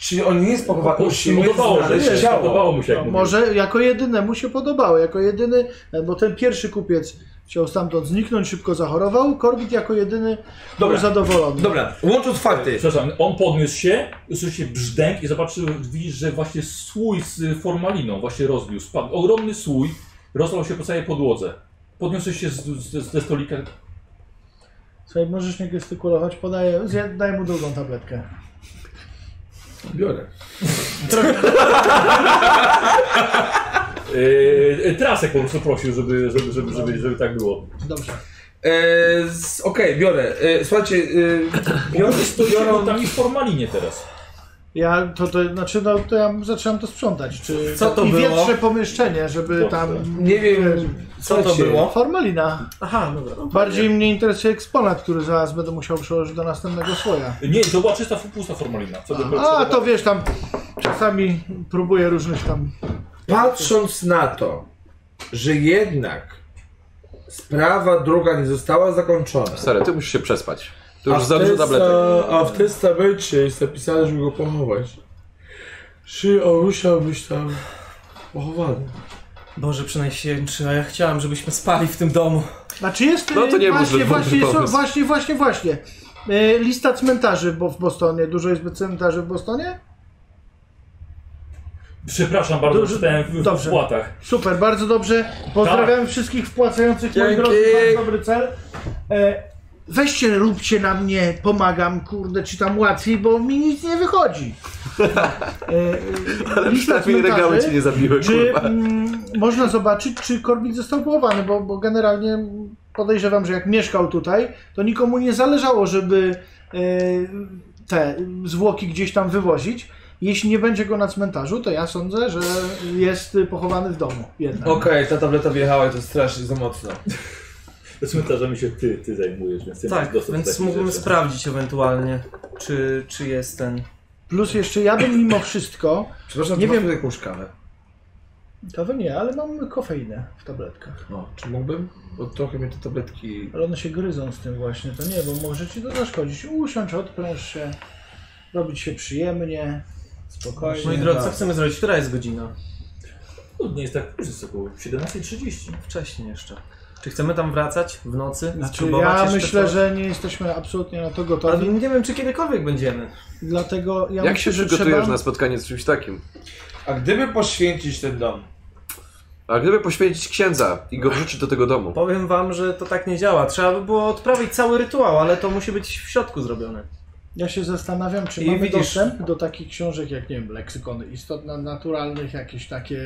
E: Czyli on nie jest pochowany. Musimy
A: Podobało mu
E: znaleźć
A: się, no,
E: ciało.
A: podobało mu się jak
D: No,
A: mówił.
D: może jako jedynemu się podobało, jako jedyny, e, bo ten pierwszy kupiec chciał stamtąd zniknąć, szybko zachorował, Korbit jako jedyny
E: Dobra.
D: był zadowolony.
E: Dobra, łącząc fakty.
A: Przepraszam, on podniósł się, usłyszy brzdęk i zobaczył, widzisz, że właśnie słój z formaliną właśnie rozbił. Spadł ogromny słój, rozlał się po całej podłodze. Podniosłeś się z, z, ze stolika.
D: Słuchaj, możesz nie gestykulować, podaję, zje- daj mu drugą tabletkę.
E: Biorę.
A: Yy, trasek po prostu prosił, żeby, żeby, żeby, żeby, żeby tak było.
D: Dobrze.
E: E, z- Okej, biorę. E, słuchajcie, e,
A: Biorę,
E: biorę,
A: stoicie
E: biorą...
A: tam i w formalinie teraz.
D: Ja to, to znaczy, no to ja zaczynam to sprzątać. Czy
F: Co to
D: I
F: było?
D: wietrze pomieszczenie, żeby
A: Dobrze.
D: tam.
E: Nie wiem,
F: Co to
E: słuchajcie,
F: było?
D: Formalina.
F: Aha, dobra.
D: Bardziej mnie interesuje eksponat, który zaraz będę musiał przełożyć do następnego słoja.
A: Nie, to była czysta, pusta formalina. Co do- co
D: A
A: do-
D: to wiesz tam. Czasami próbuję różnych tam.
E: Patrząc na to, że jednak sprawa druga nie została zakończona.
G: Stary, ty musisz się przespać. To już
E: w
G: za dużo
E: tej
G: tabletek.
E: sta- A w tym stamencie jest napisane, żeby go pochować. Czy on musiał być tam pochowany?
F: Boże, przynajświętszy, a ja chciałem, żebyśmy spali w tym domu.
D: Znaczy jest.
G: No to nie był
D: właśnie,
G: zbyt dobry
D: właśnie, są,
G: pomysł.
D: właśnie, właśnie, właśnie. E, Lista cmentarzy bo w Bostonie. Dużo jest cmentarzy w Bostonie?
A: Przepraszam bardzo,
D: Dobrze.
A: że czytałem w, w
D: Dobrze.
A: płatach.
D: Super, bardzo dobrze. Pozdrawiam
G: Tak.
D: wszystkich wpłacających, moi
E: Dzięki.
D: drodzy, mam dobry cel. E, weźcie, róbcie na mnie, pomagam, kurde, czy tam łatwiej, bo mi nic nie wychodzi. E,
G: Ale
D: Lista
G: przynajmniej
D: cmentarzy.
G: regały cię nie zabiły,
D: Czy
G: kurwa.
D: mm, można zobaczyć, czy Korbit został połowany, bo, bo generalnie podejrzewam, że jak mieszkał tutaj, to nikomu nie zależało, żeby e, te zwłoki gdzieś tam wywozić. Jeśli nie będzie go na cmentarzu, to ja sądzę, że jest y, pochowany w domu jednak.
E: Okej, ta tableta wjechała i to strasznie za mocno.
A: Cmentarzami się ty, ty zajmujesz, więc ty masz
B: Tak,
A: dostęp do
B: więc
A: takich
B: mógłbym
A: rzeczy.
B: sprawdzić ewentualnie, czy, czy jest ten.
D: Plus jeszcze ja bym mimo wszystko,
E: Przepraszam,
D: Nie
E: nie
D: wiem.
E: wiem jakąś kawę.
D: kawę nie, ale mam kofeinę w tabletkach.
E: O, No, czy mógłbym? Bo trochę mnie te tabletki...
D: Ale one się gryzą z tym właśnie, to nie, bo może ci to zaszkodzić. Usiądź, odpręż się, robić się przyjemnie, spokojnie. Tak.
B: Moi drodzy, co chcemy zrobić? Która jest godzina?
A: No, nie jest tak późno, jest około 17.30.
B: Wcześniej jeszcze. Czy chcemy tam wracać w nocy?
D: Znaczy,
B: Spróbować
D: ja
B: jeszcze
D: myślę,
B: coś?
D: że nie jesteśmy absolutnie na to
B: Ale
D: gotowi,
B: nie wiem, czy kiedykolwiek będziemy.
D: dlatego ja
G: Jak się
D: myślę, że
G: przygotujesz
D: trzeba...
G: na spotkanie z czymś takim?
E: A gdyby poświęcić ten dom?
G: A gdyby poświęcić księdza i go wrzucić do tego domu?
B: Powiem wam, że to tak nie działa. Trzeba by było odprawić cały rytuał, ale to musi być w środku zrobione.
D: Ja się zastanawiam, czy
B: I
D: mamy
B: widzisz-
D: dostęp do takich książek jak, nie wiem, leksykony istot na- naturalnych, jakieś takie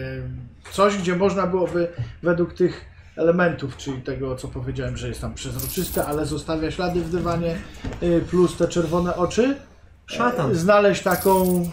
D: coś, gdzie można byłoby według tych elementów, czyli tego, co powiedziałem, że jest tam przezroczyste, ale zostawia ślady w dywanie, y, plus te czerwone oczy,
B: Szatan.
D: y, znaleźć taką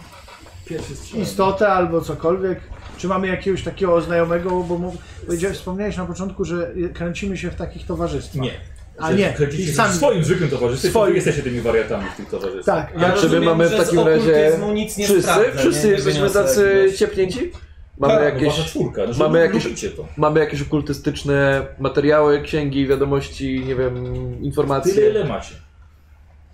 A: Pierwszy strzał.
D: istotę albo cokolwiek. Czy mamy jakiegoś takiego znajomego, bo mu, powiedziałeś- wspomniałeś na początku, że kręcimy się w takich towarzystwach.
A: Nie.
D: A
A: Że
D: nie,
A: kręcicie
D: i
A: się
D: sami-
A: w swoim zwykłym towarzystwie,
D: Swoim.
A: Swoim. wy jesteście tymi wariatami w tych towarzystwach.
D: Tak,
B: Ja
G: czy my
B: rozumiem,
G: mamy w
B: że
G: takim
B: z
G: razie
B: okultyzmu nic nie
G: Wszyscy?
B: sprawdzę,
G: Wszyscy
B: nie, nie
G: jesteśmy
B: wyniosę
G: tacy
B: jakiegoś-
G: ciepnięci? Mamy
A: Tak, no,
G: jakieś...
A: wasza czwórka. No,
G: mamy
A: mamy
G: jakieś-
A: jakieś... Lubicie to.
G: Mamy jakieś okultystyczne materiały, księgi, wiadomości, nie wiem,
A: Tyle,
G: informacje.
A: ile macie.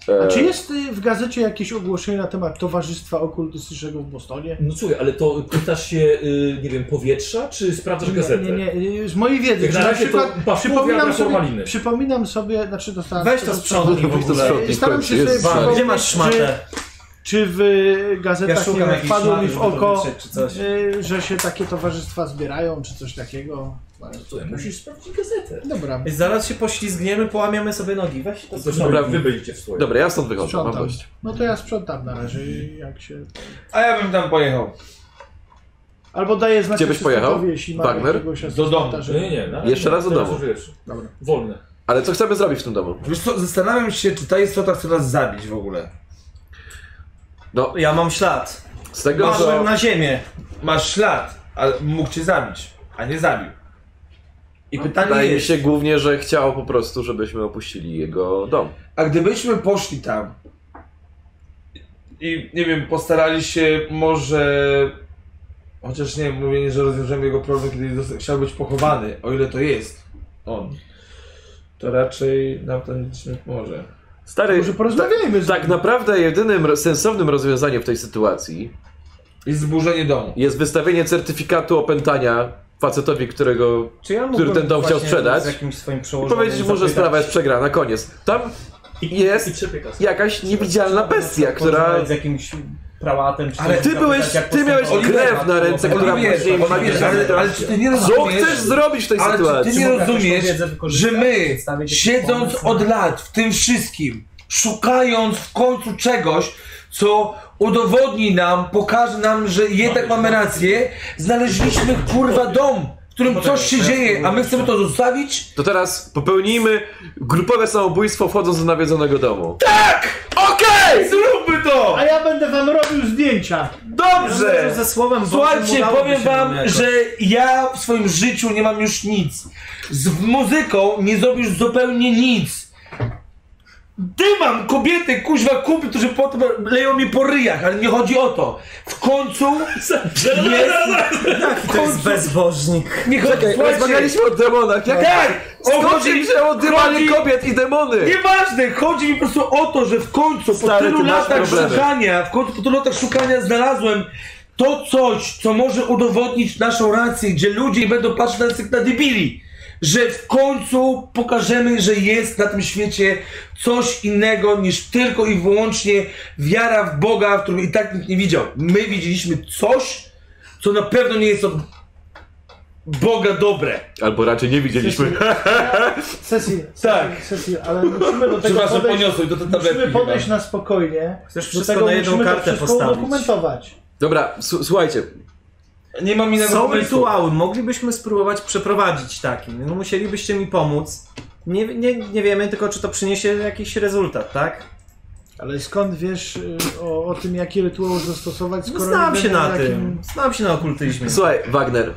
G: E,
D: A czy jest y, w gazecie jakieś ogłoszenie na temat Towarzystwa Okultystycznego w Bostonie?
A: No słuchaj, ale to pytasz się, y, nie wiem, powietrza, czy sprawdzasz gazetę?
D: Nie, nie, nie, y, z mojej wiedzy.
A: Jak
D: Czy
A: na
D: na
A: razie to
D: przykład
A: paszport
D: przypominam
A: wiadra
D: sobie,
A: formaliny.
D: przypominam sobie, znaczy dostałem...
B: Weź to sprzątnij w
G: Weź to
B: ogóle.
G: sprzątnij,
D: Staram się
G: kończy,
D: sobie
G: jest
B: Pan,
G: żart.
B: Gdzie masz szmatę?
D: Czy w y, gazetach nie wiem, wpadło mi w oko,
B: czy coś.
D: y, że się takie towarzystwa zbierają, czy coś takiego?
A: No, słuchaj, musisz sprawdzić gazetę.
D: Dobra,
B: Zaraz się poślizgniemy, połamiemy sobie nogi. Weź to
A: To
G: Dobra.
A: Dobra, wy będziecie w swoim.
G: Dobra, ja stąd wychodzę, mam
D: sprzątam.
G: dość.
D: No to ja sprzątam na razie, i jak się...
E: A ja bym tam pojechał.
D: Albo daję znać
G: Gdzie byś
D: asystentowi,
G: pojechał?
D: jeśli ma
G: Wagner?
D: jakiegoś
E: Do domu.
D: asystenta, żeby-
A: Nie, nie, na,
G: Jeszcze raz do
A: teraz
G: domu.
A: już wiesz.
D: Dobra.
A: Wolne.
G: Ale co chcemy zrobić w tym domu?
E: Wiesz co, zastanawiam się, czy ta istota chce nas zabić w ogóle.
G: No,
B: Ja mam ślad.
G: z tego,
B: Patrzę
G: co...
B: na ziemię.
E: Masz ślad, ale mógł cię zabić, a nie zabił. I pytanie
G: Wydaje mi
E: jest,
G: się głównie, że chciał po prostu, żebyśmy opuścili jego dom.
E: a gdybyśmy poszli tam i, nie wiem, postarali się może... Chociaż nie, mówienie, że rozwiążemy jego problem, kiedy zosta- chciał być pochowany, o ile to jest on. To raczej nam to nic nie może.
G: Stary,
D: Może porozmawiajmy z
G: tak naprawdę jedynym ro- sensownym rozwiązaniem w tej sytuacji
E: Jest zburzenie domu.
G: jest wystawienie certyfikatu opętania facetowi, którego...
B: Czy ja
G: Który ten dom chciał sprzedać?
B: Z jakimś swoim
G: I
B: przełożonym
G: powiedzieć mu, że
B: zapytać?
G: sprawa jest przegrana, koniec. Tam
A: I
G: jest
A: trzepie kasę.
G: jakaś niewidzialna bestia, która...
B: Porozmawiać Z jakimś prałatem, czy
E: Ale
B: coś
G: ty
B: zapytać,
G: byłeś-
B: jak
G: ty miałeś
B: postępować.
G: krew na ręce, która
B: Oliwier,
E: Oliwier,
G: później
E: Oliwier, ale, ale czy ty nie rozumiesz...
G: Co chcesz zrobić w tej
E: Ale czy
G: sytuacji?
E: ty nie
B: Czy mogę
E: rozumiesz,
B: jakąś wiedzę
E: że
B: wykorzystać?
E: my,
B: Przedstawić jakiś
E: siedząc
B: pomysł?
E: od lat w tym wszystkim, szukając w końcu czegoś, co udowodni nam, pokaże nam, że jednak mamy rację, znaleźliśmy kurwa dom, w którym coś się dzieje, a my chcemy to zostawić?
G: To teraz popełnijmy grupowe samobójstwo wchodząc do nawiedzonego domu. Tak!
E: Zróbmy to!
D: A ja będę wam robił zdjęcia.
E: Dobrze!
B: Ze słowem Bożym
E: Słuchajcie,
B: udałoby
E: powiem
B: się
E: wam,
B: nam jakoś.
E: że ja w swoim życiu nie mam już nic. Z muzyką nie zrobisz zupełnie nic. Dymam kobiety, kuźwa, kupy, którzy potem leją mi po ryjach, ale nie chodzi o to. W końcu jest...
B: To jest bezbożnik.
E: Nie chodzi, słuchajcie,
G: Rozmawialiśmy o demonach, jak...
E: tak! O,
G: Skąd się
E: chodzi,
G: wzięło dymanie
E: chodzi-
G: kobiet i demony?
E: Nieważne, chodzi mi po prostu o to, że w końcu
G: Stary,
E: po
G: ty
E: tylu
G: masz
E: latach
G: problemy.
E: szukania, w końcu po tylu latach szukania znalazłem to coś, co może udowodnić naszą rację, gdzie ludzie nie będą patrzeć na nas jak na debili. Że w końcu pokażemy, że jest na tym świecie coś innego niż tylko i wyłącznie wiara w Boga, w którym i tak nikt nie widział. My widzieliśmy coś, co na pewno nie jest od
J: Boga dobre.
G: Albo raczej nie widzieliśmy.
D: Cecil,
J: Tak.
D: tak. Cecil, ale musimy do tego
J: Przepraszam,
D: podejść,
J: poniosłeś do tej
D: musimy
J: tabletki.
D: podejść
J: chyba.
D: na spokojnie.
F: Chcesz
D: Do
F: wszystko
D: tego
F: na jedną
D: musimy to
F: kartę
D: wszystko
F: postawić.
D: udokumentować.
G: Dobra, s- słuchajcie.
J: Nie mam innego
F: Są
J: pomysłu.
F: rytuały, moglibyśmy spróbować przeprowadzić taki. No musielibyście mi pomóc. Nie, nie, nie wiemy tylko, czy to przyniesie jakiś rezultat, tak?
D: Ale skąd wiesz y, o, o tym, jaki rytuał zastosować,
B: No
D: skoro
F: Znam
D: nie
F: się
D: wiemy,
F: na
D: jakim-
F: tym. Znam się na okultyzmie.
G: Słuchaj, Wagner.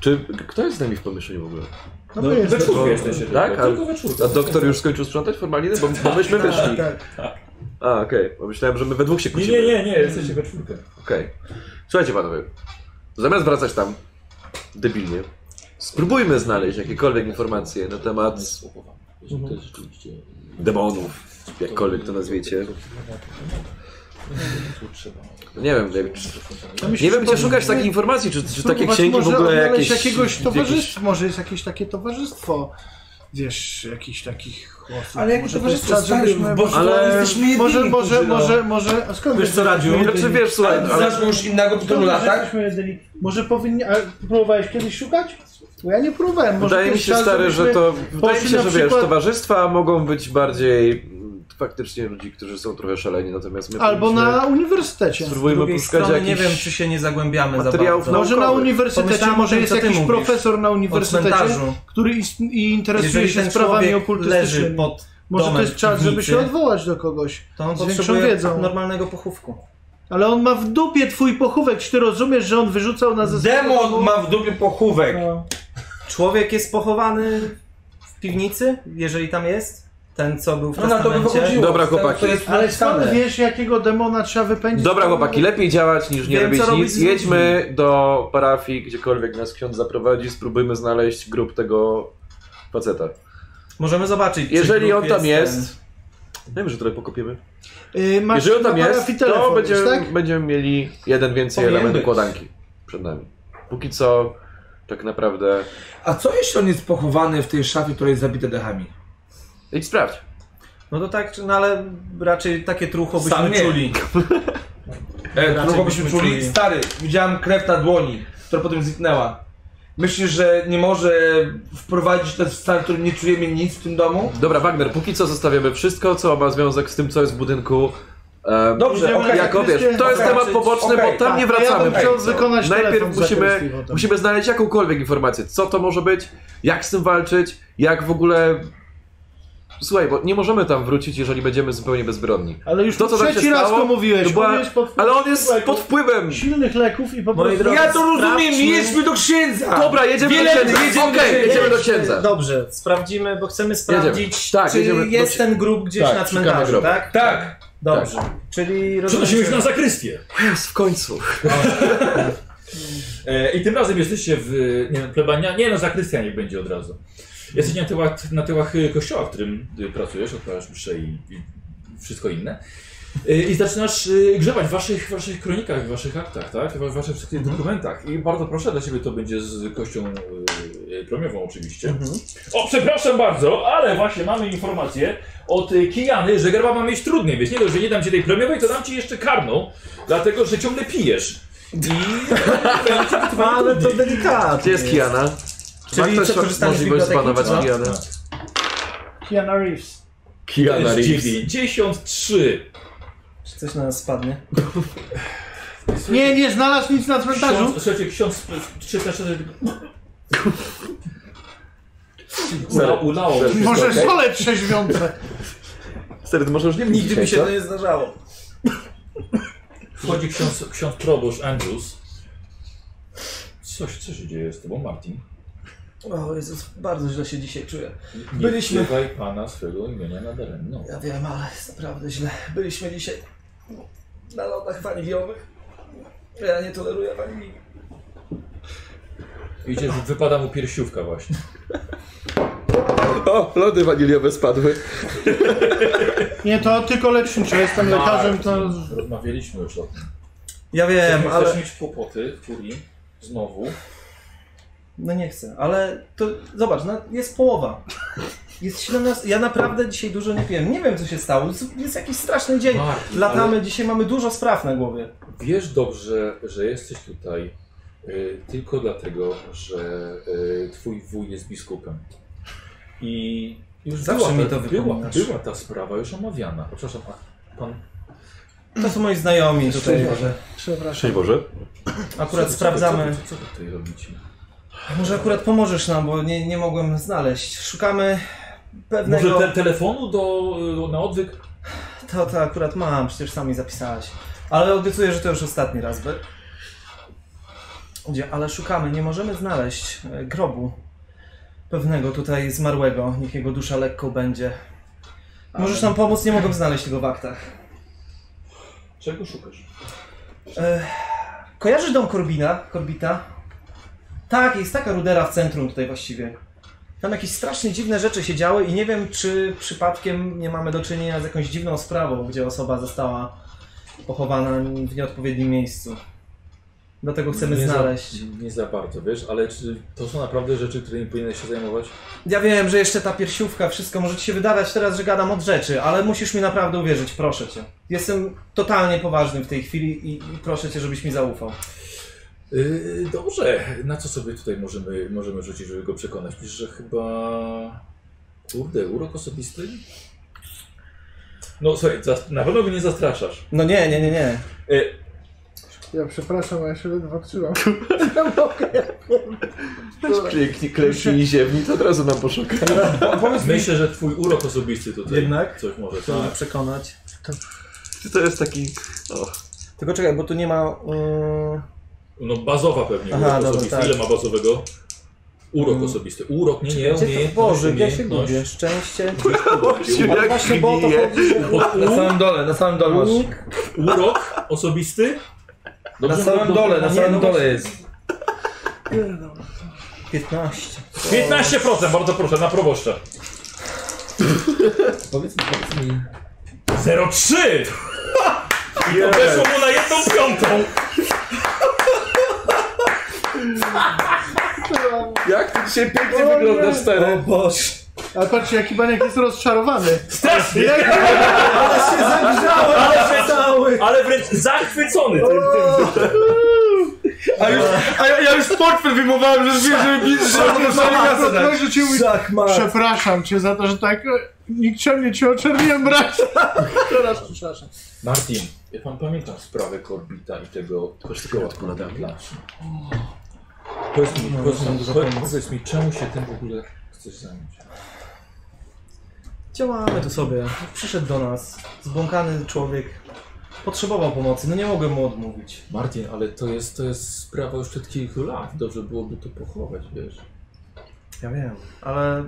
G: Czy kto jest z nami w pomieszczeniu w ogóle?
D: No, no jest,
A: We czwórkę jesteście
G: tak,
A: tylko,
G: ale-
A: tylko we czwórkę.
G: A doktor już skończył sprzątać formaliny? Bo, bo
A: Tak,
G: myśmy wyszli. A, okej. Bo myślałem, że my we dwóch się
A: Nie,
G: kłócimy.
A: nie, nie, nie, jesteście we czwórkę.
G: Okej. Słuchajcie panowie, zamiast wracać tam debilnie, spróbujmy znaleźć jakiekolwiek informacje na temat
A: Mhm.
G: demonów, jakkolwiek to nazwiecie. No Nie wiem, jak,
D: Ja no myślę,
G: nie wiem
D: że
G: gdzie szukać takich informacji, czy,
F: tak
G: czy takie
D: Próbować
G: księgi w
D: może
G: ogóle
D: odnaleźć
G: jakieś...
D: jakiegoś
G: jakieś-
D: towarzystwa, może jest jakieś takie towarzystwo, wiesz, jakichś takich osób.
E: Ale jakie
D: może to
E: towarzystwo,
D: jest czas,
E: stary,
D: żebyśmy-
E: w Bożu
G: Ale-
E: Dole jesteśmy jedyni,
D: Może, może,
E: którzy, no.
D: może, może, a skąd
F: Wiesz co, Radziu?
D: Skąd
G: Znaczy wiesz, słuchaj, ale...
E: Znasz kogoś innego po tylu
D: wiesz, że
E: latach?
D: jesteśmy jedyni? Może powinni, a próbowałeś kiedyś szukać? Bo ja nie próbowałem. Może
G: Wydaje mi
D: kiedyś
G: się
D: czas,
G: stary, że
D: żebyśmy-
G: to... Wydaje mi
D: poszli
G: się,
D: na
G: że wiesz,
D: przykład-
G: towarzystwa mogą być bardziej mm, faktycznie ludzi, którzy są trochę szaleni, natomiast my
D: Albo
G: powinniśmy-
D: na uniwersytecie. No,
F: Z
G: Spróbujmy
F: drugiej
G: poszukać
F: strony
G: jakichś...
F: nie wiem, czy się nie zagłębiamy za
G: materiałów
F: bardzo.
G: na-
D: Może na
G: naukowych.
D: uniwersytecie,
F: Pomyślałem o
D: może
F: tym,
D: jest
F: co ty
D: jakiś
F: mówisz.
D: profesor na
F: O
D: uniwersytecie,
F: cmentarzu.
D: który ist- i interesuje
F: Jeżeli
D: się
F: ten
D: sprawami
F: człowiek leży
D: okultystycznymi.
F: pod
D: Może to
F: domem
D: jest czas, żeby
F: piwnicy,
D: się odwołać do kogoś.
F: To on
D: z większą
F: potrzebuje
D: wiedzą.
F: normalnego pochówku.
D: Ale on ma w dupie twój pochówek, czy ty rozumiesz, że on wyrzucał na ze
J: Demon ma w dupie pochówek.
D: No.
F: Człowiek jest pochowany w piwnicy, jeżeli tam jest. Ten, co był w
E: No na to by
F: testamencie.
E: wychodziło.
G: Dobra,
E: To- to
G: chłopaki.
E: jest
D: Ale skąd
E: napisane.
D: wiesz, jakiego demona trzeba wypędzić?
G: Dobra chłopaki, lepiej działać niż nie
F: Wiem,
G: robić
F: co robić
G: nic.
F: z ludźmi.
G: Jedźmy do parafii, gdziekolwiek nas ksiądz zaprowadzi, spróbujmy znaleźć grup tego faceta.
F: Możemy zobaczyć. czy
G: Jeżeli
F: grób
G: on tam jest,
F: ten-
G: wiem, że trochę pokopiemy.
D: Y, masz
G: Jeżeli on tam
D: na parafii
G: jest, to
D: telefon,
G: będziemy,
D: tak?
G: będziemy mieli jeden więcej
J: Powinien
G: element
J: być.
G: układanki przed nami. Póki co, tak naprawdę...
E: A co jeśli on jest pochowany w tej szafie, która jest zabita dechami?
G: Idź sprawdź.
F: No to tak, czy- no ale raczej takie trucho byśmy
E: Sam nie.
F: czuli.
E: E, którą byśmy
F: byśmy
E: czuli?
F: czuli.
E: Stary, widziałem krew na dłoni, która potem zniknęła. Myślisz, że nie może wprowadzić ten stan, w którym nie czujemy nic w tym domu?
G: Dobra, Wagner, póki co zostawiamy wszystko, co ma związek z tym, co jest w budynku. E,
E: Dobrze, okej.
G: jako wiesz, to jest
E: Okej,
G: temat poboczny,
E: okej,
G: bo tam
D: tak,
G: nie
D: to ja
G: wracamy.
D: bym chciał wykonać
G: Najpierw
D: telefon za
G: musimy,
D: Kirsty potem.
G: musimy znaleźć jakąkolwiek informację, co to może być, jak z tym walczyć, jak w ogóle... Słuchaj, bo nie możemy tam wrócić, jeżeli będziemy zupełnie bezbronni.
D: Ale już
G: To, co tam się
D: trzeci raz
G: stało,
D: to mówiłeś.
G: to była-
D: On jest pod
G: Ale on jest
D: leków,
G: pod wpływem!
D: silnych leków i po
F: Moi
D: prostu...
F: drodzy,
E: Ja to rozumiem,
F: Sprawdźmy.
E: jedźmy do księdza!
G: Dobra, jedziemy
E: Wiele-
G: do księdza!
E: jedziemy do
G: Okej,
E: księdza.
G: jedziemy do księdza!
F: Dobrze, sprawdzimy, bo chcemy sprawdzić,
G: Tak,
F: czy
G: jedziemy do
F: jest
G: księ-
F: ten grób gdzieś
G: tak,
F: na
G: szukamy
F: cmentarzu,
G: grobu.
F: tak?
E: Tak!
F: Dobrze. Czyli
A: Przenosimy się
F: rozumiem,
A: na zakrystię.
G: Jest, w końcu!
A: E, I tym razem jesteście w. Nie wiem, plebania. Nie, no, zakrystian nie będzie od razu. Jesteście na tyłach, na tyłach y, kościoła, w którym y, pracujesz, odprawiasz msze i, i wszystko inne. Y, I zaczynasz y, grzebać w waszych, w waszych kronikach, w waszych aktach, tak? W waszych wszystkich dokumentach. I bardzo proszę, dla ciebie to będzie z kością y, y, promiową oczywiście. O, przepraszam bardzo, ale właśnie mamy informację od y, Kijany, że gerba ma mieć trudniej. Więc nie dość, że nie dam ci tej promiowej, to dam ci jeszcze karną, dlatego że ciągle pijesz. I
F: No, ale to delikatnie.
G: Gdzie jest Kiana? Ma
F: Czyli
G: ktoś
F: co, korzystanie z
G: możliwość
F: biblioteki,
G: zbanować
F: co?
G: Kianę?
D: Keanu Reeves.
A: To
G: Kiana
A: jest
G: Reeves.
A: 93.
F: Czy coś na nas spadnie?
D: Nie, nie znalazł nic na cmentarzu.
A: Ksiądz, słuchajcie, ksiądz czyta szerzej. Ula, ulało.
G: Sorry.
D: Może sole trzeźwiące.
G: Stary, to może już nie Nigdy mi się...
F: nie zdarzało.
A: Wchodzi ksiądz, ksiądz proboszcz Andrews. Coś, co się dzieje z tobą, Martin?
F: O Jezus, bardzo źle się dzisiaj czuję.
A: Nie
F: Byliśmy-
A: wzywaj pana swego imienia No. nadaremno.
F: Ja wiem, ale jest naprawdę źle. Byliśmy dzisiaj na lodach waniliowych. Ja nie toleruję wanilii.
A: Widzicie, że wypada mu piersiówka właśnie.
G: O, lody waniliowe spadły.
D: Nie, to tylko lecznicze. Jestem lekarzem, to...
A: Martin, Tak, Rozmawialiśmy już o tym.
F: Ja wiem,
A: Chcesz
F: ale...
A: mieć kłopoty w Turii? Znowu.
F: No nie chcę, ale to zobacz, no, jest połowa. Jest 17. Ja naprawdę dzisiaj dużo nie piłem. Nie wiem co się stało. Jest- Jest jakiś straszny dzień.
G: No,
A: Martin,
F: Latamy, dzisiaj mamy dużo spraw na głowie.
A: Wiesz dobrze, że jesteś tutaj Y, Tylko dlatego, że y, twój wuj jest biskupem. I już
F: Zawsze
A: była,
F: mi
A: ta-
F: to
A: była,
F: wypominasz.
A: była ta sprawa już omawiana. Przepraszam, a pan
F: To są moi znajomi tutaj.
D: Przepraszam.
G: Szczęść Boże.
F: Akurat
A: co- co-
F: sprawdzamy.
A: Co, co, co, co tutaj robicie?
F: Może akurat pomożesz nam, bo nie, nie mogłem znaleźć. Szukamy pewnego...
A: Może te, telefonu do, y, na odwyk?
F: To, to akurat mam, przecież sami zapisałaś. Ale obiecuję, że to już ostatni raz. By... Gdzie? Ale szukamy, nie możemy znaleźć e, grobu pewnego tutaj zmarłego. Niech jego dusza lekko będzie. Możesz nam pomóc? Nie mogłem znaleźć tego w aktach.
A: Czego szukasz?
F: E, kojarzysz dom Korbina? Korbita? Tak, jest taka rudera w centrum tutaj właściwie. Tam jakieś strasznie dziwne rzeczy się działy i nie wiem, czy przypadkiem nie mamy do czynienia z jakąś dziwną sprawą, gdzie osoba została pochowana w nieodpowiednim miejscu. Dlatego chcemy
A: Nie za-
F: znaleźć.
A: Nie za bardzo, wiesz, ale czy to są naprawdę rzeczy, którymi powinieneś się zajmować?
F: Ja wiem, że jeszcze ta piersiówka, wszystko może ci się wydawać teraz, że gadam od rzeczy, ale musisz mi naprawdę uwierzyć, proszę cię. Jestem totalnie poważny w tej chwili i, i proszę cię, żebyś mi zaufał.
A: Yy, dobrze, na co sobie tutaj możemy, możemy rzucić, żeby go przekonać? Myślisz, że chyba... Kurde, urok osobisty? No słuchaj, zas- na pewno go nie zastraszasz.
F: No nie, nie, nie, nie.
D: Ja przepraszam, ale ja się ledwo trzymam.
G: Kliknij, klepnij ziemni, to od razu nam poszuka.
A: Myślę, że twój urok osobisty tutaj
F: Jednak?
A: coś może.
F: Chcę
A: Tak.
F: przekonać.
G: To jest taki... O,
F: Tylko czekaj, bo tu nie ma. Yy...
A: No bazowa pewnie,
F: Aha,
A: urok
F: dobra,
A: osobisty.
F: tak.
A: Ile ma bazowego? Urok
F: Mm.
A: osobisty. Urok, nie, nie,
F: Gdzie
A: umiejętność,
F: to Boże, ja się
A: umiejętność.
F: gubię. Szczęście.
G: jak
F: Ale właśnie, bo o to
G: gnije.
F: chodzi. że-
A: Pod
E: Na
A: u,
E: samym dole, na samym dole masz.
A: urok osobisty?
E: Na
A: Dobrze,
E: samym
A: no,
E: dole, na
A: nie,
E: samym
A: no
E: dole jest.
F: 15.
A: 15%, bardzo proszę, na proboszcza.
E: Powiedz mi, powiedz mi.
A: 0,3! I to weszło mu na jedną piątą!
G: Jak ty dzisiaj tak pięknie wyglądasz, stary.
F: Boże.
D: Ale patrzcie, jaki baniak jest rozczarowany.
A: Strasznie!
F: Ale się zagrzałem!
A: Ale,
F: Cały!
A: ale wręcz zachwycony tym, tym.
E: A, już, a ja, ja już portfel wyjmowałem, że żeby, żeby, żeby, żeby miasto dać.
D: Proszę cię, mój...
F: Szachmat.
D: Przepraszam cię za to, że tak e, nikczemnie cię oczerniłem, bracie. Teraz przepraszam.
A: Martin, ja pan pamiętam sprawę Korbita i tego kościoła
G: tylko lat temu.
A: Korbita. Powiedz mi, powiedz, mi, powiedz mi, czemu się tym w ogóle chcesz zająć?
F: Działamy tu sobie. Przyszedł do nas. Zbłąkany człowiek. Potrzebował pomocy. No nie mogłem mu odmówić.
A: Martin, ale to jest, to jest sprawa już przed kilku lat. Dobrze byłoby to pochować, wiesz.
F: Ja wiem, ale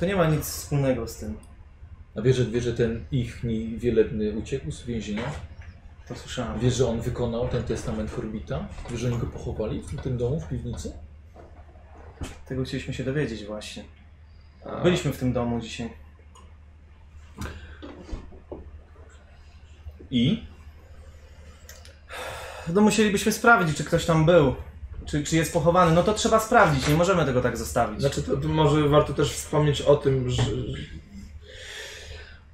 F: to nie ma nic wspólnego z tym.
A: A wiesz, że, wiesz, że ten ich wielebny uciekł z więzienia?
F: To słyszałem.
A: Wiesz, że on wykonał ten testament Korbita? Wiesz, że oni go pochowali w tym domu, w piwnicy?
F: Tego chcieliśmy się dowiedzieć właśnie.
A: A.
F: Byliśmy w tym domu dzisiaj.
A: I?
F: No musielibyśmy sprawdzić, czy ktoś tam był. Czy, czy jest pochowany. No to trzeba sprawdzić, nie możemy tego tak zostawić.
E: Znaczy, to, to może warto też wspomnieć o tym, że... że-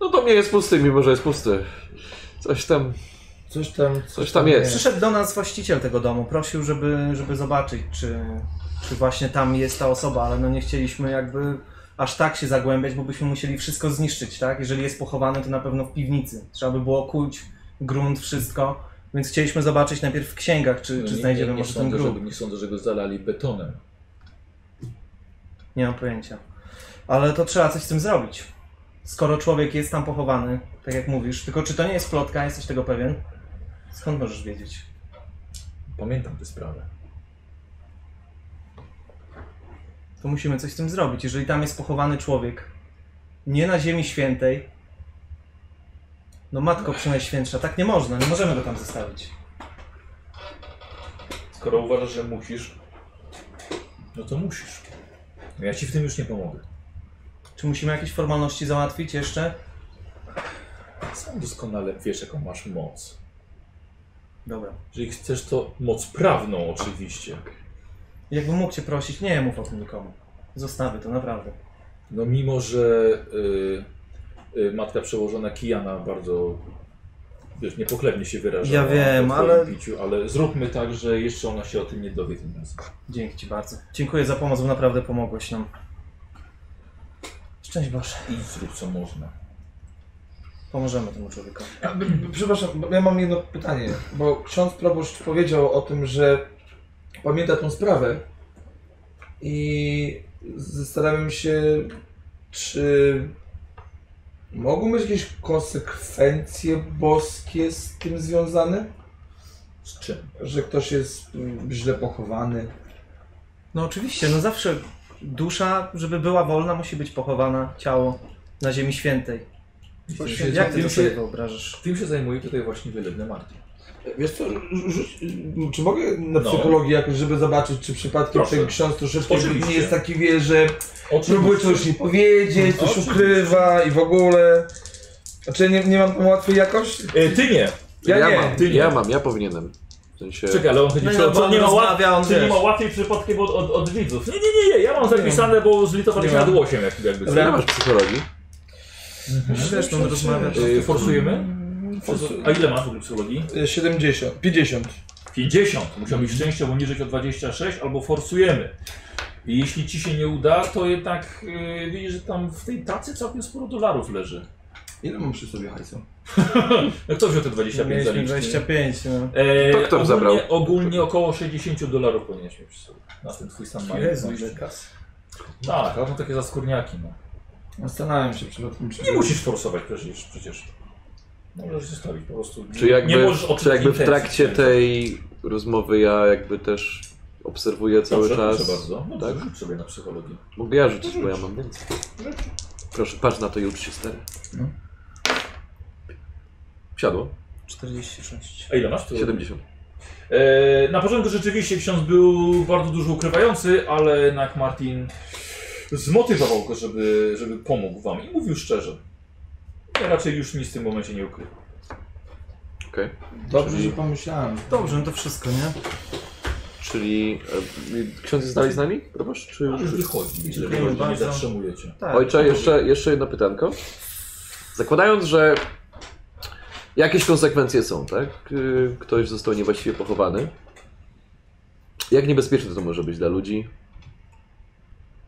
G: No to nie jest pusty, mimo że jest pusty. Coś tam...
E: Coś tam...
G: Coś tam jest.
F: Przyszedł do nas właściciel tego domu, prosił, żeby, żeby zobaczyć, czy, czy właśnie tam jest ta osoba, ale no nie chcieliśmy jakby aż tak się zagłębiać, bo byśmy musieli wszystko zniszczyć, tak? Jeżeli jest pochowany, to na pewno w piwnicy. Trzeba by było kuć, grunt, wszystko. Więc chcieliśmy zobaczyć najpierw w księgach, czy,
A: No
F: czy
A: nie-
F: znajdziemy
A: nie, nie
F: może ten
A: sądzę,
F: grób.
A: żeby, Nie sądzę, że go zalali betonem.
F: Nie mam pojęcia. Ale to trzeba coś z tym zrobić. Skoro człowiek jest tam pochowany, tak jak mówisz, tylko czy to nie jest plotka, jesteś tego pewien? Skąd możesz wiedzieć?
A: Pamiętam tę sprawę.
F: to musimy coś z tym zrobić. Jeżeli tam jest pochowany człowiek, nie na Ziemi Świętej, no Matko Przenajświętsza, tak nie można, nie możemy go tam zostawić.
A: Skoro uważasz, że musisz, no to musisz. No Ja ci w tym już nie pomogę.
F: Czy musimy jakieś formalności załatwić jeszcze?
A: Sam doskonale wiesz, jaką masz moc.
F: Dobra.
A: Jeżeli chcesz, to moc prawną oczywiście.
F: Jakbym mógł Cię prosić, nie mów o tym nikomu. Zostawię to, naprawdę.
A: No mimo, że y, y, matka przełożona Kijana bardzo wiesz, niepochlebnie się wyraża.
B: Ja
A: o-
B: wiem,
A: o twoim
B: ale-
A: Biciu, ale zróbmy tak, że jeszcze ona się o tym nie dowie tym razem.
B: Dzięki Ci bardzo. Dziękuję za pomoc, bo naprawdę pomogłeś nam. Szczęść Boże.
A: I zrób co można.
B: Pomożemy temu człowiekowi.
E: Ja, b- b- Przepraszam, bo ja mam jedno pytanie, bo ksiądz proboszcz powiedział o tym, że pamięta tą sprawę i zastanawiam się, czy mogą być jakieś konsekwencje boskie z tym związane?
A: Z czym?
E: Że ktoś jest mm, źle pochowany?
B: No oczywiście, no zawsze dusza, żeby była wolna, musi być pochowana ciało na Ziemi Świętej. Jak ty to
A: Tym
B: sobie
A: się,
B: wyobrażasz?
A: tym się zajmuje tutaj właśnie wylewne Martin.
E: Wiesz co, rzuć, czy mogę na
A: No.
E: psychologię jakoś, żeby zobaczyć, czy przypadkiem
A: Proszę.
E: ten ksiądz troszeczkę
A: Oczywiście.
E: nie jest taki, wie, że Próbuję
A: Oczywiście.
E: coś nie powiedzieć, coś
A: No, Oczywiście.
E: ukrywa i w ogóle. Znaczy nie, nie mam tam łatwej jakości?
A: E, Ty nie!
E: Ja, nie.
G: mam,
A: ty nie.
G: ja mam, ja powinienem. W sensie...
A: Czekaj, ale on chodzi
B: No
A: co-
B: i no,
A: co
B: bo on
A: nie ma łat...
B: rozmawia, on
J: Czy nie
B: wiesz.
J: ma łatwiej przypadkiem od, od, od widzów?
A: Nie, nie, nie, nie, ja mam zapisane, bo zlitowaliśmy
B: Nie
A: nad
B: mam.
A: łosiem jakby. jakby
G: Dobra, nie masz psychologii.
B: Wiesz, on rozmawia.
A: Y, Forsujemy?
E: Forsu-
A: A ile masz w ogóle psychologii?
E: Y, 70, 50.
A: 50. Musiał mieć szczęście, bo niżej o 26 albo forsujemy. I jeśli ci się nie uda, to jednak yy, widzisz, że tam w tej tacy całkiem sporo dolarów leży.
E: Ile mam przy sobie hajsu?
A: No kto wziął te 25
B: Mieliśmy
A: zaliczki?
B: 25, no.
A: E,
G: To kto
A: ogólnie,
G: zabrał?
A: Ogólnie około 60 dolarów powinieneś przy sobie. Na ten twój stan mają. Tak, ale są takie zaskórniaki. No.
E: Zastanawiam się przypadkiem, czy...
A: Nie musisz forsować przecież. przecież. Możesz zostawić po prostu.
G: Czy jakby,
A: nie możesz
G: czy
A: odczuć
G: jakby w
A: intencji
G: trakcie
A: szczęścia.
G: tej rozmowy ja jakby też obserwuję cały
A: Dobrze,
G: czas.
A: Proszę bardzo. No
G: tak?
A: tak? Rzuć sobie na psychologię.
G: Mogę ja rzucić, bo ja mam więcej. Proszę, patrz na to i ucz się stary.
E: No.
G: Siadło.
B: 46.
A: A ile masz? Tu?
G: 70.
A: E, na początku rzeczywiście ksiądz był bardzo dużo ukrywający, ale jednak Martin zmotywował go, żeby, żeby pomógł wam i mówił szczerze. Ja raczej już nic w tym momencie nie ukrywa.
G: Okej.
E: Dobrze, że pomyślałem.
B: Dobrze, no to wszystko, nie?
G: Czyli e, ksiądz jest dalej z nami? Proboszcz? Czy
A: A
G: już...
A: Tak, już wychodzi, jeżeli
B: Dziękuję
A: wychodzi, nie
B: bardzo.
A: zatrzymujecie.
B: Tak.
G: Ojcze, jeszcze, jeszcze jedno pytanko. Zakładając, że jakieś konsekwencje są, tak? Y, Ktoś został niewłaściwie pochowany. Jak niebezpieczne to może być dla ludzi?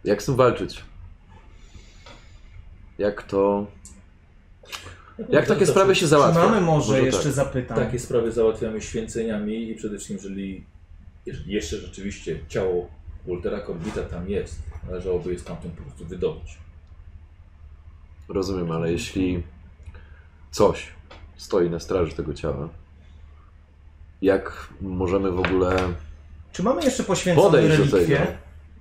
G: Jak z tym walczyć? Jak to. Jak takie
A: znaczy,
G: sprawy się załatwia?
B: Czy mamy może,
G: tak.
B: jeszcze zapytań?
A: Takie sprawy załatwiamy święceniami i przede wszystkim, jeżeli, jeżeli jeszcze rzeczywiście ciało Waltera Korbita tam jest, należałoby je stamtąd po prostu wydobyć.
G: Rozumiem, ale jeśli coś stoi na straży tego ciała, jak możemy w ogóle
B: Czy mamy jeszcze poświęcone
G: podejść do tego?
B: relikwie?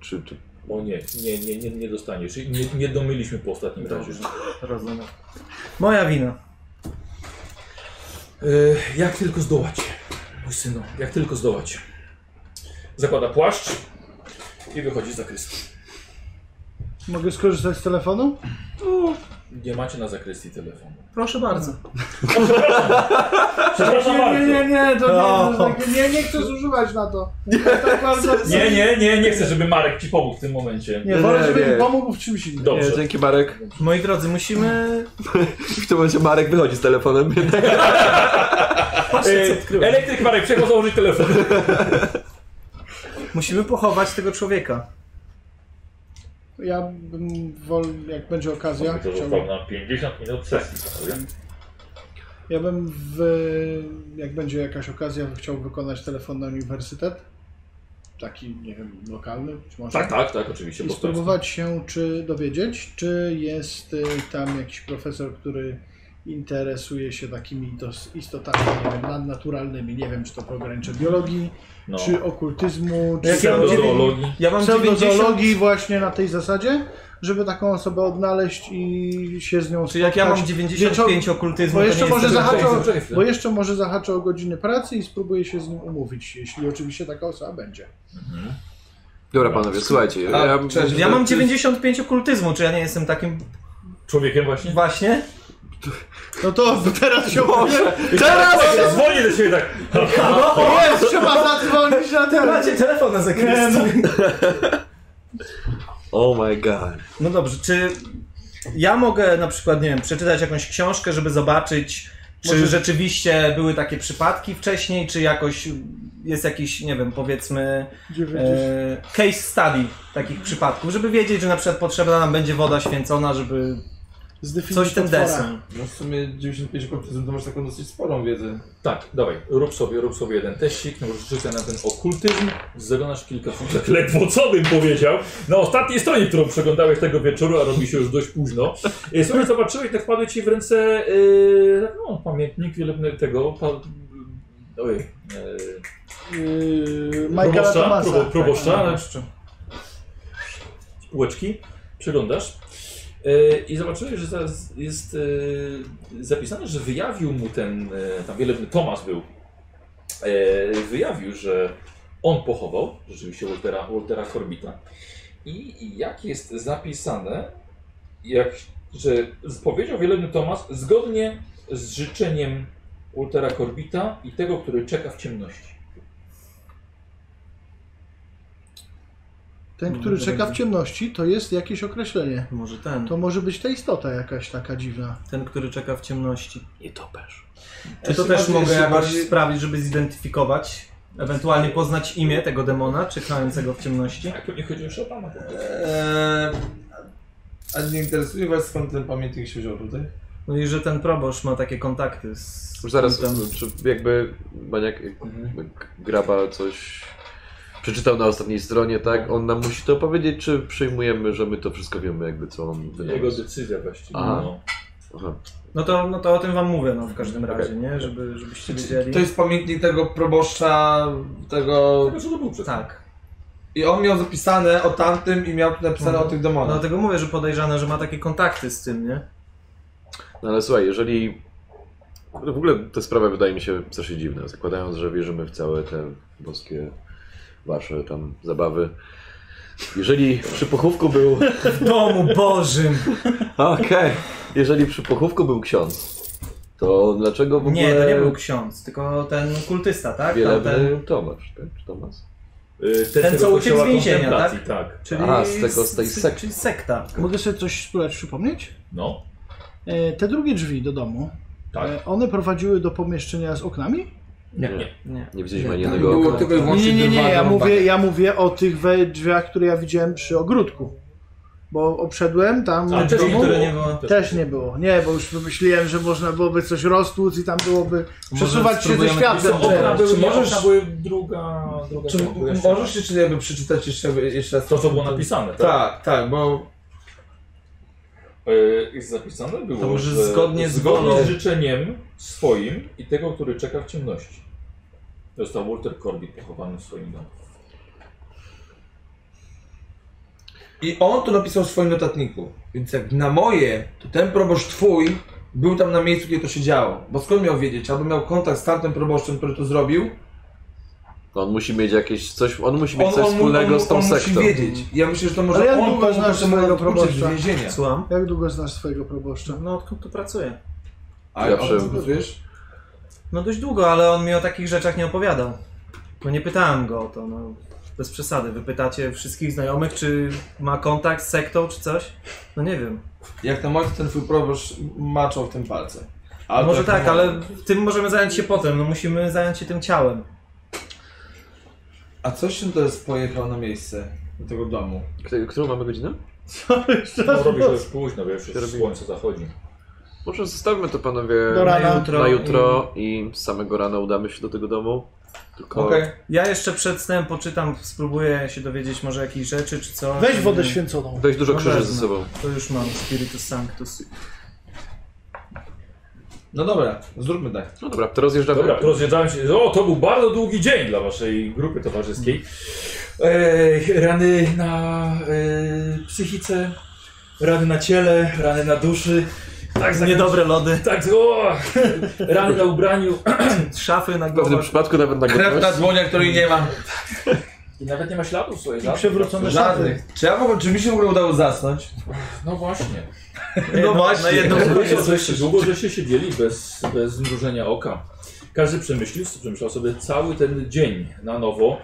G: Czy, czy
A: O nie, nie, nie, nie, nie dostaniesz. Nie, nie domyliśmy po ostatnim razie.
B: Rozumiem. Moja wina.
A: E, jak tylko zdołać, mój synu, jak tylko zdołać. Zakłada płaszcz i wychodzi z zakrystii.
D: Mogę skorzystać z telefonu?
A: Nie macie na zakrystii telefonu.
B: Proszę bardzo.
A: Przepraszam
D: Nie, nie,
A: bardzo.
D: nie, nie, to nie, to
B: No.
D: takie- nie, nie chcę zużywać na to. Ja tak bardzo...
A: Nie, nie, nie, nie chcę, żeby Marek ci pomógł w tym momencie.
D: Nie, wolę,
G: Nie,
D: żeby
G: nie.
D: mi pomógł w czymś innym.
A: Dobrze.
G: Nie, dzięki Marek.
B: Moi drodzy, musimy...
G: W tym momencie Marek wychodzi z telefonem.
A: E, elektryk Marek, przechodź założyć telefon.
B: Musimy pochować tego człowieka.
D: Ja bym wol, jak będzie okazja,
A: To
D: chciałbym,
A: został na 50 minut sesji. panowie.
D: ja bym w, jak będzie jakaś okazja, chciał wykonać telefonny uniwersytet. Taki, nie wiem, lokalny, czy może.
A: Tak, tak, tak, oczywiście.
D: I
A: po prostu.
D: spróbować się, czy dowiedzieć, czy jest y, tam jakiś profesor, który interesuje się takimi dos- istotami nie wiem, nadnaturalnymi. Nie wiem, czy to pogranicze biologii,
A: No.
D: czy okultyzmu, czy
B: No, Jak ja mam dziewięć-
A: Pseudozoologii.
B: Ja mam 90...
D: pseudozoologii właśnie na tej zasadzie, żeby taką osobę odnaleźć i się z nią
B: Czyli jak ja
D: spotkać.
B: mam 95 okultyzmu,
D: Tak. bo
B: to
D: jeszcze
B: nie
D: może
B: jestem...
D: zahaczę
A: Czekaj,
D: o-
A: czekaj chwilę.
D: Bo jeszcze może zahaczę o godziny pracy i spróbuję się z nim umówić, jeśli oczywiście taka osoba będzie.
G: Dobra panowie, słuchajcie.
E: A,
G: Ja,
E: cześć,
B: Ja
E: to-
B: mam 95 okultyzmu, czy ja nie jestem takim...
A: Człowiekiem właśnie?
B: Właśnie?
D: No to teraz się
G: Boże, teraz!
A: Dzwonię do siebie tak.
D: Jest, trzeba zadzwonić na telefon.
B: Macie telefon na
D: no.
B: zakresie.
G: Oh my god.
B: No dobrze, czy ja mogę na przykład, nie wiem, przeczytać jakąś książkę, żeby zobaczyć
F: Czy rzeczywiście były takie przypadki wcześniej, czy jakoś jest jakiś, nie wiem, powiedzmy e, case study takich przypadków, żeby wiedzieć, że na przykład potrzebna nam będzie woda święcona, żeby coś ten desen.
E: No w sumie 95% to masz taką dosyć sporą wiedzę.
A: Tak, dawaj, rób sobie, rób sobie jeden teścik, no już rzucę na ten okultyzm, zagonasz kilka futek Tak ledwo, co bym powiedział. Na ostatniej stronie, którą przeglądałeś tego wieczoru, a robi się już dość późno. E, Słuchaj, zobaczyłeś, tak wpadły ci w ręce, e, no, pamiętnik wielebny tego, pa, ojej, e,
D: Yy, Michaela
A: proboszcza,
D: Thomasa.
A: probo, proboszcza,
D: Tak,
A: ale- półeczki, przeglądasz e, i zobaczyłeś, że zaraz jest e, zapisane, że wyjawił mu ten, e, tam wielebny Tomasz był, e, wyjawił, że on pochował rzeczywiście Waltera, Waltera Corbita i i jak jest zapisane, jak, że powiedział wielebny Tomasz zgodnie z życzeniem Waltera Corbita i tego, który czeka w ciemności.
D: Ten, który czeka w ciemności, to jest jakieś określenie.
F: Może ten,
D: To może być ta istota jakaś taka dziwna.
F: ten, który czeka w ciemności.
G: Nie topesz.
F: Czy to
E: Jeszcze
F: też
E: bardziej-
F: mogę
E: jeszcze
F: jakoś
E: bardziej-
F: sprawić, żeby zidentyfikować, ewentualnie poznać imię tego demona czekającego w ciemności?
A: Jak nie chodzi już o pana.
E: Eee, a nie interesuje was skąd ten pamiętnik się wziął tutaj?
F: No i że ten proboszcz ma takie kontakty z...
G: Zaraz,
F: z tym-
G: czy jakby Maniak
F: Mhm.
G: jak Graba coś przeczytał na ostatniej stronie, tak? On nam musi to powiedzieć, czy przyjmujemy, że my to wszystko wiemy, jakby co on
A: Jego
G: wynalazł?
A: decyzja właściwie.
G: Aha.
A: No.
G: Aha.
F: No to, no to o tym wam mówię, no w każdym razie, nie? Żeby, żebyście wiedzieli.
E: To jest pamiętnik tego proboszcza, tego...
A: Tego, co to był przed
F: Tak.
E: I on miał zapisane o tamtym i miał tu napisane
F: Mhm.
E: o tych
F: No,
E: demonach.
F: dlatego mówię, że podejrzane, że ma takie kontakty z tym, nie?
G: No ale słuchaj, jeżeli... No w ogóle ta sprawa wydaje mi się strasznie dziwna, zakładając, że wierzymy w całe te boskie wasze tam zabawy. Jeżeli przy pochówku był...
F: W domu Bożym!
G: Okej. Jeżeli przy pochówku był ksiądz, to dlaczego w ogóle...
F: Nie, to nie był ksiądz, tylko ten kultysta, tak?
G: Wielebny
F: Tamten-
G: Tomasz, tak? Czy Tomasz?
A: Y, te-
F: Ten,
A: tego
F: co uciekł z
A: kościoła
F: więzienia,
A: kontemplacji, tak?
F: Czyli
G: Aha, z tego- z tej
F: s-
G: sekty.
F: Czyli sekta.
D: Mogę sobie coś spróbować przypomnieć?
A: No,
D: E, te drugie drzwi do domu,
A: tak.
D: e, one prowadziły do pomieszczenia z oknami?
G: Nie widzieliśmy ani
E: Tam
A: No,
G: jednego
E: było
G: okna.
E: tylko
A: tak.
E: i
D: Nie,
E: wyłącznie
D: nie, nie, nie.
E: dwa
D: Ja
E: rąbaki.
D: mówię, ja mówię o tych we drzwiach, które ja widziałem przy ogródku. Bo obszedłem tam
A: Ale
D: w
A: też
D: domu.
A: niektóre
F: nie było.
D: Też nie było. Nie, bo już wymyśliłem, że można byłoby coś roztłuc i tam byłoby przesuwać się ze
F: spróbujemy-
D: światem.
A: Są okna
D: teraz.
A: były,
E: Czy możesz-
A: okna były druga... druga
E: Czy
A: tak, była jeszcze-
E: możesz jeszcze jakby przeczytać jeszcze, jeszcze raz
A: To, co było napisane, tak?
E: Tak, tak, bo
A: Y, zapisane było,
F: To może
A: że
F: zgodnie z
A: zgodnie
F: wolą.
A: z życzeniem swoim i tego, który czeka w ciemności. Został Walter Corbett pochowany w swoim domu.
E: I on to napisał w swoim notatniku. Więc jak na moje, to ten proboszcz twój był tam na miejscu, gdzie to się działo. Bo skąd miał wiedzieć? Albo miał kontakt z tamtym proboszczem, który to zrobił.
G: On musi mieć jakieś coś, on musi mieć
E: On,
G: coś
E: on,
G: wspólnego
E: on,
G: z tą
E: on musi
G: sektą.
E: wiedzieć. Ja myślę, że to może
D: Ale jak
E: on
D: długo
E: pomógł
D: znasz
E: temu
D: swojego
E: uciec z
D: proboszcza?
E: więzienia.
F: Słucham?
D: Jak długo znasz swojego proboszcza?
F: No odkąd tu pracuję?
E: A
G: Zawsze.
E: o tym wiesz?
F: No dość długo, ale on mi o takich rzeczach nie opowiadał. No nie pytałem go o to, no. Bez przesady. Wypytacie wszystkich znajomych, czy ma kontakt z sektą, czy coś? No nie wiem.
E: Jak na moje, to ten twój proboszcz maczał w tym palce.
F: A
E: Albo
F: Może
E: jak na
F: tak,
E: moje.
F: ale tym możemy zająć się potem. No musimy zająć się tym ciałem.
E: A coś się teraz pojechał na miejsce do tego domu?
G: Kto- Którą mamy godzinę?
A: No robi się już późno, bo już
G: Robi-
A: słońce zachodzi.
G: Może zostawmy to panowie
D: Do rana.
G: na jutro i z samego rana udamy się do tego domu. Tylko
E: Okej.
F: Ja jeszcze przed snem poczytam, spróbuję się dowiedzieć może jakichś rzeczy, czy co.
D: Weź wodę
F: Nie,
D: święconą.
G: dość dużo
F: No
G: krzyży ze
F: wezmę.
G: sobą.
F: To już mam, Spiritus Sanctus.
E: No dobra, zróbmy tak.
G: No dobra, to rozjeżdżamy.
A: Dobra, rozjeżdżałem się. O, to był bardzo długi dzień dla waszej grupy towarzyskiej. Mm. Ej, rany na e, psychice, rany na ciele, rany na duszy. Tak, za
F: Niedobre lody.
A: Tak, o, rany na ubraniu.
F: Szafy na
G: W pewnym
F: głowę.
G: przypadku nawet na
E: Krew na
G: gotowość.
E: dłoniach, której nie ma.
A: I nawet nie ma śladów, słuchaj.
D: I przewrócone szafy.
E: Żadnych. Czy, ja w ogóle, czy mi się w ogóle udało zasnąć?
A: No właśnie.
F: No
E: właśnie.
F: Na jedną
A: Długo, że się- Długo, że się siedzieli bez, bez zmrużenia oka. Każdy przemyślił, przemyślał sobie cały ten dzień na nowo.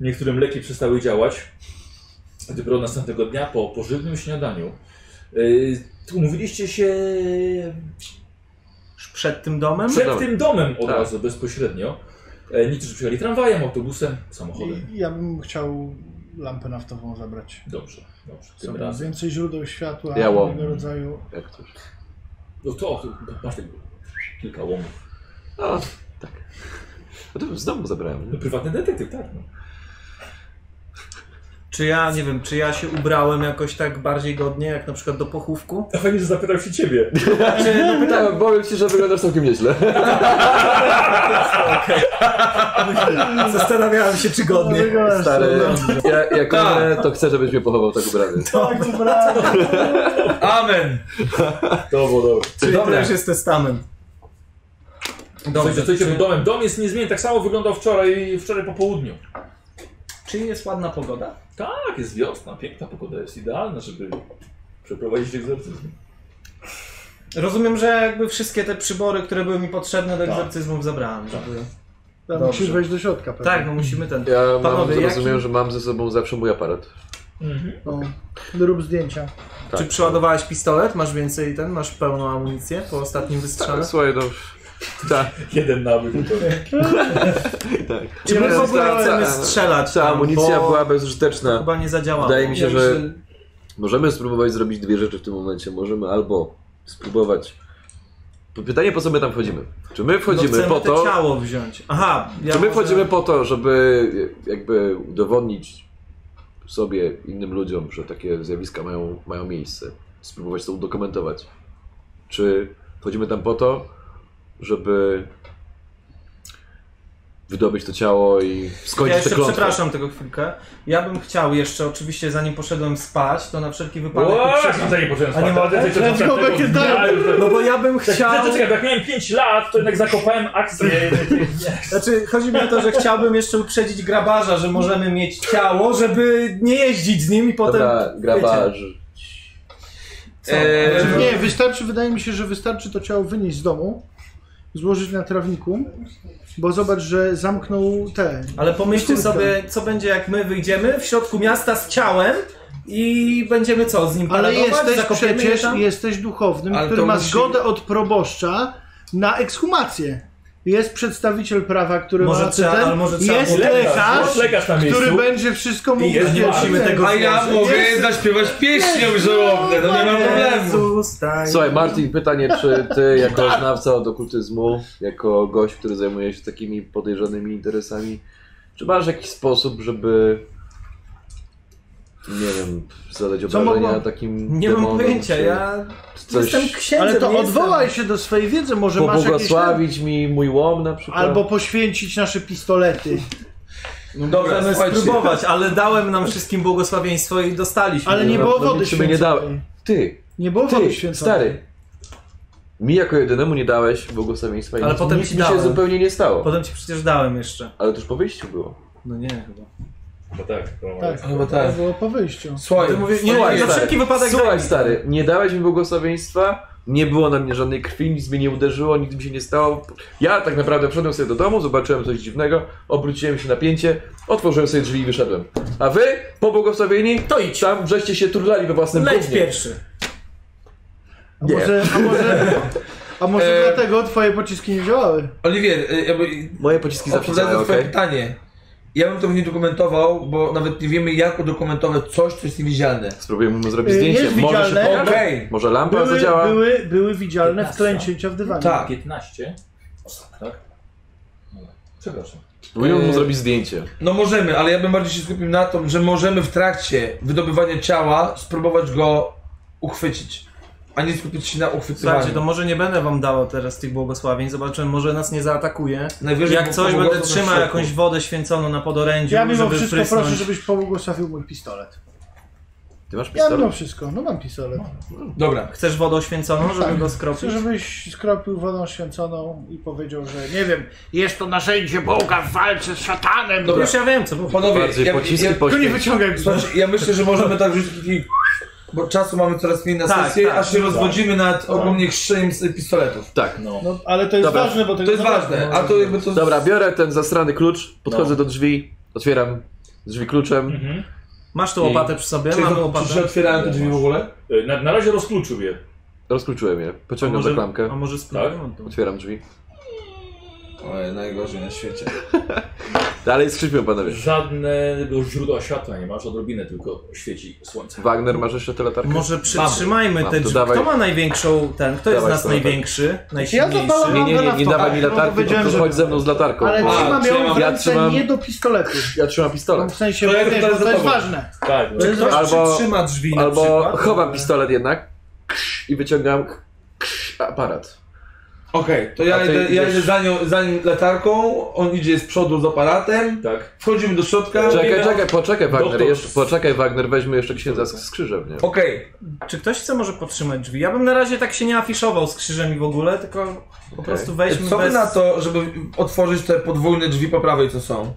A: Niektórym leki przestały działać. Dopiero następnego dnia po y, pożywnym śniadaniu yy, umówiliście się
F: Przed tym domem?
A: Przed
G: No Dobra.
A: tym domem od
G: Tak.
A: razu bezpośrednio. E, Niektórzy przyjechali tramwajem, autobusem, samochodem.
D: I ja bym chciał lampę naftową zabrać.
A: Dobrze, dobrze. Tym
D: Sobie
A: razem.
D: więcej źródeł światła,
G: Ja łom.
D: innego rodzaju.
G: Jak coś.
A: No to masz tak kilka łomów.
G: A, tak. No to z domu zabrałem.
A: No,
G: Nie?
A: prywatny detektyw, tak. No.
F: Czy ja, nie wiem, czy ja się ubrałem jakoś tak bardziej godnie, jak na przykład do pochówku?
A: A fajnie, że zapytał się ciebie.
G: Tak, powiem ci, że wyglądasz całkiem nieźle.
F: Zastanawiałem się, czy godnie.
G: Stary, no. ja, jak umrę, to chcę, żebyś mnie pochował tak ubrany.
B: Amen!
A: To było dobre.
F: Czyli to już jest testament.
A: Dobrze, co się domem? Dom jest niezmienny, tak samo wyglądał wczoraj, wczoraj po południu.
F: Czy jest ładna pogoda?
A: Tak, jest wiosna, piękna pogoda, jest idealna, żeby przeprowadzić egzorcyzm.
F: Rozumiem, że jakby wszystkie te przybory, które były mi potrzebne do
A: Tak.
F: egzorcyzmów zabrałem.
A: Tak.
F: żeby-
D: Tam
F: Dobrze.
D: musisz wejść do środka pewnie.
F: Tak, no musimy ten...
G: Ja mam,
F: Panowie, jaki-
G: rozumiem, że mam ze sobą zawsze mój aparat.
A: Mhm.
D: No, rób zdjęcia.
G: Tak.
F: Czy przeładowałeś pistolet? Masz więcej ten? Masz pełną amunicję po ostatnim wystrzale?
G: Słuchaj, no... Tak,
A: Jeden nawyk.
G: tak.
F: Czy my w ogóle chcemy strzelać
G: Ta
F: tam,
G: amunicja
F: bo
G: była bezużyteczna.
F: Chyba nie zadziałała.
G: Wydaje mi się,
E: Ja
G: że
E: myślę-
G: możemy spróbować zrobić dwie rzeczy w tym momencie. Możemy albo spróbować... Pytanie, po co my tam wchodzimy? Czy my wchodzimy
F: no
G: po
F: chcemy
G: to...
F: te ciało wziąć. Aha. Ja
G: Czy my
F: może-
G: wchodzimy po to, żeby jakby udowodnić sobie, innym ludziom, że takie zjawiska mają, mają miejsce? Spróbować to udokumentować. Czy wchodzimy tam po to, żeby wydobyć to ciało i
F: Ja
G: skończyć tę
F: jeszcze
G: klątwę?
F: przepraszam tego chwilkę. Ja bym chciał jeszcze, oczywiście zanim poszedłem spać, to na wszelki wypadek...
A: Łooo,
F: uprzednio-
A: to nie począłem spać.
F: A nie mogę?
A: Tego
D: Let's go
A: dnia
D: back in
A: już tak-
F: No bo ja bym
A: Tak,
F: chciał...
A: Czekaj, czekaj, bo jak miałem 5 lat, to jednak zakopałem akcję.
F: Znaczy, chodzi mi o to, że chciałbym jeszcze uprzedzić grabarza, że możemy mieć ciało, żeby nie jeździć z nim i potem...
G: Dobra, grabarz.
F: Wiecie, co?
E: E,
F: Znaczy,
D: Nie, wystarczy, wydaje mi się, że wystarczy to ciało wynieść z domu, złożyć na trawniku, bo zobacz, że zamknął te.
F: Ale pomyślcie sobie, co będzie jak my wyjdziemy w środku miasta z ciałem i będziemy co, z nim
D: Ale
F: paradować?
D: jesteś
F: Zakopiemy no je
D: przecież
F: tam?
D: jesteś duchownym,
E: Ale
D: który
E: to
D: ma
E: musi-
D: zgodę od proboszcza na ekshumację. Jest przedstawiciel prawa, który
F: Może
D: ma
F: trzeba-
D: ten,
F: ale może trzeba
D: jest
F: było-
D: lekarz,
A: Lekarz, lekarz na miejscu.
D: który będzie wszystko mówił.
A: jest
D: Nie
A: ważny.
D: musimy tego
E: A ja mogę zaśpiewać pieśnią żałobne, no nie ma problemu.
F: Jezus, tak.
G: Słuchaj, Martin, pytanie, czy ty jako znawca od okultyzmu, jako gość, który zajmuje się takimi podejrzanymi interesami, czy masz jakiś sposób, żeby nie wiem, zadać
D: Co
G: obrażenia
D: mogło-
G: takim
F: Nie mam
G: demonom,
F: pojęcia,
G: czy
F: ja
G: coś
F: jestem księdzem.
D: Ale
F: nie
D: to odwołaj
F: jestem.
D: się do swojej wiedzy, może masz jakieś...
G: pobłogosławić mi mój łom na przykład?
D: Albo poświęcić nasze pistolety.
E: No dobra,
F: Możemy
E: słuchajcie.
F: spróbować, ale dałem nam wszystkim błogosławieństwo i dostaliśmy.
D: Ale nie
G: No,
D: było
G: no,
D: wody
G: nic mi nie dało.
D: święconej.
G: Ty,
D: Nie było wody
G: ty,
D: święconej.
G: stary, mi jako jedynemu nie dałeś błogosławieństwa i
F: Ale
G: nic,
F: potem
G: nic
F: ci
G: mi się
F: dałem.
G: zupełnie nie stało.
F: Potem ci przecież dałem jeszcze.
G: Ale to już po wyjściu było.
F: No nie, chyba.
A: No tak, no.
D: Tak,
E: Chyba
D: to
E: tak.
D: było po wyjściu.
E: Słuchaj,
F: Ty mówisz, nie,
G: Słuchaj,
F: na
G: stary.
F: wszelki wypadek daj
G: Słuchaj
F: mi.
G: stary, nie dałeś mi błogosławieństwa, nie było na mnie żadnej krwi, nic mnie nie uderzyło, nic mi się nie stało. Ja tak naprawdę wszedłem sobie do domu, zobaczyłem coś dziwnego, obróciłem się na pięcie, otworzyłem sobie drzwi i wyszedłem. A wy, pobłogosławieni, to idź. Tam żeście się turlali we własnym
F: Leć
G: gównie.
F: pierwszy.
D: A
G: Nie. E,
D: może, a może, a może dlatego twoje pociski nie działały?
E: Oliwier, y, jakby
G: Moje pociski zawsze
E: odpowiadając
G: działają,
E: na twoje
G: okej?
E: pytanie. Ja bym to nie dokumentował, bo nawet nie wiemy jak udokumentować coś, co jest niewidzialne.
G: Spróbujemy mu zrobić
D: Y,
G: zdjęcie.
D: jest
G: Może
D: widzialne.
G: się pokaże?
E: Okej.
G: Może lampa
D: Były,
G: zadziała?
D: były, były widzialne
A: Piętnasta.
D: wklęcięcia w dywanie.
E: Tak.
A: 15. Tak? No. Przepraszam.
G: Spróbujemy mu
E: y,
G: zrobić zdjęcie.
E: No możemy, ale ja bym bardziej się skupił na tym, że możemy w trakcie wydobywania ciała spróbować go uchwycić, a nie skupić się na uchwycywaniu.
F: Słuchajcie, to może nie będę wam dawał teraz tych błogosławień, zobaczymy, może nas nie zaatakuje.
E: Najwyżej
F: Jak
E: po-
F: coś,
E: pomogło
F: będę
E: to
F: trzymał
E: w
F: jakąś
E: środku.
F: wodę święconą na podorędziu,
D: Ja mimo
F: żeby
D: wszystko
F: prysnąć.
D: proszę, żebyś pobłogosławił mój pistolet.
G: Ty masz
D: Ja mimo
G: pistolet?
D: wszystko, no mam pistolet.
E: Dobra.
F: Chcesz wodą święconą, żeby
D: Tak.
F: go
D: Chcę,
F: skropić?
D: żebyś skropił wodą święconą i powiedział, że nie wiem,
J: Jest to narzędzie Boga w walce z szatanem.
E: Dobra.
F: Już ja wiem, co mówię.
E: Panowie,
G: Bardziej
E: ja,
G: pociski,
E: ja,
D: tu nie
G: poświęć.
F: Tak.
D: wyciągaj go.
E: słuchajcie, ja myślę, że możemy tak rzucić taki... Bo czasu mamy coraz mniej na
F: Tak,
E: sesję,
F: tak.
E: aż się rozwodzimy nad ogromnie chrzeniem z pistoletów.
G: Tak.
D: No, ale to jest
G: Dobra.
D: ważne, bo
E: To
F: No
E: jest
F: tak,
E: ważne, a to jakby to...
G: Dobra, biorę ten zasrany klucz, podchodzę
A: No.
G: do drzwi, otwieram drzwi kluczem.
A: Mhm.
F: Masz tu łopatę przy sobie,
E: Czy,
F: mamy
E: to, czy się
F: łopatę.
E: otwierają te drzwi w ogóle?
A: E, Na, na razie rozkluczył je.
G: Rozkluczyłem je. Pociągam za
F: A
G: klamkę.
F: może
E: Tak?
F: spróbujemy to?
G: Otwieram drzwi.
E: Oj, najgorzej na świecie.
G: Dalej skrzypią panowie.
A: Żadnego źródła światła nie masz, odrobinę tylko świeci słońce.
G: Wagner, masz jeszcze tę latarkę?
F: Może przytrzymajmy
G: Tak Mam,
F: te
G: to
F: drzwi.
G: dawaj.
F: Kto ma największą ten? Kto jest z
G: Dawaj
F: nas
G: stronę, tak.
F: największy?
D: Ja
F: Najsilniejszy?
D: zapalam
G: Nie, nie, nie, nie
D: lampę
G: dawaj mi
D: na wtór.
G: latarki,
J: powiedziałem,
G: tylko
J: że-
G: chodź ze mną z latarką.
D: Ale
G: O,
D: trzymam ją
J: trzymam.
D: w
G: Ja
D: ręce
G: trzymam-
D: nie do pistoletu.
G: Ja trzymam pistolet.
D: W sensie,
E: To
D: bo
E: ja
D: wiesz,
E: teraz
D: bo to
E: za
D: jest
E: tobą.
D: ważne.
A: Tak, no.
F: Ktoś
G: Albo-
F: przytrzyma drzwi na
G: Albo
F: przykład?
G: chowam pistolet jednak krz, i wyciągam krz, aparat.
E: Okej, to
G: A
E: ja
G: ty
E: idę, ja
G: idziesz-
E: idę za, nią, za nim latarką, on idzie z przodu z aparatem,
A: Tak.
E: wchodzimy do środka.
G: Czekaj, czekaj, poczekaj Wagner,
A: Doktor-
G: jeszcze, poczekaj Wagner, weźmy jeszcze księdza z z krzyżem, nie?
E: Okej,
F: Czy ktoś chce może podtrzymać drzwi? Ja bym na razie tak się nie afiszował z krzyżem i w ogóle, tylko po prostu weźmy
E: co wy
F: bez...
E: na to, żeby otworzyć te podwójne drzwi po prawej, co są?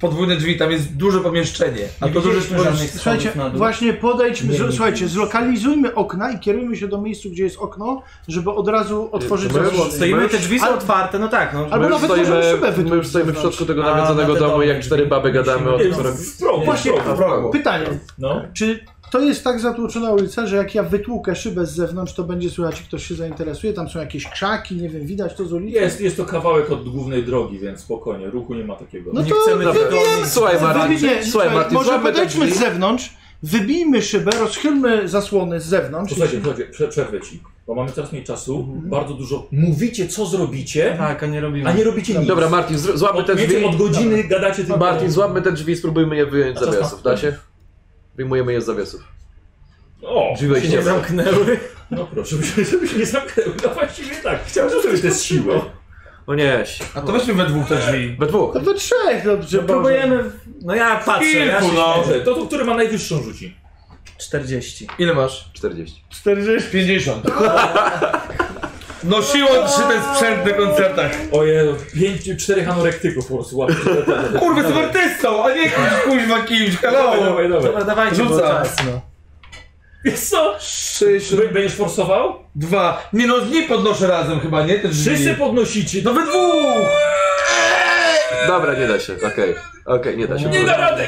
E: Podwójne drzwi, tam jest duże pomieszczenie. A
F: Nie
E: to duże
F: widzieliśmy żadnych
E: pomieszczenie.
D: Słuchajcie,
F: schodów na dół.
D: właśnie podejdźmy,
F: Nie,
D: zro-
F: nie,
D: słuchajcie,
F: nie.
D: zlokalizujmy okna i kierujmy się do miejscu, gdzie jest okno, żeby od razu otworzyć
G: to my już
D: zasłonę.
F: Stoimy, te drzwi są
D: Ale-
F: otwarte, no tak, no.
D: Albo
G: My już,
D: nawet możemy
G: stoimy,
D: szybę
G: my już stoimy w
D: wytłumaczyć.
G: środku tego
F: A,
G: nawiedzonego
F: na te
G: domu,
F: domy.
G: jak cztery baby gadamy o
A: Nie,
G: tym, co robi.
A: w progu,
D: Właśnie,
A: w progu.
E: W progu.
D: Pytanie,
A: No.
D: czy to jest tak zatłoczona ulica, że jak ja wytłukę szybę z zewnątrz, to będzie słychać, ktoś się zainteresuje, tam są jakieś krzaki, nie wiem, widać to z ulicy?
A: Jest, jest to kawałek od głównej drogi, więc spokojnie, ruchu nie ma takiego.
D: No
F: Nie
D: to
F: chcemy
D: wybijemy-
F: wygonić.
G: Słuchaj Martin,
D: wybijemy- nie,
G: słuchaj Martin,
D: może
G: złapmy te
D: podejdźmy
G: drzwi.
D: z zewnątrz, wybijmy szybę, rozchylmy zasłony z zewnątrz.
A: Posłuchajcie, posłuchajcie, prze- przerwę ci, bo mamy coraz mniej czasu, bardzo dużo mówicie, co zrobicie,
F: Tak, a nie robimy.
A: a nie robicie nic.
G: Dobra Martin, zr- złapmy
A: od,
G: te
A: mniej więcej
G: drzwi.
A: od godziny gadacie tylko...
G: Martin, złapmy te drzwi i spróbujmy je wyjąć z
A: A co
G: zawiasów,
A: z-
G: da się? Wyjmujemy je z zawiasów.
A: O,
G: Drzwi
F: się nie
G: wejściowe.
F: zamknęły.
A: no proszę, żeby, żeby się nie zamknęły. No właściwie tak, chciałem zrobić te z siłą.
G: O nie, si-
E: A to weźmy we dwóch te drzwi.
G: we dwóch.
D: To we trzech, dobrze,
F: Że próbujemy... w- No ja patrzę, ja się...
E: Kilku, no.
A: Dobrze, to, to który ma najwyższą rzuci.
F: 40.
E: Ile masz?
G: 40.
D: 40.
E: 50. No siłą trzy ten sprzęt na koncertach.
A: Oje, pięć, czterech anorektyków po prostu łapie.
E: Kurwa, jestem artystą, a nie jakimś kuźwa kimś, hello!
A: Dawaj, dawaj.
F: Dobra, dawajcie, bo
E: Rzucam.
F: czas, no.
A: Wiesz co?
E: 6,
A: Czy będziesz forsował?
E: 2. Nie no, nie podnoszę razem chyba, nie? Te drzwi.
A: Wszyscy podnosicie.
E: No we dwóch!
G: Dobra, nie da się, okej. Okej, nie da się.
A: Nie da rady!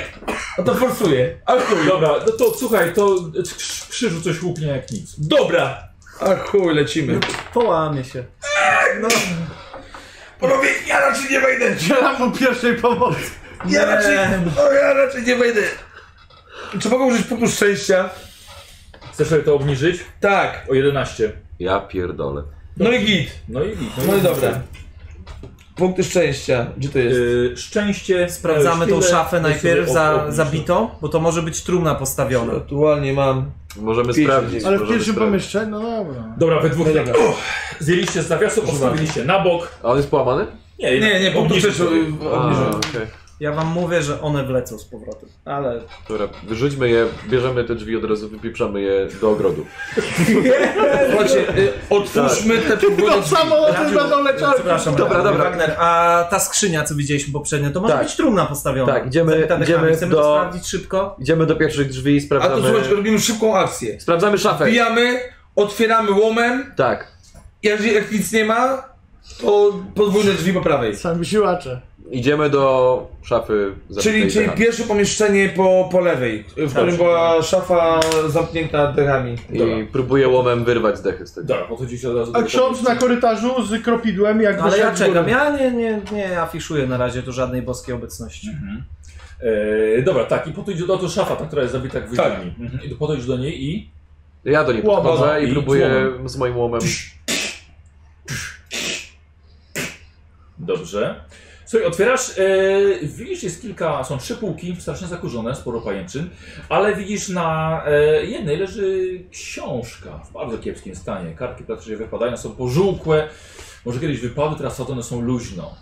E: A to forsuję. A chuj.
A: Dobra, no to słuchaj, to krz- krzyżu coś łupnie jak nic.
E: Dobra! A chuj, lecimy.
F: Połamie się.
E: Tak, no. Panowie, ja raczej nie wejdę!
D: Dzielam mu pierwszej pomocy.
E: Ja raczej, o, ja raczej nie wejdę. Czy mogę użyć punktu szczęścia?
A: Chcesz sobie to obniżyć?
E: Tak.
A: O 11.
G: Ja pierdolę.
E: No i git.
A: No i git.
E: No i
A: git.
E: dobra. Punkty szczęścia. Gdzie to jest?
A: Yy, szczęście.
F: Sprawdzamy tą
A: Tyle
F: szafę
A: jest
F: najpierw
A: sobie ob-
F: za,
A: obniżone.
F: zabitą, bo to może być trumna postawiona.
E: Aktualnie mam.
G: Możemy
E: Pięć
G: sprawdzić.
E: drzwi.
D: Ale w
G: możemy
D: pierwszym
G: sprawdzić.
D: pomieszczeniu, no dobra.
A: Dobra, we dwóch
E: No dobra.
A: zjęliście z zawiasu, postawiliście na bok.
G: A on jest połamany?
A: Nie,
E: Nie, nie, punktu
A: obniżyć
E: szczęścia
A: sobie.
G: A,
E: obniżyłem.
G: okej.
F: Ja wam mówię, że one wlecą z powrotem. Ale
G: Dobra, wyrzućmy je, bierzemy te drzwi od razu, wypieprzamy je do ogrodu.
E: Słuchajcie, y, otwórzmy te podwójne
D: To
E: drzwi.
D: samo o tym będą leciały.
F: Przepraszam,
G: Dobra,
F: Wagner,
G: dobra.
F: Wagner, a ta skrzynia, co widzieliśmy poprzednio, to może
G: Tak.
F: być trumna postawiona.
G: Tak, idziemy-
F: Z epitafiami.
G: idziemy
F: Chcemy
G: do-
F: to sprawdzić szybko.
G: Idziemy do pierwszych drzwi i
E: A to
G: sprawdzamy...
E: słuchajcie, robimy szybką akcję.
G: Sprawdzamy szafę.
E: Wbijamy, otwieramy łomem.
G: Tak.
E: Jeżeli jak nic nie ma, to podwójne drzwi po prawej.
D: Sami siłacze.
G: Idziemy do szafy
E: Czyli, czyli
G: dechami.
E: pierwsze pomieszczenie po, po lewej, w
G: Tak.
E: którym była szafa zamknięta dechami.
G: I
A: Dobra.
G: próbuję łomem wyrwać dechy z tego.
A: Dobra, podchodzicie od razu
D: A
A: do-
D: ksiądz na korytarzu z kropidłem, jak
F: No, ale
D: wyszedł
F: ja
D: z góry.
F: czekam, ja nie, nie, nie afiszuję na razie tu żadnej boskiej obecności.
A: Eee, dobra, tak, i podchodzisz do to szafa, ta, która jest zabita jak tak. Mhm. I podchodzisz do niej i.
G: Ja do niej
A: Łomem.
G: podchodzę i
A: I
G: próbuję
A: łomem.
G: z moim łomem...
A: Dobrze. Słuchaj, otwierasz, e, widzisz jest kilka, są trzy półki, strasznie zakurzone, sporo pajęczyn, ale widzisz na e, jednej leży książka w bardzo kiepskim stanie. Kartki praktycznie wypadają, są pożółkłe, może kiedyś wypadły, teraz sadzone są luźno.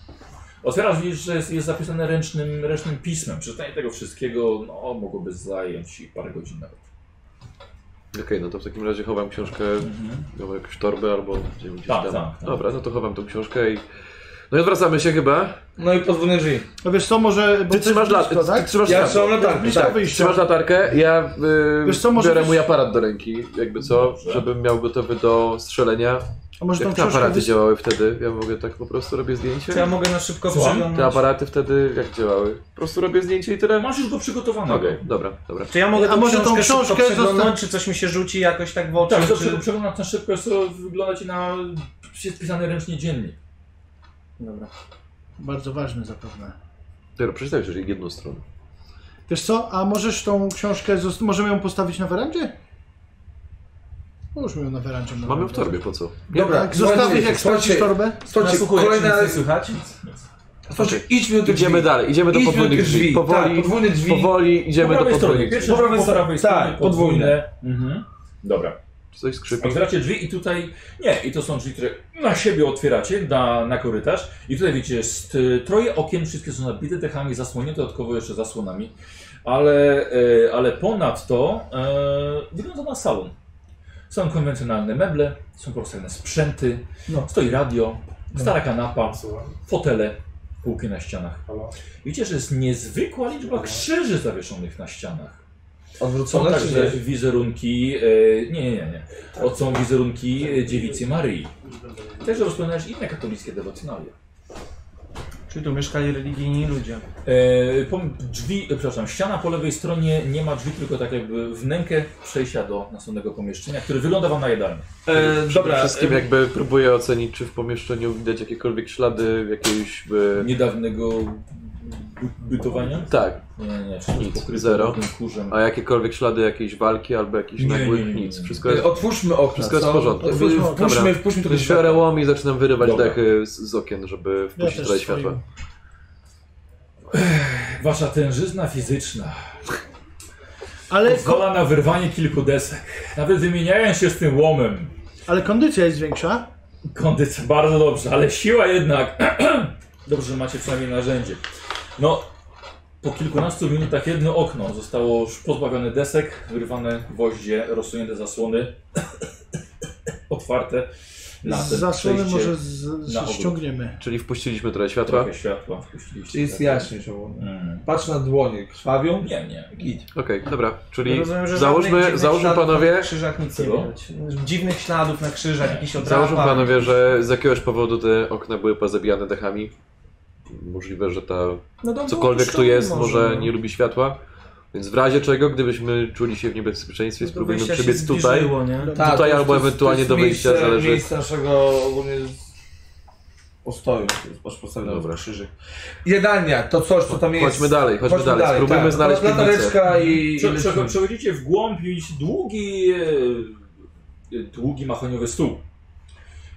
A: Otwierasz, widzisz, że jest, jest zapisane ręcznym, ręcznym pismem. Przeczytanie tego wszystkiego no, mogłoby zająć ci parę godzin nawet.
G: Okej, no to w takim razie chowam książkę,
A: Mhm.
G: mam jakąś torbę albo gdzie- gdzieś
A: Tak,
G: tam.
A: tak, tak.
G: Dobra, no to chowam tą książkę i... No i odwracamy się chyba.
E: No i podwójne drzwi.
D: No wiesz co, może... bo
G: Ty
D: to
G: trzymasz,
D: jest blisko,
G: lat, ty
D: tak?
G: trzymasz
E: Ja
G: latarkę.
E: trzymam latarkę.
D: Blisko
G: Tak,
D: wyjścia.
G: trzymasz latarkę, ja y,
D: Wiesz co, może
G: biorę
D: być-
G: mój aparat do ręki, jakby co,
A: Dobrze.
G: żebym miał gotowy do strzelenia.
D: A może tą
G: Jak te
D: książkę
G: aparaty
D: wys-
G: działały wtedy? Ja mogę tak po prostu robię zdjęcie?
B: To ja mogę na szybko
A: Słucham?
G: Te
B: przeglądać.
G: aparaty wtedy jak działały? Po prostu robię zdjęcie i tyle?
A: Masz już go przygotowanego.
G: Okej, dobra, dobra.
B: Czy ja mogę
E: A
B: tą
E: może tą
B: książkę, szybko
E: książkę
B: przeglądać,
E: zostaw-
B: czy coś mi się rzuci jakoś tak w oczy?
A: Tak, zawsze
B: czy...
A: go przeglądam na szybko, jest to wygląda ci na jest pisany ręcznie dziennik.
B: Dobra.
D: Bardzo ważny zapewne.
G: Dobra, przeczytaj już jedną stronę.
D: Wiesz co, a możesz tą książkę, zost- możemy ją postawić na werandzie? Połóżmy ją na werandzie. na
G: Mamy w
D: werandzie.
G: torbie, po co?
E: Dobra,
D: Tak, zostawić jak stracisz
E: słuchajcie,
D: torbę?
E: Słuchajcie,
B: Nasłuchuję,
E: kolejna...
B: czy nic nie słychać?
E: Słuchajcie, idźmy do tych
G: Idziemy
E: drzwi.
G: dalej, idziemy do
E: Idźmy
G: podwójnych
E: tych
G: drzwi.
E: drzwi.
G: Powoli,
E: Tak, podwójne drzwi.
G: powoli idziemy do podwójnych drzwi.
A: Pierwsze drzwi po
E: Podwójne-
A: prawej stronie,
E: tak, podwójne.
A: Mhm. Dobra.
G: Coś skrzypi.
A: Otwieracie drzwi i tutaj, nie, i to są drzwi, które na siebie otwieracie, na, na korytarz i tutaj wiecie, jest y, troje okien, wszystkie są nabite dechami, zasłonięte dodatkowo jeszcze zasłonami, ale, y, ale ponadto y, wygląda na salon. Są konwencjonalne meble, są profesjonalne sprzęty,
E: No.
A: stoi radio, stara kanapa,
I: No. Słucham.
A: fotele, półki na ścianach.
I: Halo?
A: Widzicie, że jest niezwykła liczba krzyży zawieszonych na ścianach. Są
E: Odwrócone czy
A: także
E: nie?
A: wizerunki, e, nie, nie, nie, nie. O, są wizerunki e, dziewicy Maryi. Także rozpoczynasz inne katolickie dewocjonalia.
B: Czy tu mieszkali religijni ludzie?
A: E, pom- drzwi, e, przepraszam, ściana po lewej stronie nie ma drzwi, tylko tak jakby wnękę przejścia do następnego pomieszczenia, które wygląda wam na jadalnię.
E: E,
G: Przede
E: dobra,
G: wszystkim jakby próbuję ocenić, czy w pomieszczeniu widać jakiekolwiek ślady jakiejś... e,
A: Niedawnego by- bytowania?
G: Tak,
A: Nie, nie, nie, wszystko
G: Nic,
A: jest pokryte
G: zero.
A: brudnym kurzem.
G: a jakiekolwiek ślady jakiejś walki albo jakichś
A: Nie, nie,
G: nagłych
A: nie, nie,
G: nic.
A: nie.
G: Wszystko
E: e,
G: jest...
E: otwórzmy okno.
G: Wszystko jest w porządku.
E: Otwórzmy,
G: Dobra.
E: wpuśćmy, wpuśćmy tylko
G: Biorę
E: światło.
G: łom i zaczynam wyrywać
A: Dobra.
G: dechy z, z okien, żeby wpuścić trochę
D: swoim.
G: światła.
A: Wasza tężyzna fizyczna
D: Ale, ko-
A: pozwala na wyrwanie kilku desek. Nawet wymieniając się z tym łomem.
D: ale kondycja jest większa.
A: Kondycja bardzo dobrze, ale siła jednak. dobrze, że macie przynajmniej narzędzie. No, po kilkunastu minutach jedno okno zostało już pozbawione desek, wyrwane gwoździe, rozsunięte zasłony, otwarte. Na ten
D: Zasłony
A: przejście
D: może z, z,
A: na obrót.
D: ściągniemy.
G: Czyli wpuściliśmy trochę światła.
A: trochę światła wpuściliście.
E: Czyli jest jaśniej, że
A: Mm.
E: Patrz na dłonie, krwawią.
A: Nie, nie. Git.
G: Okej, dobra.
B: Ja
G: Czyli
B: rozumiem, że żadnych
G: załóżmy,
B: dziwnych
G: załóżmy
B: śladów
G: panowie,
B: Na krzyżach nic nie
A: Czego?
B: widać. Dziwnych śladów na krzyżach, jakiś
G: załóżmy
B: odrapa.
G: panowie, że z jakiegoś powodu te okna były pozabijane dechami. Możliwe, że ta
B: No dobra,
G: cokolwiek tu
B: opuszczony
G: jest może
B: no.
G: nie lubi światła. Więc w razie czego, gdybyśmy czuli się w niebezpieczeństwie,
B: No to
G: spróbujmy
B: wyjścia się
G: przebiec tutaj.
B: zbliżyło, nie?
E: Tak,
G: Tutaj albo
E: to jest- to jest- to
G: ewentualnie
E: jest
G: do wyjścia,
E: miejsce-
G: zależy.
E: miejsce naszego ogólnie z- postoju, to jest masz postawiony
G: Dobra.
E: Dobra. krzyżyk. Jadalnia, to coś, co tam jest.
G: Chodźmy dalej, chodźmy dalej, spróbujmy znaleźć piwnicę.
E: Latareczka i... i
A: Prze-
E: lecimy.
A: prze- Przechodzicie w głąb i widzicie długi, e, długi mahoniowy stół.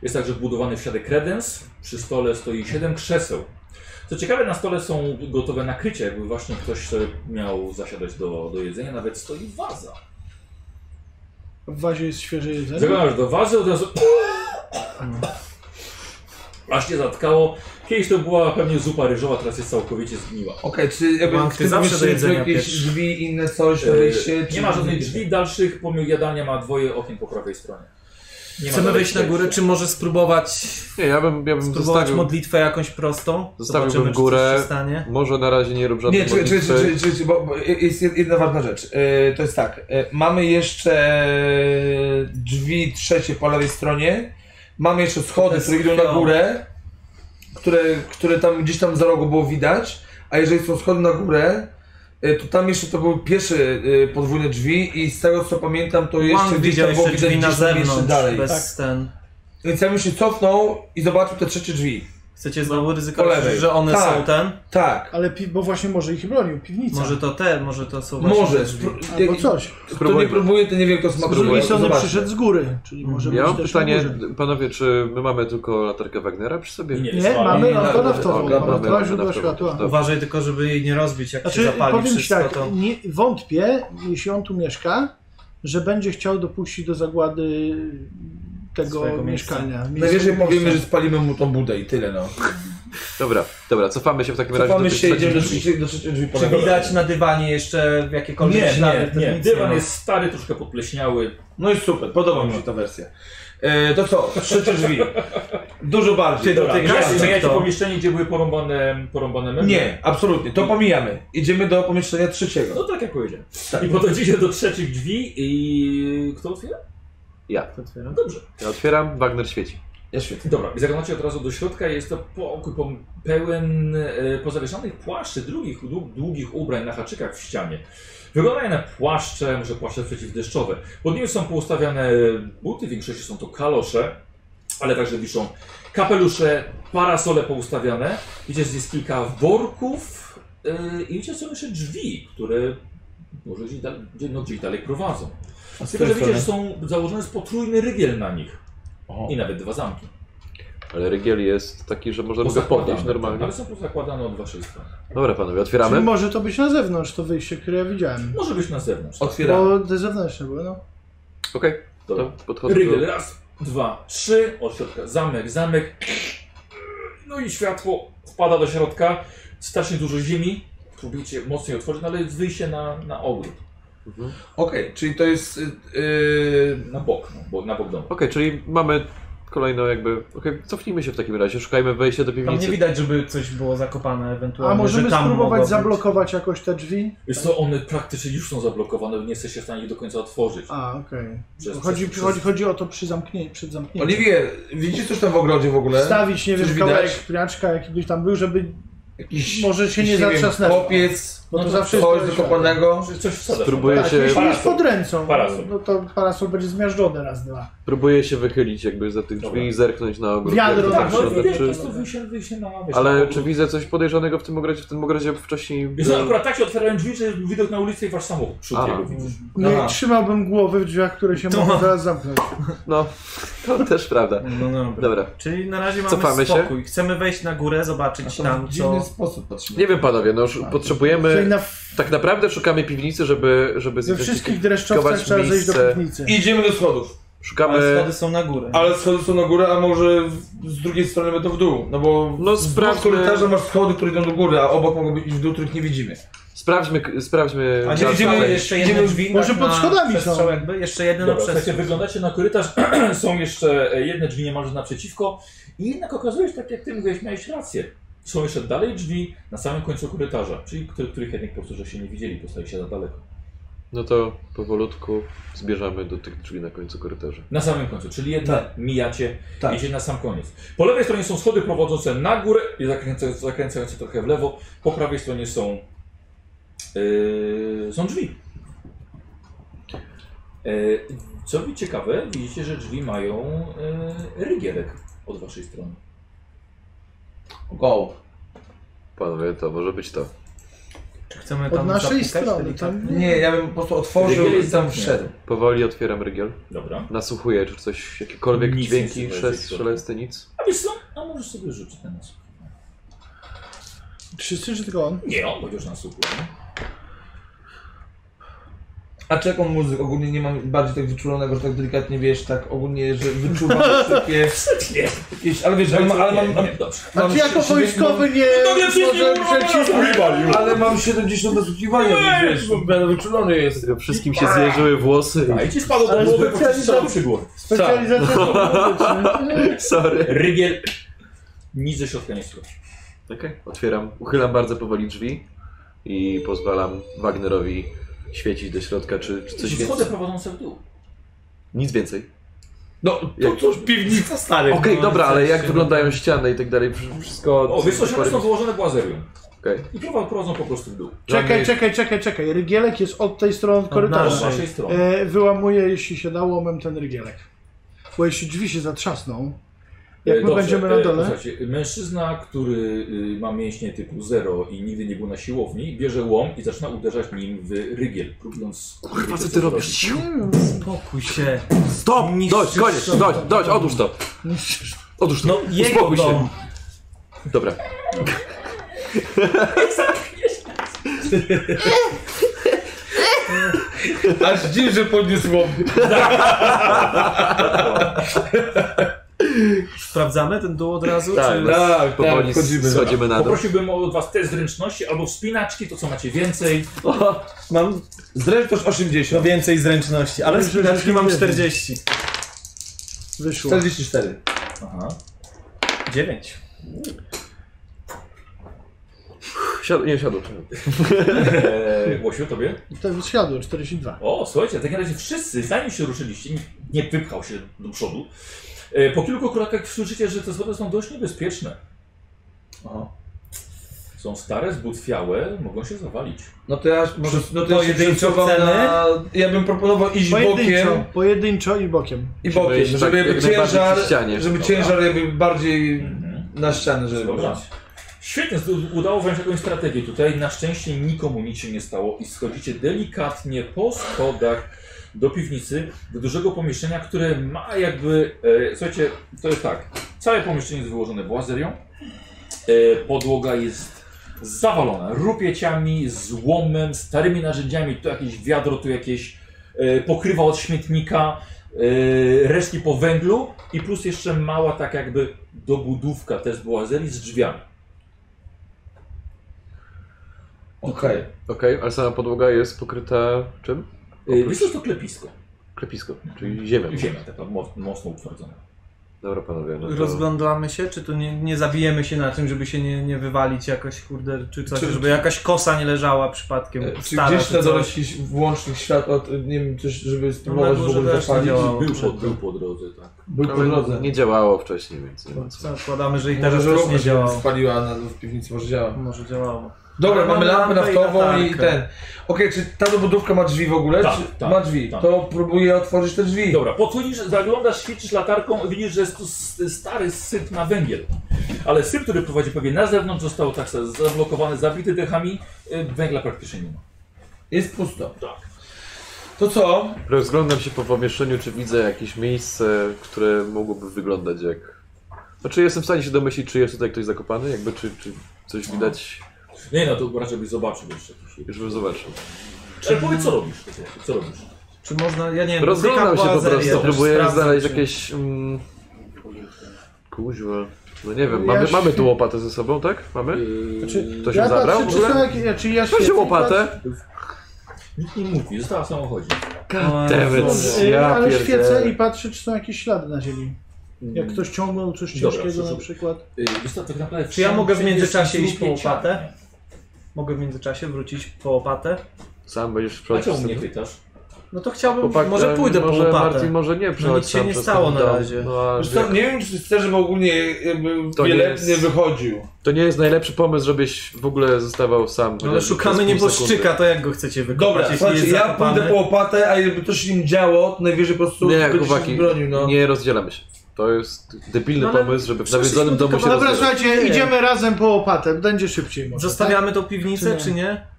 A: Jest także wbudowany w ścianę kredens. Przy stole stoi 7 krzeseł. Co ciekawe, na stole są gotowe nakrycia, jakby właśnie ktoś sobie miał zasiadać do, do jedzenia. Nawet stoi waza.
D: W wazie jest świeże jedzenie.
A: Zaglądasz do wazy, od razu... Aż cię zatkało. Kiedyś to była pewnie zupa ryżowa, teraz jest całkowicie zgniła.
E: Okej, czy jakby
B: Bank,
E: w
B: ty
E: tym
B: zawsze do
E: pomieszczeniu są
B: jedzenia
E: jakieś
B: pierwszy.
E: drzwi, inne coś,
A: E,
E: wyjście? czy-
A: Nie ma żadnych drzwi dalszych, pomimo jadalnia ma dwoje okien po prawej stronie. Nie ma
B: Chcemy
A: dalej
B: wejść na górę,
A: wejścia.
B: czy może spróbować,
G: Nie, ja bym, ja bym
B: spróbować
G: zostawił.
B: modlitwę jakąś prostą?
G: Zostawiłbym
B: Zobaczymy, czy
G: górę.
B: coś się stanie.
G: Może na razie nie rób żadnej
E: Nie, czy, czy, czy,
G: modlitwy.
E: czy, czy, czy, bo bo jest jed- jedna ważna rzecz. E, To jest tak, e, mamy jeszcze drzwi trzecie po lewej stronie, mamy jeszcze schody,
B: Bez
E: które idą na
B: krwią.
E: górę, które, które tam gdzieś tam za rogu było widać, a jeżeli są schody na górę, e, to tam jeszcze to były pierwsze e, podwójne drzwi i z tego co pamiętam to jeszcze
B: Jeszcze
E: gdzieś
B: widział
E: tam było
B: jeszcze
E: widać
B: drzwi na
E: gdzieś tam jeszcze
B: zewnątrz,
E: dalej.
B: bez ten...
E: Więc ja bym się cofnął i zobaczył te trzecie drzwi.
B: Chcecie znowu
E: Po
B: ryzykować,
E: lewej.
B: że one
E: Tak.
B: są ten?
E: Tak,
D: Ale pi- bo właśnie może ich bronił, piwnica.
B: Może to te, może to są właśnie
E: może.
B: te drzwi.
E: spró-
D: Albo coś.
E: Kto nie
G: Spróbujmy.
E: próbuje, to nie wie kto smakuje.
D: Z drugiej strony
E: Zobaczmy.
D: przyszedł z góry, czyli może
G: Mhm. Ja
D: być
G: mam
D: też
G: pytanie,
D: na górze.
G: panowie, czy my mamy tylko latarkę Wagnera przy sobie?
A: Nie,
D: Nie, mamy
E: nie,
D: lampę
E: nie,
D: naftową,
E: dobra,
D: mamy
E: dobra,
D: dwa
G: dobra,
D: źródła
G: dobra,
D: światła.
G: dobra.
B: Uważaj tylko, żeby jej nie rozbić, jak się
D: Znaczy,
B: zapali
D: powiem Ci
B: wszystko,
D: tak,
B: to...
D: nie, wątpię, jeśli on tu mieszka, że będzie chciał dopuścić do zagłady tego
B: Swojego miejsca.
D: mieszkania.
E: Najwyżej
D: Miejsca-
E: powiemy, że spalimy mu tą budę i tyle no.
G: Dobra, dobra, cofamy się w takim razie do
E: Cofamy
G: tych
E: się, idziemy do
G: trzecich drzwi.
E: trzeciej do trzeciej drzwi po
B: Czy
E: lewej.
B: widać na dywanie jeszcze
A: Nie,
B: jakiekolwiek ślady?
A: nie,
B: To
A: nie.
B: nic
A: Dywan
B: ma.
A: jest stary, troszkę podpleśniały.
E: No i super, podoba mi się ta wersja. E, to co, trzecie drzwi. Dużo bardziej.
A: Dobra,
B: tej
A: teraz
B: gwiazdy
A: zmieniacie
B: kto?
A: pomieszczenie, gdzie były porąbane, porąbane meble?
E: Nie, absolutnie, to pomijamy. Idziemy do pomieszczenia trzeciego.
A: No tak jak powiedziałem. I podchodzicie do trzecich drzwi i... kto otwiera?
G: Ja.
A: Dobrze.
G: ja otwieram, Wagner świeci.
E: Ja świetnie.
A: Dobra, zaglądacie od razu do środka. Jest to pokój po, pełen e, pozawieszanych płaszczy, drugich, dłu- długich ubrań na haczykach w ścianie. Wyglądają na płaszcze, może płaszcze przeciwdeszczowe. Pod nimi są poustawiane buty, w większości są to kalosze, ale także wiszą kapelusze, parasole poustawiane. Widzicie, że jest kilka worków e, i widzicie, są jeszcze drzwi, które może gdzieś, dal, gdzie- no, gdzieś dalej prowadzą. Tylko, że widzicie, że są założone jest potrójny rygiel na nich i nawet dwa zamki.
G: Ale rygiel jest taki, że można go
A: Pozakładane,
G: podnieść normalnie.
A: Ale są pozakładane od waszej strony.
G: Dobra panowie,
D: Czyli
G: otwieramy.
D: może to być na zewnątrz to wyjście, które ja widziałem.
A: Może być na zewnątrz.
E: Otwieramy.
G: Tak.
D: Bo te zewnętrzne były, no.
G: Okej,
A: Dobra.
G: to podchodzę
A: Rygiel,
G: do...
A: raz, dwa, trzy, od środka zamek, zamek. No i światło wpada do środka, strasznie dużo ziemi. Próbujecie mocniej otworzyć, no ale jest wyjście na, na ogród,
E: Okej, czyli to jest... y, y,
A: na bok, no, bo, na bok domu.
G: Okej, czyli mamy kolejną jakby... Okej, cofnijmy się w takim razie, szukajmy wejścia do
F: Tam nie
G: piwnicy.
F: widać, żeby coś było zakopane
D: A
F: ewentualnie.
D: możemy
F: że tam mogło
D: spróbować
F: być.
D: zablokować jakoś te drzwi?
A: Wiesz co, one praktycznie już są zablokowane, nie jesteście w stanie ich do końca otworzyć.
D: A, okej.
A: Przez-
D: Chodzi,
A: przez-
D: chodzi, chodzi o to przy zamknięciu, przed zamknięciem.
E: Oliwie, widzicie coś tam w ogrodzie w ogóle?
D: Wstawić, nie
E: Coś
D: wiem,
E: widać?
D: kawałek piaczka jakiegoś tam był, żeby
E: Jakiś,
D: może się nie
E: jakiś, wiem,
D: zatrzasnęło.
E: Kopiec,
D: Bo to
A: No to
D: zawsze
E: coś
D: jest...
E: dokopanego.
A: Przez Coś wsadzasz.
G: Spróbuję
A: no,
D: Tak,
A: tak.
G: się-
D: jeśli jest
A: Parasol.
D: pod ręką,
A: Parasol.
D: no to parasol będzie zmiażdżony raz, dwa.
G: Próbuję się wychylić jakby za tych drzwi
A: Dobra.
G: i zerknąć na ogród.
D: Wiadro
G: jak to
A: Tak,
G: tam
A: no
G: w środek,
A: widać, to
G: czy...
A: jest to wyjście, wyjście na wiesz, na
G: Ale
A: ogród.
G: czy widzę coś podejrzanego w tym ogrodzie? W tym ogrodzie wcześniej...
A: Wiesz, co, akurat tak się otwierają drzwi, że widok na ulicę i wasz samochód przód
G: Aha.
A: jego widzisz.
D: Nie
E: Aha.
D: trzymałbym głowy w drzwiach, które się mogą zaraz zamknąć.
G: No, to też prawda.
F: No dobra.
G: Dobra.
F: Czyli na razie mamy
G: Cofamy się?
F: spokój. Chcemy wejść na górę, zobaczyć tam
E: w dziwny
F: co...
E: sposób patrzymy.
G: Nie wiem panowie, no już
D: Czyli
G: potrzebujemy...
D: na
G: Tak naprawdę szukamy piwnicy, żeby, żeby
D: we wszystkich dreszczowcach trzeba
G: miejsce.
D: zejść do piwnicy.
E: Idziemy do schodów.
F: Ale
G: Szukamy...
F: schody są na górę.
E: Ale schody są na górę, a może w- z drugiej strony będą w dół. No bo
G: No
E: z
G: sprawdźmy,
E: korytarza masz schody, które idą do góry, a obok mogą być iść w dół, których nie widzimy.
G: sprawdźmy, k- sprawdźmy...
F: A nie
E: gdzie
G: dalsze
F: widzimy
E: idziemy
G: wejście.
F: jeszcze
E: idziemy-
F: jedne drzwi
D: może
F: tak
D: pod
F: na
D: schodami są.
F: przestrzał jakby? Jeszcze jedno na
A: Dobra, słuchajcie,
F: przestrzał.
A: wyglądacie na korytarz, są jeszcze e, jedne drzwi niemalże naprzeciwko i jednak okazuje się, tak jak ty mówiłeś, miałeś rację. Są jeszcze dalej drzwi na samym końcu korytarza, czyli których, których jednak po prostu że się nie widzieli, postali się za daleko.
G: No to powolutku zbierzamy do tych drzwi na końcu korytarza.
A: Na samym końcu, czyli jedne mijacie,
E: Tak.
A: idzie na sam koniec. Po lewej stronie są schody prowadzące na górę i zakręcające, zakręcające trochę w lewo, po prawej stronie są, yy, są drzwi. Yy, co mi ciekawe, widzicie, że drzwi mają yy, rygielek od waszej strony.
E: Go.
G: Panowie, to może być to.
F: Czy chcemy
D: Od
F: tam
D: naszej
F: zapukać
D: strony. tak?
F: delikatnie?
D: Tam...
E: Nie, ja bym po prostu otworzył i tam wszedł.
G: Powoli otwieram rygiel.
A: Dobra.
G: Nasłuchuję, czy coś, jakiekolwiek
A: Nic nie słyszę
G: dźwięki,
A: z tej
G: szelest,
A: strony.
G: szelesty, nic.
A: A wiesz co? A możesz sobie rzucić na nas.
D: Wszyscy czy tylko on?
A: Nie, on będzie już nas słuchał.
E: A czy jaką muzykę? Ogólnie nie mam bardziej tak wyczulonego, że tak delikatnie wiesz, tak ogólnie, że wyczuwam wszystkie
A: Nie,
E: jakieś, ale wiesz, ale, mam- ale mam,
A: nie,
E: mam,
A: nie, dobrze.
D: A
E: mam
D: ty jako
E: siedem-
D: wojskowy nie...
E: No,
A: Nagle wszyscy
D: może
A: mówią,
D: przeciw-
E: mam- Ale mam 70 dosłuchiwania, więc wiesz, będę wyczulony jest.
G: Wszystkim się zjeżyły włosy
A: A i ci spadło do
D: Ale
A: głowy, bo ci
D: specjalista-
A: strzał przy głowie.
D: Specjalizacja
G: i... Sorry.
A: Rygiel nic ze środka nie słychać.
G: Okej, otwieram. Uchylam bardzo powoli drzwi i pozwalam Wagnerowi świecić do środka, czy, czy coś
A: Ci
G: więcej.
A: Schody prowadzące w dół.
G: Nic więcej.
E: No, to
G: Jak-
E: cóż, piwnica stary.
G: Okej, dobra, ale jak
F: się-
G: wyglądają ściany i tak dalej, wsz- wszystko...
A: O, wiesz co,
G: parę-
A: ściany są wyłożone błazerium.
G: Okej.
A: I prowadzą, prowadzą po prostu w dół.
D: Czekaj, czekaj, czekaj, czekaj. Rygielek jest od tej strony od
E: No,
A: Z
D: korytarza.
F: naszej.
A: waszej strony.
D: Tak. E, wyłamuję, jeśli się da, łomem ten rygielek. Bo jeśli drzwi się zatrzasną, jak
A: E,
D: my
A: dobrze,
D: będziemy na
A: e,
D: dole...
A: Słuchajcie, mężczyzna, który y, ma mięśnie typu 0 i nigdy nie był na siłowni, bierze łom i zaczyna uderzać nim w rygiel, próbując...
G: Kurwa, co ty robisz? Ciu!
F: Spokój się.
G: Stop! Dość, koniec, dość, dość, odłóż to. Odłóż to.
F: No jego
G: Uspokój się.
F: dom.
G: Dobra.
E: Aż dziś, że podniósł łom.
F: Sprawdzamy ten dół od razu?
G: Tak,
F: czy...
E: Tak,
G: Powoli
E: tak, chodzimy.
G: schodzimy na dół.
A: Poprosiłbym od was test zręczności albo wspinaczki, to co macie więcej.
F: Mam
E: Zresztą 80.
F: no więcej zręczności, ale z spinaczki mam 40.
D: Wyszło.
E: 44.
A: Aha.
F: 9.
G: Siad... Nie, siadł.
A: Eee, Łosiu, tobie?
D: To siadło, 42.
A: O, słuchajcie, w takim razie wszyscy, zanim się ruszyliście, nikt nie wypchał się do przodu, E, Po kilku krokach słyszycie, że te schody są dość niebezpieczne. Są stare, zbutwiałe, mogą się zawalić.
E: No to ja może no to ja się
B: Pojedynczo
E: przesunięłam
B: ceny?
E: na, Ja bym proponował iść bokiem
D: Pojedynczo, pojedynczo i bokiem.
E: i bokiem,
G: iść tak
E: żeby jakby
G: jak najbardziej
E: ciężar,
G: przy ścianie.
E: żeby
A: Dobra.
E: ciężar jakby bardziej
A: Mhm.
E: na ścianę, żeby
A: Dobra. Świetnie, zdu- udało wam się jakąś strategię. Tutaj na szczęście nikomu nic się nie stało i schodzicie delikatnie po schodach do piwnicy, do dużego pomieszczenia, które ma jakby, e, słuchajcie, to jest tak, całe pomieszczenie jest wyłożone błazerią, e, podłoga jest zawalona rupieciami, złomem, starymi narzędziami, tu jakieś wiadro, tu jakieś e, pokrywa od śmietnika, e, resztki po węglu i plus jeszcze mała tak jakby dobudówka też była zeli z drzwiami. Y,
E: Okej.
G: Okej, ale sama podłoga jest pokryta czym?
E: Y,
A: Yy, Wiesz co, to klepisko.
G: Klepisko, czyli ziemią.
A: Ziemia taka mo- mocno utwardzona.
G: Dobra panowie, no to...
B: Rozglądamy się, czy tu nie, nie zabijemy się na tym, żeby się nie, nie wywalić jakoś, kurde, czy coś, żeby jakaś kosa nie leżała przypadkiem,
E: E, Czy
B: stara,
E: gdzieś
B: czy
E: te
B: coś.
E: dorośli włącznych światła, to nie wiem, coś, żeby spróbować
B: na
E: w
B: górze
E: ogóle
B: też nie
E: zapalić?
B: działa. O,
A: Był, po,
B: przed-
A: był po drodze, tak.
E: Był po
G: Ale
E: drodze.
G: Nie działało wcześniej, więc nie ma co.
B: Zakładamy, że i
E: Może,
B: teraz
E: że
B: też nie
E: lampę się
B: działało.
E: spaliła na, w piwnicy, może działa.
B: Może działało.
E: Dobra,
B: Ale
E: Mhm. mamy
B: mamy
E: lampę
B: lampę i
E: naftową i,
B: latarkę.
E: ten. Okej, czy ta dobudówka ma drzwi w ogóle?
A: Tak,
E: czy,
A: tak,
E: ma drzwi.
A: tak.
E: To próbuję otworzyć te drzwi.
A: Dobra, podchodzisz, zaglądasz, świecisz latarką i widzisz, że jest tu s- stary syp na węgiel. Ale syp, który prowadzi pewnie na zewnątrz, został tak se- zablokowany, zabity dechami. y, Węgla praktycznie nie ma.
E: Jest pusto.
A: Tak.
E: To co?
G: Rozglądam się po pomieszczeniu, czy widzę jakieś miejsce, które mogłoby wyglądać jak... Znaczy jestem w stanie się domyślić, czy jest tutaj ktoś zakopany, jakby czy, czy coś widać,
A: Nie no, to raczej byś zobaczył jeszcze. jakiś-
G: już bym zobaczył.
A: Ale powiedz, co robisz? Co robisz?
B: Czy można, ja nie wiem,
G: Rozglądam się
B: pykam
G: po
B: boazerię
G: prostu,
B: też,
G: próbuję
B: sprawdzam,
G: znaleźć
B: czy-
G: jakieś... Mm, kuźwa... No nie wiem,
D: Ja
G: mamy,
D: się-
G: mamy tu łopatę ze sobą, tak? Mamy?
A: Znaczy,
G: Ktoś ją
D: Ja
G: zabrał
D: patrzę,
G: w
D: czy są
G: ogóle?
D: jakieś, czy ja
G: Weź
D: świecę,
G: łopatę!
A: nikt nie mówi, została w samochodzie.
G: Dammit,
D: patrzę-
G: ja
D: ale świecę
G: pierdzielę.
D: i patrzę, czy są jakieś ślady na ziemi. Jak ktoś ciągnął coś
A: Dobra,
D: ciężkiego
A: przerzucę.
D: na przykład.
A: Y, Wiesz co, tak naprawdę
B: Czy ja
A: wszędzie
B: mogę w międzyczasie
A: jest
B: iść po
A: rupieciami.
B: łopatę? Mogę w międzyczasie wrócić po łopatę?
G: Sam będziesz
A: A
G: przechodzić
A: czemu mnie
G: sobie?
A: pytasz?
B: No to chciałbym,
G: Chłopak,
B: może
G: e,
B: pójdę
G: może
B: po No, łopatę.
G: Martin, może nie przechodź
B: nic się
G: sam
B: nie
G: przez
B: stało
G: ten
B: na
G: dom.
B: razie.
G: No, a
E: Wiesz co,
G: jak-
E: nie wiem, czy chcę, żeby ogólnie jakby
G: To
E: wielepny
G: nie jest-
E: wychodził.
G: To nie jest najlepszy pomysł, żebyś w ogóle zostawał sam.
B: No ale
G: chociażby
B: szukamy
G: przez pół
B: nieboszczyka, to jak go chcecie wykopać,
E: Dobra,
B: jeśli
E: słuchajcie,
B: jest
E: ja
B: zakopany?
E: pójdę po łopatę, a jakby coś im działo, to najwyżej po prostu
G: sekundy.
E: będzie
G: Nie,
E: się
G: chłopaki,
E: bronił, no.
G: nie rozdzielamy się. To jest debilny
B: No ale
G: pomysł, żeby w
B: przecież
G: nawiedzonym domu się
D: Dobra,
G: rozdzielać.
D: słuchajcie, idziemy razem po łopatę, będzie szybciej może.
B: Zostawiamy tą piwnicę,
D: Czy
B: czy nie?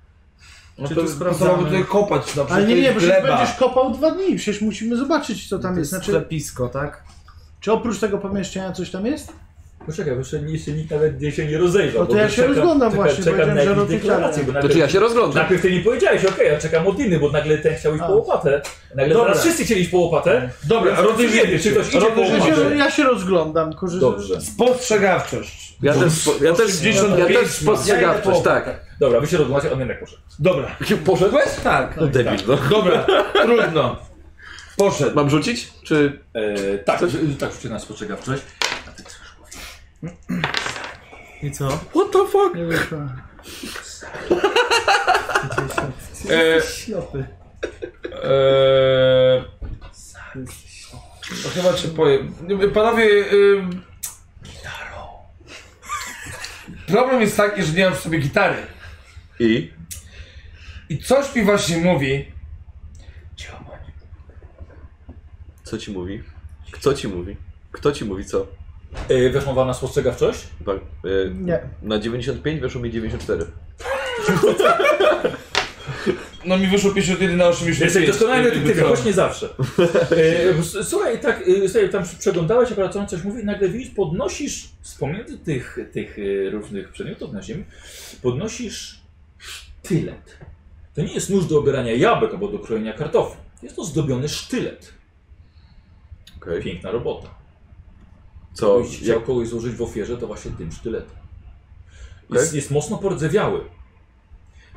E: No
B: Czy
E: to
B: tu
E: sprawdzamy.
B: sprawdzamy?
E: tutaj kopać na
D: Tak? Ale nie, nie,
E: jest
D: bo przecież
E: gleba.
D: będziesz kopał dwa dni, przecież musimy zobaczyć co tam
B: to
D: jest.
B: jest
D: Znaczy,
B: sklepisko, tak?
D: czy oprócz tego pomieszczenia coś tam jest?
A: Poczekaj, jeszcze nie- jeszcze nikt nawet nie się nie rozejrzał.
D: No to
A: bo
D: ja
A: tu
D: się rozglądam właśnie,
A: Czekam
D: powiedziałem,
A: na
D: że
A: jakieś
D: robicie
A: deklaracje,
D: tak.
A: bo
G: Znaczy ja
A: najpierw,
G: się rozglądam.
A: najpierw ty mi powiedziałeś, okej, ja czekam od inny, bo nagle ten chciał iść
D: A.
A: po łopatę, nagle
E: Dobra.
A: teraz wszyscy chcieli iść po łopatę.
E: Dobra,
A: Więc nie
E: rozumiemy
A: wiem, czy
E: się.
A: ktoś idzie po
E: Rozumiemy
D: Ja
E: się.
A: łopatę.
D: się, ja się rozglądam, korzystam.
A: Dobrze,
E: Spostrzegawczość.
G: Ja też, spo- ja też, ja
E: 85
G: też
E: mam.
G: spostrzegam coś, tak.
A: dobra, wy się rozglądacie, on jednak poszedł.
E: Dobra,
G: Poszedłeś?
B: Tak.
G: No debil, no.
E: dobra, trudno. Poszedł.
G: Mam rzucić? Czy...
A: E, tak, e, tak się nas spostrzegawczość.
B: I co?
G: What the fuck?
D: Nie wyszło.
E: E,
B: Ślepy.
E: Eee... Chyba cię pojem. Panowie. y, Ym... Problem jest taki, że nie mam w sobie gitary.
G: I?
E: I coś mi właśnie mówi.
G: Co ci mówi? Kto ci mówi? Kto ci mówi co?
A: E, weszła wam na spostrzegawczość?
G: Chyba, e,
D: Nie.
G: Na 95 weszło mi 94.
E: No mi wyszło 51 na 80.
A: Jesteś doskonałym
E: Jakby
A: detektywem,
E: co?
A: choć nie zawsze. E, s- Słuchaj, tak, e, sobie tam przeglądałeś, akurat on coś mówi i nagle widzisz, podnosisz z pomiędzy tych, tych e, różnych przedmiotów na ziemi, podnosisz sztylet. To nie jest nóż do obierania jabłek albo do krojenia kartofli. Jest to zdobiony sztylet.
G: Okej.
A: Piękna robota.
G: Co?
A: Jakbyś
G: Jak,
A: chciał kogoś złożyć w ofierze, to właśnie tym sztyletem. Jest,
G: Okej.
A: jest mocno pordzewiały.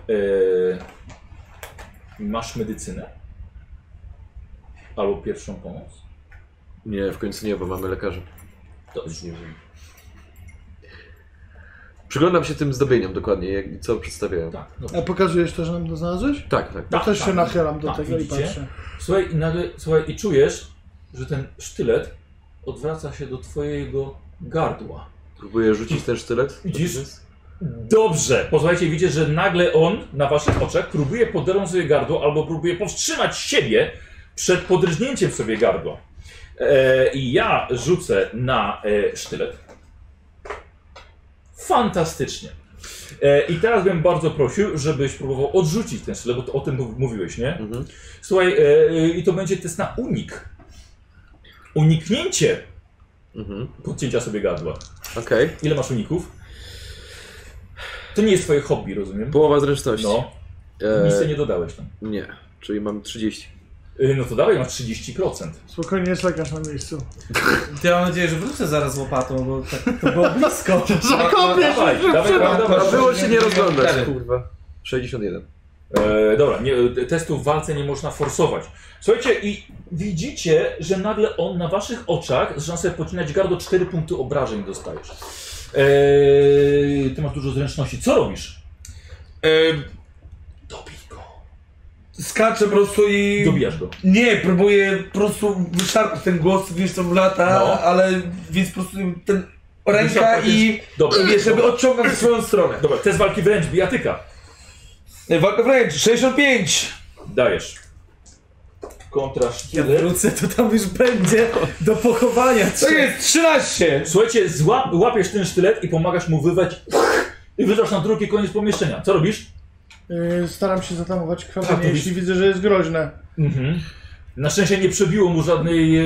A: E, masz medycynę? Albo pierwszą pomoc?
G: nie, w końcu nie, bo mamy lekarzy.
A: To
G: Nie wiem. Przyglądam się tym zdobieniom dokładnie, jak, i co przedstawiają.
A: Tak,
D: A
A: dobra.
D: pokazujesz to, że nam No, to znalazłeś?
G: Tak, tak.
D: Ja
A: Tak,
D: też
A: tak.
D: się nachylam do
A: Tak,
D: tego i
A: widzicie?
D: patrzę.
A: Słuchaj, i nagle, słuchaj, i czujesz, że ten sztylet odwraca się do twojego gardła.
G: Próbuję rzucić ten sztylet.
A: Widzisz? Dobrze. Posłuchajcie, widzicie, że nagle on na waszych oczach próbuje poderąć sobie gardło albo próbuje powstrzymać siebie przed podrżnięciem sobie gardła. E, I ja rzucę na e, sztylet. Fantastycznie. E, I teraz bym bardzo prosił, żebyś próbował odrzucić ten sztylet, bo to, o tym mów- mówiłeś, nie?
G: Mhm.
A: Słuchaj, e, e, i to będzie test na unik. Uniknięcie
G: Mhm.
A: podcięcia sobie gardła.
G: Okej.
A: Ile masz uników? To nie jest twoje hobby, rozumiem?
G: Połowa zręczności.
A: No, nic sobie
G: E,
A: nie dodałeś tam.
G: nie. Czyli mam 30.
A: Y, No to dalej masz 30%.
D: Spokojnie jest lekarz na miejscu.
B: To ja mam nadzieję, że wrócę zaraz łopatą, bo tak, to było blisko.
D: Zakopiesz!
A: Dawaj, dawaj, dawaj,
G: A
A: dawaj.
G: było się nie rozglądać, kurwa. 61.
A: E, dobra, nie, e, testów w walce nie można forsować. Słuchajcie, i widzicie, że nagle on na waszych oczach zaczyna sobie pocinać gardło, 4 punkty obrażeń dostajesz. E, ty masz dużo zręczności. Co robisz?
E: E,
A: Dobij go.
E: Skaczę po prostu i...
A: Dobijasz go.
E: Nie, próbuję po prostu wyszarpać ten głos, wiesz co, w lata,
A: No.
E: ale więc po prostu ten ręka
A: Wyszarpać
E: i
A: Dobra,
E: wiesz, żeby
A: dobra.
E: odciągać w swoją stronę.
A: Dobra, test walki wręcz, bijatyka.
E: E, Walka wręcz, 65!
A: Dajesz. Kontra
B: Ja
A: sztylet.
B: wrócę, to tam już będzie do pochowania.
E: To jest 13!
A: Słuchajcie, złap, łapiesz ten sztylet i pomagasz mu wyrwać i wyrzucasz na drugi koniec pomieszczenia. Co robisz?
D: Yy, staram się zatamować
A: Tak, to
D: krwawienie, jeśli widzę, że jest groźne.
A: Mhm. Na szczęście nie przebiło mu żadnej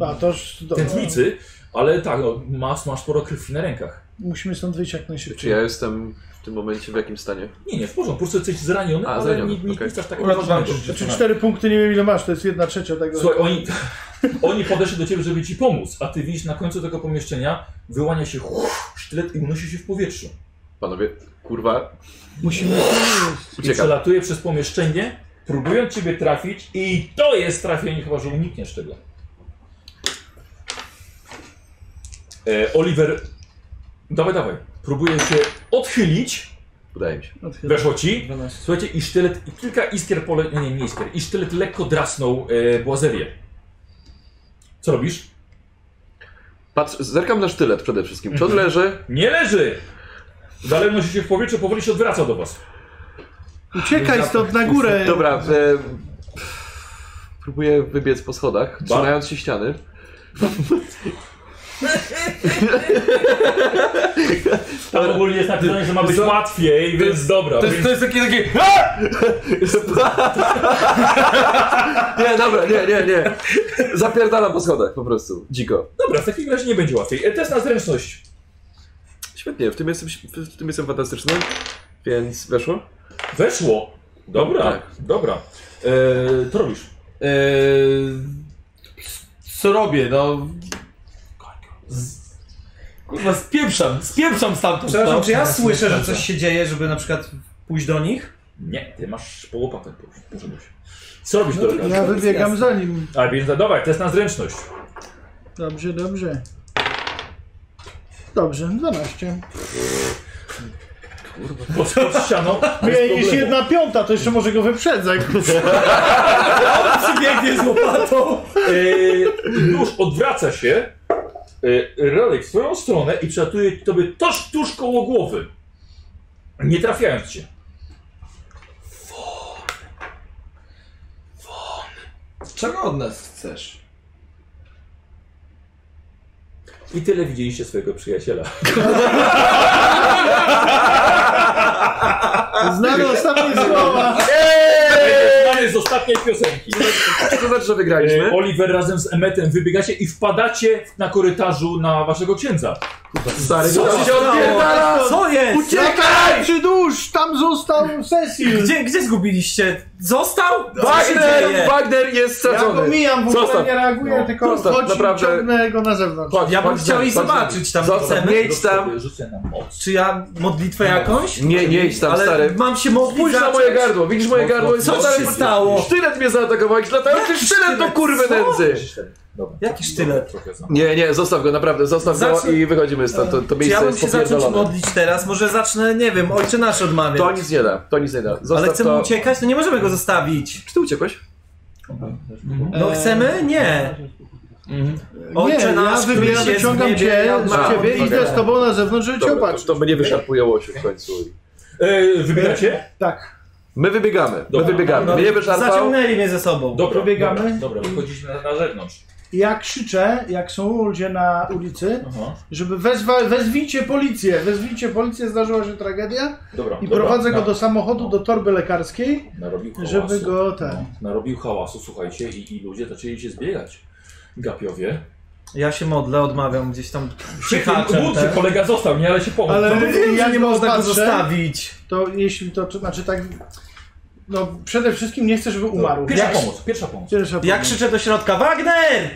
D: A,
A: e...
D: toż... dobra.
A: tętnicy, ale tak, no, masz, masz sporo krwi na rękach.
D: Musimy stąd wyjść jak
G: Czy
D: najszybciej.
G: ja jestem w tym momencie w jakim stanie?
A: Nie, nie, w porządku, po prostu jesteś zraniony,
G: A,
A: ale
G: zraniony,
A: nie, nie, nie
G: okej.
A: jesteś tak
E: Uratowałem
A: poważnego.
D: Znaczy cztery punkty, nie wiem ile masz, to jest jedna trzecia tego.
A: Słuchaj, oni, oni podeszli do ciebie, żeby ci pomóc, a ty widzisz na końcu tego pomieszczenia, wyłania się uff, sztylet i unosi się w powietrzu.
G: Panowie, kurwa,
D: Musimy
A: I
G: uciekam.
A: przelatuje przez pomieszczenie, próbując ciebie trafić i to jest trafienie, chyba że unikniesz tego. E, Oliver, dawaj, dawaj. Próbuje się odchylić,
G: Udaje mi się.
A: weszło ci. Słuchajcie, i sztylet, i kilka iskier pole... Nie, nie, nie iskier. I sztylet lekko drasnął e, błazerię. Co robisz?
G: Patrz, zerkam na sztylet przede wszystkim. Czy on leży?
A: Nie leży! Dalej nosi się w powietrze, powoli się odwraca do was.
D: Uciekaj stąd na górę!
G: Dobra, e, próbuję wybiec po schodach, trzymając się ściany.
A: Tam ogólnie jest napisane, że ma być
E: Za-
A: łatwiej, więc dobra.
E: To
A: więc-
E: jest, to jest takie takie...
G: Nie, dobra, nie, nie, nie. Zapierdalam po schodach po prostu. Dziko.
A: Dobra, w takim razie nie będzie łatwiej. E, Test na zręczność.
G: Świetnie, w tym jestem, w tym jestem fantastyczny, więc weszło.
A: Weszło. Dobra,
G: Tak.
A: dobra. E, to robisz.
E: co robię, no... Z... Kurwa, spieprzam, spieprzam stamtąd.
B: Przepraszam,
E: no.
B: czy ja słyszę, że coś się dzieje, żeby na przykład pójść do nich?
A: Nie, ty masz połopatę, poszedłeś. Co robisz, no,
D: Ja wybiegam za nim.
A: A więc dawaj, test na zręczność.
D: Dobrze, dobrze. Dobrze, 12.
A: Pod, pod ścianą. bez
D: Mniej niż
A: problemu.
D: jedna piąta, to jeszcze może go wyprzedzać.
B: Przybiegnie z łopatą.
A: E, nóż odwraca się. E, Radek w swoją stronę i przelatuje tobie toż tuż koło głowy. Nie trafiając cię.
E: Czego od nas chcesz?
A: I tyle widzieliście swojego przyjaciela.
D: Znane ostatnie słowa.
B: Eee!
A: Znany z ostatniej piosenki.
G: To znaczy, że
A: E,
G: wygraliśmy.
A: Oliver razem z Emmetem wybiegacie i wpadacie na korytarzu na waszego księdza.
G: Stary,
A: Co
G: to
A: się
B: Pierdala, Co jest?
D: Uciekaj! Przy dusz, tam został Cecil.
B: Gdzie, gdzie zgubiliście? Został? Co się
G: Wagner,
B: dzieje?
G: Wagner jest
D: Ja go
G: stracony.
D: mijam, w ogóle
G: Zostaw.
D: nie reaguję,
G: No,
D: tylko
G: zostaw,
D: chodź
G: naprawdę.
D: i ciągnę go na zewnątrz.
G: Chodź,
B: Ja bym
G: chodź
B: chciał
G: z nami,
B: i
G: chodź z nami.
B: zobaczyć tam
G: Zostaw,
B: chcemy.
G: nie idź tam.
A: Rzucę na moc.
B: Czy ja modlitwę jakąś?
G: Nie, nie idź No, tam,
B: Ale
G: stary.
B: mam się modlić
G: Pójdź na
B: za
G: moje
B: coś?
G: gardło, widzisz moje gardło? Jest
B: Co
G: nadal-
B: się stało?
G: Sztylet mnie zaatakował, jak latałem ty sztylet do kurwy
B: Co?
G: nędzy.
A: Dobra.
B: Jaki sztylet?
A: Trochę za-
G: Nie, nie, zostaw go, naprawdę, zostaw go
B: Zacznij-
G: i wychodzimy stąd, to, to
B: Czy ja
G: miejsce
B: bym
G: jest
B: się zacząć
G: popierdolone.
B: modlić teraz? Może zacznę, nie wiem, ojcze nasz odmawiać.
G: To nic nie da, to nic nie da. Zostaw
B: Ale chcemy
G: to.
B: uciekać? No nie możemy go zostawić.
G: Czy ty uciekłeś?
B: No chcemy? Nie.
D: Eee. Mhm. Nie,
F: Ojcze
D: ja,
F: nasz,
D: wy,
F: któryś
D: ja
F: jest w
D: wyciągam
F: niebie,
D: cię
F: ja
D: z
G: mam-
D: ciebie i
G: Dobra.
D: idę z tobą na zewnątrz, żeby cię
G: Dobra, to,
D: opatrzyć.
G: to mnie wyszarpuje łosiu w końcu.
A: E, wybieracie?
D: Tak.
G: My wybiegamy, my
A: Dobra.
G: wybiegamy.
F: No,
G: mnie wyszarpał.
F: Zaciągnęli mnie ze sobą.
A: Dobra,
D: Dobiegamy.
A: Dobra, dobra wychodziliśmy na, na zewnątrz.
D: Ja krzyczę, jak są ludzie na ulicy,
A: Aha.
D: żeby wezwa, wezwijcie policję, wezwijcie policję, zdarzyła się tragedia
A: Dobra,
D: i
A: dobra, no.
D: prowadzę go
A: na-
D: do samochodu, do torby lekarskiej.
A: Narobił hałasu.
D: żeby go ten-
A: No, narobił hałasu, słuchajcie, i, i ludzie zaczęli się zbiegać. Gapiowie.
F: Ja się modlę, odmawiam gdzieś tam
A: Ciekawe,
F: krzykaczem. tak?
A: kolega został, nie, ale się pomógł.
D: Ale
A: No,
F: Wiem,
D: ja
F: że nie
D: go
F: można go
D: opatrzę,
F: zostawić.
D: To jeśli to, czy- znaczy tak, no przede wszystkim nie chcę, żeby umarł.
A: Pierwsza
D: Jak-
A: pomoc, pierwsza pomoc.
D: Pierwsza
F: Ja
D: pomoc.
F: krzyczę do środka, Wagner!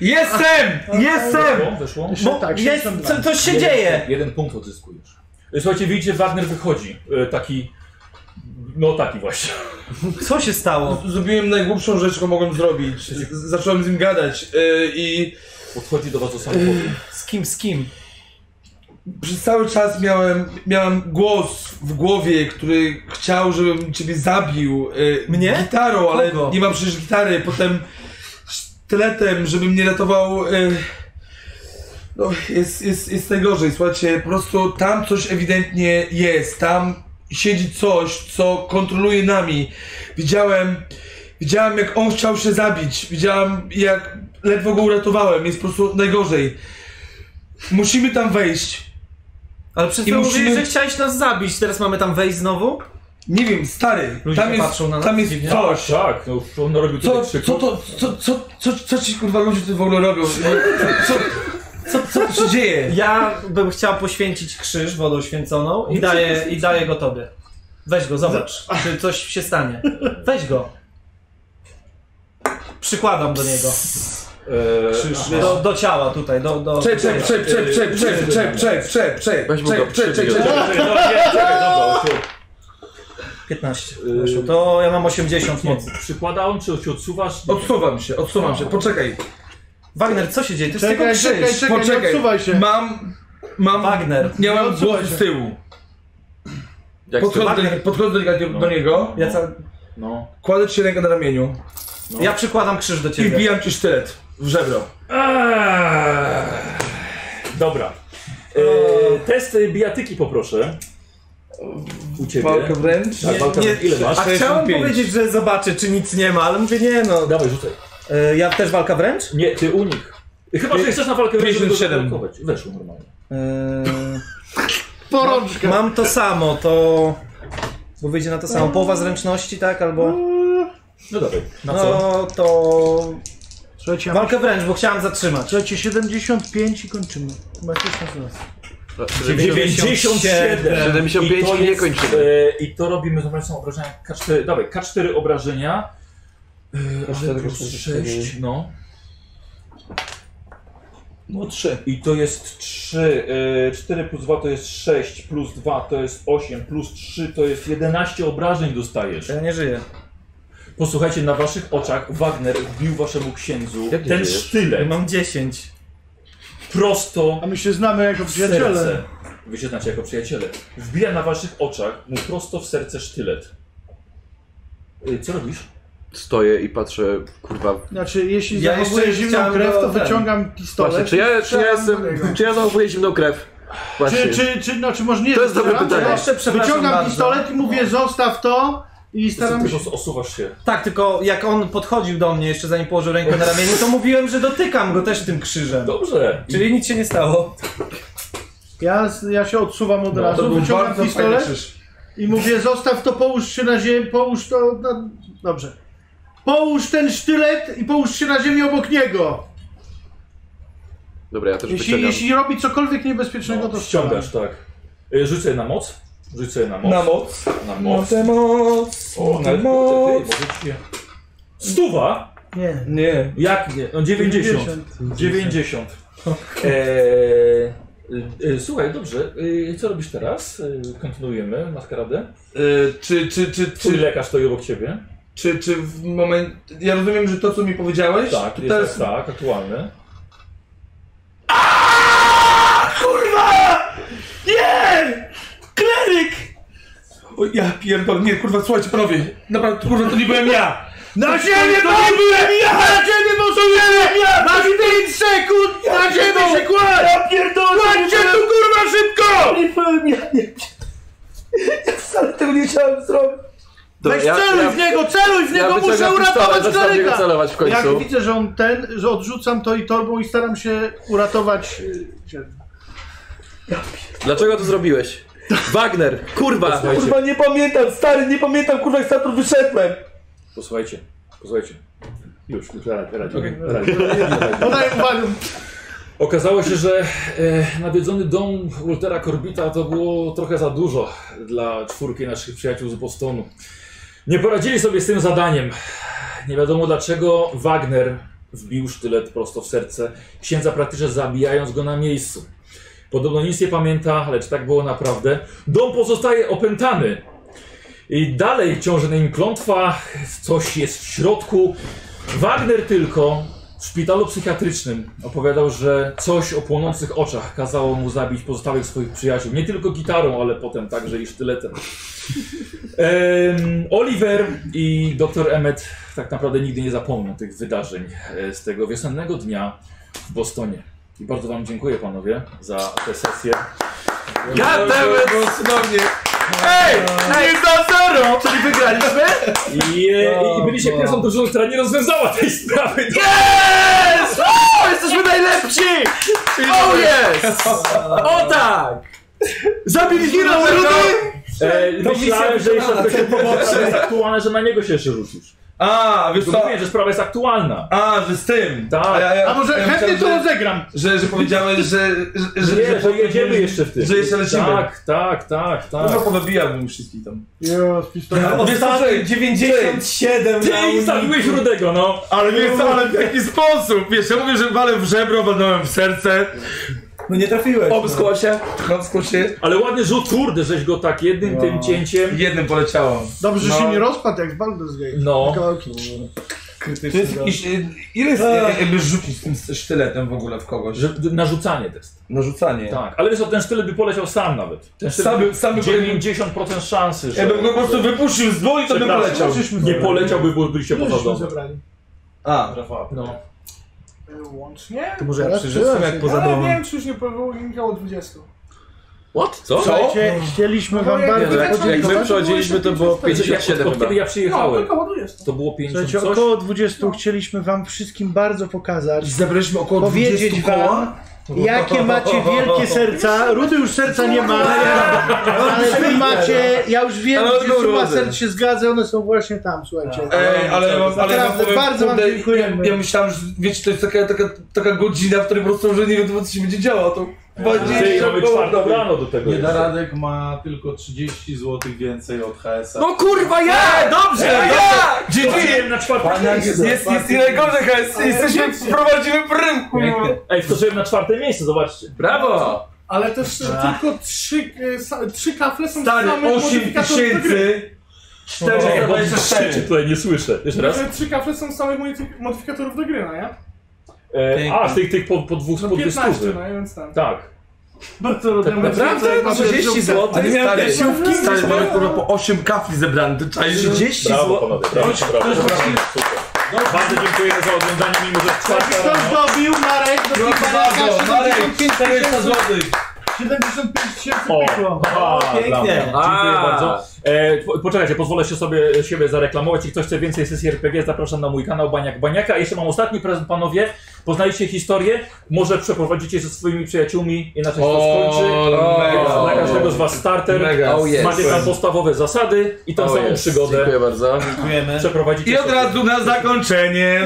E: Jestem! Jestem!
A: Weszło? Weszło?
D: Jeszcze
F: Bo
D: tak,
F: jest,
D: 62.
F: co, coś się
A: Jeden-
F: dzieje!
A: Jeden punkt odzyskujesz. Słuchajcie, widzicie, Wagner wychodzi. e, Taki... No taki właśnie.
F: Co się stało?
E: Zrobiłem najgłupszą rzecz, jaką mogłem zrobić. Z- Zacząłem z nim gadać yy, i
A: Podchodzi do was do samochodu.
F: Z kim, z kim?
E: przez cały czas miałem, miałem głos w głowie, który chciał, żebym ciebie zabił. yy,
F: Mnie?
E: Gitarą, ale
F: Kogo?
E: nie mam przecież gitary. Potem sztyletem, żeby mnie ratował. yy. No, jest, jest, jest najgorzej, słuchajcie, po prostu tam coś ewidentnie jest, tam siedzi coś, co kontroluje nami. Widziałem, widziałem jak on chciał się zabić, widziałem jak ledwo go uratowałem, jest po prostu najgorzej. Musimy tam wejść.
F: Ale przez
E: I
F: to mówili,
E: musimy-
F: że chciałeś nas zabić, teraz mamy tam wejść znowu?
E: Nie wiem, stary,
F: Ludzie
E: tam jest,
F: patrzą na nas
E: tam jest
F: dziwnie.
E: coś.
A: Tak, no on narobił
E: Co,
A: tutaj
E: co
A: krzyku.
E: to, co, co, co, co ci kurwa ludzie tu w ogóle robią? Co, co, co tu się dzieje?
F: Ja bym chciał poświęcić krzyż wodą święconą i daję, i daję go tobie. Weź go, zobacz, czy coś się stanie. Weź go. Przykładam do niego.
A: E,
F: Krzyż do, do ciała tutaj, do... do
E: Czep, czep, czep, czep, czep, czep, czep, czep, czep, czep,
G: Weź mu go
E: czep, czep, czep,
G: przybił.
E: czep.
A: Czekaj, no, nie, czekaj, dobra, on się-
F: 15.
A: Yy.
F: Weszło. To ja mam 80
A: nie,
F: mocy.
A: Przykłada on, czy się odsuwasz? Nie.
E: Odsuwam się, odsuwam się, poczekaj.
F: Wagner, co się dzieje? To jest tylko
D: Czekaj,
F: krzyż.
D: czekaj, czekaj, nie
E: Poczekaj,
D: odsuwaj się.
E: mam, mam,
F: Wagner.
E: miałem
D: odsuwaj
E: głos
D: się.
E: z tyłu.
G: Jak z tym-
E: Podchodzę, podchodzę do, do niego,
F: Ja, ca-
A: No.
E: kładę ci rękę na ramieniu
F: ja przykładam krzyż do
E: i
F: ciebie.
E: wbijam ci sztylet w żebro.
A: Eee, Dobra. E, test e, bijatyki poproszę. U ciebie.
E: Walkę wręcz.
A: Tak, walka
F: nie,
A: Ile masz?
F: A chciałem
E: 65.
F: powiedzieć, że zobaczę, czy nic nie ma, ale mówię, nie no.
A: Dawaj, rzucaj.
F: E, ja też walka wręcz?
A: Nie, ty unik. Chyba, że chcesz na walkę wręcz, żeby go
E: 57.
A: zablokować. Weszło normalnie.
F: E,
D: Porączka.
F: mam to samo, to... Bo wyjdzie na to samo. Połowa zręczności, tak? Albo...
A: No dawaj. Na co?
F: No to...
D: Słuchajcie, ja mam-
F: Walkę wręcz, bo chciałem zatrzymać.
D: słuchajcie, 75 i kończymy. Masz jeszcze szans.
G: 75
A: to
G: i nie
A: jest,
G: kończymy.
A: e, I to robimy, zobaczmy, są obrażenia K4, dawaj, K4 obrażenia. E, ale
E: K4,
A: plus
E: K4.
A: 6, no.
E: No trzy.
A: I to jest 3, e, 4 plus 2 to jest 6, plus 2 to jest 8, plus 3 to jest 11 obrażeń dostajesz.
F: Ja nie żyję.
A: Posłuchajcie, na waszych oczach Wagner wbił waszemu księdzu
G: Jak nie
A: ten
G: żyjesz?
F: Ja
A: sztylet
F: mam 10.
A: prosto
D: A my się znamy jako
A: w serce.
D: przyjaciele.
A: Wy się znacie jako przyjaciele. Wbija na waszych oczach mu prosto w serce sztylet. E, Co robisz?
G: Stoję i patrzę, kurwa.
D: Znaczy, jeśli
F: Ja
D: ja
F: jeszcze
D: zachowuję zimną
F: chciałem
D: krew,
F: go
D: to
F: ten-
D: wyciągam pistolet.
G: Właśnie, czy ja, czy ja,
D: strzelam do
G: jestem,
D: niego.
G: czy ja zachowuję zimną krew? Właśnie.
D: Czy, czy, czy, no, czy może nie
G: To jest dobre
D: strzelam,
G: pytanie.
D: ale
F: Jeszcze przepraszam
D: Wyciągam
F: bardzo.
D: pistolet i mówię, zostaw to i staram
A: Ty po
D: się...
A: prostu osuwasz się.
F: Tak, tylko jak on podchodził do mnie jeszcze zanim położył rękę na ramieniu, to mówiłem, że dotykam go też tym krzyżem.
A: Dobrze.
F: Czyli nic się nie stało.
D: Ja, ja się odsuwam
E: No,
D: od razu, wyciągam pistolet
E: krzyż.
D: i mówię, zostaw to, połóż się na ziemi, połóż to... Na... Dobrze. Połóż ten sztylet i połóż się na ziemi obok niego.
G: Dobra, ja też
D: Jeśli,
G: wyciągam.
D: jeśli robi cokolwiek niebezpiecznego,
A: No,
D: to
A: ściągasz, tak. E, Rzuć sobie na moc. Rzuć sobie na moc.
E: Na moc.
A: Na
E: Na
A: moc.
E: tę moc.
A: O,
E: na
A: ale
E: moc.
A: moc. Stuwa?
D: Nie.
E: Nie.
A: Jak nie? No 90. 90. Eee, e, słuchaj, dobrze. E, co robisz teraz? E, kontynuujemy maskaradę.
E: Y, czy, czy, czy,
A: Twój
E: czy,
A: lekarz stoi obok ciebie.
E: czy, czy w moment... Ja rozumiem, że to, co mi powiedziałeś,
A: Tak,
E: to
A: jest
E: teraz...
A: tak, aktualne.
G: tak.
E: Nie! Kleryk! O, ja pierdolę, nie, kurwa, słuchajcie, panowie, naprawdę, kurwa, to nie byłem ja!
J: Na ziemię to nie byłem ja! Na ziemię posuwiemy!
F: Tak,
J: Masz 5 sekund!
D: Tak,
J: Na ziemię się kładź! Ja pierdolę! Kładź się tu kurwa szybko!
E: Nie byłem ja, nie Ja wcale tego nie chciałem zrobić.
J: Weź celuj w niego, celuj w niego, muszę
G: wyciągam pistolet,
J: uratować
G: zaczynam niego
J: człowieka!
G: celować w
D: Jak
G: końcu.
D: widzę, że on ten, że odrzucam to i torbą i staram się uratować. y,
G: Dlaczego to zrobiłeś? Wagner, kurwa!
E: Kurwa, nie pamiętam, stary, nie pamiętam, kurwa, jak stamtąd wyszedłem.
A: Posłuchajcie, posłuchajcie. Już, już radzie, radzie, radzie, radzie.
D: Podaję uwagę.
A: Okazało się, że e, nawiedzony dom Waltera Korbita to było trochę za dużo dla czwórki naszych przyjaciół z Bostonu. Nie poradzili sobie z tym zadaniem. Nie wiadomo dlaczego Wagner wbił sztylet prosto w serce księdza praktycznie zabijając go na miejscu. Podobno nic nie pamięta, lecz tak było naprawdę. Dom pozostaje opętany. I dalej ciąży na nim klątwa, coś jest w środku. Wagner tylko w szpitalu psychiatrycznym opowiadał, że coś o płonących oczach kazało mu zabić pozostałych swoich przyjaciół. Nie tylko gitarą, ale potem także i sztyletem. Em, Oliver i dr Emmet tak naprawdę nigdy nie zapomną tych wydarzeń e, z tego wiosennego dnia w Bostonie. I bardzo Wam dziękuję panowie za tę sesję.
G: Goddammit!
J: Ej! Nie za zero! Czyli wygraliśmy?
A: I, e, i byliście pierwszą drużyną, która nie rozwiązała tej sprawy.
G: Yes! O, jesteśmy najlepsi! Oh yes! O tak!
J: Zabiliśmy na rudy!
A: E, myślałem, że jeszcze ktoś odpowiedział, że jest aktualne, że na niego się jeszcze rzucisz.
E: A, wiesz
A: Tylko
E: co?
A: mówię, że sprawa jest aktualna.
E: A, że z tym.
A: Tak.
E: A, ja, ja,
D: A może
E: ja
D: chętnie
E: myślałem,
D: to rozegram.
E: że, że, że powiedziałeś, że... że, że,
A: Nie, że jedziemy jeszcze w tym.
E: że jeszcze lecimy. No
A: Tak, tak, tak, tak.
E: Kurwa, powybijałbym wszystkich tam.
D: Jo, z pistoletem.
E: Ostatni 97
A: Ty zabiłeś Rudego, no.
J: Ale nie wcale w taki sposób. Wiesz, ja mówię, że walę w żebro, walnąłem w serce.
E: No nie trafiłeś. Obskło się. Obskło się.
A: Ale ładny rzut twórdy, żeś go tak jednym tym cięciem.
E: Jednym poleciało.
D: Dobrze, że
E: No.
D: się nie rozpadł jak w Baldur's Gate.
A: No.
D: Kawałki.
E: To jest
D: No.
E: jakiś, y, ile jest, y, jakby rzucić tym sztyletem w ogóle w kogoś?
A: Że, narzucanie test.
E: Narzucanie.
A: Tak. Ale wiesz co, ten sztylet by poleciał sam nawet. Ten sztylet
E: Sam-
A: by-
E: sam by-
A: 90% szansy, że...
E: Jakbym go po prostu wypuścił z dwóch i to bym
A: Przepraszam.
E: poleciał.
A: Nie poleciałby, bo byliście poza
D: Żeśmy
A: domem.
D: zebrali.
E: A,
A: No.
I: Łącznie?
F: To może ja
D: Teraz
F: przyrzucam
D: tyle,
F: jak poza
I: Ale nie
F: domem.
I: wiem, czy już nie wynikało 20.
G: What? Co?
D: Słuchajcie, chcieliśmy wam
I: No, jak-
D: bardzo
I: jak- jak
G: Jak
D: podziękować.
G: my przechodziliśmy to było
A: Jak,
G: 57
A: od
G: chyba.
A: kiedy ja
I: No,
A: przyjechałem,
I: tylko ładujesz to.
A: to było 50
D: Słuchajcie,
A: coś.
D: około 20 chcieliśmy wam wszystkim bardzo pokazać,
E: Zebraliśmy około
D: powiedzieć
E: 20
D: wam,
E: koła.
D: jakie macie wielkie serca. Rudy już serca nie ma, ale wy macie, ja już wiem,
E: Ale
D: gdzie
E: odgórę
D: suma
E: Rudy.
D: serc się zgadza, one są właśnie tam, słuchajcie.
E: Ej, ale ja wam, ale ja wam
D: Naprawdę,
E: powiem,
D: bardzo wam
E: kurde,
D: dziękujemy.
E: Ja myślałem, że wiecie, to jest taka, taka, taka godzina, w której po prostu, że nie wiem, co się będzie działo, to 20
A: mamy
E: koła.
A: czwartą rano do tego
J: Nie da
A: jeszcze.
J: Radek ma tylko 30 zł więcej od HS-a.
E: No kurwa, ja! Dobrze, ja! Dziękuję.
A: Wskoczyłem na czwarte
E: Jest,
A: miejsce.
E: jest, jest ile gorzej, HS, jesteśmy, prowadzimy prym, kurwa.
A: Ej, wskoczyłem na czwarte miejsce, zobaczcie.
E: Brawo!
I: Ale też e, tylko trzy, e, sa, trzy kafle są
E: Stary,
I: samych
E: 8
I: modyfikatorów do gry.
E: tysięcy.
A: Czekaj, bo krzyczy
E: 424.
A: tutaj nie słyszę. Jeszcze raz.
I: Że E, Trzy kafle są z samych modyfik- modyfikatorów do gry, no nie?
A: E, a, z tych, tych po, po dwóch,
I: No
A: po dwie
I: 15,
A: stówy.
I: no i więc tam.
A: Tak.
I: Bardzo tak
E: Naprawdę? 30 zł?
G: A nie miałem
E: Stary,
G: lesiówki?
E: Stary, mamy kurwa po 8 kafli zebrane, ty czaisz?
G: 30
A: Brawo
G: zł.
A: panowie, brawo, brawo, brawo. Super. Bardzo dziękujemy za oglądanie, mimo że czwarta
D: Kto
A: rano.
D: zdobił Tak, Marek do
E: Brawo, Marek,
D: 75
E: 400
D: tysięcy,
E: zł.
D: 75 tysięcy
A: O,
D: pykło.
A: a, dla mnie. Dziękuję
G: A.
A: bardzo. E, po- poczekajcie, pozwolę się sobie siebie zareklamować. Jeśli ktoś chce więcej sesji RPG, zapraszam na mój kanał Baniak Baniaka. Jeszcze mam ostatni prezent, panowie. Poznaliście historię, może przeprowadzicie ze swoimi przyjaciółmi, inaczej się to skończy.
G: no.
E: mega.
A: Tak, Dla każdego z was starter.
E: Mega.
G: Oh yes.
A: Macie tam podstawowe zasady i tą
G: O,
A: samą
G: jest.
A: przygodę
G: Dziękuję bardzo.
A: przeprowadzicie.
E: I od razu na zakończenie.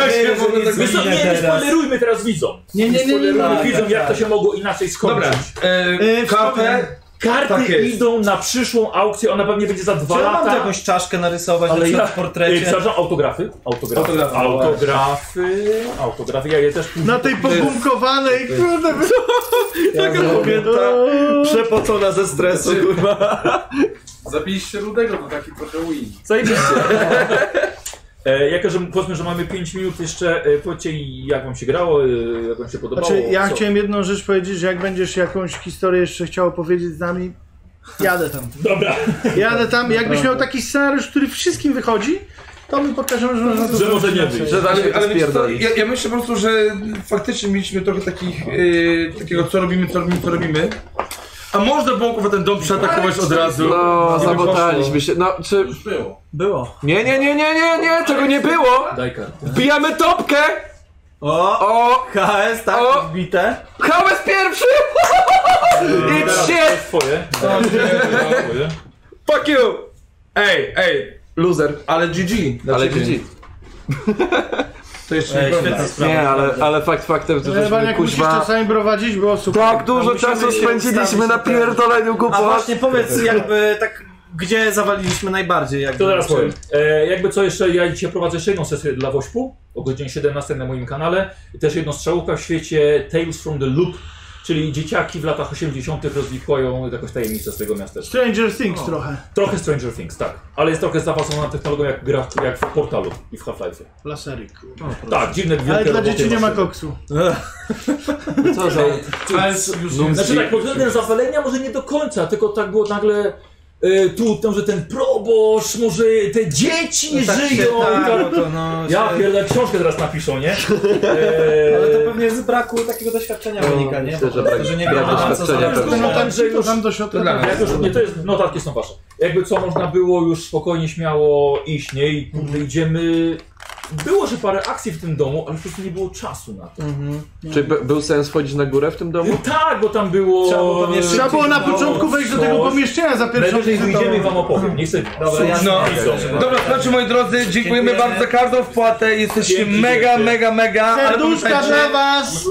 E: Ja się w ogóle tak-
A: Wiesz co, nie, nie spoilerujmy teraz widzom.
D: Nie, nie, nie, nie,
G: Tak,
A: Spoilerujmy
D: nie.
A: widzom, jak to się mogło inaczej skończyć.
E: Dobra, e,
D: E,
E: kafę.
A: Karty
E: Tak jest.
A: idą na przyszłą aukcję, ona pewnie będzie za dwa
F: Czy ja mam
A: lata.
F: tu jakąś czaszkę narysować
A: Ale
F: ale na
A: ja-
F: przykład w
A: Ej,
F: portrecie?
A: Przepraszam, autografy. Autografy.
E: Autografy.
A: Autografy. Autografy. Ja je też później.
D: Na tej pogumkowanej, kurde, wy-
E: Taka
D: no, tak.
F: Przepocona no, ze stresu, kurwa.
J: Zabiliście Rudego, to taki trochę win.
A: E, jako, że powiedzmy, że mamy 5 minut jeszcze, e, powiedzcie jak wam się grało, e, jak wam się podobało.
D: Znaczy, ja
A: co?
D: chciałem jedną rzecz powiedzieć, że jak będziesz jakąś historię jeszcze chciał opowiedzieć z nami, jadę tam.
A: Dobra.
D: Jadę tam. Jakbyś miał taki scenariusz, który wszystkim wychodzi, To my pokażemy, że można to
A: Że może nie być.
G: Że dalej
E: Ale wiecie co,
G: spierdoli.
E: ja, ja myślę po prostu, że faktycznie mieliśmy trochę takich, yy, takiego co robimy, co robimy, co robimy. A można było kurwa ten dom przeatakować od razu.
G: No,
E: Nie
G: zabotaliśmy się. No, czy...
F: Było.
G: Nie, nie, nie, nie, nie, nie, tego nie było!
A: Daj kartę.
G: Wbijamy topkę!
F: O!
G: O!
F: KS, tak,
G: O!
F: wbite.
G: Hałas pierwszy! Idź
A: To
G: się!
A: jest twoje. Twoje.
E: Fuck you! Ej, ej,
G: Loser. Znaczy,
E: ale Znaczy, GG. dla
G: Ale
E: ciebie.
G: GG.
E: To jeszcze
F: Ej,
E: nie
F: świetna
E: koniec.
F: sprawa.
G: Nie, ale, ale fakt faktem, że
D: Chyba
G: żeśmy
D: jak musisz
G: kuźwa...
D: czasami prowadzić, było super.
G: Tak dużo
F: musimy
G: czasu
F: się
G: spędziliśmy
F: ustawić
G: na
F: na ten.
G: pierdoleniu
F: A
G: głupot.
F: właśnie powiedz jakby tak, gdzie zawaliliśmy najbardziej jakby.
A: To teraz
F: czym?
A: powiem. E, jakby co jeszcze, ja dzisiaj prowadzę jeszcze jedną sesję dla Wośpu o godzinie 17 na moim kanale. Też jedno strzałówka w świecie Tales from the Loop, czyli dzieciaki w latach 80. rozwikłają jakąś tajemnicę swojego miasteczka.
D: Stranger Things trochę.
A: Trochę Stranger Things, tak. Ale jest trochę zaawansowana technologią jak, gra, jak w Portalu i w Half-Life.
D: Laserik.
A: Tak, dziwne wielkie
D: Ale dla
A: roboty
D: dzieci nie ma
A: maszyny.
D: koksu.
G: Co za...
I: Ale już
G: No,
I: jest.
A: Znaczy tak, pod względem zawalenia może nie do końca, tylko tak było nagle e, tu, tam, że ten proboszcz, może te dzieci nie
F: Tak się
A: żyją.
F: tarło, to no,
A: Ja
F: się-
A: pierdolę, książkę teraz napiszą, nie? E,
F: Ale to pewnie z braku takiego doświadczenia wynika, nie?
G: No, Myślę,
F: Po
G: że
F: prostu,
G: brak-
F: że nie
G: brak
F: wiadomo, na co
G: doświadczenia
F: zależy.
A: pewnie.
D: No tam,
A: że
D: to
A: już-
D: tam do
E: to dla
D: środka.
E: nas.
A: Jak już, nie, to jest, notatki są wasze. Jakby co można było już spokojnie, śmiało iść, nie? I
F: Mhm.
A: kurde, idziemy... Było, że parę akcji w tym domu, ale po prostu nie było czasu na to.
G: Czy by- był sens chodzić na górę w tym domu?
A: Tak, bo tam było...
F: Trzeba było pewnie
D: Trzeba było na początku wejść do tego
A: Coś.
D: pomieszczenia za pierwszą
A: Najwyżej
D: wizytą.
A: wyjdziemy i wam opowiem, nie chcę...
F: Dobra, jasne.
E: No.
A: Widzą.
E: Dobra, słuchajcie moi drodzy, dziękujemy
F: Dziękujemy.
E: bardzo za każdą wpłatę, jesteście
A: Dzięki,
E: mega,
A: dzięki.
E: mega, mega, ale
D: Serduszka
E: pamiętajcie-
D: dla was!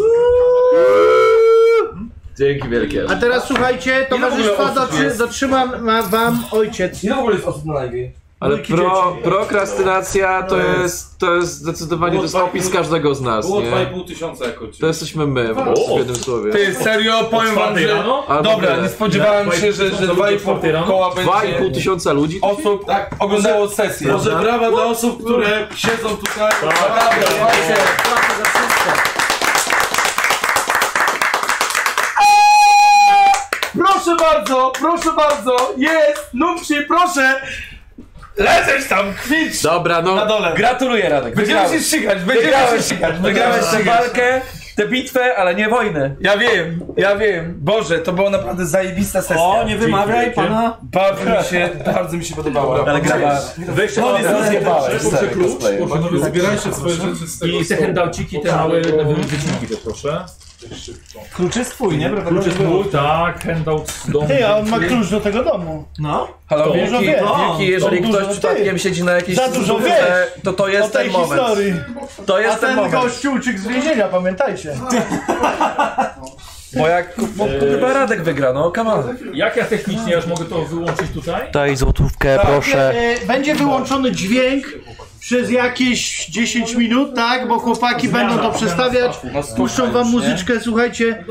G: Dzięki wielkie.
D: A teraz słuchajcie,
E: Ile w ogóle
D: towarzystwa
E: osób
D: dotrzy,
E: jest?
D: dotrzyma ma wam ojciec.
E: Ile w ogóle jest osób na live?
G: Ale
D: Dwójki
G: pro,
D: dzieci.
G: prokrastynacja to jest, to jest zdecydowanie to jest opis każdego z nas,
J: Było
G: nie?
J: 2,5 tysiąca jako ci.
G: To jesteśmy my, po prostu w jednym słowie.
E: Ty, serio, powiem wam,
A: Czwartej
E: że...
J: no.
A: rano?
G: Albo
E: Dobra,
G: tyle.
E: nie spodziewałem
A: Dwa i-
E: się, że, że
A: do
E: 2,5
A: czwartej rano?
E: koła
G: Dwa i pół
E: będzie
G: tysiąca ludzi?
E: osób
J: Tak.
E: oglądało sesję.
J: Może brawa dla osób, które siedzą tutaj.
E: Dobra, słuchajcie. Proszę bardzo, proszę bardzo, jest, numci, proszę! Leżysz tam, kwicz!
G: Dobra,
E: Na
G: no.
E: dole.
C: Gratuluję Radek,
E: Będziemy się
C: wygrałeś.
E: ścigać, będziemy się
C: Wygrałeś,
E: ścigać, będziemy
C: Wygrałeś
E: się
C: tę
E: ścigać.
C: walkę, tę bitwę, ale nie wojnę.
E: Ja wiem, ja wiem. Boże, to była naprawdę zajebista sesja.
F: O, nie wymawiaj pana.
E: Bardzo mi się, bardzo mi się podobało.
C: Ale grałeś.
A: Weźcie
C: No, nie zjebałeś.
A: Proszę klucz,
G: cosplayer.
A: proszę
J: Panowie,
A: klucz.
J: zbierajcie swoje rzeczy z tego
A: I te
J: stołu.
A: handouciki, te małe wy- wycinki też proszę.
F: Klucz jest twój, nie? Prawda?
A: Klucz jest mój, tak, handout z domu.
D: Ty, a on ma klucz do tego domu.
F: No.
G: Halo,
A: To
G: Wilki,
D: dużo wie.
G: Wilki, jeżeli
D: To
G: ktoś
D: dużo
G: przypadkiem siedzi na jakiejś
D: Za dużo
G: skórze,
D: wiesz.
G: to to
D: O
G: jest
D: tej
G: ten moment.
D: historii.
G: To
D: A
G: jest ten
D: ten
G: moment.
D: gościu uciekł z więzienia, pamiętajcie.
G: Bo jak ku- bo
D: Eee.
G: chyba Radek wygra, no, come on.
A: Jak ja technicznie aż mogę to wyłączyć tutaj?
C: Daj złotówkę, proszę.
D: E, Będzie wyłączony dźwięk przez jakieś 10 minut, tak? Bo chłopaki będą to przestawiać. Puszczą wam muzyczkę, słuchajcie.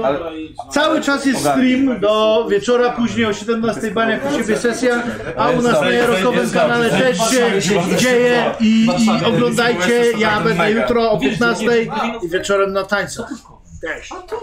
D: Cały czas jest stream do wieczora, później o 17 bania u siebie sesja, a u nas na Jarokowym kanale też się dzieje i, i oglądajcie. Ja będę jutro o 15 i wieczorem na tańcu. Cześć.